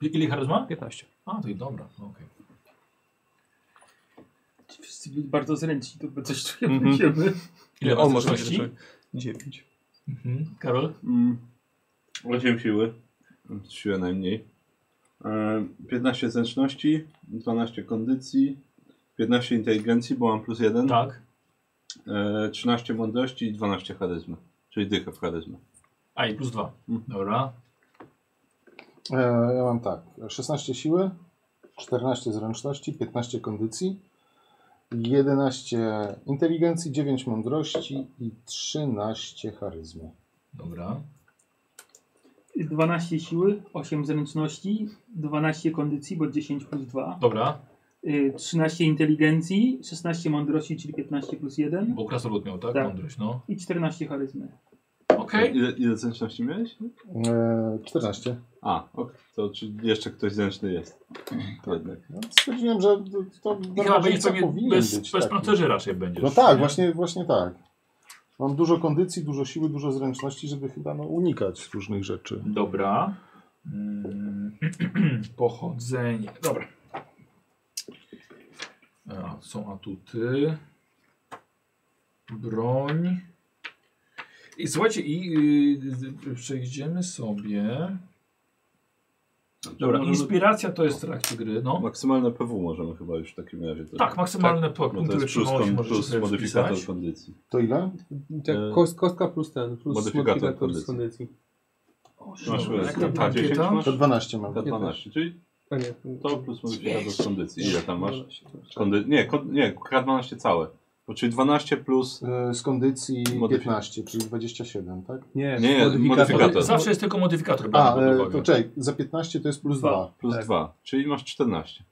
Speaker 1: Ile charyzma?
Speaker 5: Tak.
Speaker 12: 15.
Speaker 1: A, to i dobra. no Okej.
Speaker 14: Ci Wszyscy byli bardzo zręczni, to by coś czuję
Speaker 12: Mhm.
Speaker 14: będziemy.
Speaker 1: Ile
Speaker 12: on
Speaker 1: masz
Speaker 12: może
Speaker 1: zręczności?
Speaker 12: 9.
Speaker 1: Mhm. Karol?
Speaker 3: Mm. 8 siły. Siłę najmniej. E, 15 zręczności, 12 kondycji, 15 inteligencji, bo mam plus 1.
Speaker 1: Tak.
Speaker 3: E, 13 mądrości i 12 charyzmy. Czyli dychę w charyzmę.
Speaker 1: A, i plus dwa. Dobra.
Speaker 11: E, ja mam tak. 16 siły, 14 zręczności, 15 kondycji, 11 inteligencji, 9 mądrości i 13 charyzmy.
Speaker 1: Dobra.
Speaker 14: 12 siły, 8 zręczności, 12 kondycji, bo 10 plus 2.
Speaker 1: Dobra.
Speaker 14: Y, 13 inteligencji, 16 mądrości, czyli 15 plus 1.
Speaker 1: Bo krasnolud miał, tak?
Speaker 14: Tak.
Speaker 1: Mądrość, no.
Speaker 14: I 14 charyzmy.
Speaker 1: Okej.
Speaker 3: Ile, ile zręczności miałeś?
Speaker 11: E, 14.
Speaker 3: A, ok. To czy jeszcze ktoś zręczny jest? Jednak.
Speaker 11: No, stwierdziłem, że to, to
Speaker 1: I chyba będzie
Speaker 11: barbarzyńca
Speaker 1: to nie,
Speaker 11: powinien
Speaker 1: bez,
Speaker 11: być
Speaker 1: bez
Speaker 11: taki.
Speaker 1: pancerzy raczej będziesz.
Speaker 11: No tak,
Speaker 1: nie?
Speaker 11: właśnie, właśnie tak. Mam dużo kondycji, dużo siły, dużo zręczności, żeby chyba no, unikać różnych rzeczy.
Speaker 1: Dobra. Mm, <clears throat> Pochodzenie. Dobra. A, są atuty. Broń. I słuchajcie, i y, y, przejdziemy sobie. Dobra,
Speaker 3: Możemy-
Speaker 1: inspiracja to jest w trakcie gry, no.
Speaker 3: Maksymalne PW możemy chyba już w takim razie. też-
Speaker 1: Tak, maksymalne tak,
Speaker 3: Bo to
Speaker 1: punkty
Speaker 3: jest plus,
Speaker 1: wytrzymałości
Speaker 3: kon-
Speaker 1: możecie
Speaker 3: plus
Speaker 1: sobie
Speaker 3: modyfikator
Speaker 1: wpisać.
Speaker 3: kondycji.
Speaker 11: To ile?
Speaker 5: Tak,
Speaker 3: E,
Speaker 5: kost, kostka plus ten, plus
Speaker 3: modyfikator
Speaker 5: modyfikator, z kondycji.
Speaker 3: Masz
Speaker 1: Jak
Speaker 3: no,
Speaker 1: tam
Speaker 3: tak,
Speaker 1: ankieta?
Speaker 3: 10 masz?
Speaker 11: To 12 mam.
Speaker 3: To 12, czyli
Speaker 5: A nie,
Speaker 3: to plus modyfikator z kondycji. Ile tam masz?
Speaker 5: 12, proszę.
Speaker 3: Kondy... Nie, kon... nie, K12 całe. Bo czyli 12 plus...
Speaker 11: E, Z kondycji
Speaker 3: Modyfik-
Speaker 11: 15, czyli 27, tak?
Speaker 5: Nie,
Speaker 3: Nie, modyfikator.
Speaker 1: Zawsze jest tylko modyfikator.
Speaker 11: A,
Speaker 1: brany pod
Speaker 11: e,
Speaker 1: uwagę.
Speaker 11: to czekaj, za 15 to jest plus
Speaker 14: Dwa.
Speaker 11: 2.
Speaker 3: Plus
Speaker 5: Tak.
Speaker 3: 2, czyli masz 14.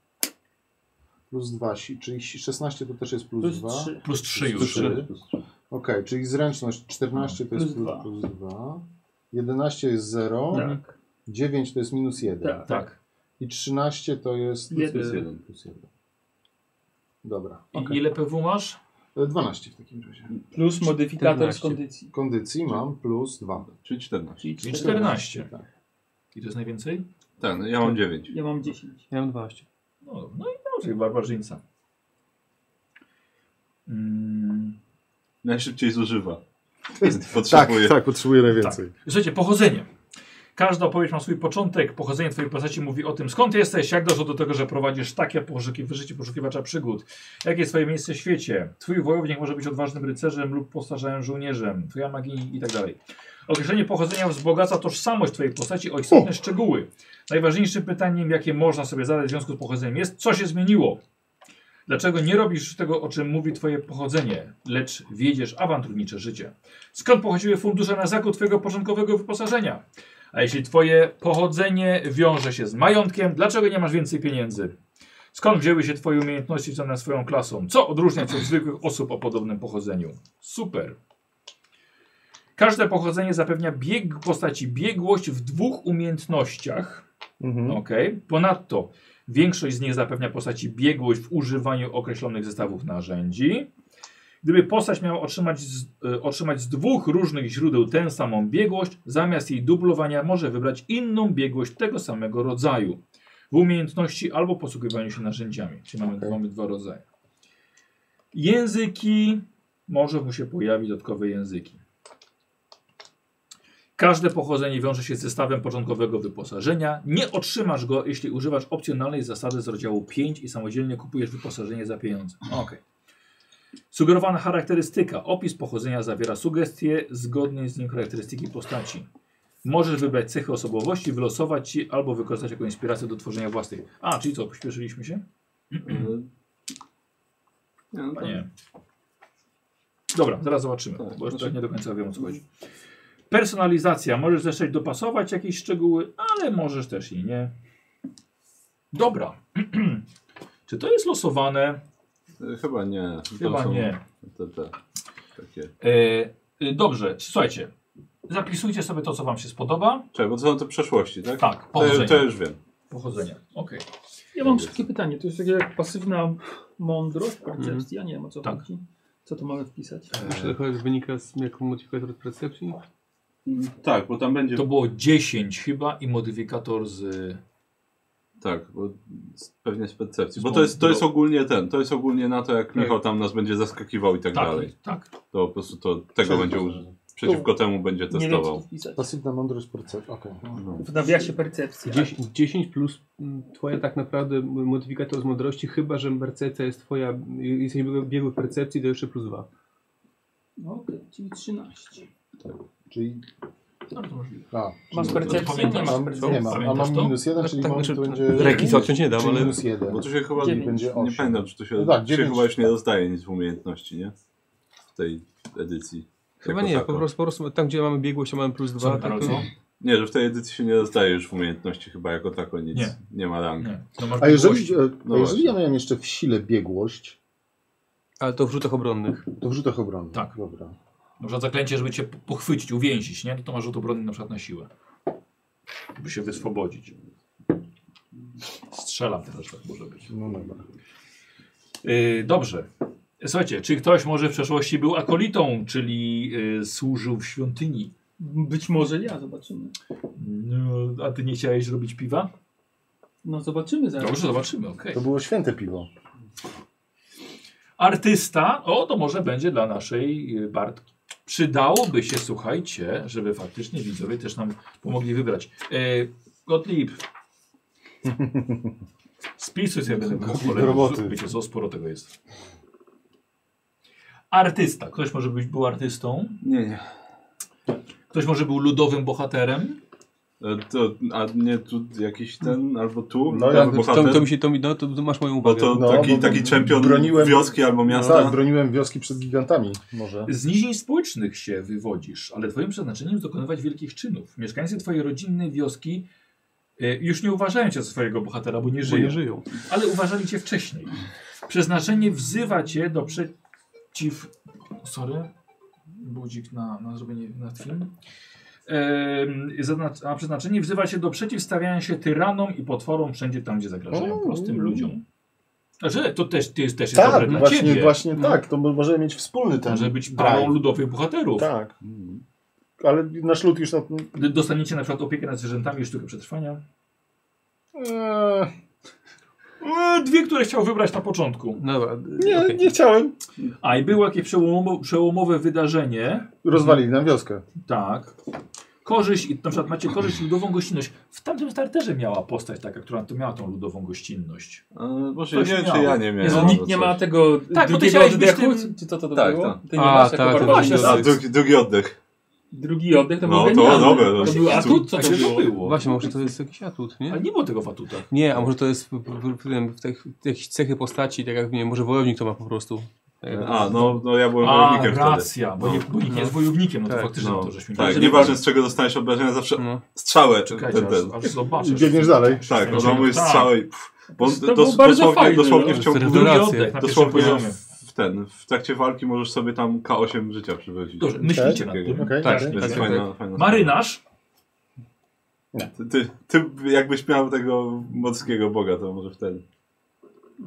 Speaker 11: Plus 2, czyli 16 to też jest plus,
Speaker 14: Plus
Speaker 11: 2.
Speaker 14: 3.
Speaker 1: Plus 3
Speaker 11: Plus
Speaker 1: już.
Speaker 11: trzy.
Speaker 3: Plus 3.
Speaker 11: Okej, czyli zręczność 14 to
Speaker 14: Plus
Speaker 11: jest plus,
Speaker 14: dwa.
Speaker 11: plus 2. 11 jest 0.
Speaker 14: Tak.
Speaker 11: 9 to jest minus 1.
Speaker 14: Tak.
Speaker 1: Tak.
Speaker 11: I 13 to jest
Speaker 14: Jeden.
Speaker 11: plus
Speaker 3: Plus
Speaker 11: 1.
Speaker 3: jeden.
Speaker 11: Plus 1. Dobra.
Speaker 1: I Ile PW masz?
Speaker 11: E, 12 w takim razie.
Speaker 14: Plus modyfikator z
Speaker 12: 14.
Speaker 14: kondycji.
Speaker 11: Kondycji mam plus 2.
Speaker 3: Czyli 14.
Speaker 14: Czyli
Speaker 1: Czyli
Speaker 14: 4.
Speaker 1: 14.
Speaker 11: Tak.
Speaker 1: I to jest najwięcej?
Speaker 3: Tak, no ja mam 9.
Speaker 14: Ja mam 10.
Speaker 5: Ja mam 12.
Speaker 1: No, no i dobrze, barbarzyńca. Mm,
Speaker 3: Najszybciej zużywa. <laughs> Potrzebuje.
Speaker 11: tak, potrzebuję
Speaker 1: najwięcej. słuchajcie, pochodzenie. Każda opowieść ma swój początek. Pochodzenie twojej postaci mówi o tym, skąd jesteś, jak doszło do tego, że prowadzisz takie poszuki- życie poszukiwacza przygód. Jakie jest twoje miejsce w świecie? Twój wojownik może być odważnym rycerzem lub postarzałym żołnierzem. Twoja magini i tak dalej. Określenie pochodzenia wzbogaca tożsamość twojej postaci o istotne szczegóły. Najważniejszym pytaniem, jakie można sobie zadać w związku z pochodzeniem jest, co się zmieniło? Dlaczego nie robisz tego, o czym mówi twoje pochodzenie, lecz wiedziesz awanturnicze życie? Skąd pochodziły fundusze na zakup twojego początkowego wyposażenia? A jeśli twoje pochodzenie wiąże się z majątkiem, dlaczego nie masz więcej pieniędzy? Skąd wzięły się twoje umiejętności związane z twoją klasą? Co odróżnia cię od zwykłych osób o podobnym pochodzeniu? Super. Każde pochodzenie zapewnia bieg postaci biegłość w dwóch umiejętnościach.
Speaker 2: Mhm.
Speaker 1: Ok. Ponadto większość z nich zapewnia postaci biegłość w używaniu określonych zestawów narzędzi. Gdyby postać miała otrzymać z, y, otrzymać z dwóch różnych źródeł tę samą biegłość, zamiast jej dublowania może wybrać inną biegłość tego samego rodzaju w umiejętności albo posługiwaniu się narzędziami. Czyli mamy, mamy dwa rodzaje. Języki, Może mu się pojawić dodatkowe języki. Każde pochodzenie wiąże się z zestawem początkowego wyposażenia. Nie otrzymasz go, jeśli używasz opcjonalnej zasady z rozdziału 5 i samodzielnie kupujesz wyposażenie za pieniądze. Okej. Sugerowana charakterystyka. Opis pochodzenia zawiera sugestie zgodnie z nim charakterystyki postaci. Możesz wybrać cechy osobowości, wylosować ci albo wykorzystać jako inspirację do tworzenia własnych. A, czyli co, pośpieszyliśmy
Speaker 3: <clears throat>
Speaker 1: się?
Speaker 3: Nie, no to-
Speaker 1: Nie. Dobra, zaraz zobaczymy,
Speaker 3: Tak,
Speaker 1: bo już
Speaker 3: proszę.
Speaker 1: tak nie do końca wiem o co chodzi. Personalizacja. Możesz zresztą dopasować jakieś szczegóły, ale możesz też i nie. Dobra. <clears throat> Czy to jest losowane?
Speaker 3: E, Chyba nie. To
Speaker 1: Chyba
Speaker 3: są
Speaker 1: nie.
Speaker 3: Te, te, takie.
Speaker 1: E, e, dobrze, słuchajcie. Zapisujcie sobie to, co wam się spodoba.
Speaker 3: Czekaj, bo to są te przeszłości, tak?
Speaker 1: Tak,
Speaker 3: To,
Speaker 1: pochodzenia.
Speaker 3: to już wiem.
Speaker 1: Pochodzenia. Okej.
Speaker 6: Ja mam szybkie pytanie. To jest takie jak pasywna mądrość, percepcja. Nie wiem o co
Speaker 1: Tak.
Speaker 6: chodzi. Co tu mamy wpisać?
Speaker 5: Czy to chyba wynika z jak modyfikator od percepcji?
Speaker 3: Mm, Tak, bo tam będzie.
Speaker 1: To było 10 chyba i modyfikator z.
Speaker 3: Tak, bo z, pewnie z percepcji.
Speaker 1: Z
Speaker 3: Bo to jest, to
Speaker 1: mądro-
Speaker 3: jest ogólnie ten, to jest ogólnie na to, jak Michał tam nas będzie zaskakiwał i tak,
Speaker 1: Tak,
Speaker 3: dalej.
Speaker 1: tak.
Speaker 3: To po prostu to, tego będzie użył. Przeciwko temu będzie
Speaker 6: Nie wiem co
Speaker 3: testował. No.
Speaker 6: tu wpisać.
Speaker 11: Pasywna mądrość percepcji. Okej.
Speaker 6: W nawiasie percepcja.
Speaker 5: 10, plus mm, twoja tak naprawdę m- modyfikator z mądrości, chyba że percepcja jest twoja, y, jesteś biegły- biegły w percepcji, to jeszcze plus dwa.
Speaker 6: No, Okej, czyli 13.
Speaker 11: Czyli...
Speaker 1: Bardzo możliwe.
Speaker 11: A,
Speaker 6: Masz
Speaker 11: czyli-
Speaker 6: percepcję? Nie
Speaker 1: pamiętasz?
Speaker 6: masz
Speaker 11: mam, nie
Speaker 6: percepcji.
Speaker 11: mam, a
Speaker 1: Pamiętasz
Speaker 11: mam
Speaker 1: to?
Speaker 11: minus jeden, czyli
Speaker 5: tak,
Speaker 11: mam,
Speaker 5: znaczy,
Speaker 11: to będzie...
Speaker 5: Ręki zaciąć nie dam,
Speaker 11: czyli
Speaker 5: ale...
Speaker 11: minus jeden.
Speaker 3: Bo tu się chyba
Speaker 6: Dziewięć.
Speaker 11: Będzie
Speaker 3: nie
Speaker 11: osiem.
Speaker 3: pamiętam, czy tu się,
Speaker 11: No tak,
Speaker 3: się
Speaker 11: dziewięć.
Speaker 3: chyba już nie dostaje nic w umiejętności, nie? W tej edycji.
Speaker 5: Chyba
Speaker 3: Jako
Speaker 5: nie,
Speaker 3: tako.
Speaker 5: po prostu, po prostu tam gdzie mamy biegłość, to mamy plus
Speaker 1: Co,
Speaker 5: dwa.
Speaker 1: Karol,
Speaker 5: tak,
Speaker 1: co?
Speaker 3: Nie, że w tej edycji się nie dostaje już w umiejętności chyba jako tako nic.
Speaker 1: Nie.
Speaker 3: Nie, ma rank.
Speaker 1: Nie. No masz
Speaker 11: A jeżeli,
Speaker 1: biegłość.
Speaker 11: e,
Speaker 3: No
Speaker 11: a jeżeli
Speaker 3: właśnie.
Speaker 11: ja miałem jeszcze w sile biegłość,
Speaker 5: ale to w rzutach obronnych.
Speaker 11: to w rzutach obronnych.
Speaker 1: Tak.
Speaker 11: Dobra.
Speaker 1: Na przykład zaklęcie, żeby cię po- pochwycić, uwięzić, nie? No to masz rzut obronny na przykład na siłę. By się wyswobodzić. Strzelam teraz, tak może być.
Speaker 11: No dobra.
Speaker 1: Yy, dobrze. Słuchajcie, czy ktoś może w przeszłości był akolitą, czyli yy, służył w świątyni?
Speaker 6: Być może ja, zobaczymy.
Speaker 1: No, a ty nie chciałeś robić piwa?
Speaker 6: No zobaczymy zaraz.
Speaker 1: Dobrze, zobaczymy, okej.
Speaker 11: To było święte piwo.
Speaker 1: Artysta, o to może będzie dla naszej yy, Bartki. Przydałoby się, słuchajcie, żeby faktycznie widzowie też nam pomogli wybrać. Yy, Gottlieb. Spisuj sobie będę miał
Speaker 2: Gottlieb
Speaker 1: kolegów.
Speaker 2: roboty.
Speaker 1: Wiecie co, sporo tego jest. Artysta. Ktoś może być był artystą.
Speaker 3: Nie, nie.
Speaker 1: Ktoś może był ludowym bohaterem.
Speaker 3: E, To, a nie tu jakiś ten, albo tu?
Speaker 11: No
Speaker 3: Ten
Speaker 11: ja-
Speaker 5: To,
Speaker 3: Tak, bohater?
Speaker 5: to mi się, to mi, no, to masz moją
Speaker 3: Bo
Speaker 5: uwagę.
Speaker 3: to
Speaker 11: No,
Speaker 3: taki,
Speaker 11: bo
Speaker 3: taki czempion
Speaker 11: broniłem-
Speaker 3: wioski albo miasta.
Speaker 11: Tak, broniłem wioski przed gigantami może.
Speaker 1: Z nizin społecznych się wywodzisz, ale twoim przeznaczeniem jest dokonywać wielkich czynów. Mieszkańcy twojej rodzinnej wioski e, już nie uważają cię za swojego bohatera, bo nie
Speaker 5: Bo
Speaker 1: żyją,
Speaker 5: nie żyją.
Speaker 1: ale uważali cię wcześniej. Przeznaczenie wzywa cię do przeciw... Sorry, budzik na, na zrobienie na film. Em, zaznac- A przeznaczenie wzywa cię do przeciwstawiania się tyranom i potworom wszędzie tam, gdzie zagrażają
Speaker 11: O,
Speaker 1: prostym
Speaker 11: mm.
Speaker 1: ludziom. Znaczy, to też, to jest, też jest dobre
Speaker 2: Tak,
Speaker 1: dla
Speaker 2: właśnie,
Speaker 1: ciebie.
Speaker 2: właśnie
Speaker 1: No.
Speaker 2: tak. To mo- możemy mieć wspólny ten.
Speaker 1: Może być
Speaker 2: drive.
Speaker 1: parą ludowych bohaterów.
Speaker 2: Tak,
Speaker 3: Mm.
Speaker 2: ale nasz lud już na tym.
Speaker 1: D- Dostaniecie na przykład opiekę nad zwierzętami i sztukę przetrwania.
Speaker 2: Eee,
Speaker 1: E, Dwie, które chciał wybrać na początku.
Speaker 5: No dobra,
Speaker 2: nie,
Speaker 5: okej.
Speaker 2: nie chciałem.
Speaker 1: A i było jakieś przełomo przełomowe wydarzenie.
Speaker 11: Rozwalili nam wioskę.
Speaker 1: Tak. Korzyść, i na przykład macie korzyść i ludową gościnność. W tamtym starterze miała postać taka, która to miała tą ludową gościnność.
Speaker 3: E, Może
Speaker 1: Coś
Speaker 3: nie wiem, czy
Speaker 1: miało.
Speaker 3: ja nie miałem.
Speaker 1: Jezu,
Speaker 6: No,
Speaker 3: albo
Speaker 6: nikt nie
Speaker 3: coś.
Speaker 6: ma tego
Speaker 1: Tak, bo ty
Speaker 6: drugiego
Speaker 1: chciałeś być
Speaker 6: oddechu,
Speaker 1: tym-
Speaker 6: czy to, to, to
Speaker 3: Tak,
Speaker 6: było?
Speaker 3: tak.
Speaker 6: Ty nie
Speaker 5: A,
Speaker 6: masz
Speaker 5: tak,
Speaker 6: jako
Speaker 5: to
Speaker 6: barbarzyńca.
Speaker 5: drugi
Speaker 3: A, drugi, drugi oddech.
Speaker 6: Drugi oddech to
Speaker 3: No,
Speaker 6: był
Speaker 3: to
Speaker 6: genialny.
Speaker 3: dobre, no.
Speaker 6: To był atut, co
Speaker 1: A
Speaker 6: to
Speaker 1: Tak się
Speaker 6: było?
Speaker 1: było.
Speaker 5: Właśnie, może to jest jakiś atut, nie?
Speaker 1: Ale nie było tego w atutach.
Speaker 5: Nie, a może to jest w, w, w, w, w, tych- jakieś cechy postaci, tak jak nie wiem, może wojownik to ma po prostu. Tak jak-
Speaker 3: A, no, no ja byłem
Speaker 1: A,
Speaker 3: wojownikiem wtedy.
Speaker 1: racja, bo, nie, bo nikt nie jest wojownikiem, no to
Speaker 5: Tak,
Speaker 1: faktycznie
Speaker 3: No,
Speaker 1: to żeśmy
Speaker 3: tak,
Speaker 1: nie
Speaker 3: nieważne z czego dostałeś obrażenia, zawsze
Speaker 5: No.
Speaker 3: strzałę. Czy
Speaker 1: Czekajcie,
Speaker 3: ten, ten.
Speaker 1: aż, aż zobaczysz.
Speaker 11: I biegniesz dalej.
Speaker 3: Tak,
Speaker 1: Tak,
Speaker 3: odłamuję
Speaker 1: tak.
Speaker 3: strzałę i... Pff, bo
Speaker 6: To było
Speaker 3: dos,
Speaker 6: bardzo
Speaker 3: dosłownie,
Speaker 6: fajne,
Speaker 3: dosłownie
Speaker 6: no.
Speaker 3: w ciągu...
Speaker 1: Drugi
Speaker 5: Rację.
Speaker 1: oddech na pierwszym
Speaker 3: Dosłownie
Speaker 1: poziomie.
Speaker 3: w, w ten, w trakcie walki możesz sobie tam K8 życia przywrócić.
Speaker 1: Dobrze, myślicie nad
Speaker 3: Takiego.
Speaker 1: tym.
Speaker 11: Okej,
Speaker 5: Tak,
Speaker 11: okej.
Speaker 3: To jest
Speaker 5: tak,
Speaker 3: fajna, fajna
Speaker 1: Marynarz
Speaker 3: sprawa. Ty, ty jakbyś miał tego morskiego boga, to może wtedy.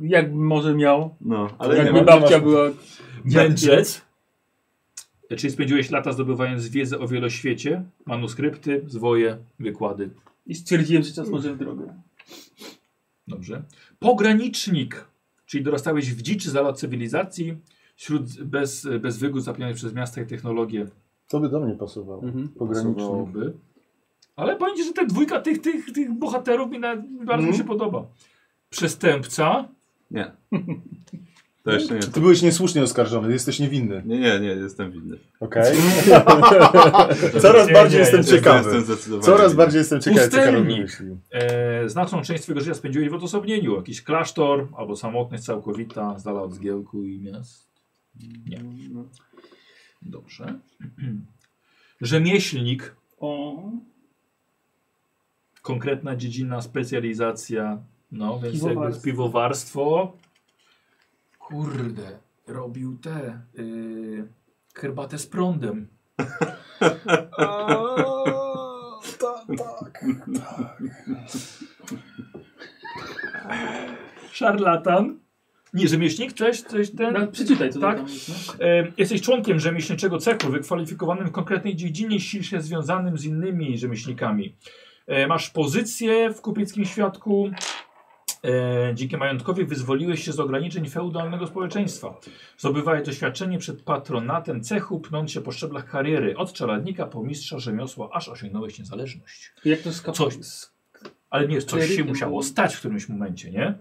Speaker 6: Jak może miał?
Speaker 3: No, ale
Speaker 6: Ale jakby
Speaker 3: nie ma.
Speaker 6: babcia była...
Speaker 1: Mędrzec. Czyli spędziłeś lata zdobywając wiedzę o wieloświecie, manuskrypty, zwoje, wykłady.
Speaker 6: I stwierdziłem, że czas może w drogę.
Speaker 1: Dobrze. Pogranicznik, czyli dorastałeś w dziczy za lat cywilizacji. Śród bez, bez wygód zapinanych przez miasta i technologię
Speaker 2: To by do mnie pasowało.
Speaker 5: Mm,
Speaker 16: Mhm.
Speaker 2: Pograniczny.
Speaker 1: pasowałoby. Ale powiem ci, że te dwójka tych, tych, tych bohaterów mi nawet bardzo mi się podoba. Przestępca.
Speaker 3: Nie. To jeszcze nie.
Speaker 2: Czy ty byłeś niesłusznie oskarżony? Jesteś niewinny.
Speaker 3: Nie, nie, nie, jestem winny.
Speaker 1: <laughs>
Speaker 2: Okej.
Speaker 11: <laughs>
Speaker 1: Nie,
Speaker 2: Coraz
Speaker 1: nie,
Speaker 2: bardziej jestem
Speaker 1: jestem-
Speaker 2: ciekawy.
Speaker 3: Jestem zdecydowanie
Speaker 2: Coraz
Speaker 3: winny.
Speaker 2: bardziej jestem ciekawy, co Karol
Speaker 1: Pustelnik.
Speaker 2: myśli.
Speaker 1: E, znaczną część swojego życia spędziłeś w odosobnieniu. Jakiś klasztor albo samotność całkowita, z dala od zgiełku i miast. Nie. Dobrze. <clears throat> Rzemieślnik.
Speaker 6: O,
Speaker 1: Konkretna dziedzina, specjalizacja. No, więc jakby
Speaker 6: Piwowarstwo.
Speaker 1: piwowarstwo. Kurde, robił te yy, herbatę z prądem. Szarlatan. Nie, rzemieślnik, cześć, coś ten.
Speaker 6: no, przeczytaj co
Speaker 1: Tak.
Speaker 6: tam jest. No.
Speaker 1: E, Jesteś członkiem rzemieślniczego cechu, wykwalifikowanym w konkretnej dziedzinie, ściśle związanym z innymi rzemieślnikami. E, Masz pozycję w kupieckim świadku. E, Dzięki majątkowi wyzwoliłeś się z ograniczeń feudalnego społeczeństwa. Zdobywałeś doświadczenie przed patronatem cechu, pnąc się po szczeblach kariery. Od czeladnika po mistrza rzemiosła, aż osiągnąłeś niezależność.
Speaker 6: Jak to skap...
Speaker 1: Coś. Ale nie, coś się
Speaker 6: Klerykiem
Speaker 1: musiało
Speaker 6: był.
Speaker 1: stać w którymś momencie, nie?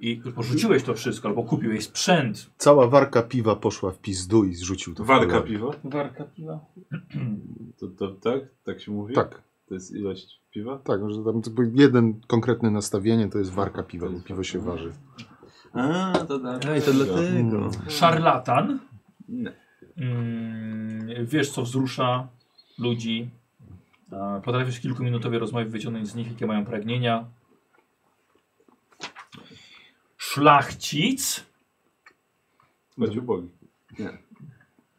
Speaker 1: I porzuciłeś to wszystko, albo kupiłeś sprzęt.
Speaker 11: Cała warka piwa poszła w pizdu i zrzucił to. w
Speaker 3: Walka
Speaker 11: cholerę.
Speaker 3: piwa?
Speaker 6: Warka piwa.
Speaker 3: To, to, tak? Tak się mówi?
Speaker 11: Tak,
Speaker 3: To jest ilość piwa?
Speaker 11: tak, że tam jakby jeden konkretne nastawienie to jest warka piwa,
Speaker 3: To
Speaker 11: bo
Speaker 3: jest
Speaker 11: piwo się
Speaker 3: warka.
Speaker 11: waży.
Speaker 3: A, to tak.
Speaker 5: Ej, to dlatego. Mm.
Speaker 1: Szarlatan.
Speaker 3: Nie.
Speaker 1: Mm, wiesz, co wzrusza ludzi. E, Potrafisz w kilkuminutowej rozmowie wyciągnąć z nich, jakie mają pragnienia. Szlachcic.
Speaker 3: Chodzi ubogi.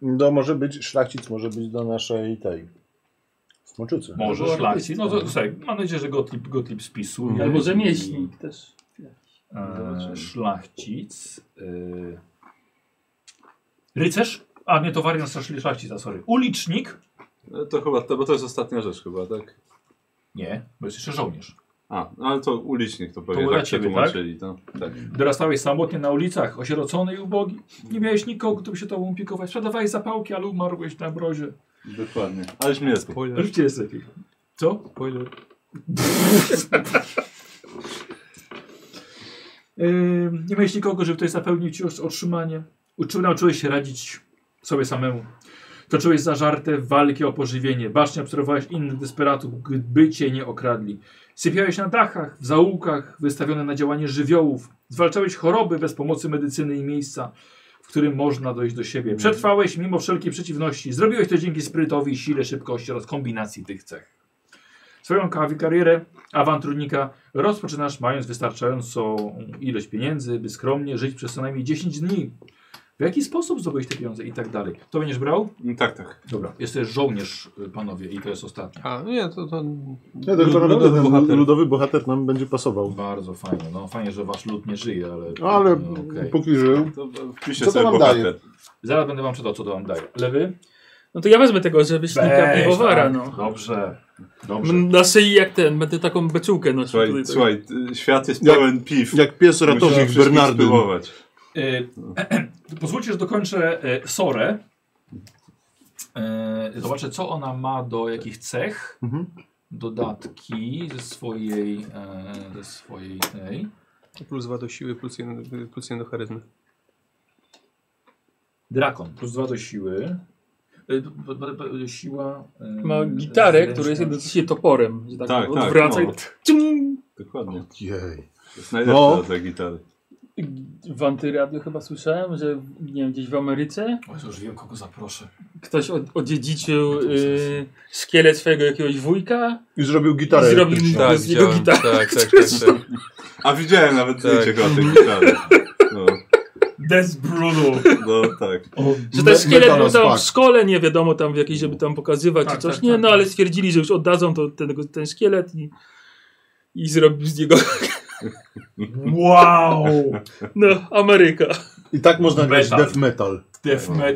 Speaker 2: No może być, szlachcic może być do naszej tej smoczycy.
Speaker 1: Może
Speaker 6: Albo
Speaker 1: szlachcic. No to słuchaj, mam nadzieję, że Gotlib, Gotlib spisuje.
Speaker 6: Albo rzemieślnik też.
Speaker 1: E,
Speaker 3: Zobaczymy.
Speaker 1: szlachcic. E, rycerz. A nie, to wariant szlachci- szlachcica, sorry. Ulicznik.
Speaker 3: No to chyba, to, bo to jest ostatnia rzecz chyba, tak?
Speaker 1: Nie, bo jest jeszcze żołnierz.
Speaker 3: A, no ale to ulicznik to
Speaker 1: To
Speaker 3: pewnie
Speaker 1: dla
Speaker 3: tak
Speaker 1: ciebie,
Speaker 3: przetłumaczyli. To, tak.
Speaker 1: Dorastałeś samotnie na ulicach, osierocony i ubogi. Nie miałeś nikogo, kto by się tobą opiekować. Sprzedawałeś zapałki, ale umarłeś na mrozie.
Speaker 3: Dokładnie. Ależ mnie lepiej.
Speaker 5: Spoiler,
Speaker 1: Życie jest lepiej. Co?
Speaker 5: spoiler.
Speaker 1: Ym, nie miałeś nikogo, żeby ktoś zapełnił ci os- otrzymanie. Uczy, nauczyłeś się radzić sobie samemu. Toczyłeś zażarte walki o pożywienie. Bacznie obserwowałeś innych desperatów, by cię nie okradli. Sypiałeś na dachach, w zaułkach, wystawiony na działanie żywiołów. Zwalczałeś choroby bez pomocy medycyny i miejsca, w którym można dojść do siebie. Przetrwałeś mimo wszelkiej przeciwności. Zrobiłeś to dzięki sprytowi, sile, szybkości oraz kombinacji tych cech. Swoją kawi- karierę awanturnika rozpoczynasz mając wystarczającą ilość pieniędzy, by skromnie żyć przez co najmniej 10 dni. W jaki sposób zdobyć te pieniądze i tak dalej. To będziesz brał?
Speaker 3: No, tak, tak.
Speaker 1: Dobra. Jest też żołnierz, y, panowie, i to jest ostatnie.
Speaker 5: A, no nie, to, to...
Speaker 2: Nie,
Speaker 11: tak,
Speaker 2: to chyba
Speaker 5: Ludowy
Speaker 2: naprawdę ten
Speaker 5: bohater.
Speaker 2: ludowy bohater nam będzie pasował.
Speaker 1: Bardzo fajnie. No fajnie, że wasz lud nie żyje, ale...
Speaker 2: Ale
Speaker 1: no, okej.
Speaker 2: póki żył.
Speaker 3: To wpiszę
Speaker 2: Hmm? Co to
Speaker 3: sobie
Speaker 2: wam
Speaker 3: bohater.
Speaker 2: daje?
Speaker 1: Zaraz będę wam czytał, co to wam daje. Lewy?
Speaker 6: No to ja wezmę tego rzemieślnika
Speaker 1: Weź,
Speaker 6: piwowara,
Speaker 1: tak.
Speaker 6: no.
Speaker 1: Dobrze. Dobrze.
Speaker 6: M- Na szyi jak ten, będę taką beczułkę nosił
Speaker 3: Słuchaj,
Speaker 6: tutaj. tak.
Speaker 3: słuchaj, y, świat jest
Speaker 2: Jak-
Speaker 3: pełen piw.
Speaker 2: Jak pies
Speaker 3: Musimy
Speaker 2: ratownik
Speaker 3: wszystkich
Speaker 2: Bernardyn.
Speaker 3: spróbować.
Speaker 1: Y, <clears throat> pozwólcie, że dokończę y, Sorę. Y, zobaczę, co ona ma do jakich cech.
Speaker 2: Mhm.
Speaker 1: Dodatki ze swojej, e, ze swojej tej.
Speaker 5: Plus dwa do siły, plus jeden, plus jeden do charyzmy.
Speaker 1: Drakon, plus dwa do siły. Y, b- b- b- Siła. y,
Speaker 6: Ma gitarę, która jest
Speaker 1: zręczność.
Speaker 6: jednocześnie toporem. Że tak,
Speaker 3: Tak, tak,
Speaker 6: odwraca
Speaker 3: no.
Speaker 6: i... Tcim!
Speaker 3: Dokładnie.
Speaker 11: Jej.
Speaker 3: To jest najlepsza
Speaker 2: No.
Speaker 3: dla gitary. No.
Speaker 6: W antyradio chyba słyszałem, że nie wiem, gdzieś w Ameryce
Speaker 1: O, to już wiem, kogo zaproszę.
Speaker 6: ktoś od, odziedziczył y, szkielet swojego jakiegoś wujka
Speaker 2: I zrobił gitarę.
Speaker 6: i zrobił
Speaker 2: elektryczną.
Speaker 6: tak, z niego gitarę.
Speaker 17: tak, tak, tak, tak.
Speaker 3: A widziałem nawet
Speaker 17: Tak.
Speaker 3: zdjęcie chyba tej gitary. No,
Speaker 6: Des Bruno.
Speaker 3: no tak.
Speaker 6: Że ten
Speaker 2: Me-
Speaker 6: szkielet był
Speaker 2: Metanos
Speaker 6: tam w
Speaker 2: Pact.
Speaker 6: szkole, nie wiadomo tam w jakiej, żeby tam pokazywać
Speaker 1: Tak,
Speaker 6: czy coś,
Speaker 1: tak,
Speaker 6: nie,
Speaker 1: tak,
Speaker 6: no
Speaker 1: tak.
Speaker 6: ale stwierdzili, że już oddadzą to, ten, ten szkielet i, i zrobił z niego, <laughs>
Speaker 1: Wow!
Speaker 6: no, Ameryka.
Speaker 2: I tak można grać
Speaker 1: Metal.
Speaker 2: death metal.
Speaker 1: Death metal.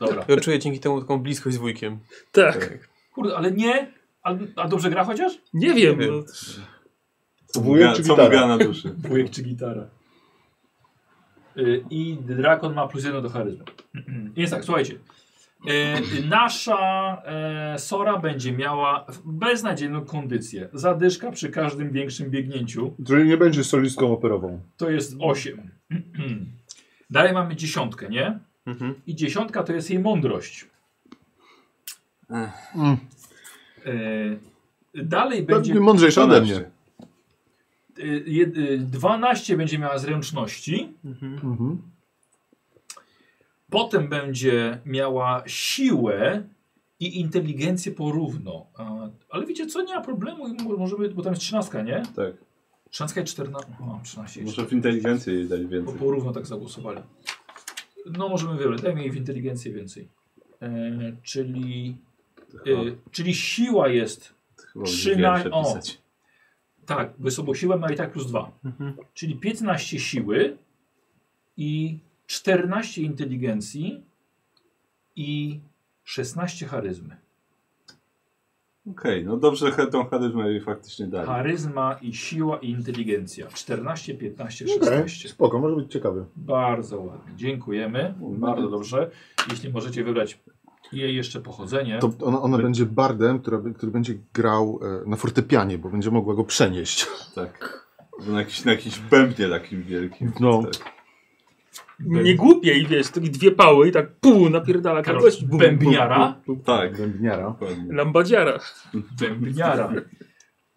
Speaker 1: Dobra.
Speaker 5: Ja czuję dzięki temu taką bliskość z wujkiem.
Speaker 6: Tak,
Speaker 1: Kurde, ale nie. A, a dobrze gra chociaż?
Speaker 6: nie wiem.
Speaker 5: wiem.
Speaker 6: No,
Speaker 3: Co mu
Speaker 2: Wujek
Speaker 3: gra-
Speaker 2: czy
Speaker 3: co mu
Speaker 2: gitara?
Speaker 3: gra na duszy?
Speaker 1: Wujek czy gitara? Y, I drakon ma plus jedno do charyzmy. <clears throat> Jest tak, słuchajcie. Y, Nasza e, Sora będzie miała w- beznadziejną kondycję. Zadyszka przy każdym większym biegnięciu.
Speaker 11: Czyli nie będzie solistką operową.
Speaker 1: To jest 8. <clears throat> Dalej mamy dziesiątkę, nie?
Speaker 5: Mhm.
Speaker 1: I dziesiątka to jest jej mądrość.
Speaker 11: Mm.
Speaker 1: E, dalej będzie.
Speaker 11: Będzie mądrzejsza ode mnie.
Speaker 1: Y, jed- y, 12 będzie miała zręczności.
Speaker 11: Mhm.
Speaker 1: Potem będzie miała siłę i inteligencję porówno. A, Ale wiecie co, nie ma problemu, i mo- możemy, bo tam jest 13, nie?
Speaker 3: Tak.
Speaker 1: 13 i 14. O, 13 i
Speaker 3: Muszę w inteligencję jej dać
Speaker 1: Bo
Speaker 3: więcej.
Speaker 1: porówno tak zagłosowali. No możemy wybrać, dajmy jej w inteligencję więcej. E, czyli, e, czyli siła jest
Speaker 3: Chyba będzie
Speaker 1: Trzyna...
Speaker 3: wiersze
Speaker 1: O.
Speaker 3: pisać.
Speaker 1: Tak, wysoko siłę ma i tak plus 2. Czyli 15 siły i 14 inteligencji i 16 charyzmy.
Speaker 3: Okej, no dobrze, że tą charyzmę jej faktycznie dali.
Speaker 1: Tak. Charyzma i siła i inteligencja. 14, 15,
Speaker 11: Okej,
Speaker 1: 16.
Speaker 11: Spoko, może być ciekawy.
Speaker 1: Bardzo ładnie. Dziękujemy. Bardzo dobrze. Jeśli możecie wybrać jej jeszcze pochodzenie.
Speaker 2: To ona, ona będzie bardem, która, by- który będzie grał e, na fortepianie, bo będzie mogła go przenieść.
Speaker 3: Tak. Na jakiś, na jakiś bębnie takim wielkim.
Speaker 2: No.
Speaker 3: Tak.
Speaker 6: no. Nie głupiej, wiesz, takie dwie pały i tak pół napierdala
Speaker 1: Karol,
Speaker 6: kogoś. Bum, bum,
Speaker 1: bębniara?
Speaker 6: bum, bum.
Speaker 3: tak.
Speaker 2: Bębniara.
Speaker 3: dokładnie.
Speaker 6: Lambadziara.
Speaker 1: Bębniara.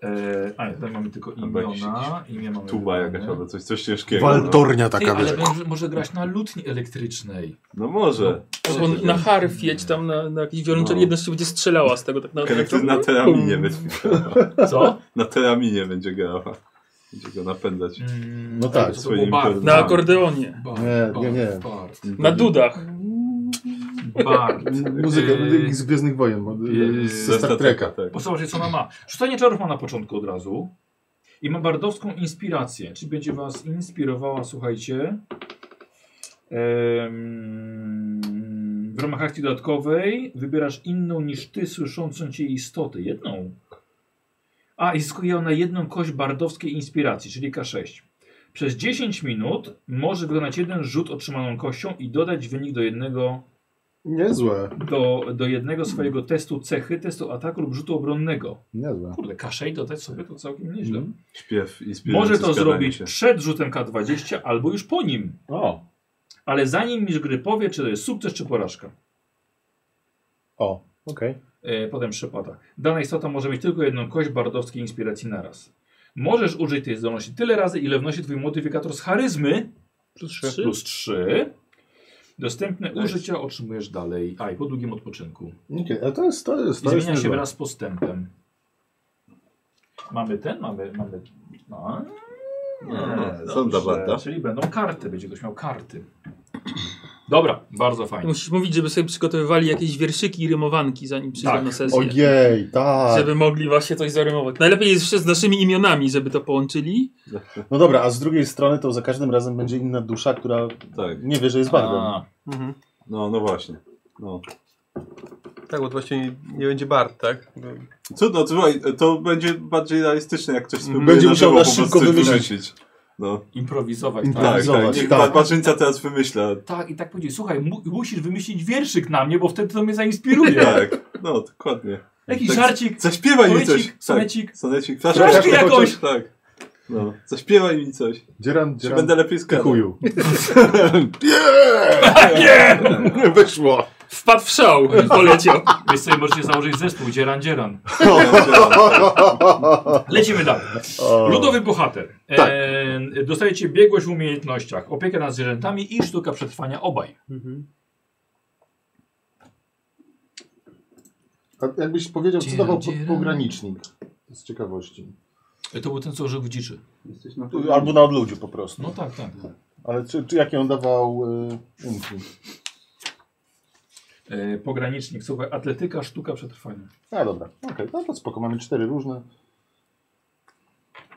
Speaker 1: E, a, tutaj mamy tylko
Speaker 3: Albo jakiś-
Speaker 1: imiona. Imię mamy
Speaker 3: Tuba
Speaker 1: wybrane.
Speaker 3: jakaś albo coś, coś ciężkiego. no.
Speaker 2: Waltornia
Speaker 1: Ty,
Speaker 2: taka
Speaker 1: ale
Speaker 2: wiesz.
Speaker 1: będzie, może grać na lutni elektrycznej.
Speaker 3: No, no może.
Speaker 6: On na harfieć tam na, na jakiejś wiolonczeli
Speaker 3: No.
Speaker 6: jedność będzie strzelała z tego tak na
Speaker 3: Karakter na teraminie
Speaker 6: Bum.
Speaker 3: będzie grała.
Speaker 1: Co?
Speaker 3: Na teraminie będzie grała. Będzie go napędzać.
Speaker 1: Mm,
Speaker 11: No tak,
Speaker 1: ale to
Speaker 3: swoimi
Speaker 1: było bar-
Speaker 3: pewnymi-
Speaker 6: Na akordeonie.
Speaker 1: bar-
Speaker 11: Nie, nie, nie.
Speaker 1: bar-
Speaker 6: Na dudach.
Speaker 1: Bar.
Speaker 2: Muzyka
Speaker 1: Yy,
Speaker 2: z Gwiezdnych Wojen, bo-
Speaker 1: yy,
Speaker 2: ze Star Treka.
Speaker 3: Tak.
Speaker 1: Posłuchajcie, co ona ma. Rzucanie czarów ma na początku od razu. I ma bardowską inspirację, czyli będzie was inspirowała, słuchajcie, em, w ramach akcji dodatkowej wybierasz inną niż ty, słyszącą cię istoty. Jedną. A, i zyskuje ona jedną kość bardowskiej inspiracji, czyli K6. Przez 10 minut może wykonać jeden rzut otrzymaną kością i dodać wynik do jednego
Speaker 2: Niezłe,
Speaker 1: do, do jednego swojego testu cechy, testu ataku lub rzutu obronnego.
Speaker 2: niezłe.
Speaker 1: Kurde, K6 dodać sobie to całkiem nieźle.
Speaker 3: Śpiew inspirujący
Speaker 1: Może to
Speaker 3: skradanie
Speaker 1: zrobić
Speaker 3: się. <laughs>
Speaker 1: przed rzutem K20 albo już po nim.
Speaker 11: O,
Speaker 1: Ale zanim mistrz gry powie, czy to jest sukces, czy porażka.
Speaker 11: o, okej.
Speaker 1: E, potem przepada. Dana istota może mieć tylko jedną kość bardowskiej inspiracji naraz. Możesz użyć tej zdolności tyle razy, ile wnosi twój modyfikator z charyzmy
Speaker 6: Plus trzy.
Speaker 1: plus 3. Dostępne użycia otrzymujesz dalej. A i po długim odpoczynku.
Speaker 11: Okej, ale to jest, to jest,
Speaker 1: I
Speaker 11: to
Speaker 1: zmienia
Speaker 11: jest
Speaker 1: się
Speaker 11: niezłe.
Speaker 1: wraz z postępem. Mamy ten, mamy. mamy... No,
Speaker 3: Nie,
Speaker 1: dobrze.
Speaker 3: sonda warta.
Speaker 1: Czyli będą karty, będzie ktoś miał karty. Dobra, bardzo fajnie.
Speaker 6: Musisz mówić, żeby sobie przygotowywali jakieś wierszyki i rymowanki, zanim przyjdą
Speaker 1: Tak.
Speaker 6: na sesję.
Speaker 11: Ojej, tak.
Speaker 6: Żeby mogli właśnie coś zarymować. Najlepiej jest jeszcze z naszymi imionami, żeby to połączyli.
Speaker 11: No dobra, a z drugiej strony to za każdym razem będzie inna dusza, która
Speaker 3: Tak.
Speaker 11: nie wie, że jest bardem.
Speaker 1: A,
Speaker 5: Mhm.
Speaker 3: No, no właśnie. No.
Speaker 5: Tak, bo to właśnie nie, nie będzie Bart, tak? Bo-
Speaker 3: Cudno, no, słuchaj, to będzie bardziej realistyczne, jak ktoś spróbuje
Speaker 11: Będzie
Speaker 3: na
Speaker 11: musiał
Speaker 3: żywo po
Speaker 11: na
Speaker 3: prostu
Speaker 11: szybko
Speaker 3: coś
Speaker 11: wymyślić.
Speaker 3: wymyślić. No.
Speaker 1: improwizować.
Speaker 3: Tak,
Speaker 1: Tak.
Speaker 11: Improwizować,
Speaker 3: tak. Niech tak.
Speaker 11: tak.
Speaker 3: Barbarzyńca teraz wymyśla.
Speaker 1: tak, i tak powiedzieć, słuchaj, mu, musisz wymyślić wierszyk na mnie, bo wtedy to mnie zainspiruje.
Speaker 3: Tak, no dokładnie.
Speaker 1: Jakiś
Speaker 3: Tak,
Speaker 1: żarcik,
Speaker 3: Zaśpiewaj mi coś.
Speaker 1: Sonecik, sonecik.
Speaker 3: Tak. Sonecik.
Speaker 1: Fraszki jakoś.
Speaker 3: Tak. No. Zaśpiewaj mi coś.
Speaker 2: Dzieram,
Speaker 3: Czy
Speaker 2: dzieram,
Speaker 3: będę lepiej skradał.
Speaker 2: kuju.
Speaker 3: Tak.
Speaker 2: Nie! Wyszło.
Speaker 6: Wpadł w szał <laughs> i poleciał.
Speaker 1: Więc sobie możecie założyć zespół Dzieran
Speaker 2: <laughs>
Speaker 1: Dzieran. Lecimy dalej. Ludowy bohater.
Speaker 2: Tak.
Speaker 1: E, dostajecie biegłość w umiejętnościach, opiekę nad zwierzętami i sztuka przetrwania obaj.
Speaker 2: A jakbyś powiedział, co
Speaker 1: Dzieram,
Speaker 2: dawał po-
Speaker 1: dzieram.
Speaker 2: pogranicznik? Z ciekawości.
Speaker 1: E, To był ten, co żył w dziczy.
Speaker 3: Jesteś na
Speaker 11: Albo na odludziu po prostu.
Speaker 1: No tak, tak.
Speaker 2: Ale czy, czy jakie on dawał y, umki?
Speaker 1: E, pogranicznik, słuchaj, atletyka, sztuka przetrwania.
Speaker 2: A dobra, okej, no to spoko, mamy cztery różne.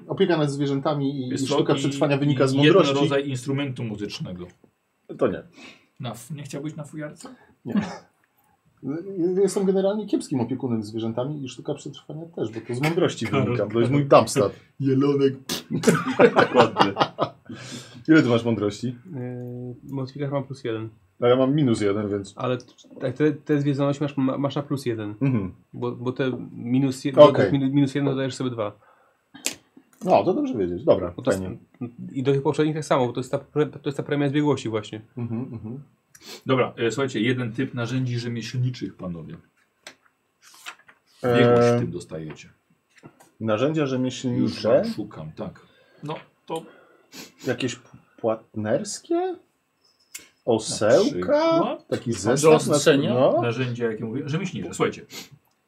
Speaker 2: Opieka nad zwierzętami i, i
Speaker 1: Jest to
Speaker 2: sztuka
Speaker 1: i-
Speaker 2: przetrwania wynika z
Speaker 1: i
Speaker 2: mądrości.
Speaker 1: Jeden rodzaj instrumentu muzycznego.
Speaker 11: To nie.
Speaker 1: Na, f- nie chciałbyś na fujarce?
Speaker 2: Y, Jestem generalnie kiepskim opiekunem zwierzętami i sztuka przetrwania też, bo to z mądrości wynika. To jest mój <laughs> dumpstat. Jelonek.
Speaker 3: Dokładnie.
Speaker 2: Ile ty masz mądrości?
Speaker 18: Eee,
Speaker 5: modyfikator y, mam plus jeden.
Speaker 2: A ja mam minus jeden, więc.
Speaker 5: Ale t- tak, te, te zwiedzoność masz, ma- masz na plus jeden.
Speaker 2: Mhm.
Speaker 5: Bo, bo te minus, je,
Speaker 2: Okej.
Speaker 5: bo te minus, minus jeden dodajesz sobie dwa.
Speaker 2: No, to dobrze wiedzieć. Dobra,
Speaker 5: Bo to jest,
Speaker 2: fajnie.
Speaker 5: I do tych poprzednich tak samo, bo to jest ta, pre- to jest ta premia zbiegłości właśnie.
Speaker 2: Mhm, mhm.
Speaker 1: Dobra, e, słuchajcie, jeden typ narzędzi rzemieślniczych, panowie.
Speaker 2: E,
Speaker 1: Biegłość w tym dostajecie.
Speaker 2: Narzędzia
Speaker 1: Już
Speaker 2: rzemieślnicze,
Speaker 1: wam szukam, tak. No, to
Speaker 2: jakieś p- płatnerskie,
Speaker 1: Na
Speaker 2: osełka,
Speaker 1: przykład?
Speaker 2: taki
Speaker 1: Do
Speaker 2: zestaw
Speaker 1: ostrzenia?
Speaker 2: no.
Speaker 1: narzędzia, jakie mówię, rzemieślnicze. Słuchajcie,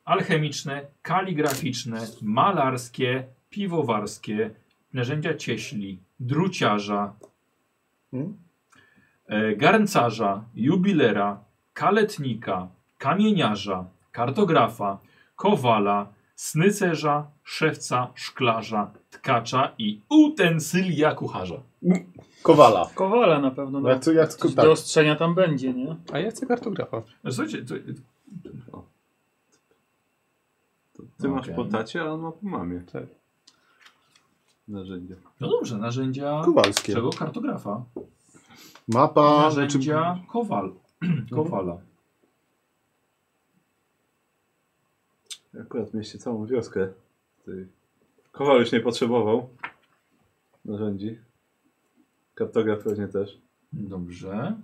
Speaker 1: alchemiczne, kaligraficzne, malarskie, piwowarskie, narzędzia cieśli, druciarza,
Speaker 2: Hmm?
Speaker 1: e, garncarza, jubilera, kaletnika, kamieniarza, kartografa, kowala, snycerza, szewca, szklarza, tkacza i utensylia kucharza.
Speaker 2: Kowala.
Speaker 6: Kowala na pewno. No,
Speaker 2: Ja to, ja
Speaker 6: Coś
Speaker 2: tylko,
Speaker 6: Do
Speaker 2: tak.
Speaker 6: ostrzenia tam będzie, nie?
Speaker 5: A ja chcę kartografa.
Speaker 1: Słuchajcie, to,
Speaker 3: To ty masz
Speaker 1: Okej.
Speaker 3: po tacie, a on ma po mamie.
Speaker 5: Tak.
Speaker 3: Narzędzia.
Speaker 1: no dobrze, narzędzia
Speaker 2: Kowalskie.
Speaker 1: czego kartografa,
Speaker 2: Mapa.
Speaker 1: narzędzia kowal, <clears throat> kowala.
Speaker 3: Akurat mieście całą wioskę. Ty. Kowal już nie potrzebował narzędzi. Kartograf pewnie też.
Speaker 1: Dobrze.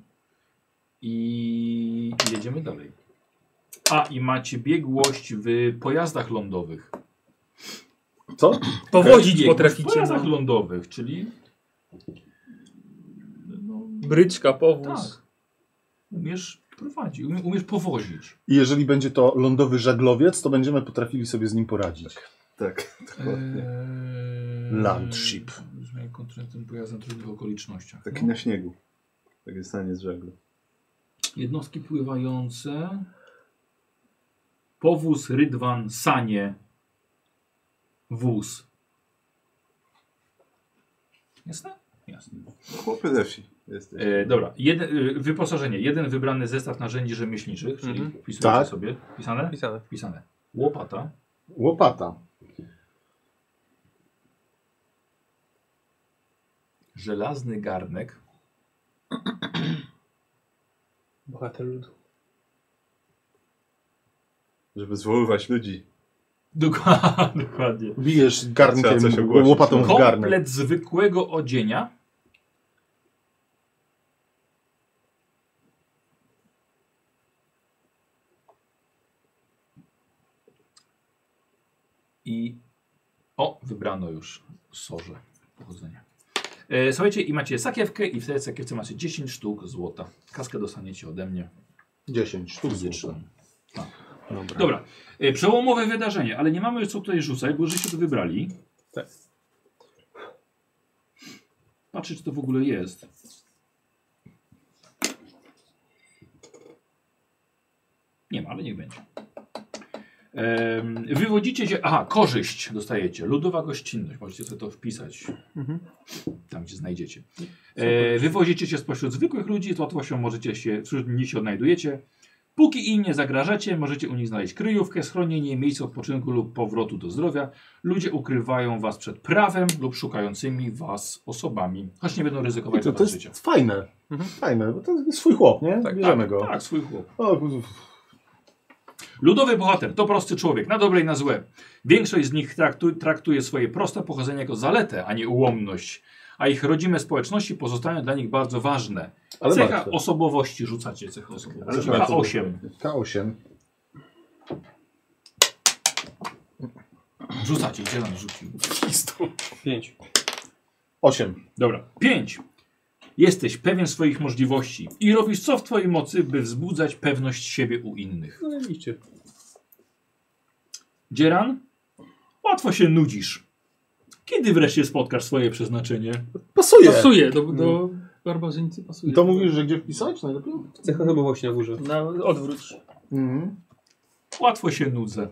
Speaker 1: I jedziemy dalej. A, i macie biegłość w pojazdach lądowych.
Speaker 2: Co?
Speaker 6: Powozić
Speaker 1: Biegłość W
Speaker 6: potraficie.
Speaker 1: pojazdach
Speaker 6: No.
Speaker 1: lądowych, czyli... No,
Speaker 6: Bryczka, powóz.
Speaker 1: tak. Umiesz prowadzić, umie- umiesz powozić.
Speaker 2: I jeżeli będzie to lądowy żaglowiec, to będziemy potrafili sobie z nim poradzić.
Speaker 3: Tak.
Speaker 1: Eee,
Speaker 2: Landship.
Speaker 1: Zmienię kontrakt tym pojazdem w trudnych okolicznościach.
Speaker 3: Taki
Speaker 1: No.
Speaker 3: na śniegu. Takie stanie z żaglu.
Speaker 1: Jednostki pływające. Powóz, rydwan, sanie. Wóz. Jasne? Jasne.
Speaker 3: Chłopy ze wsi jesteś.
Speaker 1: E, dobra, jeden, e, wyposażenie. Jeden wybrany zestaw narzędzi rzemieślniczych, czyli
Speaker 5: Mhm.
Speaker 1: wpisujecie
Speaker 2: Tak.
Speaker 1: sobie. Pisane?
Speaker 5: Pisane.
Speaker 1: Pisane. Łopata.
Speaker 2: Łopata.
Speaker 1: Żelazny garnek.
Speaker 5: Bohater ludu.
Speaker 3: Żeby zwoływać ludzi.
Speaker 1: Dokła- Dokładnie.
Speaker 2: Bijesz
Speaker 3: Trzeba coś
Speaker 2: garnkiem,
Speaker 3: ogłosić.
Speaker 2: łopatą w garnek.
Speaker 1: Komplet zwykłego odzienia. I o, wybrano już sorze pochodzenia. E, słuchajcie, i macie sakiewkę i w tej sakiewce macie 10 sztuk złota. Kaskę dostaniecie ode mnie.
Speaker 2: 10 sztuk
Speaker 1: Zresztą.
Speaker 2: złota.
Speaker 1: Dobra. E, przełomowe wydarzenie, ale nie mamy już co tutaj rzucać, bo żeście to wybrali.
Speaker 5: Tak.
Speaker 1: Patrzę, czy to w ogóle jest. Nie ma, ale niech będzie. Em, wywodzicie się. Aha, korzyść dostajecie. Ludowa gościnność. Możecie sobie to wpisać. Tam gdzie znajdziecie. E, wywozicie się spośród zwykłych ludzi, z łatwością możecie się, wśród nich się odnajdujecie. Póki im nie zagrażacie, możecie u nich znaleźć kryjówkę, schronienie, miejsce odpoczynku lub powrotu do zdrowia. Ludzie ukrywają was przed prawem lub szukającymi was osobami, choć nie będą ryzykować
Speaker 2: To,
Speaker 1: to,
Speaker 2: to
Speaker 1: życia.
Speaker 2: jest fajne. Fajne, bo to jest swój chłop, nie? No,
Speaker 5: Tak,
Speaker 2: Bierzemy go.
Speaker 1: Tak, swój chłop.
Speaker 2: O, kurzu.
Speaker 1: Ludowy bohater to prosty człowiek, na dobre i na złe. Większość z nich traktu, traktuje swoje proste pochodzenie jako zaletę, a nie ułomność. A ich rodzime społeczności pozostają dla nich bardzo ważne.
Speaker 2: ale
Speaker 1: cecha
Speaker 2: warto.
Speaker 1: osobowości rzucacie, cecha osobowości.
Speaker 2: Ale warto.
Speaker 1: K8.
Speaker 2: K8.
Speaker 1: Rzucacie, zielony rzucił.
Speaker 5: Pięć.
Speaker 2: 8.
Speaker 1: Dobra. 5. Jesteś pewien swoich możliwości i robisz co w twojej mocy, by wzbudzać pewność siebie u innych.
Speaker 5: No i idźcie.
Speaker 1: Dzieran, łatwo się nudzisz. Kiedy wreszcie spotkasz swoje przeznaczenie?
Speaker 2: Pasuje.
Speaker 6: Pasuje, do, do barbarzyńcy pasuje.
Speaker 11: To mówisz, że gdzie wpisać najlepiej?
Speaker 5: Cecha osobowości na górze.
Speaker 6: Na odwróć.
Speaker 11: Mhm.
Speaker 1: Łatwo się nudzę.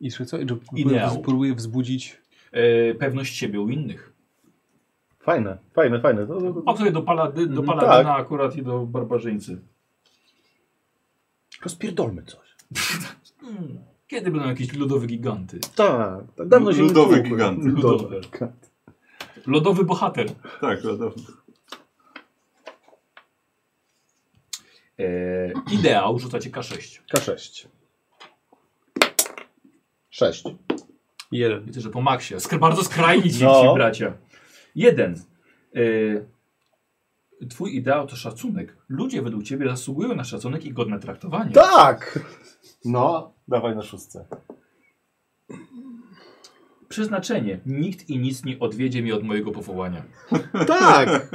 Speaker 5: I jeszcze co? Że próbuję-
Speaker 1: Ideał.
Speaker 5: Próbuję wzbudzić.
Speaker 1: E, pewność siebie u innych.
Speaker 2: Fajne, fajne, fajne. To, to, to.
Speaker 1: Pasuje do, palady, do
Speaker 2: Mhm,
Speaker 1: paladyna akurat i do barbarzyńcy.
Speaker 2: Rozpierdolmy coś.
Speaker 1: Hmm. Kiedy będą jakieś ludowe giganty?
Speaker 2: Tak, tak dawno się nie
Speaker 3: Ludowy
Speaker 2: tłukłem.
Speaker 3: gigant.
Speaker 2: Ludowy
Speaker 1: Ludowy.
Speaker 2: gigant.
Speaker 1: Lodowy bohater.
Speaker 19: Tak, lodowy.
Speaker 1: E, ideał, rzucacie K6.
Speaker 2: K6. 6.
Speaker 1: Jeden. Widzę, że po maksie. Sk- bardzo skrajni ci,
Speaker 2: No.
Speaker 1: ci bracia. Jeden. E, twój ideał to szacunek. Ludzie według ciebie zasługują na szacunek i godne traktowanie.
Speaker 2: Tak! No, dawaj na szóstce.
Speaker 1: Przeznaczenie. Nikt i nic nie odwiedzie mnie od mojego powołania.
Speaker 2: Tak!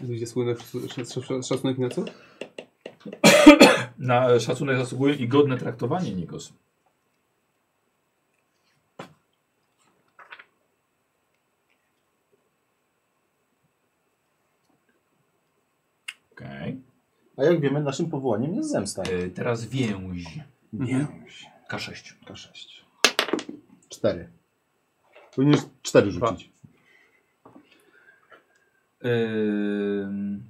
Speaker 12: Gdzie słynny sz- sz- sz- szacunek na co?
Speaker 1: Na e, szacunek zasługują i godne traktowanie, Nikos. Okej.
Speaker 2: A jak wiemy, naszym powołaniem jest zemsta.
Speaker 1: Y, Teraz więź.
Speaker 2: Więź.
Speaker 1: K6.
Speaker 2: K6. 4. Powinieneś 4 rzucić.
Speaker 1: Ym,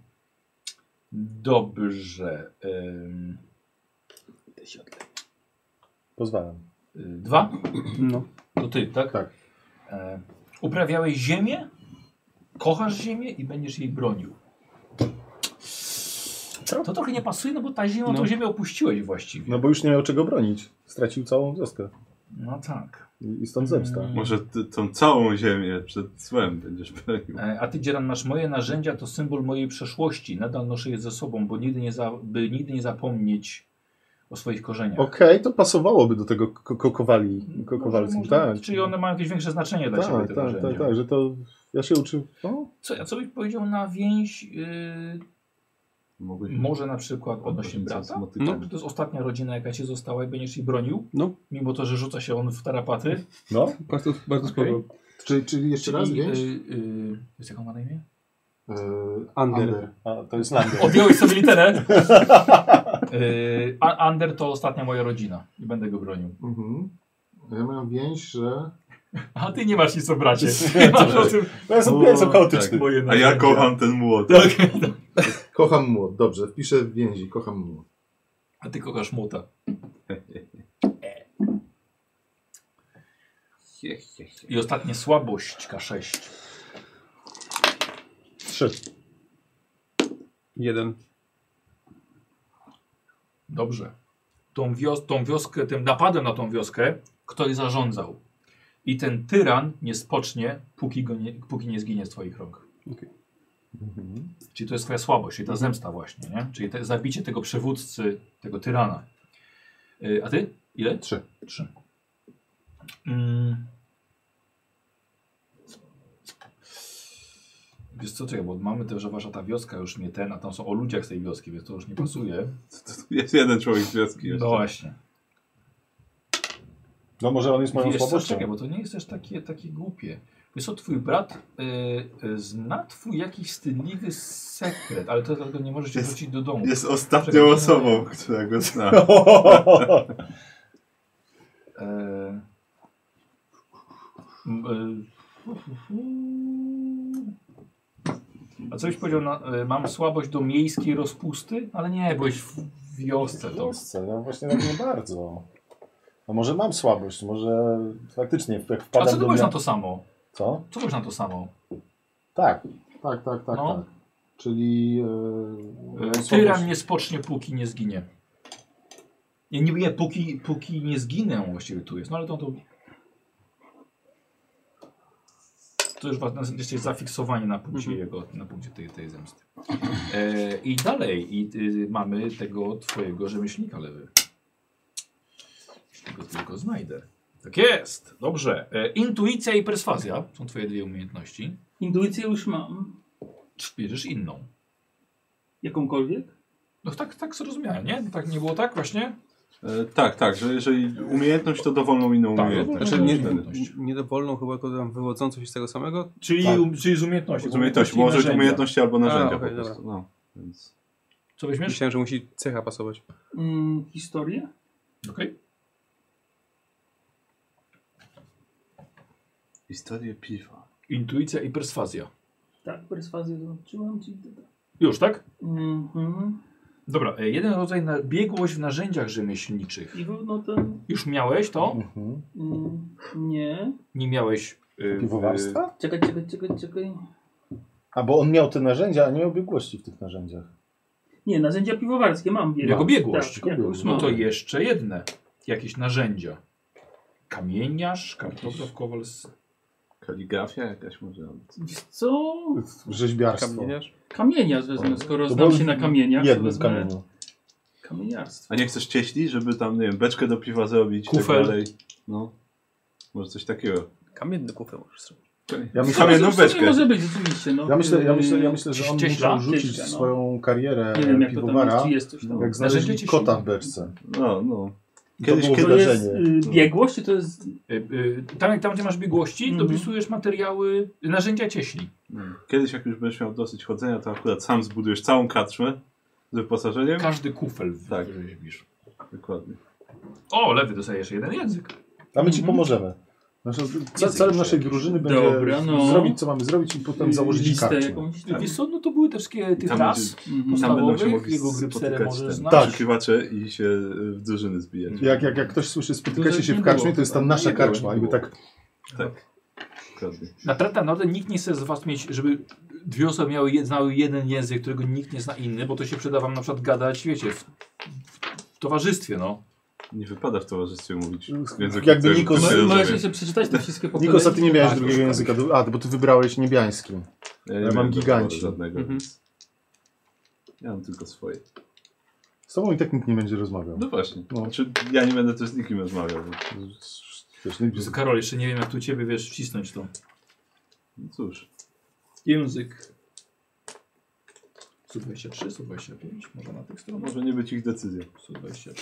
Speaker 1: Dobrze. Ym,
Speaker 2: Pozwalam.
Speaker 1: y, Dwa?
Speaker 12: No.
Speaker 1: To ty, tak?
Speaker 2: Tak.
Speaker 1: E, uprawiałeś ziemię, kochasz ziemię i będziesz jej bronił. To trochę nie pasuje, no bo ta ziemia, tą
Speaker 2: No.
Speaker 1: ziemię opuściłeś właściwie.
Speaker 2: No bo już nie miał czego bronić. Stracił całą wioskę.
Speaker 1: No tak.
Speaker 2: I i
Speaker 5: Mm.
Speaker 2: stąd zemsta.
Speaker 19: Może ty, tą całą ziemię przed złem będziesz bronił.
Speaker 1: E, A ty, Dzieran, masz moje narzędzia, to symbol mojej przeszłości. Nadal noszę je ze sobą, bo nigdy nie za, by nigdy nie zapomnieć o swoich korzeniach.
Speaker 2: Okej, to pasowałoby do tego ko- ko- kowali, ko- kowalskim,
Speaker 1: Może- może-
Speaker 2: tak.
Speaker 1: Czyli one mają jakieś większe znaczenie dla
Speaker 2: Tak,
Speaker 1: ciebie, te
Speaker 2: tak,
Speaker 1: narzędzia.
Speaker 2: tak, tak, że to ja się uczy. No,
Speaker 1: Co, ja- co byś powiedział na więź, yy,
Speaker 19: Mogłeś...
Speaker 1: może na przykład odnośnie brata?
Speaker 19: No.
Speaker 1: No. To jest ostatnia rodzina, jaka cię została i będziesz jej bronił?
Speaker 12: No.
Speaker 1: Mimo to, że rzuca się on w tarapaty?
Speaker 2: no.
Speaker 12: Bardzo, bardzo sporo.
Speaker 11: Czyli, czyli jeszcze raz
Speaker 1: Czyli,
Speaker 11: więź?
Speaker 1: y, y, wiesz, jaką ma na imię?
Speaker 11: Yy,
Speaker 12: Ander.
Speaker 2: A, to jest Lander.
Speaker 1: Odjąłeś sobie
Speaker 2: <laughs>
Speaker 1: literę. Yy, A- Ander to ostatnia moja rodzina i będę go bronił.
Speaker 11: Mhm. Ja mam więź, że...
Speaker 1: A ty nie masz nic
Speaker 19: <laughs>
Speaker 1: o bracie.
Speaker 2: Nie,
Speaker 1: Masz
Speaker 2: co
Speaker 1: o tym
Speaker 2: No jest
Speaker 11: O,
Speaker 2: mięso chaotyczne.
Speaker 19: tak.
Speaker 1: moje
Speaker 19: A ja
Speaker 1: narzędzia.
Speaker 19: kocham ten młot.
Speaker 1: Tak.
Speaker 11: Kocham młot, dobrze, wpiszę w więzi, kocham młot.
Speaker 1: A ty kochasz muta. I ostatnie słabość K6.
Speaker 2: Trzy.
Speaker 12: Jeden.
Speaker 1: Dobrze. Tą, wios tą wioskę, tym napadem na tą wioskę ktoś zarządzał. I ten tyran nie spocznie, póki, go nie, póki nie zginie z twoich rąk. Mhm. Czyli to jest twoja słabość, czyli ta zemsta właśnie, nie? Czyli te, zabicie tego przywódcy, tego tyrana. Y, a ty? Ile?
Speaker 2: Trzy.
Speaker 1: Trzy. Mm. Wiesz co, czekaj, bo mamy też, że wasza ta wioska już nie ten, a tam są o ludziach z tej wioski, więc to już nie pasuje.
Speaker 19: To, <laughs> to jest jeden człowiek z wioski
Speaker 1: No
Speaker 19: jeszcze.
Speaker 1: właśnie.
Speaker 2: No może on jest moją
Speaker 1: Wiesz co,
Speaker 2: słabością.
Speaker 1: Czekaj, bo to nie jest też takie, takie głupie. Wiesz co, twój brat y, y, zna twój jakiś wstydliwy sekret, ale to dlatego nie możesz się
Speaker 19: Jest-
Speaker 1: wrócić do domu.
Speaker 19: Jest ostatnią
Speaker 1: Czekaj,
Speaker 19: osobą, która go
Speaker 1: <laughs>
Speaker 19: zna.
Speaker 1: E, m, e, a coś powiedział, na, y, mam słabość do miejskiej rozpusty, ale nie, byłeś w wiosce. To.
Speaker 2: Wiosce, no właśnie tak nie bardzo. No może mam słabość, może faktycznie jak
Speaker 1: A
Speaker 2: wpadam
Speaker 1: co ty
Speaker 2: do
Speaker 1: byłeś
Speaker 2: mia-
Speaker 1: na to samo?
Speaker 2: Co?
Speaker 1: Co byłeś na to samo?
Speaker 2: Tak.
Speaker 11: Tak, tak, tak,
Speaker 1: No.
Speaker 11: tak. Czyli... Yy,
Speaker 1: E,
Speaker 11: mam słabość-
Speaker 1: Tyran nie spocznie, póki nie zginie. Nie, nie, nie póki, póki nie zginę właściwie tu jest, no ale to... To, to już was, jesteście zafiksowani na punkcie jego, na punkcie tej, tej zemsty. E, I dalej i, y, mamy tego twojego rzemieślnika lewy. Jeśli go tylko znajdę. Tak jest, dobrze. E, intuicja i perswazja są twoje dwie umiejętności.
Speaker 14: Intuicję już mam.
Speaker 1: Czy bierzesz inną?
Speaker 14: Jakąkolwiek?
Speaker 1: No tak, tak zrozumiałem, nie? Tak nie było tak właśnie?
Speaker 19: E, tak, tak, że jeżeli umiejętność, to dowolną inną
Speaker 1: Tak,
Speaker 5: Znaczy,
Speaker 19: umiejętność.
Speaker 1: dowolną
Speaker 19: nie,
Speaker 1: inną
Speaker 19: wtedy.
Speaker 1: umiejętność.
Speaker 12: Niedowolną chyba to tam wywodzącą się z tego samego.
Speaker 1: Czyli,
Speaker 2: Tak.
Speaker 1: um, czyli z umiejętności.
Speaker 19: Z umiejętności, może być umiejętności albo narzędzia
Speaker 12: okej,
Speaker 19: po prostu. No, więc...
Speaker 1: Co weźmiesz?
Speaker 12: Myślałem, że musi cecha pasować.
Speaker 14: Mm, historię?
Speaker 1: Okej.
Speaker 19: Historię piwa.
Speaker 1: Intuicja i perswazja.
Speaker 6: tak.
Speaker 14: Tak, perswazję zobaczyłam. Ci...
Speaker 1: Już, tak?
Speaker 14: Mhm.
Speaker 1: Dobra, e, jeden rodzaj na biegłość w narzędziach rzemieślniczych.
Speaker 6: I wy- no ten...
Speaker 1: Już miałeś to?
Speaker 6: Mm, nie.
Speaker 1: Nie miałeś. y,
Speaker 2: Piwowarstwa?
Speaker 6: Czekaj, czekaj, czekaj, czekaj.
Speaker 2: A bo on miał te narzędzia, a nie miał biegłości w tych narzędziach.
Speaker 6: Nie, narzędzia piwowarskie mam.
Speaker 1: y,
Speaker 6: biegłość.
Speaker 1: Jako biegłość.
Speaker 6: Tak, biegłość
Speaker 1: no
Speaker 6: mam.
Speaker 1: to jeszcze jedne. Jakieś narzędzia. Kamieniarz, kartograf, kowals.
Speaker 3: Kaligrafia jakaś może. nawet.
Speaker 6: Wiesz Co?
Speaker 2: Rzeźbiarstwo.
Speaker 5: Kamieniarz?
Speaker 6: Kamieniarz wezmę, skoro
Speaker 2: To
Speaker 6: znam
Speaker 2: był
Speaker 6: się na kamieniach. to
Speaker 2: Jednym
Speaker 6: wezmę
Speaker 2: kamieniu.
Speaker 6: Kamieniarstwo.
Speaker 3: A nie chcesz cieśli, żeby tam, nie wiem, beczkę do piwa zrobić,
Speaker 1: Kufel.
Speaker 3: tak dalej. No. Może coś takiego.
Speaker 5: Kamienny kufel możesz zrobić.
Speaker 2: Ja
Speaker 3: myślę,
Speaker 2: myślę,
Speaker 3: Kamienną
Speaker 6: No, W sumie
Speaker 3: beczkę.
Speaker 6: Może być, rzeczywiście. No.
Speaker 2: ja myślę, ja
Speaker 6: Yy,
Speaker 2: myślę, ja myślę że on
Speaker 1: Ścieśla?
Speaker 2: musiał rzucić
Speaker 6: Ścieśla, no.
Speaker 2: swoją karierę
Speaker 6: Nie wiem, jak to tam
Speaker 2: piwowara,
Speaker 6: jest, czy jest coś tam.
Speaker 2: jak
Speaker 1: Narzędzie
Speaker 2: znaleźli kota
Speaker 1: ciśnienia.
Speaker 2: w beczce.
Speaker 3: No, no.
Speaker 2: to było
Speaker 6: To jest
Speaker 2: wydarzenie.
Speaker 6: y, biegłość, czy to jest...
Speaker 1: Y, y, Tam, jak tam gdzie masz biegłości,
Speaker 6: Mhm.
Speaker 1: dopisujesz materiały, narzędzia cieśli.
Speaker 3: Mm. Kiedyś jak już będziesz miał dosyć chodzenia, to akurat sam zbudujesz całą katrzmę z wyposażeniem.
Speaker 1: Każdy kufel w-
Speaker 3: Tak.
Speaker 1: wyrzeźbisz.
Speaker 3: Dokładnie.
Speaker 1: O, lewy dostajesz jeden język.
Speaker 2: A my ci
Speaker 6: Mhm.
Speaker 2: pomożemy. Nasze, ca, celem naszej drużyny będzie
Speaker 6: Dobra, no. Y,
Speaker 2: zrobić, co mamy zrobić i potem założyć
Speaker 6: listę
Speaker 2: kartę.
Speaker 6: jakąś.
Speaker 1: Tak. Wiesz co, no to były te wszystkie tych
Speaker 3: Tam
Speaker 1: raz
Speaker 3: będzie-
Speaker 6: Mhm.
Speaker 3: Tam będą się
Speaker 1: podstawowych,
Speaker 3: mogli
Speaker 1: jego gry psere
Speaker 3: spotykać
Speaker 1: możesz
Speaker 3: ten,
Speaker 1: znać.
Speaker 2: Tak.
Speaker 3: poszukiwacze i się y, w drużyny zbijać.
Speaker 2: Jak, jak, jak ktoś słyszy,
Speaker 6: To
Speaker 2: spotykacie się
Speaker 6: nie
Speaker 2: w karczmie,
Speaker 6: było.
Speaker 2: to jest tam nasza
Speaker 3: Nie było,
Speaker 2: karczma.
Speaker 3: nie
Speaker 2: I my
Speaker 3: było.
Speaker 2: tak,
Speaker 3: Tak. Dokładnie.
Speaker 1: Na Trenta Norden nikt nie chce z was mieć, żeby dwie osoby miały jed, znały jeden język, którego nikt nie zna inny, bo to się przyda wam na przykład gadać, wiecie, w, w towarzystwie, no.
Speaker 3: Nie wypada w towarzystwie mówić.
Speaker 5: No,
Speaker 3: języka,
Speaker 2: jakby
Speaker 3: którego
Speaker 2: Nikos...
Speaker 3: ktoś nie
Speaker 6: Mo- Możesz
Speaker 3: rozumie.
Speaker 6: jeszcze no, przeczytać te wszystkie po
Speaker 2: Nikos, a ty
Speaker 6: kolei?
Speaker 2: nie miałeś
Speaker 1: Tak,
Speaker 2: drugiego języka. A, bo ty wybrałeś niebiański.
Speaker 3: Ja, nie
Speaker 2: mam
Speaker 3: miałem
Speaker 2: giganci.
Speaker 3: Żadnego,
Speaker 5: Mhm.
Speaker 3: więc Ja mam tylko swoje.
Speaker 2: Z tobą i tak nikt nie będzie rozmawiał.
Speaker 3: No właśnie.
Speaker 2: No.
Speaker 3: Znaczy, ja nie będę też z nikim rozmawiał. bo-
Speaker 2: Wiesz, no,
Speaker 1: Jezu, Karol, jeszcze nie wiem jak tu ciebie, wiesz, wcisnąć to.
Speaker 3: No cóż.
Speaker 1: Język. 123, 125, może na tych stronach?
Speaker 3: Może nie być ich decyzja.
Speaker 1: 123.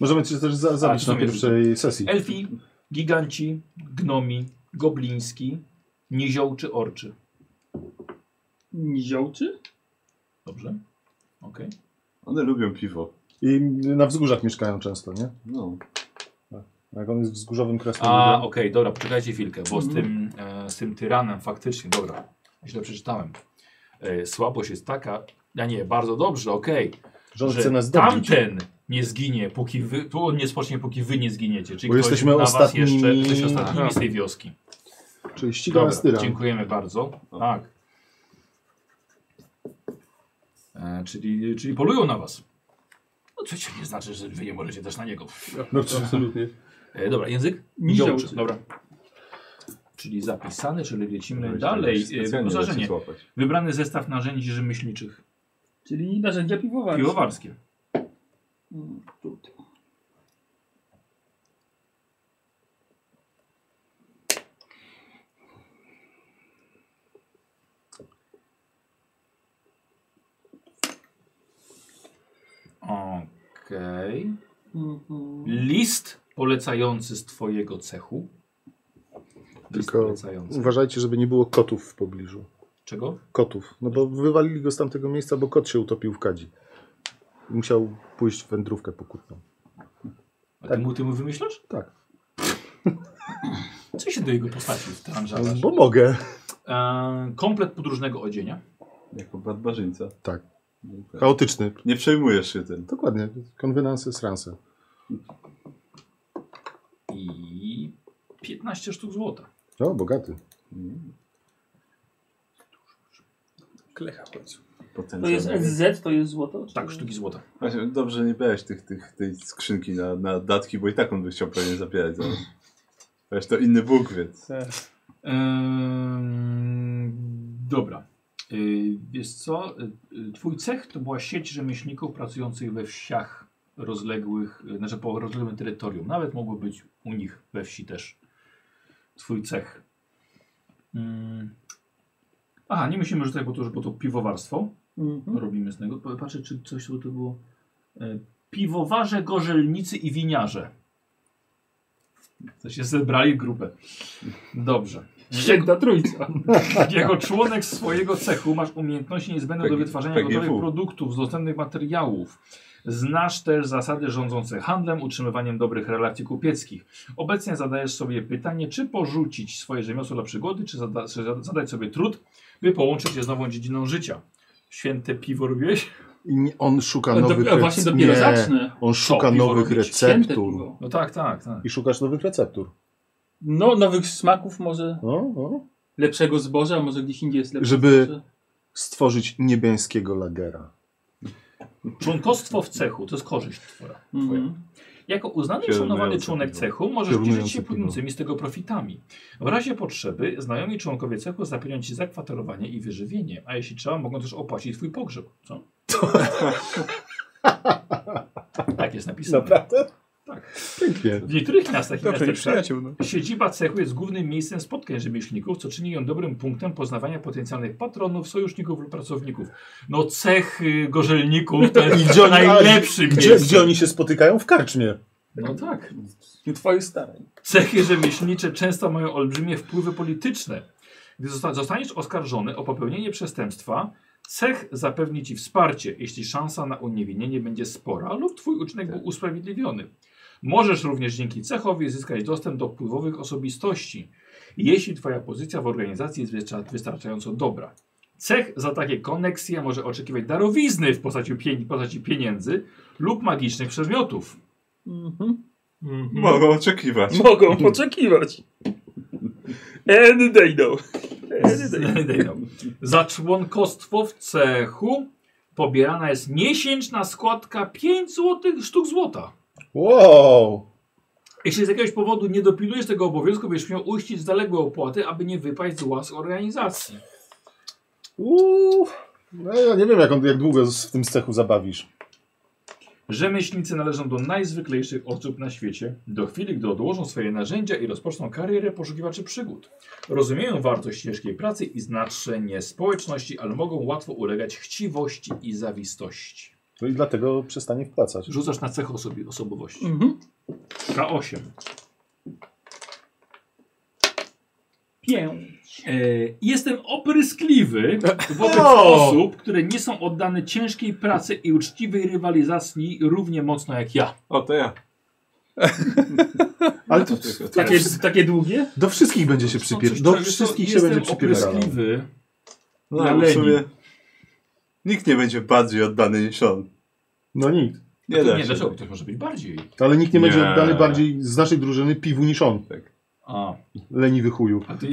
Speaker 2: Możemy cię też za, zabić
Speaker 1: to
Speaker 2: na
Speaker 1: mnie-
Speaker 2: pierwszej sesji.
Speaker 1: Elfi, giganci, gnomi, gobliński, nizioł czy orczy.
Speaker 6: Niziołczy?
Speaker 1: Dobrze? Okej.
Speaker 3: One lubią piwo.
Speaker 2: I na wzgórzach mieszkają często, nie?
Speaker 3: No.
Speaker 2: Jak on jest wzgórzowym
Speaker 1: A,
Speaker 2: krasnoludem.
Speaker 1: okej, dobra, poczekajcie chwilkę, bo
Speaker 2: Mhm.
Speaker 1: z, tym, e, z tym tyranem faktycznie, dobra, źle przeczytałem. E, słabość jest taka, ja nie, bardzo dobrze, okej,
Speaker 2: Że on
Speaker 1: że
Speaker 2: chce nas dobić.
Speaker 1: tamten nie zginie, póki wy, tu on nie spocznie, póki wy nie zginiecie, czyli
Speaker 2: Bo
Speaker 1: ktoś
Speaker 2: jesteśmy
Speaker 1: na was
Speaker 2: ostatnimi-
Speaker 1: jeszcze, jesteście ostatnimi
Speaker 2: Aha.
Speaker 1: z tej wioski.
Speaker 2: Czyli ściga nas
Speaker 1: Dobra,
Speaker 2: tyran. No.
Speaker 1: dziękujemy bardzo, tak. E, czyli, czyli polują na was. No co się nie znaczy, że wy nie możecie też na niego.
Speaker 2: No, czy-
Speaker 5: Absolutnie.
Speaker 1: E, dobra, język?
Speaker 6: Niziołczy.
Speaker 1: Niziołczy, Dobra. Czyli zapisane, czyli lecimy
Speaker 3: Żebyś
Speaker 1: dalej.
Speaker 3: tam
Speaker 1: E,
Speaker 3: specjalnie
Speaker 1: Wyposażenie.
Speaker 3: lecieć łapać.
Speaker 1: Wybrany zestaw narzędzi rzemieślniczych.
Speaker 6: Czyli narzędzia piwowarskie.
Speaker 1: Piłowarskie.
Speaker 6: Mm, tu, tu.
Speaker 1: Okej.
Speaker 6: Mhm.
Speaker 1: List polecający z twojego cechu. List
Speaker 11: Tylko
Speaker 1: polecający.
Speaker 11: Uważajcie, żeby nie było kotów w pobliżu.
Speaker 1: Czego?
Speaker 11: Kotów. No bo wywalili go z tamtego miejsca, bo kot się utopił w kadzi. Musiał pójść w wędrówkę pokutną.
Speaker 1: A ty mu, ty mu wymyślasz?
Speaker 11: Tak.
Speaker 1: Co się do jego postaci wtrążasz?
Speaker 11: Bo mogę.
Speaker 1: E, komplet podróżnego odzienia.
Speaker 3: Jako barbarzyńca.
Speaker 11: Tak.
Speaker 3: No tak.
Speaker 11: Chaotyczny.
Speaker 3: Nie przejmujesz się tym.
Speaker 11: Dokładnie. Konwenanse, sranse.
Speaker 1: I 15 sztuk złota.
Speaker 11: O, bogaty.
Speaker 3: Mm.
Speaker 5: Klecha w końcu.
Speaker 6: To jest
Speaker 3: Potencjalnie.
Speaker 6: SZ, to jest złoto? czy-
Speaker 1: Tak, sztuki złota.
Speaker 3: Właśnie, dobrze, że nie brałeś tych, tych, tej skrzynki na, na datki, bo i tak on by chciał pewnie zabierać. zaraz. Wiesz, to inny Bóg, więc.
Speaker 1: Ehm, dobra. Yy, wiesz co? Yy, Twój cech to była sieć rzemieślników pracujących we wsiach rozległych, yy, znaczy po rozległym terytorium. Nawet mogło być u nich we wsi też. Twój cech. Mm. Aha, nie musimy rzucać, bo to, bo to piwowarstwo
Speaker 6: Mhm.
Speaker 1: robimy z tego. Pa- Patrzę, czy coś tu to było. E, Piwowarze, gorzelnicy i winiarze. To się zebrali w grupę. Dobrze.
Speaker 6: Święta trójca.
Speaker 1: <laughs> Jako członek swojego cechu masz umiejętności niezbędne do
Speaker 3: PG-
Speaker 1: wytwarzania
Speaker 3: PGW.
Speaker 1: gotowych produktów z dostępnych materiałów. Znasz też zasady rządzące handlem, utrzymywaniem dobrych relacji kupieckich. Obecnie zadajesz sobie pytanie, czy porzucić swoje rzemiosło dla przygody, czy, zada, czy zada- zadać sobie trud, by połączyć je z nową dziedziną życia. Święte piwo robiłeś?
Speaker 2: I nie- on szuka
Speaker 20: Ale do-
Speaker 2: nowych
Speaker 20: a właśnie
Speaker 2: rec-
Speaker 20: dopiero
Speaker 2: nie,
Speaker 20: zacznę.
Speaker 2: On szuka
Speaker 20: piwo
Speaker 2: nowych
Speaker 20: robić, święte
Speaker 2: receptur.
Speaker 20: piwo.
Speaker 1: No tak, tak, tak.
Speaker 11: I szukasz nowych receptur.
Speaker 20: No, nowych smaków może.
Speaker 11: No, no.
Speaker 20: Lepszego zboża, może gdzieś indziej jest lepsze
Speaker 2: Żeby
Speaker 20: zboże.
Speaker 2: stworzyć niebiańskiego lagera.
Speaker 1: Członkostwo w cechu to jest korzyść twoja.
Speaker 20: Mhm.
Speaker 1: Jako uznany i
Speaker 3: Kierujący
Speaker 1: szanowany członek
Speaker 3: piwo.
Speaker 1: cechu możesz
Speaker 2: Kierujący
Speaker 1: cieszyć się
Speaker 2: piwo.
Speaker 1: płynącymi z tego profitami. W razie potrzeby znajomi członkowie cechu zapierają ci zakwaterowanie i wyżywienie, a jeśli trzeba, mogą też opłacić twój pogrzeb. Co?
Speaker 11: <laughs>
Speaker 1: tak jest napisane.
Speaker 11: Naprawdę?
Speaker 1: Tak.
Speaker 2: Pięknie.
Speaker 1: W niektórych miastach i
Speaker 5: Dobrze, nie
Speaker 1: miasteczkach
Speaker 5: przyjaciół. No.
Speaker 1: Siedziba cechu jest głównym miejscem spotkań rzemieślników, co czyni ją dobrym punktem poznawania potencjalnych patronów, sojuszników lub pracowników. No cech y, gorzelników to
Speaker 11: I <laughs>
Speaker 1: jest
Speaker 11: gdzie oni,
Speaker 1: najlepszy
Speaker 11: a, gdzie,
Speaker 1: miejsce.
Speaker 11: gdzie oni się spotykają? W karczmie.
Speaker 1: No tak.
Speaker 6: I twoich starań.
Speaker 1: Cechy rzemieślnicze często mają olbrzymie wpływy polityczne. Gdy zosta zostaniesz oskarżony o popełnienie przestępstwa, cech zapewni ci wsparcie, jeśli szansa na uniewinnienie będzie spora lub twój uczynek był usprawiedliwiony. Możesz również dzięki cechowi zyskać dostęp do wpływowych osobistości, jeśli twoja pozycja w organizacji jest wystar- wystarczająco dobra. Cech za takie koneksje może oczekiwać darowizny w postaci, pien- postaci pieniędzy lub magicznych przedmiotów.
Speaker 6: Mhm.
Speaker 3: Mogą oczekiwać.
Speaker 6: Mogą oczekiwać. Any day now. Any day.
Speaker 1: Dejno. <laughs> Za członkostwo w cechu pobierana jest miesięczna składka 5 złotych sztuk złota.
Speaker 11: Wow!
Speaker 1: Jeśli z jakiegoś powodu nie dopilujesz tego obowiązku, będziesz miał uścić zaległe opłaty, aby nie wypaść z łask organizacji.
Speaker 11: Uuu. No, ja nie wiem, jak, on, jak długo z- w tym cechu zabawisz.
Speaker 1: Rzemieślnicy należą do najzwyklejszych osób na świecie, do chwili, gdy odłożą swoje narzędzia i rozpoczną karierę poszukiwaczy przygód. Rozumieją wartość ciężkiej pracy i znaczenie społeczności, ale mogą łatwo ulegać chciwości i zawistości.
Speaker 11: No i dlatego przestanie wpłacać.
Speaker 1: Rzucasz na cech osobi- osobowości.
Speaker 6: Mhm.
Speaker 1: K8.
Speaker 6: Pięć.
Speaker 1: E, jestem opryskliwy wobec
Speaker 11: O!
Speaker 1: osób, które nie są oddane ciężkiej pracy i uczciwej rywalizacji równie mocno jak ja.
Speaker 3: O, to ja.
Speaker 11: Ale to,
Speaker 3: tylko-
Speaker 11: to
Speaker 6: Takie, takie długie?
Speaker 11: do wszystkich będzie się
Speaker 1: Są
Speaker 11: przypierdalał.
Speaker 1: coś,
Speaker 11: Do
Speaker 1: czego
Speaker 11: wszystkich się
Speaker 1: jestem
Speaker 11: będzie przypierdalał.
Speaker 1: opryskliwy.
Speaker 3: No,
Speaker 1: Na
Speaker 3: ale w
Speaker 1: Leni.
Speaker 3: sumie nikt nie będzie bardziej oddany niż on.
Speaker 11: No nikt.
Speaker 1: Nie,
Speaker 3: Nie
Speaker 1: to,
Speaker 3: da
Speaker 1: nie
Speaker 3: się.
Speaker 1: dlaczego? Ktoś może być bardziej.
Speaker 11: Ale nikt nie będzie
Speaker 3: Nie.
Speaker 11: oddany bardziej z naszej drużyny piwu niż on.
Speaker 1: A,
Speaker 11: Leniwy chuju.
Speaker 1: a ty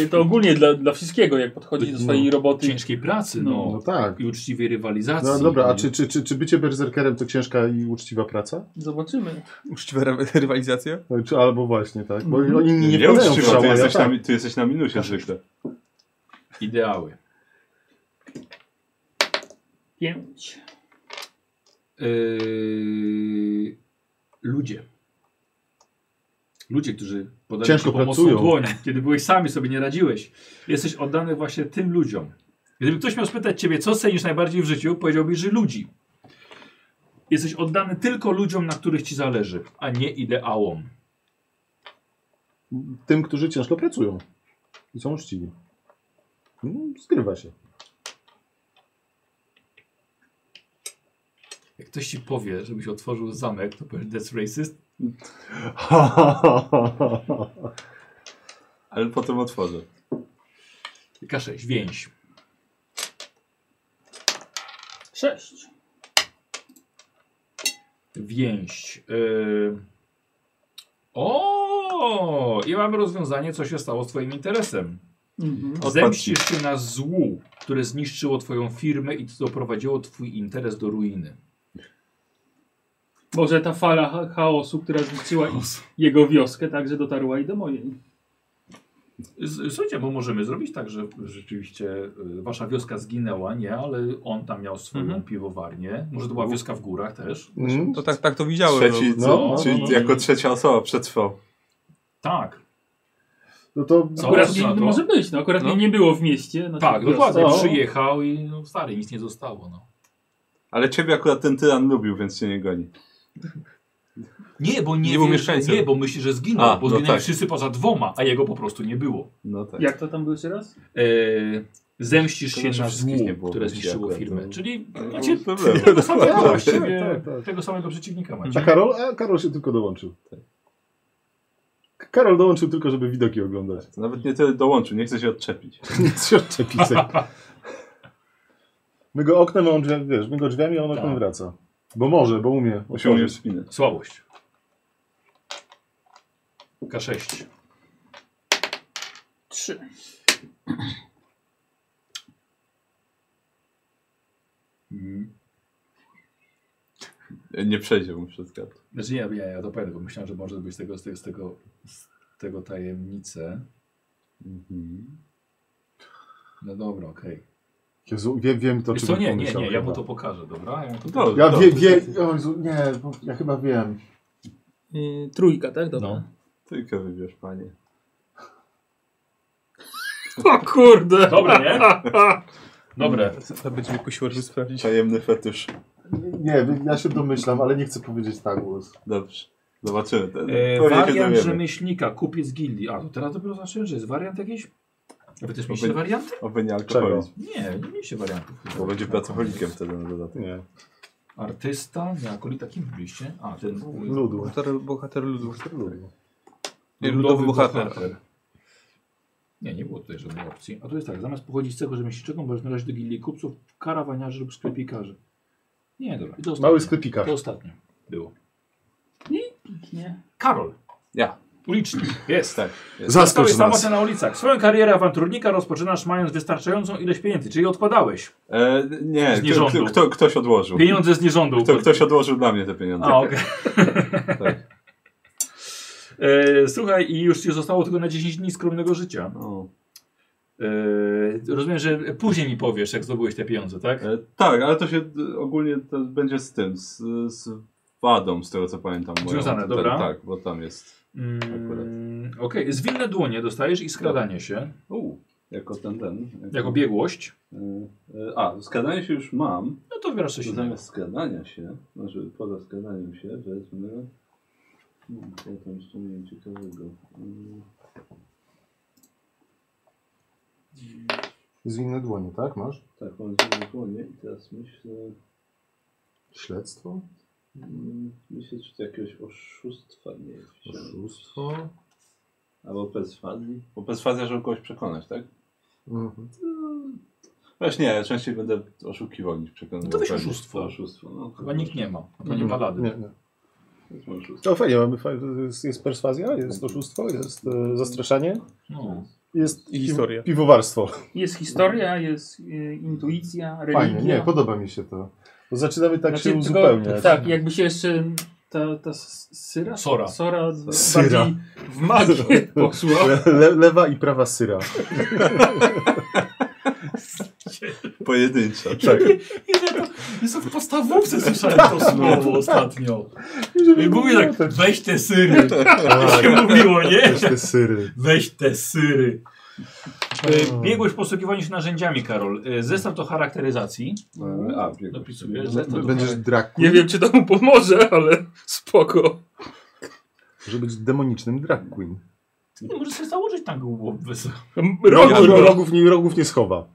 Speaker 6: Y, To ogólnie dla, dla wszystkiego, jak podchodzisz do swojej roboty.
Speaker 1: ciężkiej pracy, no.
Speaker 2: No tak.
Speaker 1: I uczciwej rywalizacji.
Speaker 2: No dobra, a czy, czy, czy, czy bycie berserkerem to ciężka i uczciwa praca?
Speaker 6: Zobaczymy.
Speaker 5: Uczciwa <laughs> re- rywalizacja.
Speaker 2: No, Czy, albo właśnie, tak? Bo
Speaker 6: Mhm.
Speaker 2: oni nie,
Speaker 3: Nie,
Speaker 2: nie wpadają w
Speaker 3: uczciwa,
Speaker 2: szał,
Speaker 3: ty,
Speaker 2: a ja
Speaker 3: jesteś
Speaker 2: tak.
Speaker 3: na, ty jesteś na minusie zwykle.
Speaker 1: Ideały.
Speaker 6: Pięć.
Speaker 1: Yy, ludzie. Ludzie, którzy podali
Speaker 2: Ciężko
Speaker 1: ci pomocną
Speaker 2: pracują.
Speaker 1: dłoń, kiedy byłeś sami, sobie nie radziłeś. Jesteś oddany właśnie tym ludziom. Gdyby ktoś miał spytać ciebie, co cenisz najbardziej w życiu, powiedziałbyś, że ludzi. Jesteś oddany tylko ludziom, na których ci zależy, a nie ideałom.
Speaker 2: Tym, którzy ciężko pracują i są uczciwi. No, skrywa się.
Speaker 1: Jak ktoś ci powie, żebyś otworzył zamek, to powiesz, that's racist.
Speaker 3: Ale potem otworzę.
Speaker 1: K6, więź.
Speaker 6: Sześć.
Speaker 1: Więź. Yy... O! I mamy rozwiązanie, co się stało z Twoim interesem.
Speaker 6: Mhm.
Speaker 1: Zemścisz się na złu, które zniszczyło Twoją firmę i doprowadziło Twój interes do ruiny.
Speaker 6: Może ta fala cha- chaosu, która zniszczyła i- jego wioskę, także dotarła i do mojej.
Speaker 1: Z- Słuchajcie, bo możemy zrobić tak, że rzeczywiście y, Wasza wioska zginęła, nie, ale on tam miał swoją
Speaker 6: Mhm.
Speaker 1: piwowarnię. Może to była wioska w górach też?
Speaker 2: Mm.
Speaker 5: To tak, tak to widziałem.
Speaker 3: Trzeci,
Speaker 2: no,
Speaker 3: Mhm. co-
Speaker 2: no,
Speaker 3: czyli
Speaker 1: no.
Speaker 3: jako trzecia osoba przetrwał.
Speaker 1: Tak.
Speaker 2: No to
Speaker 1: Co?
Speaker 6: Akurat
Speaker 1: za
Speaker 6: nie,
Speaker 1: to?
Speaker 6: może być, no akurat
Speaker 5: No.
Speaker 6: nie- nie było w mieście. znaczy
Speaker 1: Tak,
Speaker 6: w wiosce.
Speaker 1: dokładnie.
Speaker 2: O.
Speaker 1: Przyjechał i no, stary, nic nie zostało. No.
Speaker 3: Ale ciebie akurat ten tyran lubił, więc cię nie goni.
Speaker 1: Nie, bo nie,
Speaker 5: Nie był
Speaker 1: wie, że,
Speaker 5: mieszkańcem.
Speaker 1: nie, bo myśli, że zginął,
Speaker 3: A,
Speaker 1: bo
Speaker 3: no
Speaker 1: zginęli
Speaker 3: tak.
Speaker 1: wszyscy poza dwoma, a jego po prostu nie było.
Speaker 3: No tak.
Speaker 6: Jak to tam było jeszcze raz?
Speaker 1: E, zemścisz
Speaker 3: To
Speaker 1: się
Speaker 3: znaczy
Speaker 1: na
Speaker 3: wszystkich
Speaker 1: złu,
Speaker 3: nie było
Speaker 1: które
Speaker 3: w mieście
Speaker 1: zniszczyło
Speaker 3: akurat,
Speaker 1: firmę.
Speaker 3: no.
Speaker 1: Czyli
Speaker 3: No,
Speaker 1: macie
Speaker 3: no, dobra.
Speaker 1: tego samego,
Speaker 2: <laughs> Tak,
Speaker 1: właściwie,
Speaker 2: tak, tak.
Speaker 1: tego samego przeciwnika macie.
Speaker 2: A Karol? A Karol się tylko dołączył. K- Karol dołączył tylko, żeby widoki oglądać. <laughs>
Speaker 3: To Nawet nie tyle dołączył, nie chce się odczepić.
Speaker 2: Nic się odczepić. My go oknem, a on drzwi, wiesz, my go drzwiami, a on oknem
Speaker 1: Tak.
Speaker 2: wraca. Bo może, bo umie.
Speaker 19: Osiągnie
Speaker 2: otworzyć.
Speaker 19: spinę.
Speaker 1: Słabość. K6.
Speaker 14: Trzy.
Speaker 1: Mm.
Speaker 19: Nie przejdzie mu przez kartę.
Speaker 1: Znaczy nie, ja, ja to powiem, bo myślałem, że może być z tego, z tego, z tego, z tego tajemnicę.
Speaker 19: Mhm.
Speaker 1: No dobra, okej.
Speaker 2: Jezu, wiem, wiem to,
Speaker 1: Wiesz
Speaker 2: czy
Speaker 1: co,
Speaker 2: bym
Speaker 1: nie, nie,
Speaker 2: pomyślał
Speaker 1: nie, ja mu
Speaker 2: chyba.
Speaker 1: to pokażę, dobra? Ja mu to
Speaker 3: No,
Speaker 19: Dobrze.
Speaker 2: Ja
Speaker 19: Dobrze.
Speaker 2: wiem, wie, o Jezu, nie, bo ja chyba wiem.
Speaker 14: Yy, trójka, tak? Dobra.
Speaker 1: No.
Speaker 19: Tylko wybierz, panie.
Speaker 14: O kurde!
Speaker 1: Dobre, nie? Dobre.
Speaker 5: no. To będziemy kusiło, żeby sprawdzić.
Speaker 19: Tajemny fetysz.
Speaker 2: Nie, ja się domyślam, ale nie chcę powiedzieć na głos.
Speaker 19: Dobrze. Zobaczymy. Ten.
Speaker 1: E,
Speaker 19: Pewnie się
Speaker 1: wariant
Speaker 19: dowiemy.
Speaker 1: rzemieślnika, kupiec gildii. A, to teraz dopiero zacząłem, że jest wariant jakiś? A wy też mieliście
Speaker 19: Oby-
Speaker 1: warianty?
Speaker 19: Oby nie alkoholizm.
Speaker 1: Nie, nie mieliście wariantów.
Speaker 19: Bo będzie pracownikiem wtedy na dodatek.
Speaker 2: Nie.
Speaker 1: Artysta, nieakolita, kim byliście? A, ten
Speaker 2: Ludu.
Speaker 5: Bohater, bohater ludu.
Speaker 2: Ludu.
Speaker 5: Nie, ludowy bohater. Tak.
Speaker 1: Nie, nie było tutaj żadnej opcji. A tu jest tak, zamiast pochodzić z cechu rzemieślniczego, możesz należeć do gildii kupców, karawaniarzy lub sklepikarzy. Nie, dobra. I to ostatnie.
Speaker 2: Mały sklepikarz.
Speaker 1: To ostatnio było.
Speaker 14: Nie.
Speaker 1: Karol.
Speaker 19: Ja.
Speaker 1: Ulicznik. Jest.
Speaker 19: Tak. jest.
Speaker 2: Zaskocz
Speaker 1: Stałeś
Speaker 2: nas.
Speaker 1: samotny na ulicach. Swoją karierę awanturnika rozpoczynasz mając wystarczającą ilość pieniędzy, czyli odkładałeś.
Speaker 19: E, nie,
Speaker 1: Z
Speaker 19: kto, kto,
Speaker 1: nierządu.
Speaker 19: kto, ktoś odłożył.
Speaker 1: Pieniądze z nierządu.
Speaker 19: Kto, ktoś odłożył dla mnie te pieniądze.
Speaker 1: A, okej.
Speaker 19: tak.
Speaker 1: <laughs> E, Słuchaj, i już ci zostało tylko na 10 dni skromnego życia.
Speaker 19: O.
Speaker 1: E, rozumiem, że później mi powiesz, jak zdobyłeś te pieniądze, tak?
Speaker 19: E, tak, ale to się d- ogólnie to będzie z tym, z, z wadą, z tego co pamiętam. moją.
Speaker 1: Związane,
Speaker 19: Ten-
Speaker 1: dobra.
Speaker 19: Tak, bo tam jest.
Speaker 1: Mm, Okej, zwinne dłonie dostajesz i skradanie się,
Speaker 3: U, jako ten, ten.
Speaker 1: jako biegłość.
Speaker 3: Y, y, A, skadanie się już mam.
Speaker 1: No to wybierasz coś
Speaker 3: To
Speaker 1: innego.
Speaker 3: zamiast skadania się, znaczy poza skadaniem się, wezmę. Hmm, co tam w sumie ciekawego. Mm,
Speaker 11: Zwinne dłonie, tak? Masz?
Speaker 3: Tak, mam zimne dłonie i teraz myślę.
Speaker 11: Śledztwo?
Speaker 3: mm, Myślę, czy to jakiegoś oszustwa nie jest.
Speaker 11: Oszustwo?
Speaker 3: Albo perswazji. Bo perswazja, żeby kogoś przekonać, tak?
Speaker 11: Mhm.
Speaker 19: Właśnie nie, ja częściej będę oszukiwał niż przekonywał. Tak,
Speaker 1: No to weź
Speaker 19: Pewnie.
Speaker 1: oszustwo.
Speaker 3: To oszustwo. No,
Speaker 1: Chyba nikt nie ma, a to nie balady.
Speaker 11: Nie, nie.
Speaker 3: To jest oszustwo.
Speaker 2: To No, fajnie, mamy fajne- jest, jest perswazja, jest oszustwo, jest e, zastraszanie,
Speaker 1: No.
Speaker 2: jest
Speaker 5: I historia.
Speaker 2: pi- piwowarstwo.
Speaker 14: Jest historia, jest y, intuicja, religia.
Speaker 11: Fajnie, nie, podoba mi się to.
Speaker 2: Bo Zaczynamy tak
Speaker 14: Znaczy,
Speaker 2: się
Speaker 14: tylko-
Speaker 2: uzupełniać.
Speaker 14: Tak, jakby się jeszcze ta, ta s- syra?
Speaker 1: Sora.
Speaker 14: Sora,
Speaker 2: Syra.
Speaker 14: bardziej w magię poszła.
Speaker 2: Le, le, lewa i prawa syra.
Speaker 1: <laughs>
Speaker 19: Pojedyncza.
Speaker 2: Tak.
Speaker 1: Jest to w podstawówce słyszałem to słowo ostatnio. I mówię tak, weź te syry. <laughs> Tak się mówiło, nie?
Speaker 11: Też te syry.
Speaker 1: Weź te syry. E, Biegłość w posługiwaniu się narzędziami, Karol. E, Zestaw do charakteryzacji.
Speaker 3: E, A, biegłość.
Speaker 1: Dopisuję. Zestaw do
Speaker 11: Będziesz drak.
Speaker 14: Nie wiem, czy to mu pomoże, ale spoko.
Speaker 11: Może być demonicznym drag queen.
Speaker 1: Nie, może sobie założyć tak głowę.
Speaker 14: Rogu,
Speaker 2: Rogów,
Speaker 14: rogu.
Speaker 2: rogów, nie, rogów nie schowa.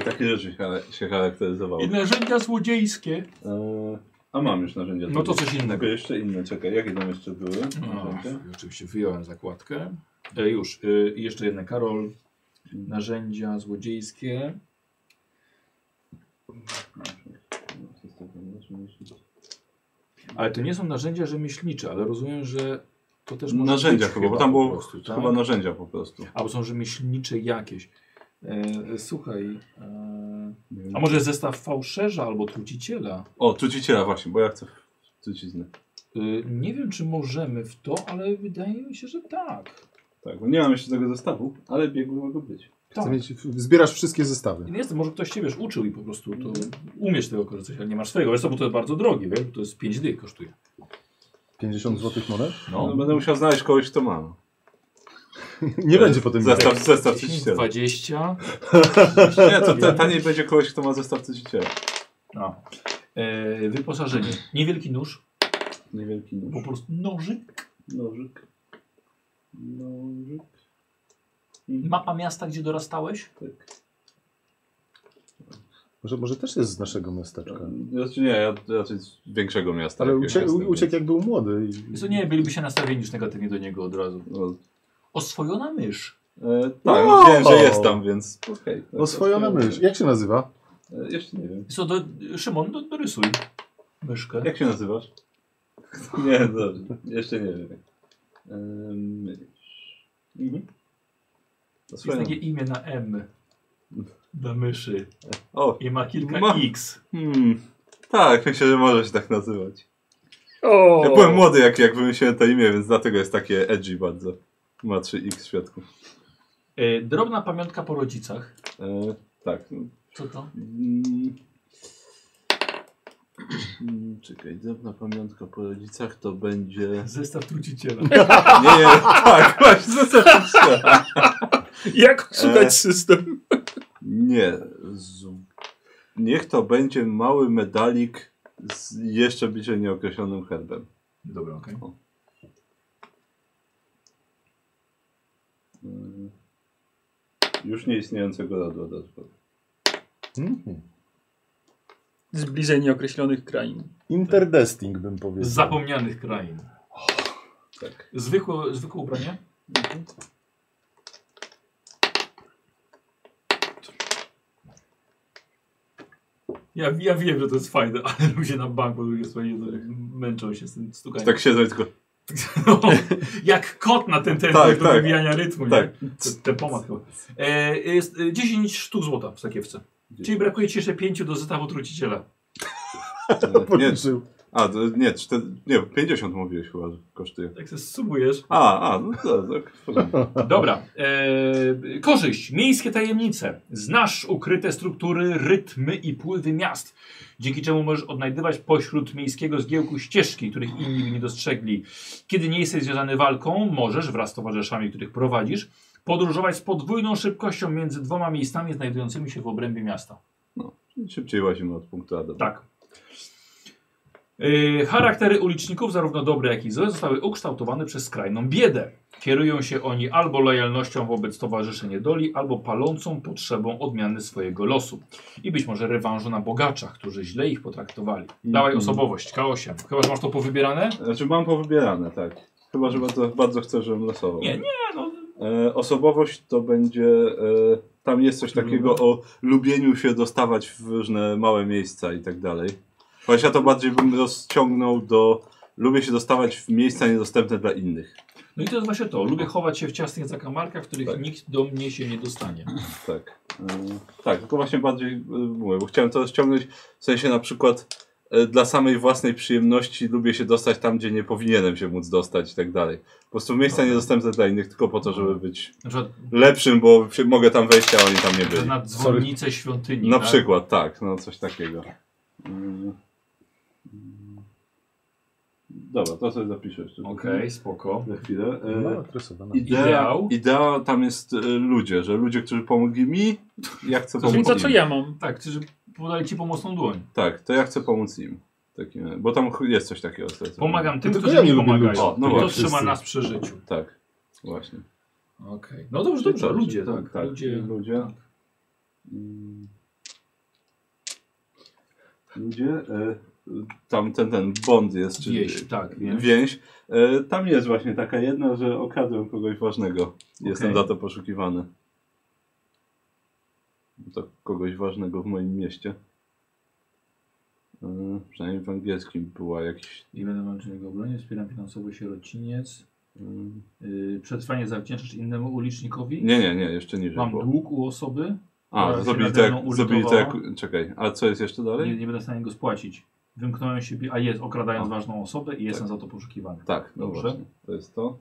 Speaker 19: I takie rzeczy chale- się charakteryzowały.
Speaker 1: I narzędzia złodziejskie.
Speaker 3: E, A mam już narzędzia.
Speaker 1: No to coś innego. No.
Speaker 3: Tylko jeszcze inne, czekaj, jakie tam jeszcze były?
Speaker 1: Ach,
Speaker 3: Narzędzia?
Speaker 1: oczywiście wyjąłem zakładkę. E, już, e, i jeszcze jedne, Karol. Narzędzia złodziejskie. Ale to nie są narzędzia rzemieślnicze, ale rozumiem, że to też może
Speaker 19: Narzędzia
Speaker 1: być
Speaker 19: chyba, bo tam
Speaker 1: po
Speaker 19: było
Speaker 1: prostu, tak?
Speaker 19: chyba narzędzia po prostu.
Speaker 1: Albo są rzemieślnicze jakieś. E, e, słuchaj, e,
Speaker 19: Nie wiem.
Speaker 1: a może zestaw fałszerza albo truciciela?
Speaker 19: O, truciciela właśnie, bo ja chcę w truciznę.
Speaker 1: E, nie wiem, czy możemy w to, ale wydaje mi się, że tak.
Speaker 19: Tak, bo nie mam jeszcze tego zestawu, ale biegły mogą być.
Speaker 11: Chcę
Speaker 1: Tak.
Speaker 11: mieć, zbierasz wszystkie zestawy.
Speaker 1: Nie jestem, może ktoś cię wiesz, uczył i po prostu to umiesz tego korzystać, ale nie masz swojego. Wiesz co, bo to jest bardzo drogie, wiesz, bo to jest 5 dych kosztuje.
Speaker 11: 50 złotych monet?
Speaker 19: No,
Speaker 1: No.
Speaker 19: będę musiał znaleźć kogoś, kto ma.
Speaker 11: Nie będzie potem
Speaker 19: Zestaw, zestaw
Speaker 1: 10,
Speaker 19: truciciela.
Speaker 1: 20.
Speaker 19: Nie, to ta- taniej będzie kogoś, kto ma zestaw truciciela.
Speaker 1: No. E, wyposażenie. Niewielki nóż,
Speaker 3: Niewielki nóż.
Speaker 1: po prostu nożyk.
Speaker 3: Nożyk. Nożyk.
Speaker 1: Mapa miasta, gdzie dorastałeś.
Speaker 3: Tak.
Speaker 2: Może, może też jest z naszego miasteczka.
Speaker 19: Znaczy nie, ja raczej z większego miasta.
Speaker 2: Ale
Speaker 19: jakiegoś
Speaker 2: uciekł,
Speaker 19: jestem,
Speaker 2: uciekł jak był młody. i-
Speaker 1: Więc to nie byliby się nastawieni już negatywnie do niego od razu.
Speaker 19: więc- No,
Speaker 1: Oswojona mysz.
Speaker 3: E, tak, no, wiem, że jest tam, więc okej. tak,
Speaker 2: Oswojona
Speaker 3: tak,
Speaker 2: myśl. Jak się nazywa?
Speaker 3: E, jeszcze nie wiem.
Speaker 1: Co, do, Szymon, do, dorysuj myszkę.
Speaker 3: Tak Jak się nazywasz? <laughs> nie, dobrze. Jeszcze nie wiem. Em, mhm.
Speaker 1: Jest
Speaker 3: Oswojona.
Speaker 1: takie imię na M. Dla myszy.
Speaker 3: O,
Speaker 1: I ma kilka
Speaker 3: Ma-
Speaker 1: X.
Speaker 3: hmm. Tak, myślę, że może się tak nazywać.
Speaker 6: O!
Speaker 3: Ja byłem młody, jak, jak wymyśliłem to imię, więc dlatego jest takie edgy bardzo. Ma 3x w środku.
Speaker 1: E, drobna pamiątka po rodzicach.
Speaker 3: E, tak.
Speaker 1: Co to?
Speaker 3: Mm. Mm, Czekaj, drobna pamiątka po rodzicach to
Speaker 1: <laughs>
Speaker 3: będzie...
Speaker 1: Zestaw truciciela.
Speaker 3: Nie, nie, tak, właśnie, zasadniczo.
Speaker 6: Jak szukać
Speaker 3: E.
Speaker 6: system?
Speaker 3: Nie, z... niech to będzie mały medalik z jeszcze bliżej nieokreślonym herbem.
Speaker 1: Dobra, okej.
Speaker 3: Mm. Już nieistniejącego rodu od razu.
Speaker 6: Z bliżej nieokreślonych krain.
Speaker 2: Interdesting bym
Speaker 1: Z
Speaker 2: powiedział.
Speaker 1: zapomnianych krain.
Speaker 3: Tak.
Speaker 1: Zwykłe, zwykłe ubranie? Mhm. Ja, ja wiem, że to jest fajne, ale <laughs> ludzie na bank po drugiej stronie to męczą się z tym stukaniem.
Speaker 3: Tak siedzę i tylko.
Speaker 1: <laughs> No, jak kot na ten ten
Speaker 3: Tak,
Speaker 1: do
Speaker 3: tak.
Speaker 1: wybijania rytmu.
Speaker 3: Tak.
Speaker 1: Tak. Ten pomad chyba. E, jest e, 10 sztuk złota w sakiewce. Czyli brakuje ci jeszcze 5 do zestawu truciciela.
Speaker 3: E, Nie, a, to- nie, czter, nie, 50 mówiłeś chyba, że kosztuje.
Speaker 1: Jak se zsumujesz.
Speaker 3: A, a, no to, to w porządku.
Speaker 1: Dobra. E, korzyść. Miejskie tajemnice. Znasz ukryte struktury, rytmy i pływy miast. Dzięki czemu możesz odnajdywać pośród miejskiego zgiełku ścieżki, których inni by nie dostrzegli. Kiedy nie jesteś związany walką, możesz wraz z towarzyszami, których prowadzisz, podróżować z podwójną szybkością między dwoma miejscami znajdującymi się w obrębie miasta.
Speaker 3: Szybciej łazimy od punktu A do B.
Speaker 1: Tak. Yy, charaktery uliczników, zarówno dobre jak i złe, zostały ukształtowane przez skrajną biedę. Kierują się oni albo lojalnością wobec towarzyszy niedoli, albo palącą potrzebą odmiany swojego losu. I być może rewanżu na bogaczach, którzy źle ich potraktowali.
Speaker 3: Mhm.
Speaker 1: Dawaj osobowość, K8. Chyba, że masz to powybierane?
Speaker 3: Znaczy mam powybierane, tak. Chyba, że bardzo, bardzo chcę, żebym losował.
Speaker 1: Nie, nie, no.
Speaker 3: E, osobowość to będzie. E, tam jest coś takiego o lubieniu się dostawać w różne małe miejsca i tak dalej. Chociaż ja to bardziej bym rozciągnął do. Lubię się dostawać w miejsca niedostępne dla innych.
Speaker 1: No i to jest właśnie to. Lubię chować się w ciasnych zakamarkach, w których
Speaker 3: Tak.
Speaker 1: nikt do mnie się nie dostanie.
Speaker 3: Tak. E, tak, tylko właśnie bardziej e, mówię, bo chciałem to rozciągnąć w sensie na przykład e, dla samej własnej przyjemności lubię się dostać tam, gdzie nie powinienem się móc dostać i tak dalej. Po prostu miejsca niedostępne dla innych tylko po to, żeby być
Speaker 1: Na przykład
Speaker 3: lepszym, bo przy- mogę tam wejść, a oni tam nie
Speaker 1: że
Speaker 3: byli.
Speaker 1: na dzwonnicę świątyni.
Speaker 3: Na
Speaker 1: tak?
Speaker 3: przykład, tak, no coś takiego. Mm. Dobra, to sobie zapiszę jeszcze.
Speaker 1: Okej, spoko.
Speaker 3: Za chwilę.
Speaker 2: No,
Speaker 3: E,
Speaker 2: tresowana.
Speaker 3: idea,
Speaker 1: Ideał.
Speaker 3: idea tam jest e, ludzie, że ludzie, którzy pomogli mi, ja
Speaker 1: To
Speaker 3: chcę
Speaker 1: są
Speaker 3: pomóc
Speaker 6: To
Speaker 3: im.
Speaker 6: co ja mam?
Speaker 1: Tak, czy że podaję ci pomocną dłoń.
Speaker 3: Tak, to ja chcę pomóc im. Takim, bo tam ch- jest coś takiego. zlecone.
Speaker 1: Pomagam tym,
Speaker 2: Tylko
Speaker 1: którzy
Speaker 2: ja
Speaker 1: mi
Speaker 2: nie lubię
Speaker 1: pomagają.
Speaker 2: ludzi.
Speaker 1: O, no
Speaker 3: To
Speaker 1: to
Speaker 3: wszyscy.
Speaker 1: trzyma nas przy życiu.
Speaker 3: Tak, właśnie.
Speaker 1: Okej. No dobrze, dobrze.
Speaker 3: Tak,
Speaker 1: Ludzie,
Speaker 3: tak,
Speaker 1: tak.
Speaker 3: tak,
Speaker 1: Ludzie.
Speaker 3: ludzie. Mm. Ludzie, e, tam ten, ten bond jest, czy
Speaker 1: Wieś, tak. nie?
Speaker 3: więź. E, tam jest właśnie taka jedna, że okradłem kogoś ważnego. Jestem
Speaker 1: Okej.
Speaker 3: za to poszukiwany. To kogoś ważnego w moim mieście. E, przynajmniej w angielskim była jakiś...
Speaker 1: I będę męczył jego obronie, wspieram finansowo sierociniec.
Speaker 3: Mm.
Speaker 1: Yy, przetrwanie zawdzięczasz innemu ulicznikowi.
Speaker 3: Nie, nie, nie, jeszcze niżej.
Speaker 1: Mam
Speaker 3: było.
Speaker 1: dług u osoby. która
Speaker 3: A,
Speaker 1: się
Speaker 3: zrobili
Speaker 1: nade
Speaker 3: to,
Speaker 1: mną
Speaker 3: jak, zrobili to jak...
Speaker 1: ulitowała.
Speaker 3: Czekaj, a co jest jeszcze dalej?
Speaker 1: Nie, nie będę w stanie go spłacić. Wymknąłem się, a jest, okradając
Speaker 3: A.
Speaker 1: ważną osobę i jestem za to poszukiwany.
Speaker 3: Tak, no
Speaker 1: Dobrze.
Speaker 3: właśnie, to jest to.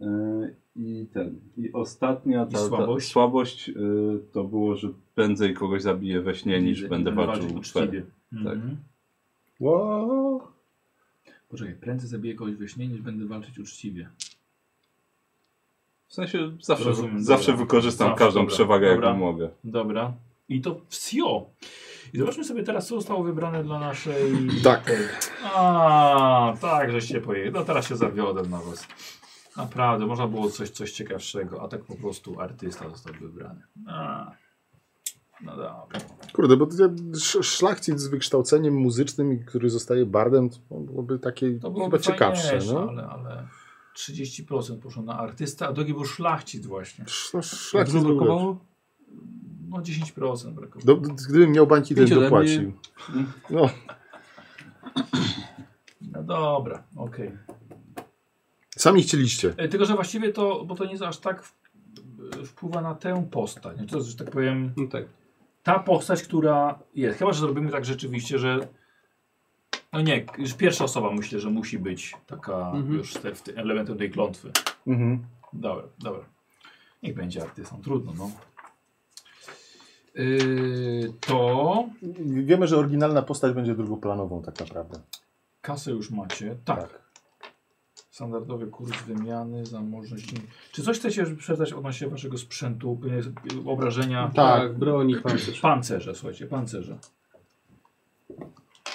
Speaker 3: Yy, I ten. I ostatnia
Speaker 1: I
Speaker 3: ta,
Speaker 1: słabość?
Speaker 3: ta słabość yy, to było, że prędzej kogoś zabiję we śnie niż
Speaker 1: Widzę,
Speaker 3: będę walczył Tak.
Speaker 1: uczciwie.
Speaker 3: cztery.
Speaker 1: Mhm.
Speaker 2: Wow.
Speaker 1: Poczekaj, prędzej zabiję kogoś we śnie, niż będę walczyć uczciwie.
Speaker 3: W sensie zawsze,
Speaker 1: Rozumiem,
Speaker 3: zawsze
Speaker 1: dobra.
Speaker 3: wykorzystam
Speaker 1: Zawsze,
Speaker 3: każdą
Speaker 1: dobra,
Speaker 3: przewagę,
Speaker 1: dobra.
Speaker 3: jaką mogę.
Speaker 1: Dobra. I to wsio. I zobaczmy sobie teraz, co zostało wybrane dla naszej...
Speaker 11: Tak.
Speaker 1: tej. A, tak, że się pojechał. No teraz się zawiodę na was. Naprawdę, można było coś, coś ciekawszego, a tak po prostu artysta został wybrany. A. No dobra.
Speaker 11: Kurde, bo to- sz- szlachcic z wykształceniem muzycznym, który zostaje bardem, to byłoby takie
Speaker 1: To
Speaker 11: chyba
Speaker 1: byłoby
Speaker 11: ciekawsze.
Speaker 1: fajniejsze,
Speaker 11: No?
Speaker 1: ale, ale... 30% poszło na artysta, a drugi był szlachcic właśnie.
Speaker 2: No, szlak
Speaker 5: Dużo brakowało?
Speaker 1: No 10% brakowało.
Speaker 2: Do, gdybym miał bańki, to
Speaker 5: Pięć
Speaker 2: bym
Speaker 5: ode
Speaker 2: dopłacił. No,
Speaker 1: No dobra, okej.
Speaker 2: sami chcieliście.
Speaker 1: E, Tylko, że właściwie to, bo to nie jest aż tak w- wpływa na tę postać. No To, że tak powiem,
Speaker 5: No tak.
Speaker 1: ta postać, która jest. Chyba, że zrobimy tak rzeczywiście, że. No nie, już pierwsza osoba myślę, że musi być taka
Speaker 5: Mhm.
Speaker 1: już te, w tym elementem tej klątwy.
Speaker 21: Mhm.
Speaker 1: Dobra, dobra. Niech będzie artystą, trudno, no. Yy, to
Speaker 21: Wiemy, że oryginalna postać będzie drugoplanową tak naprawdę.
Speaker 1: kasę już macie. Tak. Standardowy kurs wymiany, zamożność. Czy coś chcecie przekazać odnośnie waszego sprzętu, y, obrażenia?
Speaker 5: Tak, broni pancerz.
Speaker 1: Pancerze, słuchajcie, pancerze.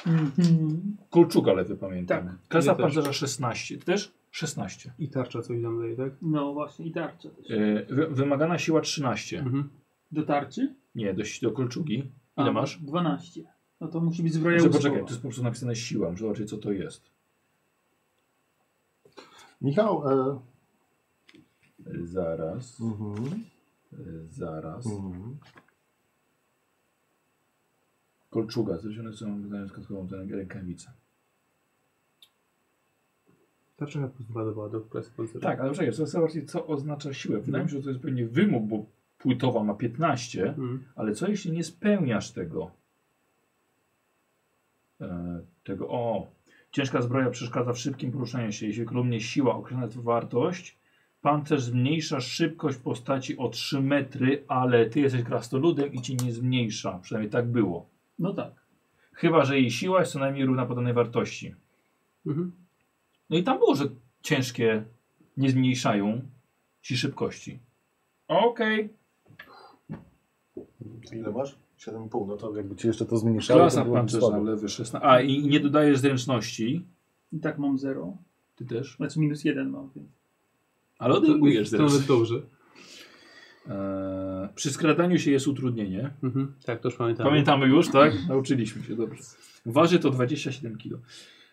Speaker 6: Mhm.
Speaker 1: Kulczuka lewy pamiętam.
Speaker 6: Tak,
Speaker 1: Klasa
Speaker 5: ja też.
Speaker 1: pancerza 16. Ty też? 16.
Speaker 5: I tarcza coś tam daje, tak?
Speaker 6: No właśnie, i tarcza też.
Speaker 1: Yy, wy, wymagana siła 13.
Speaker 5: Mhm.
Speaker 6: Do tarczy?
Speaker 1: Nie, do, do kolczugi. Ile
Speaker 6: A,
Speaker 1: masz?
Speaker 6: 12. No to musi być zbroja
Speaker 1: Że,
Speaker 6: łóżkowa.
Speaker 1: poczekaj, tu jest po prostu napisane siła, muszę zobaczyć co to jest.
Speaker 2: Michał, e,
Speaker 1: Yy, Zaraz,
Speaker 2: mhm,
Speaker 1: yy, zaraz.
Speaker 2: mhm.
Speaker 1: Kolczuga, zrobione są wydają składkową tę rękawicę.
Speaker 5: Tarcza chyba pozwalała do klasy pancerza.
Speaker 1: Tak, ale czekaj, zobaczcie co oznacza siłę. Wydaje mi się, że to jest pewnie wymóg, bo płytowa ma 15.
Speaker 5: Mhm.
Speaker 1: Ale co jeśli nie spełniasz tego? E, tego o. Ciężka zbroja przeszkadza w szybkim poruszaniu się. Jeśli kolumnie siła określa tę wartość, pancerz zmniejsza szybkość postaci o 3 metry, ale ty jesteś krasnoludem i ci nie zmniejsza. Przynajmniej tak było.
Speaker 6: No tak.
Speaker 1: Chyba, że jej siła jest co najmniej równa podanej wartości.
Speaker 5: Mhm.
Speaker 1: No i tam było, że ciężkie nie zmniejszają ci szybkości. Okej.
Speaker 21: Ile masz? 7,5. No to jakby ci jeszcze to zmniejszało.
Speaker 1: Klasa
Speaker 21: to byłoby
Speaker 1: pancerza
Speaker 21: słabo.
Speaker 1: lewy 16. A i nie dodajesz zręczności.
Speaker 6: I tak mam 0.
Speaker 1: Ty też.
Speaker 6: Znaczy minus 1 mam. Więc.
Speaker 1: Ale
Speaker 5: To nawet dobrze.
Speaker 1: Eee, przy skradaniu się jest utrudnienie.
Speaker 5: Mhm. Tak, to już pamiętam.
Speaker 1: Pamiętamy już, tak? <laughs> Nauczyliśmy się, dobrze. Waży to 27 kg.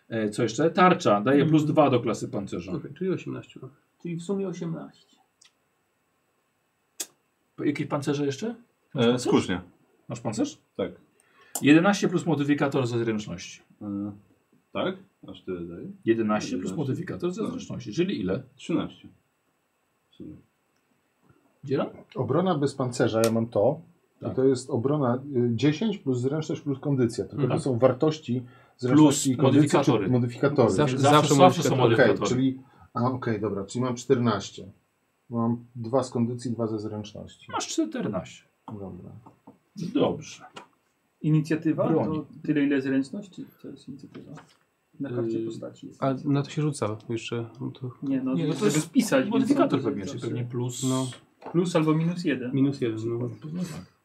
Speaker 1: Eee, co jeszcze? Tarcza daje plus 2 do klasy pancerza.
Speaker 5: Okej, czyli 18. mam.
Speaker 6: Czyli w sumie 18.
Speaker 1: Jakie pancerze jeszcze? Masz
Speaker 22: E,
Speaker 1: pancerz?
Speaker 22: skórznia.
Speaker 1: Masz pancerz?
Speaker 3: Tak.
Speaker 1: 11 plus modyfikator ze zręczności.
Speaker 3: E, tak? Aż tyle daje?
Speaker 1: 11 plus
Speaker 3: 11.
Speaker 1: modyfikator ze
Speaker 3: No.
Speaker 1: zręczności, czyli ile?
Speaker 3: 13. W sumie.
Speaker 1: Dzielam?
Speaker 2: Obrona bez pancerza, ja mam to.
Speaker 1: Tak.
Speaker 2: I to jest obrona y, 10 plus zręczność plus kondycja. Tylko
Speaker 1: Mhm.
Speaker 2: to są wartości zręczności i kondycji,
Speaker 1: modyfikatory.
Speaker 2: czy modyfikatory.
Speaker 5: Zawsze-
Speaker 1: Zawsze, zawsze, zawsze są
Speaker 5: modyfikatory.
Speaker 2: Okej,
Speaker 1: modyfikatory.
Speaker 2: czyli... A, okej, dobra, czyli mam 14. Mam dwa z kondycji, dwa ze zręczności.
Speaker 1: Masz 14.
Speaker 2: Dobra.
Speaker 1: Dobrze.
Speaker 6: Inicjatywa
Speaker 1: Broni.
Speaker 6: to tyle ile zręczność? Czy to jest inicjatywa? Na karcie
Speaker 1: Yy,
Speaker 6: postaci jest.
Speaker 5: A na to się rzuca jeszcze. No to
Speaker 6: Nie, no,
Speaker 1: Nie, no to
Speaker 6: żeby
Speaker 1: jest
Speaker 6: spisać. więc
Speaker 1: Modyfikator
Speaker 6: są-
Speaker 1: pewnie,
Speaker 6: są-
Speaker 1: czyli pewnie plus...
Speaker 5: No.
Speaker 6: Plus albo minus 1.
Speaker 5: minus 1. No.
Speaker 1: No tak.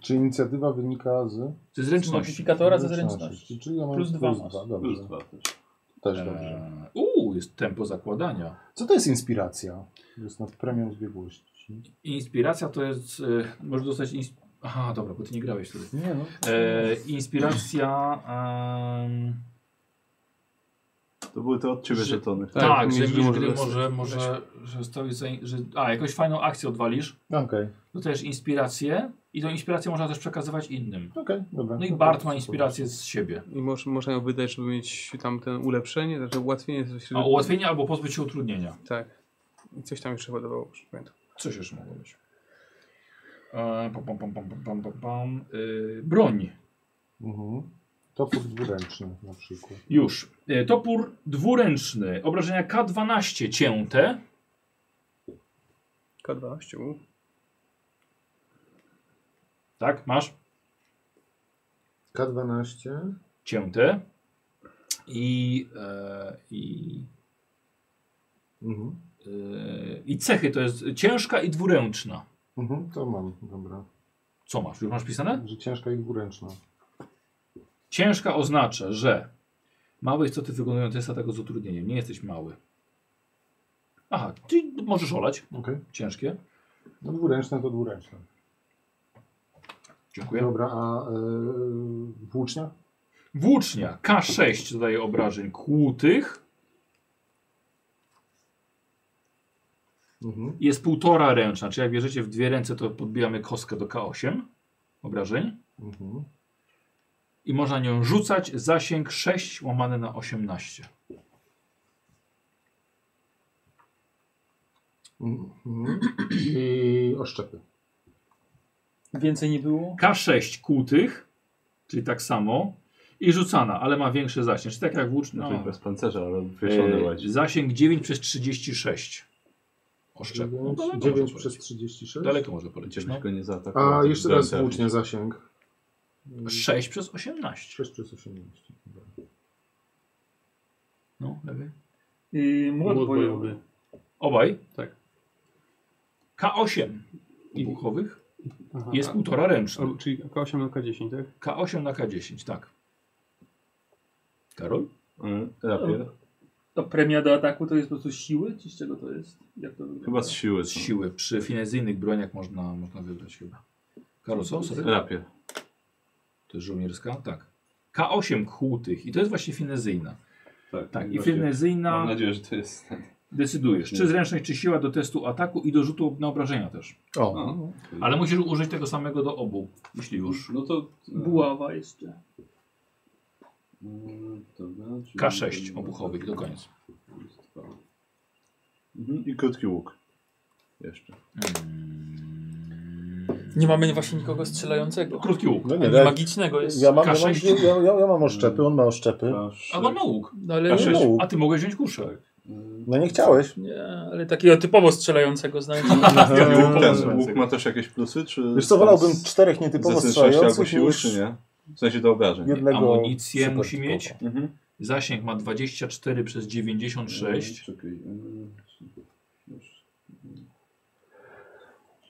Speaker 2: Czy inicjatywa wynika z
Speaker 1: Ze zręczności.
Speaker 23: Modyfikatora ze zręczności.
Speaker 2: Czyli ja mam
Speaker 6: Plus
Speaker 2: plus
Speaker 6: dwa
Speaker 2: dwa.
Speaker 6: masz.
Speaker 11: No
Speaker 2: Dobrze.
Speaker 3: Plus dwa też.
Speaker 2: Też dobrze.
Speaker 1: Eee, Uuu, jest tempo zakładania.
Speaker 2: Co to jest inspiracja? Jest nad premią zbiegłości.
Speaker 1: Inspiracja to jest. Y, możesz dostać. Ins- Aha, dobra, bo ty nie grałeś wtedy.
Speaker 2: Nie no.
Speaker 1: E, inspiracja. em,
Speaker 22: To były te od ciebie
Speaker 1: Że-
Speaker 22: żetony.
Speaker 1: tak, że
Speaker 5: mistrz
Speaker 1: mistrz gry
Speaker 5: dostać.
Speaker 1: może, może że stoi za, że, A, jakąś fajną akcję odwalisz.
Speaker 2: Okej, okej,
Speaker 1: Dostajesz inspirację i tą inspirację można też przekazywać innym.
Speaker 2: dobra.
Speaker 1: No i
Speaker 2: No to
Speaker 1: Bart ma
Speaker 2: spoko.
Speaker 1: inspirację z siebie.
Speaker 5: I moż, można ją wydać, żeby mieć tam ten ulepszenie, znaczy ułatwienie. Coś,
Speaker 1: A ułatwienie albo pozbyć się utrudnienia.
Speaker 5: Tak. I coś tam jeszcze podobało, już nie pamiętam.
Speaker 1: Coś jeszcze mogło być. E, pam, pam, pam, pam, pam, pam, pam. Y, broń.
Speaker 2: Mhm. Topór dwuręczny na przykład.
Speaker 1: Już. E, Topór dwuręczny. Obrażenia K12 cięte.
Speaker 5: K12. u.
Speaker 1: Tak, masz
Speaker 2: K12.
Speaker 1: cięte. I, e, i,
Speaker 2: Mhm.
Speaker 1: e, I cechy to jest ciężka i dwuręczna.
Speaker 2: Mhm, to mam, dobra.
Speaker 1: Co masz? Już masz pisane?
Speaker 2: Że ciężka i dwuręczna.
Speaker 1: Ciężka oznacza, że małe istoty wykonują test ataku z utrudnieniem. Nie jesteś mały. Aha, ty możesz olać.
Speaker 2: Okej.
Speaker 1: Ciężkie.
Speaker 2: No dwuręczne to dwuręczne.
Speaker 1: Dziękuję.
Speaker 2: Dobra, a yy, włócznia?
Speaker 1: Włócznia K6 dodaje obrażeń kłutych.
Speaker 11: Mhm.
Speaker 1: Jest półtora ręczna, czyli jak bierzecie w dwie ręce, to podbijamy kostkę do K8 obrażeń.
Speaker 11: Mhm.
Speaker 1: I można nią rzucać zasięg 6 łamane na 18.
Speaker 11: Mhm. I oszczepy.
Speaker 6: Więcej nie było?
Speaker 1: K6 kłutych, czyli tak samo. I rzucana, ale ma większy zasięg. Czyli tak jak włócz...
Speaker 3: No.
Speaker 1: No,
Speaker 3: To bez pancerza, ale wieszony
Speaker 1: e,
Speaker 3: łazi.
Speaker 1: zasięg 9 przez 36. Oszczep. No, daleko
Speaker 11: 9
Speaker 1: może
Speaker 11: przez
Speaker 1: polecieć.
Speaker 11: 36.
Speaker 1: Daleko może polecieć. No.
Speaker 3: Żebyś go nie zaatakował.
Speaker 11: A
Speaker 3: tym
Speaker 11: jeszcze raz
Speaker 3: dętem.
Speaker 11: włócznia zasięg.
Speaker 1: 6 no. przez 18.
Speaker 11: 6 przez 18. Dobra.
Speaker 1: No, lepiej.
Speaker 6: Yy, młot
Speaker 24: Młot bojowy.
Speaker 6: bojowy.
Speaker 1: Obaj?
Speaker 24: Tak.
Speaker 1: K8 obuchowych
Speaker 24: Aha,
Speaker 1: jest
Speaker 24: a-
Speaker 1: półtora ręczna.
Speaker 24: albo- Czyli K8 na K10, tak?
Speaker 1: K8 na K10, tak. Karol?
Speaker 3: Mm,
Speaker 1: No.
Speaker 3: Rapier.
Speaker 6: A premia do ataku to jest po prostu z siły? Czy z czego to jest? Jak to wygląda?
Speaker 3: Chyba z siły.
Speaker 1: Z
Speaker 3: są.
Speaker 1: siły. Przy finezyjnych broniach można, można wybrać chyba. Karol, co? Sorry?
Speaker 3: Rapier.
Speaker 1: To jest żołnierska? Tak. K8 kłutych i to jest właśnie finezyjna.
Speaker 25: Tak,
Speaker 1: Tak, i
Speaker 25: właśnie. Mam
Speaker 1: finezyjna
Speaker 25: nadzieję, że to jest.
Speaker 1: decydujesz, czy zręczność, czy siła do testu ataku i do rzutu na obrażenia też.
Speaker 2: O,
Speaker 25: No,
Speaker 1: Ale musisz użyć tego samego do obu, jeśli już.
Speaker 25: no to.
Speaker 6: Buława jeszcze.
Speaker 25: Mm, dobra, czyli-
Speaker 1: K6 obuchowych do końca.
Speaker 3: Mhm. I krótki łuk. Jeszcze.
Speaker 6: Hmm. Nie mamy właśnie nikogo strzelającego.
Speaker 1: Krótki łuk.
Speaker 2: no nie,
Speaker 6: Ani
Speaker 2: tak.
Speaker 6: Magicznego jest.
Speaker 2: Ja mam, ja, mam,
Speaker 1: K6.
Speaker 2: ja, ja, ja mam oszczepy, on ma oszczepy.
Speaker 3: Hmm.
Speaker 25: K6.
Speaker 1: Albo na łuk.
Speaker 6: No ale,
Speaker 2: Ja mam łuk.
Speaker 1: A ty mogłeś wziąć kuszę.
Speaker 25: Mm,
Speaker 2: No nie chciałeś.
Speaker 6: nie, ale takiego typowo
Speaker 1: <laughs>
Speaker 6: strzelającego znajdziemy.
Speaker 3: Tak,
Speaker 1: Tak,
Speaker 3: Ja
Speaker 2: Eee.
Speaker 3: łuk, Hmm. ten łuk ma też jakieś plusy? Czy
Speaker 2: Wiesz co, wolałbym czterech nietypowo
Speaker 3: zręczności albo
Speaker 2: strzelających
Speaker 3: siły,
Speaker 2: niż
Speaker 3: czy nie? W sensie do obrażeń.
Speaker 2: jednego
Speaker 1: Amunicję
Speaker 2: super
Speaker 1: musi mieć.
Speaker 2: typowo.
Speaker 3: Mhm.
Speaker 1: Zasięg ma 24 przez 96.
Speaker 25: Czekaj. mm, już.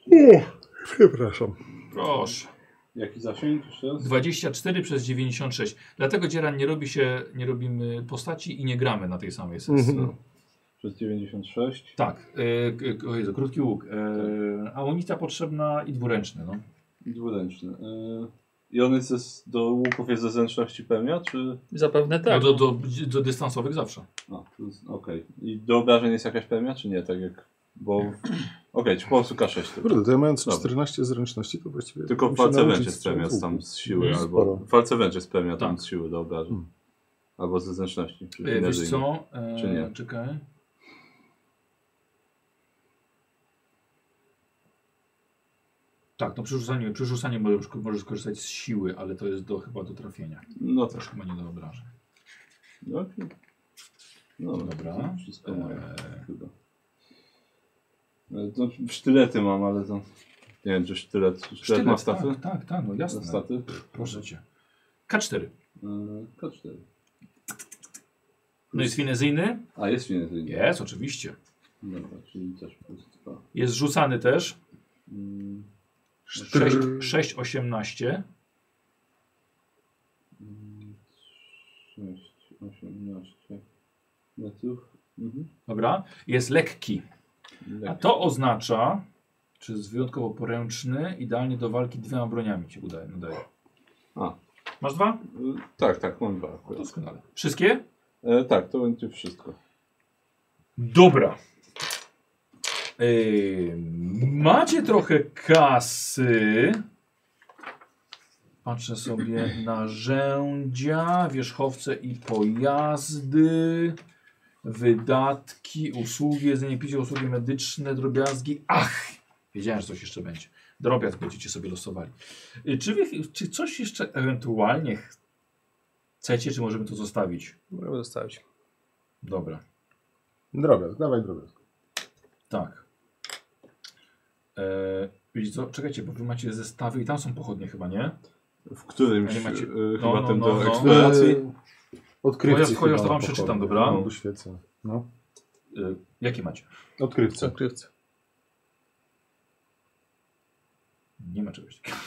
Speaker 2: O, przepraszam.
Speaker 1: Proszę.
Speaker 25: Jaki zasięg jeszcze raz?
Speaker 1: 24 przez 96. Dlatego Dzieran nie robi się, nie robimy postaci i nie gramy na tej samej sesji.
Speaker 2: Mhm.
Speaker 3: Przez 96.
Speaker 1: Tak. E, k- k- o Jezu, krótki łuk. E, amunicja potrzebna i dwuręczny. No.
Speaker 3: I dwuręczny. Y, I on jest ze, do łuków jest ze zręczności pełnia, czy...
Speaker 6: Zapewne
Speaker 1: No
Speaker 6: tak.
Speaker 1: do, do, do dystansowych zawsze. E,
Speaker 3: A, to jest- okej. I do obrażeń jest jakaś pełnia, czy nie? Tak jak... Bo...
Speaker 1: <clears throat>
Speaker 3: Okej, czy po prostu K6 tylko.
Speaker 11: Kurde, to ja mając
Speaker 3: Dobra.
Speaker 11: 14 zręczności, to właściwie...
Speaker 3: Tylko w
Speaker 11: muszę
Speaker 3: walce
Speaker 11: nauczyć
Speaker 3: wręcz jest pełnia
Speaker 11: strzału.
Speaker 3: tam z siły,
Speaker 1: Mhm.
Speaker 3: albo...
Speaker 2: Sporo.
Speaker 3: W walce wręcz jest pełnia tam
Speaker 1: Tak.
Speaker 3: z siły do obrażeń.
Speaker 11: Hmm.
Speaker 3: Albo ze zręczności. Czy
Speaker 1: E, wiesz
Speaker 3: innej.
Speaker 1: co? E,
Speaker 3: Czy nie?
Speaker 1: Czekaj. Tak, no przy rzucaniu, przy rzucaniu możesz, możesz korzystać z siły, ale to jest do, chyba do trafienia.
Speaker 3: No
Speaker 1: To już
Speaker 3: tak.
Speaker 1: chyba nie do obrażeń.
Speaker 3: No, okej. no
Speaker 1: Dobra.
Speaker 3: to Wszystko moje.
Speaker 1: E,
Speaker 3: Chyba. E, No, sztylety mam, ale to... Nie wiem, czy sztylet... Sztylet,
Speaker 1: Sztylet,
Speaker 3: ma staty?
Speaker 1: Tak, tak, tak, no jasne.
Speaker 3: Staty?
Speaker 1: Proszę cię. K4.
Speaker 25: E, K4.
Speaker 1: No jest finezyjny?
Speaker 25: A jest finezyjny.
Speaker 1: Jest, oczywiście.
Speaker 25: Dobra, czyli też plus dwa.
Speaker 1: Jest rzucany też.
Speaker 25: Mm,
Speaker 1: 6, 6 18.
Speaker 25: mm, sześć, osiemnaście metrów. Mhm.
Speaker 1: Dobra. Jest lekki. A
Speaker 3: Tak.
Speaker 1: to oznacza, czy jest wyjątkowo poręczny, idealnie do walki dwiema broniami się udaje. nadaje.
Speaker 3: A.
Speaker 1: Masz dwa?
Speaker 3: Y, Tak, tak, mam dwa
Speaker 1: To
Speaker 3: akurat.
Speaker 1: Doskonale. Wszystkie?
Speaker 3: E, tak, to będzie wszystko.
Speaker 1: Dobra. Yy, macie trochę kasy. Patrzę sobie narzędzia, wierzchowce i pojazdy, wydatki, usługi, jedzenie, picie, usługi medyczne, drobiazgi. Ach, wiedziałem, że coś jeszcze będzie. Drobiazg będziecie sobie losowali. Yy, Czy, wy, czy coś jeszcze ewentualnie chcecie, czy możemy to zostawić?
Speaker 5: Możemy zostawić.
Speaker 1: Dobra.
Speaker 11: Drobiazg, dawaj drobiazg.
Speaker 1: Tak. Eee, wiecie co? Czekajcie, bo wy macie zestawy i tam są pochodnie chyba, nie?
Speaker 3: W którymś
Speaker 1: Ale macie-
Speaker 3: e,
Speaker 1: no,
Speaker 3: chyba
Speaker 1: no,
Speaker 3: ten
Speaker 1: no,
Speaker 3: do
Speaker 1: no.
Speaker 3: eksploracji.
Speaker 11: Eee, Odkrywcy
Speaker 1: Chociaż- chociaż to
Speaker 11: chyba
Speaker 1: wam
Speaker 11: pochodzi.
Speaker 1: przeczytam, dobra?
Speaker 11: No, bo świecę. No.
Speaker 1: Eee, jakie macie?
Speaker 11: Odkrywcy.
Speaker 5: Zakrywce.
Speaker 1: Nie ma czegoś takiego.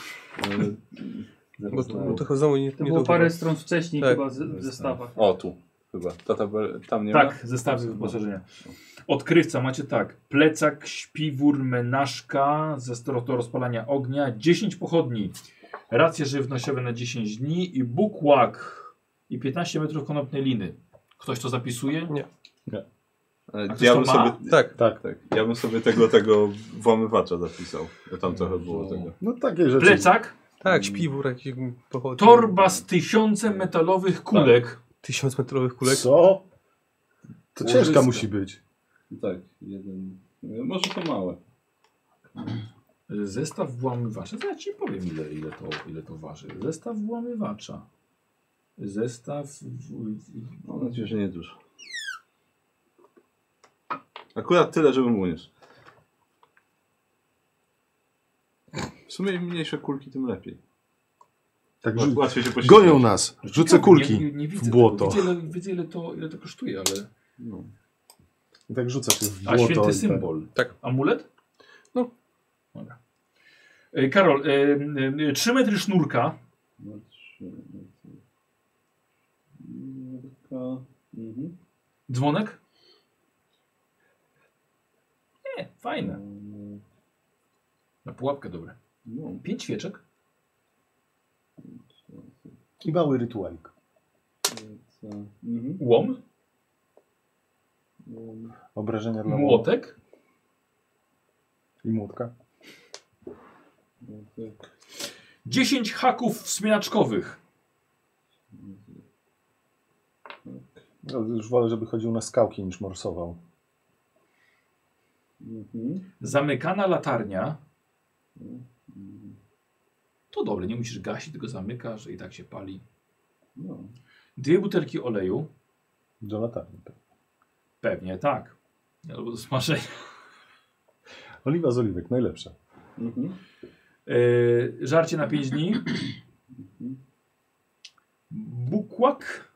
Speaker 5: Bo to, bo to znowu nie,
Speaker 6: To
Speaker 5: nie
Speaker 6: było
Speaker 5: to
Speaker 26: chyba.
Speaker 6: parę stron wcześniej
Speaker 5: Tak.
Speaker 26: Chyba
Speaker 6: chyba z, w zestawach.
Speaker 3: O, tu chyba. Ta tabel, tam nie ma?
Speaker 1: Tak, zestawy wyposażenia. Odkrywca macie tak. Plecak, śpiwór, menażka, zestaw do rozpalania ognia, 10 pochodni, racje żywnościowe na 10 dni i bukłak i 15 metrów konopnej liny. Ktoś to zapisuje?
Speaker 5: Nie.
Speaker 3: Nie.
Speaker 1: ktoś
Speaker 3: Ja
Speaker 1: to
Speaker 3: bym
Speaker 1: ma?
Speaker 3: sobie,
Speaker 2: Tak. Tak.
Speaker 3: Ja bym sobie tego, tego włamywacza zapisał. Bo tam trochę było tego.
Speaker 2: No takie rzeczy.
Speaker 1: Plecak,
Speaker 5: Tak, śpiwór jakiś pochodzi.
Speaker 1: torba z tysiącem metalowych
Speaker 11: Tak.
Speaker 1: kulek.
Speaker 5: Tysiąc metrowych kulek.
Speaker 2: Co? To ciężka
Speaker 27: Łożyska.
Speaker 2: musi być.
Speaker 27: Tak, jeden. e, Może to małe.
Speaker 1: Zestaw włamywacza. To ja ci powiem, ile, ile, to, ile to waży. Zestaw włamywacza. Zestaw. w- w-
Speaker 3: Mam nadzieję, że nie dużo. Akurat tyle, żebym uniósł. W sumie im mniejsze kulki, tym lepiej.
Speaker 28: Tak,
Speaker 3: Łat-
Speaker 28: rzu-
Speaker 3: Łatwiej się posiedzieć.
Speaker 28: gonią nas. Rzucę kulki
Speaker 1: nie, nie widzę
Speaker 28: w błoto.
Speaker 1: Tego. Widzę, ile, widzę ile, to, ile to kosztuje, ale.
Speaker 3: No.
Speaker 2: I tak rzucasz je w
Speaker 1: A
Speaker 2: błoto. i
Speaker 1: święty
Speaker 2: tak.
Speaker 1: symbol.
Speaker 5: Tak.
Speaker 1: Amulet?
Speaker 5: No.
Speaker 1: Dobra. E, Karol, 3 metry sznurka.
Speaker 27: No, trzy. no, trzy. Mm, taka- Mhm.
Speaker 1: Dzwonek? Nie, fajne.
Speaker 27: Mm,
Speaker 1: Na pułapkę dobre.
Speaker 27: No,
Speaker 1: Pięć świeczek.
Speaker 2: I mały rytualik.
Speaker 27: co? Mhm.
Speaker 1: Łom.
Speaker 27: Mm,
Speaker 2: Obrażenia dla
Speaker 1: Młotek.
Speaker 2: I młotka.
Speaker 27: no, tak.
Speaker 1: 10 haków wspinaczkowych.
Speaker 2: No, już wolę, żeby chodził na skałki niż morsował.
Speaker 27: Mhm.
Speaker 1: Zamykana latarnia. To dobre, nie musisz gasić, tylko zamykasz i tak się pali.
Speaker 27: No.
Speaker 1: Dwie butelki oleju.
Speaker 2: Do latarni.
Speaker 1: Pewnie tak. Albo do smażenia.
Speaker 2: Oliwa z oliwek, najlepsza.
Speaker 27: Mhm.
Speaker 1: Yy, żarcie na 5 dni. Bukłak.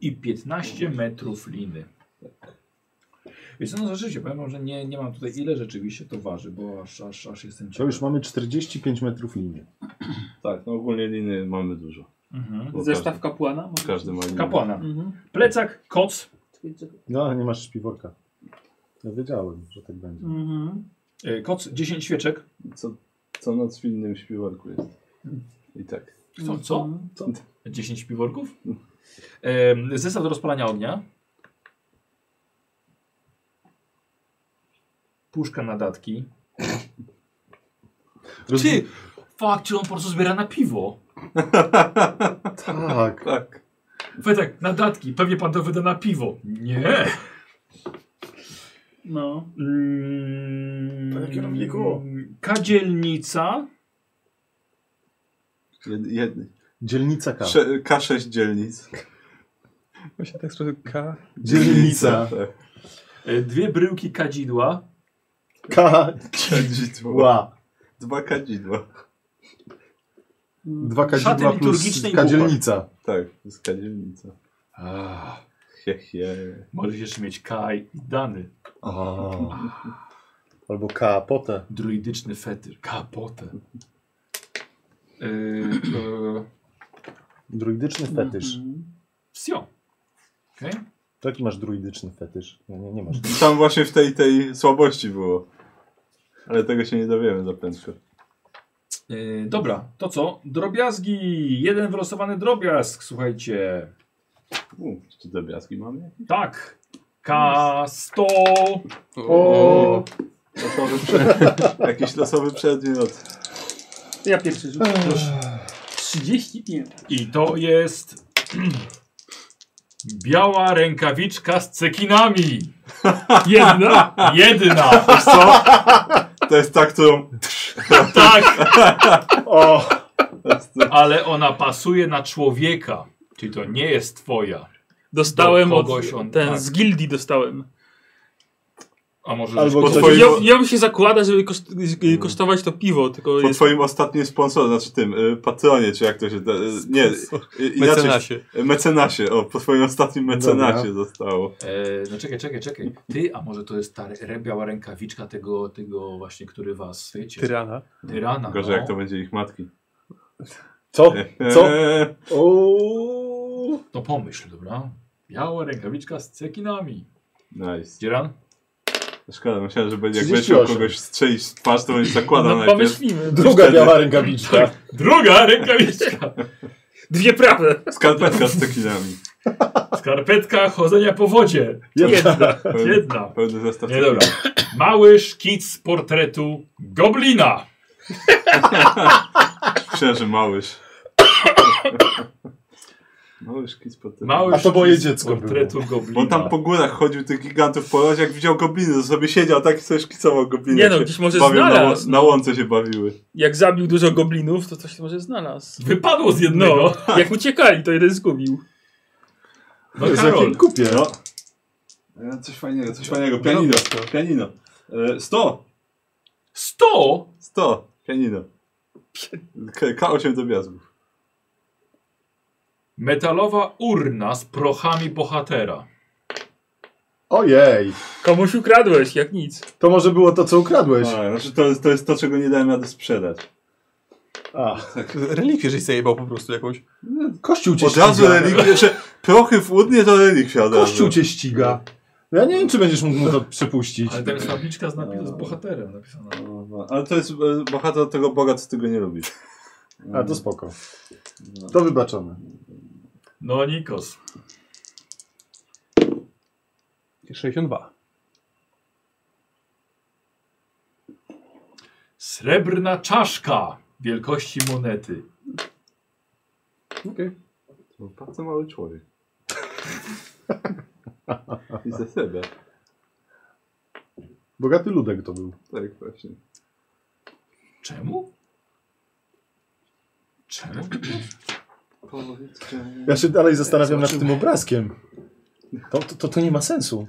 Speaker 1: I 15 metrów liny. Więc no rzeczywiście, powiem wam, że nie, nie mam tutaj ile rzeczywiście to waży, bo aż, aż, aż jestem
Speaker 2: To już mamy 45 metrów linii.
Speaker 3: Tak, no ogólnie liny mamy dużo.
Speaker 1: Mhm.
Speaker 3: Bo
Speaker 6: Zestaw kapłana?
Speaker 3: Każdy, każdy ma linę.
Speaker 1: Kapłana.
Speaker 6: Mhm.
Speaker 1: Plecak, koc,
Speaker 2: No, ale nie masz śpiworka. Ja wiedziałem, że tak będzie.
Speaker 6: Mhm.
Speaker 1: yy, koc 10 świeczek.
Speaker 3: Co, co noc w innym śpiworku jest. I tak.
Speaker 1: Co? co?
Speaker 6: Mhm.
Speaker 1: 10 piworków. Yy, zestaw do rozpalania ognia. Puszka na datki. Ty, fakt, czy on po prostu zbiera na piwo.
Speaker 2: Tak.
Speaker 3: Tak.
Speaker 1: Fetek, nadatki, pewnie pan to wyda na piwo. Nie.
Speaker 6: No.
Speaker 1: Mm,
Speaker 2: Panie kierowniku.
Speaker 1: Kadzielnica.
Speaker 3: Jed, jedny.
Speaker 2: Dzielnica K.
Speaker 3: Sze, K6 dzielnic.
Speaker 5: Właśnie tak trochę K.
Speaker 2: Dzielnica.
Speaker 3: <laughs> Tak.
Speaker 1: e, Dwie bryłki kadzidła.
Speaker 2: K.
Speaker 3: Kadzidła.
Speaker 2: Ła.
Speaker 3: Dwa kadzidła.
Speaker 2: Dwa
Speaker 1: Szaty
Speaker 2: kadzidła plus
Speaker 1: liturgiczne i
Speaker 2: kadzielnica.
Speaker 3: Tak, to jest kadzielnica.
Speaker 1: Ah.
Speaker 3: He, he.
Speaker 1: Możesz jeszcze mieć kaj i dany.
Speaker 2: A. Albo K. Potę.
Speaker 1: Druidyczny fetyr. Kapotę. E, e,
Speaker 2: Druidyczny fetysz.
Speaker 6: Mhm.
Speaker 1: Wsio. Okej.
Speaker 2: Taki masz druidyczny fetysz. No, nie, nie masz.
Speaker 3: Tam właśnie w tej, tej słabości było. Ale tego się nie dowiemy za prędko.
Speaker 1: E, dobra, to co? Drobiazgi. Jeden wylosowany drobiazg, słuchajcie.
Speaker 3: U, czy te biaski mamy?
Speaker 1: Tak. K100.
Speaker 3: O! Losowy
Speaker 2: <laughs>
Speaker 3: prze- Jakiś losowy przedmiot.
Speaker 6: Ja pierwszy rzucę. 35.
Speaker 1: I to jest <clears throat> biała rękawiczka z cekinami. Jedna? Jedna. Wiesz co?
Speaker 3: To jest ta, którą...
Speaker 1: <laughs> Tak,
Speaker 2: O!
Speaker 1: ale ona pasuje na człowieka. Czyli to nie jest twoja.
Speaker 6: Dostałem
Speaker 1: Do
Speaker 6: od.
Speaker 1: kogoś on-
Speaker 6: ten
Speaker 1: tak.
Speaker 6: z gildii dostałem.
Speaker 1: A może
Speaker 2: Albo
Speaker 1: żeś-
Speaker 2: ktoś-
Speaker 3: twoim-
Speaker 6: Ja, ja bym się zakłada, żeby koszt, y, kosztować to piwo, tylko
Speaker 3: Po
Speaker 6: jest.
Speaker 3: twoim ostatnim sponsorze, znaczy tym, y, patronie, czy jak to się... Da, y, nie, y, inaczej...
Speaker 5: Mecenasie.
Speaker 3: Y, Mecenasie, o, po twoim ostatnim mecenasie zostało.
Speaker 1: E, no czekaj, czekaj, czekaj. Ty, a może to jest ta re- biała rękawiczka tego, tego właśnie, który was, wiecie,
Speaker 5: Tyrana.
Speaker 1: tyrana.
Speaker 3: Gorzej
Speaker 1: no.
Speaker 3: jak to będzie ich matki.
Speaker 2: Co?
Speaker 3: <laughs>
Speaker 2: Co?
Speaker 3: Eee,
Speaker 2: O!
Speaker 1: to pomyśl, dobra? Biała rękawiczka z cekinami.
Speaker 3: Nice.
Speaker 1: Dzieran?
Speaker 3: Szkoda, myślałem, że będzie, jak
Speaker 2: 38.
Speaker 3: będziesz chciał kogoś strzelić w twarz, to będzie zakładał
Speaker 6: No,
Speaker 3: najpierw.
Speaker 6: pomyślimy.
Speaker 2: Druga biała rękawiczka.
Speaker 1: Druga rękawiczka.
Speaker 6: Dwie prawe.
Speaker 3: <laughs> Skarpetka z cekinami.
Speaker 1: <laughs> skarpetka chodzenia po wodzie. Jedna.
Speaker 3: <laughs>
Speaker 1: Jedna.
Speaker 3: Pełny zestaw.
Speaker 1: Nie dobra. Mały szkic z portretu goblina.
Speaker 3: Szczerze, małyż. <laughs> Małyż kit potem.
Speaker 1: Mały
Speaker 11: A to moje
Speaker 1: szkic z
Speaker 11: dziecko było.
Speaker 1: portretu goblina.
Speaker 3: On tam po górach chodził tych gigantów po lodzie, jak widział gobliny, to sobie siedział tak i sobie szkicował gobliny.
Speaker 6: Nie no,
Speaker 3: się
Speaker 6: gdzieś może
Speaker 3: bawią na, łą-
Speaker 6: znalazł,
Speaker 3: na
Speaker 6: no.
Speaker 3: łące się bawiły.
Speaker 6: Jak zabił dużo goblinów, to coś może znalazł.
Speaker 1: Wypadło z
Speaker 6: No,
Speaker 1: jednego.
Speaker 6: jak uciekali, to jeden zgubił.
Speaker 1: No, Karol.
Speaker 11: kupię.
Speaker 3: No. E, Coś fajnego, coś fajnego. Pianino, pianino. E, 100!
Speaker 1: 100?
Speaker 3: 100, pianino. K- K8 do gwiazdów.
Speaker 1: Metalowa urna z prochami bohatera.
Speaker 11: Ojej,
Speaker 6: Komuś ukradłeś, jak nic.
Speaker 11: to może było to, co
Speaker 3: A,
Speaker 11: ukradłeś.
Speaker 3: znaczy to, jest- to jest to, czego nie dałem rady sprzedać.
Speaker 11: A,
Speaker 5: Relikwię żeś zajebał po prostu jakąś.
Speaker 3: No.
Speaker 11: kościół cię
Speaker 3: Od razu
Speaker 11: ściga.
Speaker 3: relikwie, że prochy w urnie to relikwia od razu.
Speaker 11: Kościół cię ściga.
Speaker 2: No
Speaker 11: Ja nie wiem, czy będziesz mógł mu to przypuścić.
Speaker 1: Ale tak- tam jest tabliczka z, napi- z bohaterem napisana.
Speaker 3: Kurwa, No, Ale to jest e, bohater tego Boga, co tego nie lubisz.
Speaker 11: A, to spoko. To wybaczone.
Speaker 1: No Nikos.
Speaker 29: 62.
Speaker 1: Srebrna czaszka wielkości monety.
Speaker 29: Okej.
Speaker 3: To bardzo mały człowiek. <laughs> I ze siebie.
Speaker 11: Bogaty ludek to był.
Speaker 3: Tak właśnie.
Speaker 1: Czemu? Czemu?
Speaker 11: Ja się dalej zastanawiam nad tym obrazkiem. To, to, to, to nie ma sensu.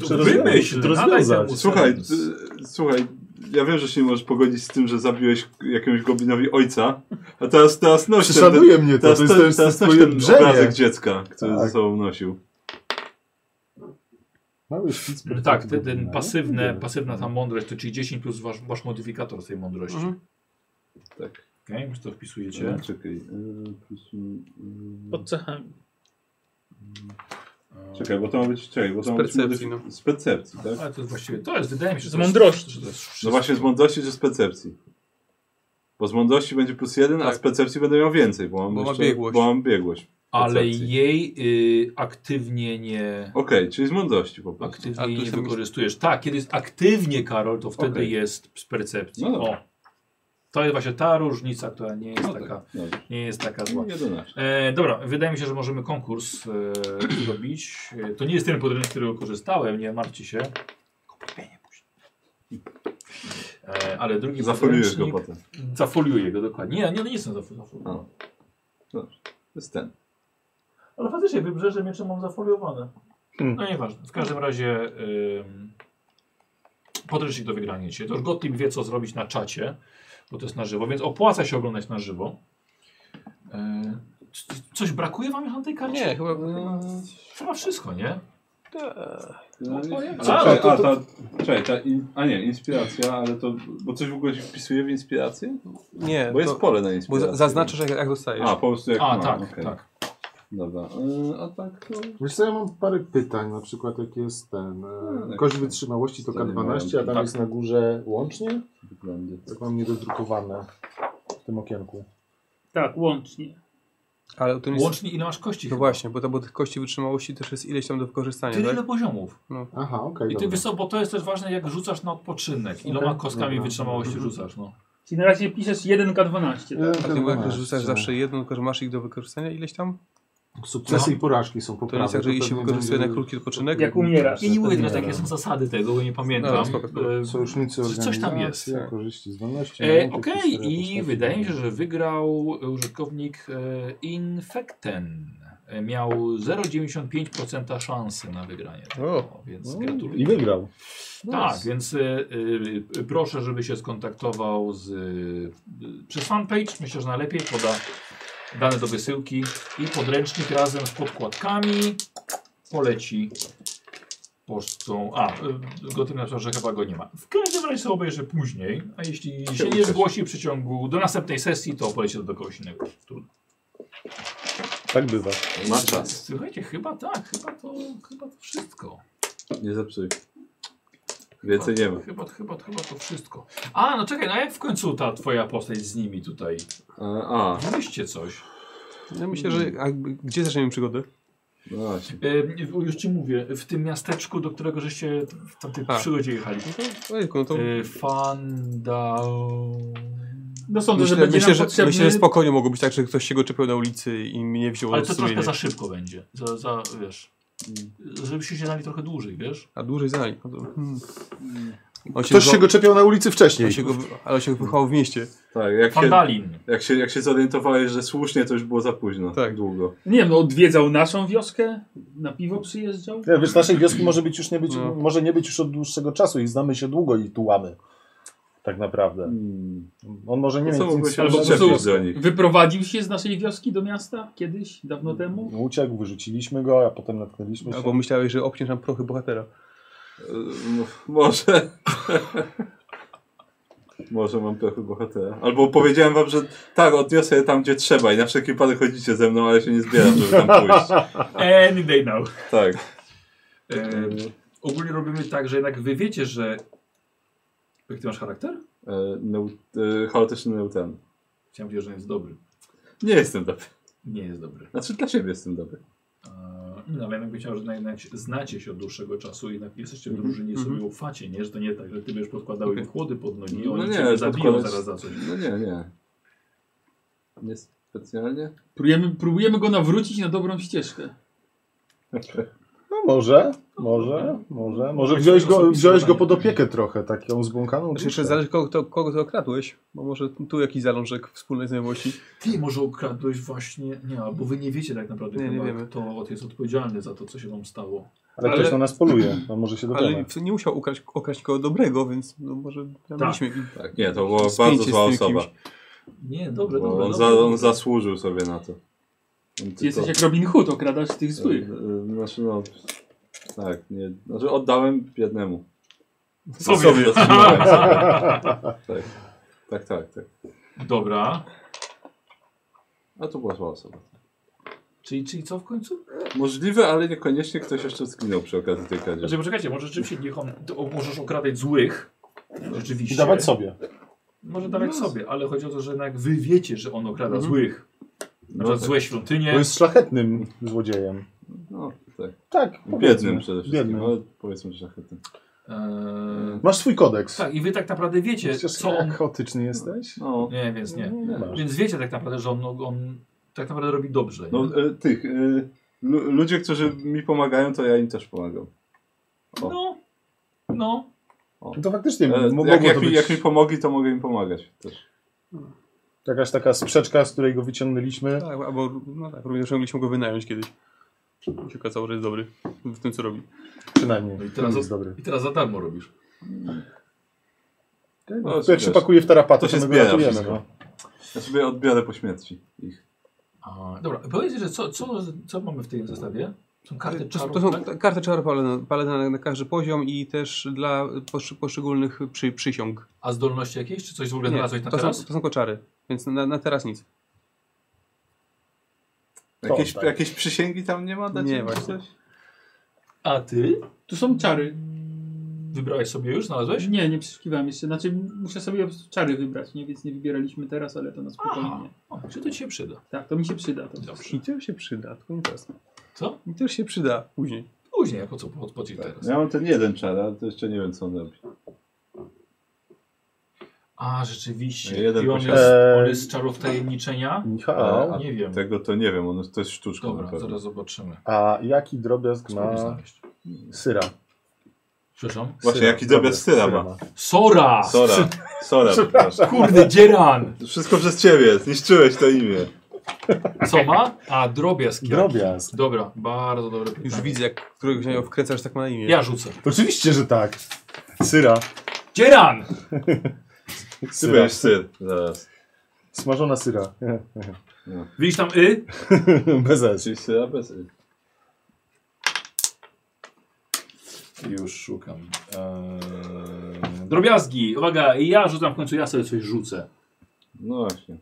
Speaker 1: To
Speaker 11: rozwią-
Speaker 1: wymyśl,
Speaker 11: to
Speaker 1: nadaj
Speaker 11: rozwiązać.
Speaker 1: temu
Speaker 3: Słuchaj,
Speaker 1: sens.
Speaker 3: ty- słuchaj, ja wiem, że się nie możesz pogodzić z tym, że zabiłeś jakiemuś goblinowi ojca, a teraz, teraz noś ten-
Speaker 11: Szanuje mnie to,
Speaker 3: teraz,
Speaker 11: to jest- to
Speaker 3: ten-
Speaker 11: jest- to
Speaker 3: teraz
Speaker 11: jest
Speaker 3: noś
Speaker 11: moje
Speaker 3: ten
Speaker 11: brzemię.
Speaker 3: obrazek dziecka, który
Speaker 11: Tak.
Speaker 3: ze sobą nosił.
Speaker 11: Mały szpic.
Speaker 1: Tak, ten, ten pasywne, pasywna ta mądrość, to czyli 10 plus wasz, wasz modyfikator z tej mądrości.
Speaker 5: Mhm.
Speaker 3: Tak.
Speaker 1: Okej, już to wpisujecie.
Speaker 3: E, Czekaj. e, plus, mm,
Speaker 6: Pod cechami.
Speaker 3: Czekaj, bo to ma być, czekaj, bo to ma być
Speaker 5: percepcji, no.
Speaker 3: modyf- z percepcji, tak?
Speaker 1: Ale to jest właściwie, to jest, wydaje mi się, że
Speaker 6: Z
Speaker 1: to jest-
Speaker 6: mądrości.
Speaker 1: że to jest wszystko.
Speaker 3: No właśnie z mądrości czy z percepcji? Bo z mądrości będzie plus jeden, a
Speaker 5: Tak.
Speaker 3: z percepcji będę miał więcej, bo mam,
Speaker 5: Bo ma
Speaker 3: jeszcze,
Speaker 5: biegłość.
Speaker 3: Bo mam biegłość.
Speaker 1: Ale
Speaker 3: percepcji.
Speaker 1: jej y, aktywnie nie...
Speaker 3: Okej, czyli z mądrości po prostu.
Speaker 1: Aktywnie
Speaker 5: Ale to
Speaker 1: jej nie
Speaker 5: jestem-
Speaker 1: wykorzystujesz. Tak, kiedy jest aktywnie Karol, to wtedy
Speaker 3: Okej.
Speaker 1: jest z percepcji.
Speaker 3: No dobra.
Speaker 1: o. To jest właśnie ta różnica, która nie jest
Speaker 3: No tak,
Speaker 1: taka,
Speaker 3: dobrze.
Speaker 1: nie jest taka zła.
Speaker 3: 11.
Speaker 1: E, dobra, wydaje mi się, że możemy konkurs e, <clears throat> zrobić. E, to nie jest ten podręcznik, z którego korzystałem, nie martwcie się. Kupienie później. E, ale drugi
Speaker 3: Zafoliujesz go
Speaker 1: podręcznik-
Speaker 3: potem.
Speaker 1: Zafoliuję go dokładnie. Nie, nie, nie jestem zafoliowany.
Speaker 3: O. Dobrze. To jest ten.
Speaker 1: Ale faktycznie wybrzeże miecze mam zafoliowane. No nieważne. W każdym razie ym, podręcznik do wygrania dzisiaj. To już Gottlieb wie co zrobić na czacie, bo to jest na żywo, więc opłaca się oglądać na żywo. Yy, c- c- coś brakuje wam na tej karcie?
Speaker 5: Nie, chyba.
Speaker 1: Chyba wszystko, nie?
Speaker 3: Czekaj, No, a, no ta, czekaj, ta in, a nie, inspiracja, ale to, bo coś w ogóle się wpisuje w inspirację?
Speaker 5: Nie,
Speaker 3: Bo jest
Speaker 5: to,
Speaker 3: pole na
Speaker 5: bo
Speaker 3: inspirację.
Speaker 5: za- zaznaczasz jak, jak dostajesz.
Speaker 3: A, po prostu jak
Speaker 1: A,
Speaker 5: no,
Speaker 3: mam,
Speaker 1: tak,
Speaker 3: okej.
Speaker 1: tak.
Speaker 3: Dobra, e, a tak to...
Speaker 2: Wiesz co, ja mam parę pytań, na przykład jak jest ten... E,
Speaker 5: No,
Speaker 3: tak.
Speaker 2: kość wytrzymałości to
Speaker 3: To nie
Speaker 2: K12, a tam
Speaker 3: tak.
Speaker 2: jest na górze łącznie?
Speaker 3: Wyglądy.
Speaker 2: Tak mam niedodrukowane w tym okienku.
Speaker 6: Tak, łącznie.
Speaker 5: Ale to nie jest.
Speaker 1: Łącznie ile masz kości?
Speaker 5: No właśnie, bo to bo tych kości wytrzymałości też jest ileś tam do wykorzystania,
Speaker 1: Tyle ile
Speaker 5: tak?
Speaker 1: poziomów.
Speaker 2: Aha, okej,
Speaker 1: I ty
Speaker 2: dobra.
Speaker 1: wiesz co, bo to jest też ważne jak rzucasz na odpoczynek. Iloma
Speaker 2: Okej,
Speaker 1: kostkami
Speaker 2: dobra.
Speaker 1: wytrzymałości rzucasz, no.
Speaker 6: Czyli na razie piszesz 1K12, tak?
Speaker 5: A ty bo jak rzucasz
Speaker 2: 12.
Speaker 5: zawsze jedną, tylko że masz ich do wykorzystania ileś tam?
Speaker 2: Sukcesy i porażki są
Speaker 5: To nie
Speaker 2: poprawne.
Speaker 5: jest tak, że jeśli
Speaker 2: pewnie
Speaker 5: wykorzystuje na
Speaker 2: będzie-
Speaker 5: krótki odpoczynek.
Speaker 6: Jak umierasz.
Speaker 1: Ja nie mówię teraz
Speaker 5: tak
Speaker 2: Nie,
Speaker 1: jakie
Speaker 2: no.
Speaker 1: są zasady tego, bo nie pamiętam.
Speaker 5: No, spoko, spoko.
Speaker 1: E,
Speaker 2: Sojusznicy
Speaker 1: Coś- coś tam
Speaker 2: organizacja,
Speaker 5: jest.
Speaker 2: korzyści, zdolności.
Speaker 1: E,
Speaker 2: elementy,
Speaker 1: Okej,
Speaker 2: historia
Speaker 1: i
Speaker 2: postaci.
Speaker 1: wydaje mi się, że wygrał użytkownik e, Infecten. E, Miał 0,95% szansy na wygranie.
Speaker 5: O.
Speaker 1: więc gratuluję.
Speaker 11: no I wygrał.
Speaker 1: Tak, więc e, e, proszę, żeby się skontaktował z, e, przez fanpage. Myślę, że najlepiej poda dane do wysyłki i podręcznik razem z podkładkami poleci pocztą. A, e, go tym napisał, że chyba go nie ma. W każdym razie sobie obejrzę później, a jeśli się nie
Speaker 3: uczysz.
Speaker 1: zgłosi w przeciągu do następnej sesji, to poleci to do kogoś innego. Trudno.
Speaker 11: Tak bywa.
Speaker 3: Ma czas.
Speaker 1: Słuchajcie, chyba tak, chyba to, chyba to wszystko.
Speaker 3: Nie zepsuj. Więcej nie ma.
Speaker 1: Chyba, chyba, chyba to wszystko. A, no czekaj, no jak w końcu ta twoja postać z nimi tutaj?
Speaker 3: E, a,
Speaker 1: Wymyślcie coś.
Speaker 5: no Ja myślę, że. A, g- gdzie zaczniemy przygodę?
Speaker 3: No właśnie.
Speaker 1: E, w- już ci mówię, w tym miasteczku, do którego żeście w tamtej
Speaker 5: A.
Speaker 1: przygodzie jechali. No to... Fandao...
Speaker 6: No sądzę,
Speaker 5: myślę,
Speaker 6: że będzie
Speaker 5: myślę,
Speaker 6: nam
Speaker 5: że,
Speaker 6: potrzebny...
Speaker 5: myślę, że spokojnie mogło być tak, że ktoś się go czepiał na ulicy i mnie wziął
Speaker 1: Ale
Speaker 5: od
Speaker 1: to troszkę
Speaker 5: sumienia.
Speaker 1: za szybko będzie. Za, za, wiesz, żebyście się znali trochę dłużej, wiesz?
Speaker 5: A dłużej znali. No to, hmm. On
Speaker 2: Ktoś się
Speaker 5: wycho-
Speaker 2: go czepiał na ulicy wcześniej.
Speaker 5: On się go, wy- ale on się wychował w mieście.
Speaker 3: Tak, jak
Speaker 1: Fandalin.
Speaker 3: Się, jak, się, jak się zorientowałeś, że słusznie, to już było za późno. Tak. Długo.
Speaker 6: Nie wiem, no, odwiedzał naszą wioskę, na piwo przyjeżdżał.
Speaker 2: Ja, wiesz, naszej wioski może, być już nie być,
Speaker 6: No.
Speaker 2: może nie być już od dłuższego czasu i znamy się długo i tułamy. Tak naprawdę. On może Hmm. nie
Speaker 3: To
Speaker 2: mieć nic
Speaker 3: No co mógłbyś
Speaker 2: wspólnego z
Speaker 3: przyczepić
Speaker 2: wioską.
Speaker 3: do nich?
Speaker 6: Wyprowadził się z naszej wioski do miasta kiedyś, dawno temu.
Speaker 2: No, Uciekł, wyrzuciliśmy go, a potem natknęliśmy się.
Speaker 5: Albo No, myślałeś, że obciąż nam prochy bohatera.
Speaker 3: E, no, Może. <laughs> Może mam trochę bohatera. Albo powiedziałem wam, że tak, odniosę je tam, gdzie trzeba i na wszelki wypadek chodzicie ze mną, ale się nie zbieram, żeby tam pójść.
Speaker 1: Any day now.
Speaker 3: Tak.
Speaker 1: E, ogólnie robimy tak, że jednak wy wiecie, że... Jak ty masz charakter?
Speaker 3: E, neu, e, chaotyczny neuten.
Speaker 1: Chciałem powiedzieć, że jest dobry.
Speaker 3: Nie jestem dobry.
Speaker 1: Nie jest dobry.
Speaker 3: Znaczy dla siebie jestem dobry.
Speaker 1: E, No, ja bym chciał, że jednak- jednak znacie się od dłuższego czasu, jednak jesteście w drużynie i sobie ufacie, nie? Że to nie tak, że ty będziesz podkładał im chłody pod nogi i oni cię zabiją
Speaker 3: podkładać-
Speaker 1: zaraz za coś.
Speaker 3: No nie, nie. Nie specjalnie? <laughs>
Speaker 6: Próbujemy, próbujemy go nawrócić na dobrą ścieżkę.
Speaker 3: Tak,
Speaker 2: No może, może, może. Może wziąłeś go, wziąłeś go pod opiekę trochę, taką zbłąkaną
Speaker 5: Znaczy, jeszcze
Speaker 2: duszę.
Speaker 5: zależy kogo, to, kogo to okradłeś, bo może tu jakiś zalążek wspólnej znajomości.
Speaker 1: Ty może ukradłeś właśnie, nie, albo wy nie wiecie tak naprawdę
Speaker 5: Nie, nie
Speaker 1: chyba,
Speaker 5: wiemy.
Speaker 1: kto jest odpowiedzialny za to, co się wam stało.
Speaker 2: Ale ktoś na nas poluje, on może się dowiemy.
Speaker 5: Ale nie musiał ukraść, okraść kogo dobrego, więc no może tam
Speaker 1: Tak.
Speaker 5: byliśmy. i-
Speaker 3: Tak, nie, to była
Speaker 5: spięcie
Speaker 3: bardzo
Speaker 5: z
Speaker 3: zła
Speaker 5: tym
Speaker 3: osoba.
Speaker 5: kimś. No,
Speaker 1: Nie, dobrze,
Speaker 3: No Bo
Speaker 1: dobrze,
Speaker 3: on,
Speaker 1: dobrze,
Speaker 3: za, on
Speaker 1: dobrze.
Speaker 3: zasłużył sobie na to. On
Speaker 6: Ty jesteś
Speaker 3: tylko-
Speaker 6: jak Robin Hood, okradasz tych złych.
Speaker 3: E, e, Znaczy no... Tak, nie... Znaczy oddałem jednemu.
Speaker 1: Sobie.
Speaker 3: zatrzymałem. <laughs> tak. tak, tak, tak.
Speaker 1: Dobra,
Speaker 3: A to była zła osoba.
Speaker 1: czyli, czyli co w końcu?
Speaker 3: Możliwe, ale niekoniecznie ktoś jeszcze zginął przy okazji tej kadzieży.
Speaker 1: Znaczy, poczekajcie, może rzeczywiście niech on, to, o, możesz okradać złych, rzeczywiście.
Speaker 2: I dawać sobie.
Speaker 1: Może dawać sobie, ale chodzi o to, że jednak wy wiecie, że on okrada złych. Na przykład
Speaker 3: tak.
Speaker 1: złe świątynie.
Speaker 2: Mhm. No Bo jest szlachetnym złodziejem.
Speaker 3: No, tak.
Speaker 2: Tak, powiedzmy.
Speaker 3: Biednym przede wszystkim,
Speaker 2: Biednym.
Speaker 3: ale powiedzmy, że szlachetnym.
Speaker 1: Eee,
Speaker 2: Masz swój kodeks.
Speaker 1: tak, i wy tak naprawdę wiecie,
Speaker 2: Przecież
Speaker 1: co on...
Speaker 2: chaotyczny jesteś.
Speaker 3: No,
Speaker 1: Nie, więc nie.
Speaker 2: No, nie masz.
Speaker 1: Więc wiecie tak naprawdę, że on, on tak naprawdę robi dobrze. nie?
Speaker 3: no e, tych... E, lu- ludzie, którzy mi pomagają, to ja im też pomagam. O.
Speaker 1: No, no.
Speaker 2: No To faktycznie
Speaker 3: E,
Speaker 2: m- mogło
Speaker 3: jak, jak,
Speaker 2: to
Speaker 3: mi,
Speaker 2: być
Speaker 3: jak mi pomogli, to mogę im pomagać też.
Speaker 2: jakaś taka sprzeczka, z której go wyciągnęliśmy.
Speaker 5: Tak, albo no tak, również mogliśmy go wynająć kiedyś. I się okazało, że jest dobry w tym, co robi.
Speaker 2: Przynajmniej.
Speaker 1: No i,
Speaker 2: To
Speaker 1: teraz,
Speaker 2: jest dobry.
Speaker 1: I teraz za darmo robisz.
Speaker 3: No,
Speaker 2: To jak
Speaker 3: wiesz,
Speaker 2: się pakuje w tarapatę,
Speaker 3: to się
Speaker 2: to my go
Speaker 3: zbiera
Speaker 2: ratujemy.
Speaker 3: wszystko.
Speaker 2: No.
Speaker 3: Ja sobie odbiorę po śmierci ich.
Speaker 1: A, dobra, powiedz, że co, co, co mamy w tym zestawie? Są karty
Speaker 5: To,
Speaker 1: czarów,
Speaker 5: to są
Speaker 1: tak?
Speaker 5: ta- karty czaru paladena- paladena na, na każdy poziom i też dla posz, poszczególnych przy, przysiąg.
Speaker 1: A zdolności jakieś? Czy coś w ogóle
Speaker 5: Nie,
Speaker 1: znalazłeś na
Speaker 5: to, są,
Speaker 1: teraz?
Speaker 5: to są koczary, więc na, na teraz nic.
Speaker 3: Jakieś,
Speaker 2: tak.
Speaker 3: jakieś przysięgi tam nie ma? Dać
Speaker 5: Nie,
Speaker 3: im
Speaker 5: właśnie.
Speaker 3: coś?
Speaker 1: A ty?
Speaker 5: Tak.
Speaker 6: Tu są czary.
Speaker 1: Wybrałeś sobie już? Znalazłeś?
Speaker 6: Nie, nie przeszukiwałem jeszcze. Znaczy muszę sobie czary wybrać, nie? więc nie wybieraliśmy teraz, ale to na
Speaker 1: Aha.
Speaker 6: spokojnie.
Speaker 1: O, czy to ci się przyda?
Speaker 6: Tak, to mi się przyda. To.
Speaker 1: Dobrze.
Speaker 5: I też się przyda, tylko nie teraz.
Speaker 1: Co?
Speaker 5: I też się przyda później.
Speaker 1: Później, jako co pod, pod teraz.
Speaker 3: Ja mam ten jeden czar, ale to jeszcze nie wiem co on robi.
Speaker 1: A, rzeczywiście.
Speaker 3: Ja jeden
Speaker 1: I on
Speaker 3: posiadam.
Speaker 1: jest, on
Speaker 2: Eee,
Speaker 1: jest czarów tajemniczenia?
Speaker 2: no. Michał,
Speaker 3: E, A
Speaker 1: nie wiem.
Speaker 3: Tego to nie wiem, on, to jest sztuczka na
Speaker 1: Dobra,
Speaker 3: pewno.
Speaker 1: zaraz zobaczymy.
Speaker 2: a jaki drobiazg
Speaker 1: Spróbuj
Speaker 2: ma
Speaker 1: znaleźć.
Speaker 2: syra?
Speaker 1: Przepraszam?
Speaker 3: Właśnie,
Speaker 2: Syra,
Speaker 3: jaki drobiazg syra ma.
Speaker 1: Sora!
Speaker 3: Sora, Sora, <laughs> przepraszam.
Speaker 1: Kurde, dzieran!
Speaker 3: Wszystko przez ciebie, zniszczyłeś to imię.
Speaker 1: Co ma? A, drobiazg. jaki.
Speaker 2: Drobiazg.
Speaker 1: Dobra, bardzo dobre pytanie.
Speaker 5: Już widzę, jak któregoś dnia wkręcasz, tak ma na imię.
Speaker 1: Tak. Ja rzucę.
Speaker 2: Oczywiście, że tak. Syra.
Speaker 1: Dzieran!
Speaker 3: Ty
Speaker 2: syra.
Speaker 3: będziesz syr. Zaraz.
Speaker 2: Smażona syra. <laughs>
Speaker 1: Widzisz tam y?
Speaker 2: Bez S.
Speaker 3: Czyli syra bez y.
Speaker 1: Już szukam. Eee, drobiazgi. Uwaga, ja rzucam w końcu, ja sobie coś rzucę.
Speaker 3: No właśnie.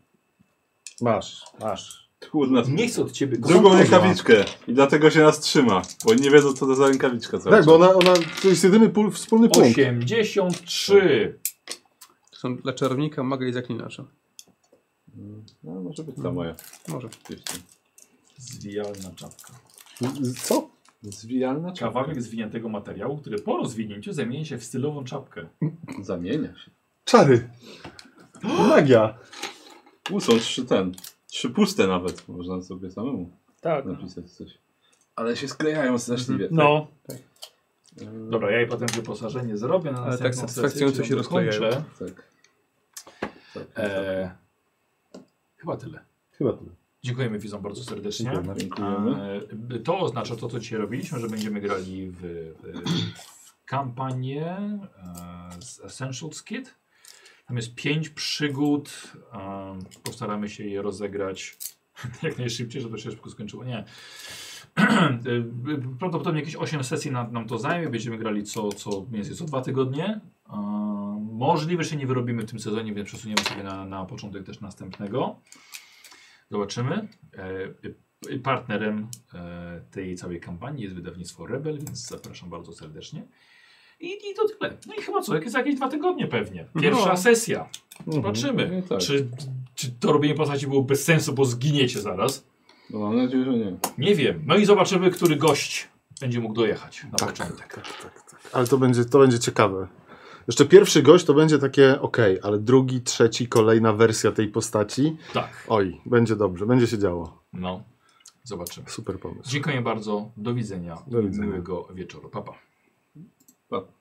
Speaker 2: Masz, masz.
Speaker 3: Kurna,
Speaker 1: Nie chcę od ciebie
Speaker 3: drugą rękawiczkę. I dlatego się nas trzyma, bo nie wiedzą co to za rękawiczka. cały
Speaker 2: Tak, bo
Speaker 3: czas.
Speaker 2: ona, ona to jest jedyny pól, wspólny punkt.
Speaker 1: 83.
Speaker 5: To są dla czarownika, maga i zaklinacza.
Speaker 3: No, może być ta moja.
Speaker 5: Może.
Speaker 3: Oczywiście.
Speaker 1: Zwijalna czapka.
Speaker 2: Co?
Speaker 19: Zwijalna czapka.
Speaker 1: Kawałek zwiniętego materiału, który po rozwinięciu zamienia się w stylową czapkę.
Speaker 19: Zamienia się.
Speaker 2: Czary. <gasps> Magia.
Speaker 19: U, są trzy ten. Trzy puste nawet. Można sobie samemu
Speaker 14: Tak.
Speaker 19: napisać coś. Ale się sklejają straszliwie.
Speaker 1: Mhm.
Speaker 14: No.
Speaker 1: Dobra, ja jej potem wyposażenie zrobię na
Speaker 30: Ale
Speaker 1: następną
Speaker 30: tak
Speaker 1: sesję,
Speaker 30: satysfakcjonująco
Speaker 1: czyli
Speaker 30: się
Speaker 1: ją dokończę.
Speaker 30: rozklejają.
Speaker 19: Tak.
Speaker 1: E, chyba tyle.
Speaker 2: Chyba tyle.
Speaker 1: Dziękujemy widzom bardzo serdecznie.
Speaker 19: Dziękujemy, Tak. dziękujemy.
Speaker 1: E, To oznacza to, co dzisiaj robiliśmy, że będziemy grali w, w, w kampanię e, z Essentials Kit. Tam jest pięć przygód. e, Postaramy się je rozegrać <laughs> jak najszybciej, żeby to się szybko skończyło. Nie. <clears throat> E, Prawdopodobnie jakieś 8 sesji nam, nam to zajmie. Będziemy grali co, co mniej więcej co dwa tygodnie. E, Możliwe, że się nie wyrobimy w tym sezonie, więc przesuniemy sobie na, na początek też następnego. Zobaczymy. E, y, Partnerem e, tej całej kampanii jest wydawnictwo Rebel, więc zapraszam bardzo serdecznie. I, I to tyle. No i chyba co, jakieś, jakieś dwa tygodnie pewnie. Pierwsza
Speaker 19: No.
Speaker 1: sesja. Zobaczymy,
Speaker 19: No tak.
Speaker 1: czy, czy to robienie postaci było bez sensu, bo zginiecie zaraz.
Speaker 19: No mam nadzieję, że nie.
Speaker 1: Nie wiem. No i zobaczymy, który gość będzie mógł dojechać na
Speaker 19: Tak.
Speaker 1: początek.
Speaker 2: Ale to będzie, to będzie ciekawe. Jeszcze pierwszy gość to będzie takie ok, ale drugi, trzeci, kolejna wersja tej postaci.
Speaker 1: Tak.
Speaker 2: Oj, będzie dobrze, będzie się działo.
Speaker 1: No, zobaczymy.
Speaker 2: Super pomysł.
Speaker 1: Dziękuję bardzo. Do widzenia.
Speaker 2: Do widzenia.
Speaker 1: Miłego wieczoru. Pa, pa.
Speaker 19: Pa.